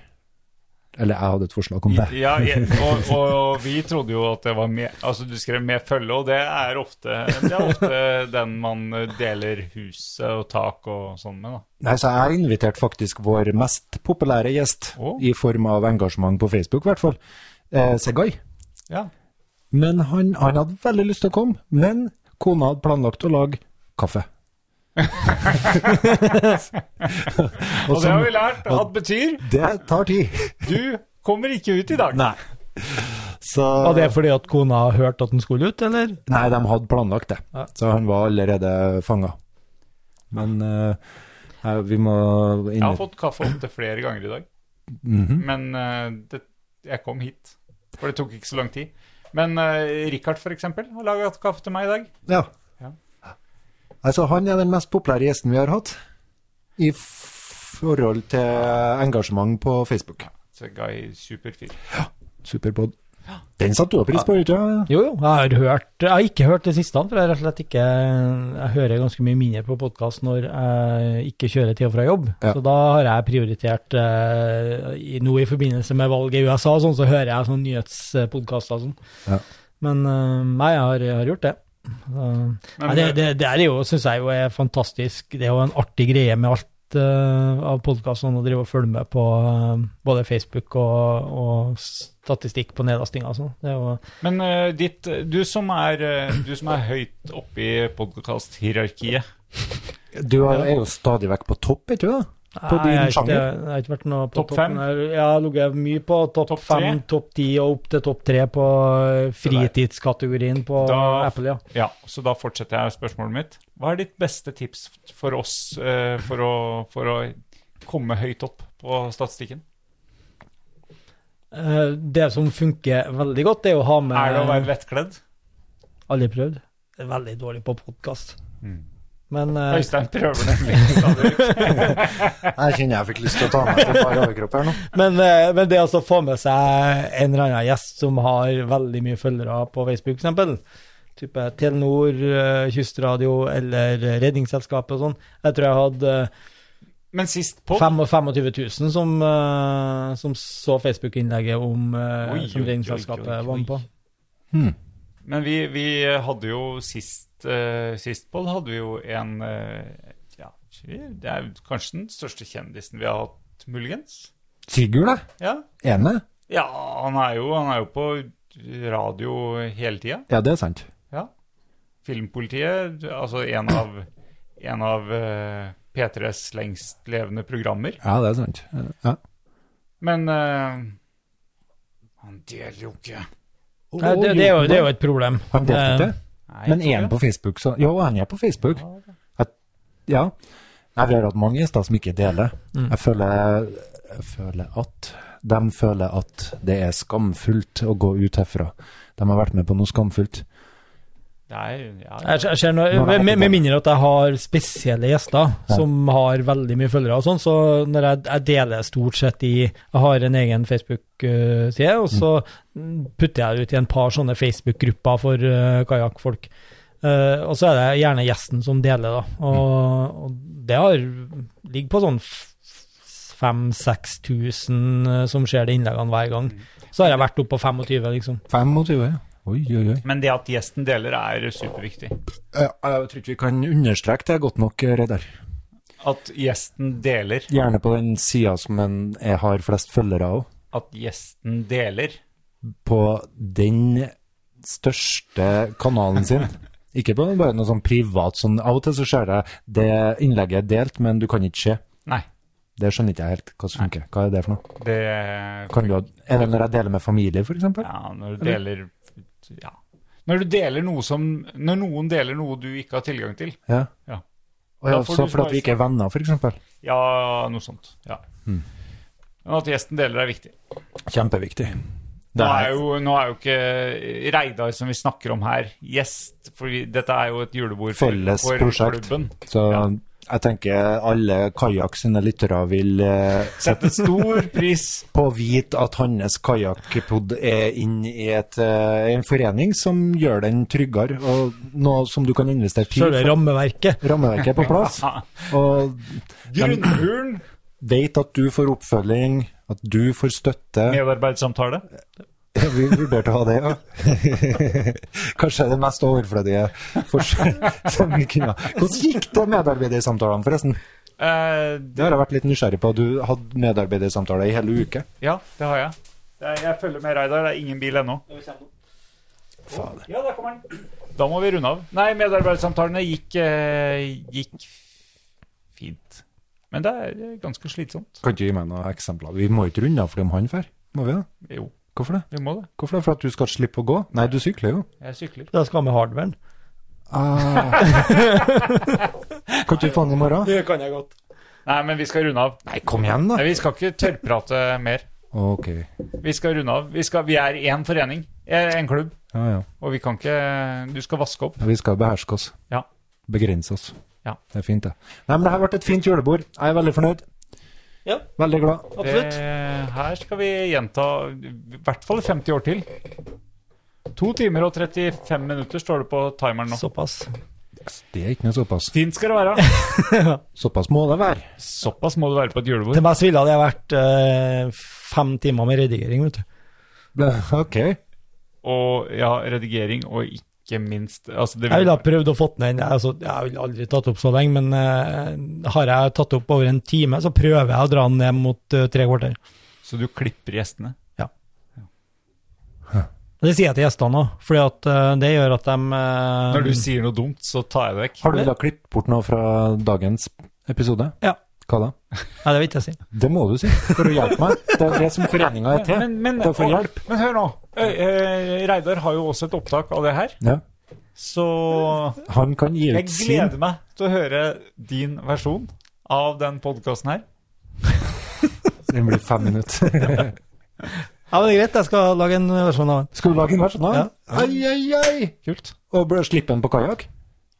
[SPEAKER 2] Eller jeg hadde et forslag om det.
[SPEAKER 1] Ja, ja, og, og, og vi trodde jo at det var med Altså, du skrev 'med følge', og det er ofte, det er ofte den man deler huset og tak og sånn med, da.
[SPEAKER 2] Nei, så jeg inviterte faktisk vår mest populære gjest,
[SPEAKER 1] Å.
[SPEAKER 2] i form av engasjement på Facebook i hvert fall, eh, Segay.
[SPEAKER 1] Ja.
[SPEAKER 2] Men han, han hadde veldig lyst til å komme, men kona hadde planlagt å lage kaffe.
[SPEAKER 1] Og det har vi lært at betyr
[SPEAKER 2] Det tar tid.
[SPEAKER 1] du kommer ikke ut i dag.
[SPEAKER 2] Nei. Så
[SPEAKER 3] Var det fordi at kona hørte at den skulle ut, eller?
[SPEAKER 2] Nei, de hadde planlagt det.
[SPEAKER 3] Ja.
[SPEAKER 2] Så han var allerede fanga. Men eh, eh, vi må inn...
[SPEAKER 1] Jeg har fått kaffe opptil flere ganger i dag, men eh, det, jeg kom hit. For det tok ikke så lang tid. Men eh, Richard, for eksempel, har laga kaffe til meg i dag.
[SPEAKER 2] Ja.
[SPEAKER 1] Ja.
[SPEAKER 2] Altså, han er den mest populære gjesten vi har hatt i f- forhold til engasjement på Facebook.
[SPEAKER 1] Så Guy Superfyr.
[SPEAKER 2] Superpod. Den satte du jo pris på, ikke sant?
[SPEAKER 3] Jo, jo. Jeg har hørt Jeg har ikke hørt det siste, for jeg rett og slett ikke Jeg hører ganske mye mindre på podkast når jeg ikke kjører til og fra jobb.
[SPEAKER 2] Ja.
[SPEAKER 3] Så da har jeg prioritert eh, i- Nå i forbindelse med valget i USA, og sånn, så hører jeg sånne nyhetspodkaster og sånn.
[SPEAKER 2] Ja.
[SPEAKER 3] Men eh, nei, jeg har, jeg har gjort det. Så-
[SPEAKER 1] Men,
[SPEAKER 3] Nei, det, det, det er jo, syns jeg jo er fantastisk. Det er jo en artig greie med alt eh, av podkastene, å drive og følge med på eh, både Facebook og, og statistikk på nedlastinga og sånn. Det er jo
[SPEAKER 1] Men eh, ditt, du, som er, eh, du som er høyt oppe i podkast-hierarkiet
[SPEAKER 2] Du er er jo stadig vekk på topp, ikke sant? På
[SPEAKER 3] Nei,
[SPEAKER 2] din
[SPEAKER 3] jeg har ikke-
[SPEAKER 2] sjanger?
[SPEAKER 3] Jeg har ikke vært noe på
[SPEAKER 1] Topp
[SPEAKER 3] topp,
[SPEAKER 1] fem?
[SPEAKER 3] Jeg jeg har ligget mye på topp
[SPEAKER 1] Topp tre?
[SPEAKER 3] fem, topp ti og opp til topp tre på eh, fritidskategorien på
[SPEAKER 1] Da-
[SPEAKER 3] Apple, ja.
[SPEAKER 1] Ja, så da fortsetter jeg spørsmålet mitt. Hva er ditt beste tips for oss eh, for, å, for å komme høyt opp på statistikken?
[SPEAKER 3] Eh, Det som funker veldig godt, det er å ha med
[SPEAKER 1] Er det å være lettkledd?
[SPEAKER 3] Aldri prøvd. Jeg er Veldig dårlig på podkast.
[SPEAKER 1] Mm.
[SPEAKER 3] Men eh,
[SPEAKER 1] Øystein prøver nemlig stadig
[SPEAKER 2] Jeg kjenner jeg fikk lyst til å ta meg på bar overkropp her nå.
[SPEAKER 3] Men, eh, men det å altså få med seg en eller annen gjest som har veldig mye følgere på Facebook, f.eks. Type Telenor, eh, Kystradio eller Redningsselskapet og sånn. Jeg tror jeg hadde
[SPEAKER 1] Men sist
[SPEAKER 3] eh,
[SPEAKER 1] pod,
[SPEAKER 3] fem- 25 000 som, eh, som så Facebook-innlegget om eh,
[SPEAKER 1] Oi,
[SPEAKER 3] som
[SPEAKER 1] oi,
[SPEAKER 3] Redningsselskapet
[SPEAKER 1] oi, oi, oi.
[SPEAKER 3] var med på.
[SPEAKER 1] men vi, vi hadde jo sist, eh, sist pod hadde vi jo en eh, ja, Det er kanskje den største kjendisen vi har hatt, muligens?
[SPEAKER 2] Sigurd, da?
[SPEAKER 1] Ja,
[SPEAKER 2] Ene?
[SPEAKER 1] ja han, er jo, han er jo på radio hele tida.
[SPEAKER 2] Ja, det er sant.
[SPEAKER 1] Filmpolitiet, altså en av, en av eh, P3s lengstlevende programmer.
[SPEAKER 2] Ja, det er sant. Ja.
[SPEAKER 1] Men eh, han deler jo ikke.
[SPEAKER 3] Nei, det, det, er jo, det er jo et problem.
[SPEAKER 2] Han delte ikke?
[SPEAKER 3] Eh,
[SPEAKER 1] Nei,
[SPEAKER 2] Men
[SPEAKER 1] jeg
[SPEAKER 2] er han
[SPEAKER 1] tror
[SPEAKER 2] på Facebook, så Jo, han er på Facebook. At- ja. Nei, vi har hatt mange gjester som ikke deler. Jeg, føler, jeg føler at De føler at det er skamfullt å gå ut herfra. De har vært med på noe skamfullt.
[SPEAKER 1] det. Det er- ja, ja.
[SPEAKER 3] Jeg ser- jeg ser noe,
[SPEAKER 2] Nå er det
[SPEAKER 3] med,
[SPEAKER 2] ikke
[SPEAKER 3] med
[SPEAKER 2] det.
[SPEAKER 3] mindre at jeg har spesielle gjester
[SPEAKER 2] Ja.
[SPEAKER 3] som har veldig mye følgere og sånn, så når jeg, jeg deler stort sett i Jeg har en egen Facebook-side, og så mm, putter jeg det ut i en par sånne Facebook-grupper for uh, kajakkfolk. Eh, og så er det gjerne gjesten som deler,
[SPEAKER 2] Mm.
[SPEAKER 3] da. Og, og det har ligger på sånn 5000-6000 eh, som ser de innleggene hver gang. Så har jeg vært oppe på 25, liksom.
[SPEAKER 2] 25, ja. Oi, oi, oi.
[SPEAKER 1] Men det at gjesten deler, er superviktig.
[SPEAKER 2] Jeg, jeg tror ikke vi kan understreke det godt nok, eh, Reidar.
[SPEAKER 1] At gjesten deler.
[SPEAKER 2] Gjerne på den sida som en jeg har flest følgere av.
[SPEAKER 1] At gjesten deler.
[SPEAKER 2] På den største kanalen sin. Ikke på bare noe sånn privat sånn Av og til så ser jeg det innlegget er delt, men du kan ikke se.
[SPEAKER 1] Nei,
[SPEAKER 2] Det skjønner ikke jeg helt hva som funker. Hva er det for noe?
[SPEAKER 1] det
[SPEAKER 2] Kan du, ha- er det når jeg deler med familie, f.eks.?
[SPEAKER 1] Ja, når du deler Ja. Når du deler noe som Når noen deler noe du ikke har tilgang til.
[SPEAKER 2] Ja.
[SPEAKER 1] Ja.
[SPEAKER 2] Og ja,
[SPEAKER 1] Da får
[SPEAKER 2] så
[SPEAKER 1] du
[SPEAKER 2] fordi at vi ikke er venner, f.eks.
[SPEAKER 1] Ja, noe sånt. Ja. Men at gjesten deler, er viktig.
[SPEAKER 2] Kjempeviktig.
[SPEAKER 1] Nå
[SPEAKER 2] Nei.
[SPEAKER 1] er, jo, nå er jo ikke Reidar som vi snakker om her, gjest, for vi- dette er jo et julebord for,
[SPEAKER 2] Felles
[SPEAKER 1] for
[SPEAKER 2] prosjekt.
[SPEAKER 1] klubben.
[SPEAKER 2] Så
[SPEAKER 1] Ja.
[SPEAKER 2] jeg tenker alle Kajak sine lyttere vil eh,
[SPEAKER 1] Sette stor pris
[SPEAKER 2] på å vite at hans kajakkpod er inn i et, eh, en forening som gjør den tryggere, og noe som du kan investere tid
[SPEAKER 3] Selve rammeverket.
[SPEAKER 2] Rammeverket er på plass, og
[SPEAKER 1] Grunnmuren,
[SPEAKER 2] vet at du får oppfølging, at du får støtte.
[SPEAKER 1] medarbeidssamtale.
[SPEAKER 2] Ja, Vi vurderte å ha det, ja. Kanskje det mest overflødige forskjell som vi kunne ha. Hvordan gikk det medarbeidersamtalene, forresten?
[SPEAKER 1] Eh,
[SPEAKER 2] Det har jeg vært litt nysgjerrig på. Du hadde medarbeidersamtaler i hele uke.
[SPEAKER 1] ja, det har jeg. Det er, jeg følger med Reidar, det er ingen bil ennå.
[SPEAKER 2] Fader.
[SPEAKER 1] Ja, der kommer den. Da må vi runde av. Nei, medarbeidersamtalene gikk, eh, gikk fint. Men det er eh, ganske slitsomt.
[SPEAKER 2] Kan du gi meg noen eksempler? Vi må ikke runde av fordi om han drar. Må vi det?
[SPEAKER 1] Jo,
[SPEAKER 2] Hvorfor det?
[SPEAKER 1] vi må det.
[SPEAKER 2] Hvorfor det? For at du skal slippe å gå? Nei, du sykler jo.
[SPEAKER 1] Jeg sykler.
[SPEAKER 6] Da skal jeg med hardwaren.
[SPEAKER 1] Ah.
[SPEAKER 2] Kan du få den i morgen?
[SPEAKER 3] Det kan jeg godt.
[SPEAKER 1] Nei, men vi skal runde av.
[SPEAKER 2] Nei, kom igjen, da.
[SPEAKER 1] Nei, vi skal ikke tørrprate mer.
[SPEAKER 2] Ok.
[SPEAKER 1] Vi skal runde av. Vi, skal, vi er én forening, eh, en klubb,
[SPEAKER 2] Ja, ja.
[SPEAKER 1] og vi kan ikke Du skal vaske opp.
[SPEAKER 2] Vi skal beherske oss.
[SPEAKER 1] Ja.
[SPEAKER 2] Begrense oss.
[SPEAKER 1] Ja.
[SPEAKER 2] Det er fint, det. Nei, men det her ble et fint julebord. Jeg er veldig fornøyd.
[SPEAKER 3] Ja.
[SPEAKER 2] Veldig glad.
[SPEAKER 1] Det,
[SPEAKER 3] Absolutt.
[SPEAKER 1] Eh, her skal vi gjenta i hvert fall 50 år til. To timer og 35 minutter står det på timeren nå.
[SPEAKER 6] Såpass.
[SPEAKER 2] Det er ikke noe såpass.
[SPEAKER 1] Fint skal det være.
[SPEAKER 2] Såpass må det være.
[SPEAKER 1] Såpass må det være på et julebord.
[SPEAKER 6] Det mest ville hadde jeg vært eh, fem timer med redigering, vet du.
[SPEAKER 2] Ok.
[SPEAKER 1] og ja, redigering, og ikke minst altså det
[SPEAKER 6] Jeg ville ha prøvd å fått den inn. Altså, jeg ville aldri tatt opp så lenge, men eh, har jeg tatt opp over en time, så prøver jeg å dra den ned mot eh, tre kvarter.
[SPEAKER 1] Så du klipper gjestene.
[SPEAKER 6] Og Det sier jeg til gjestene òg, for det gjør at de eh,
[SPEAKER 1] Når du sier noe dumt, så tar jeg det vekk.
[SPEAKER 2] Har du da klippet bort noe fra dagens episode?
[SPEAKER 6] Ja.
[SPEAKER 2] Hva da?
[SPEAKER 6] Nei, det vil ikke jeg si.
[SPEAKER 2] Det må du si, for å hjelpe meg. Det er det som foreninga er til.
[SPEAKER 1] Men, men,
[SPEAKER 2] Det er for
[SPEAKER 1] å,
[SPEAKER 2] hjelp.
[SPEAKER 1] men hør nå. Øy, eh, Reidar har jo også et opptak av det her,
[SPEAKER 2] Ja.
[SPEAKER 1] så
[SPEAKER 2] Han kan gi
[SPEAKER 1] jeg
[SPEAKER 2] ut sin.
[SPEAKER 1] gleder meg til å høre din versjon av den podkasten her.
[SPEAKER 2] Det blir fem minutter.
[SPEAKER 6] Ja, men det er greit, jeg skal lage en versjon av den.
[SPEAKER 2] Skal du lage en versjon av den? Ai, ai, ai!
[SPEAKER 1] sånn, Kult.
[SPEAKER 2] Og bør slippe den på kajakk?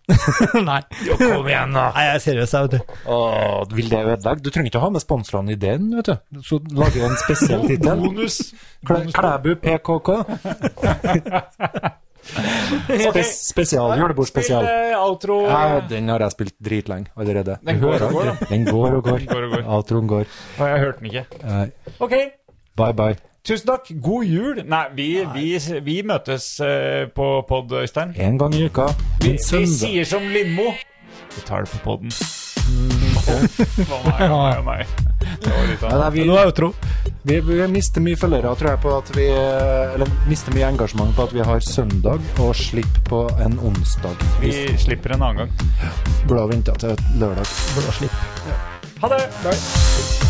[SPEAKER 6] Nei. kom igjen, da. Nei, jeg er seriøs, jeg, vet du.
[SPEAKER 2] Å, Vil det ødelegge? Du trenger ikke å ha med sponsorene i den, vet du. Så lager du en spesiell tittel.
[SPEAKER 1] Bonus.
[SPEAKER 2] Klæ- Klæbu PKK. Spes spesial. Julebordspesial.
[SPEAKER 1] Spill eh, outro.
[SPEAKER 2] Ja, den har jeg spilt dritlenge allerede.
[SPEAKER 1] Den går og går,
[SPEAKER 2] aldri. Den går og går.
[SPEAKER 1] Den går og går.
[SPEAKER 2] Outroen går.
[SPEAKER 1] Å, Jeg hørte den ikke.
[SPEAKER 2] Nei.
[SPEAKER 1] OK.
[SPEAKER 2] Bye, bye.
[SPEAKER 1] Tusen takk. God jul. Nei, vi, vi, vi møtes eh, på pod, Øystein.
[SPEAKER 2] En gang i uka.
[SPEAKER 1] Vi,
[SPEAKER 2] Min
[SPEAKER 1] vi
[SPEAKER 2] søndag.
[SPEAKER 1] sier som Lindmo. Vi tar det på poden. Mm. Å nei, å nei. Det var litt
[SPEAKER 2] Ja,
[SPEAKER 1] av
[SPEAKER 2] nei, vi,
[SPEAKER 6] Nå er outro.
[SPEAKER 2] vi, vi mister mye følgere, tror jeg, på at vi Eller mister mye engasjement på at vi har søndag og slipp på en onsdag.
[SPEAKER 1] Vi slipper en annen gang.
[SPEAKER 2] Burde ha venta til lørdag.
[SPEAKER 6] Blå slipp.
[SPEAKER 1] Ha det!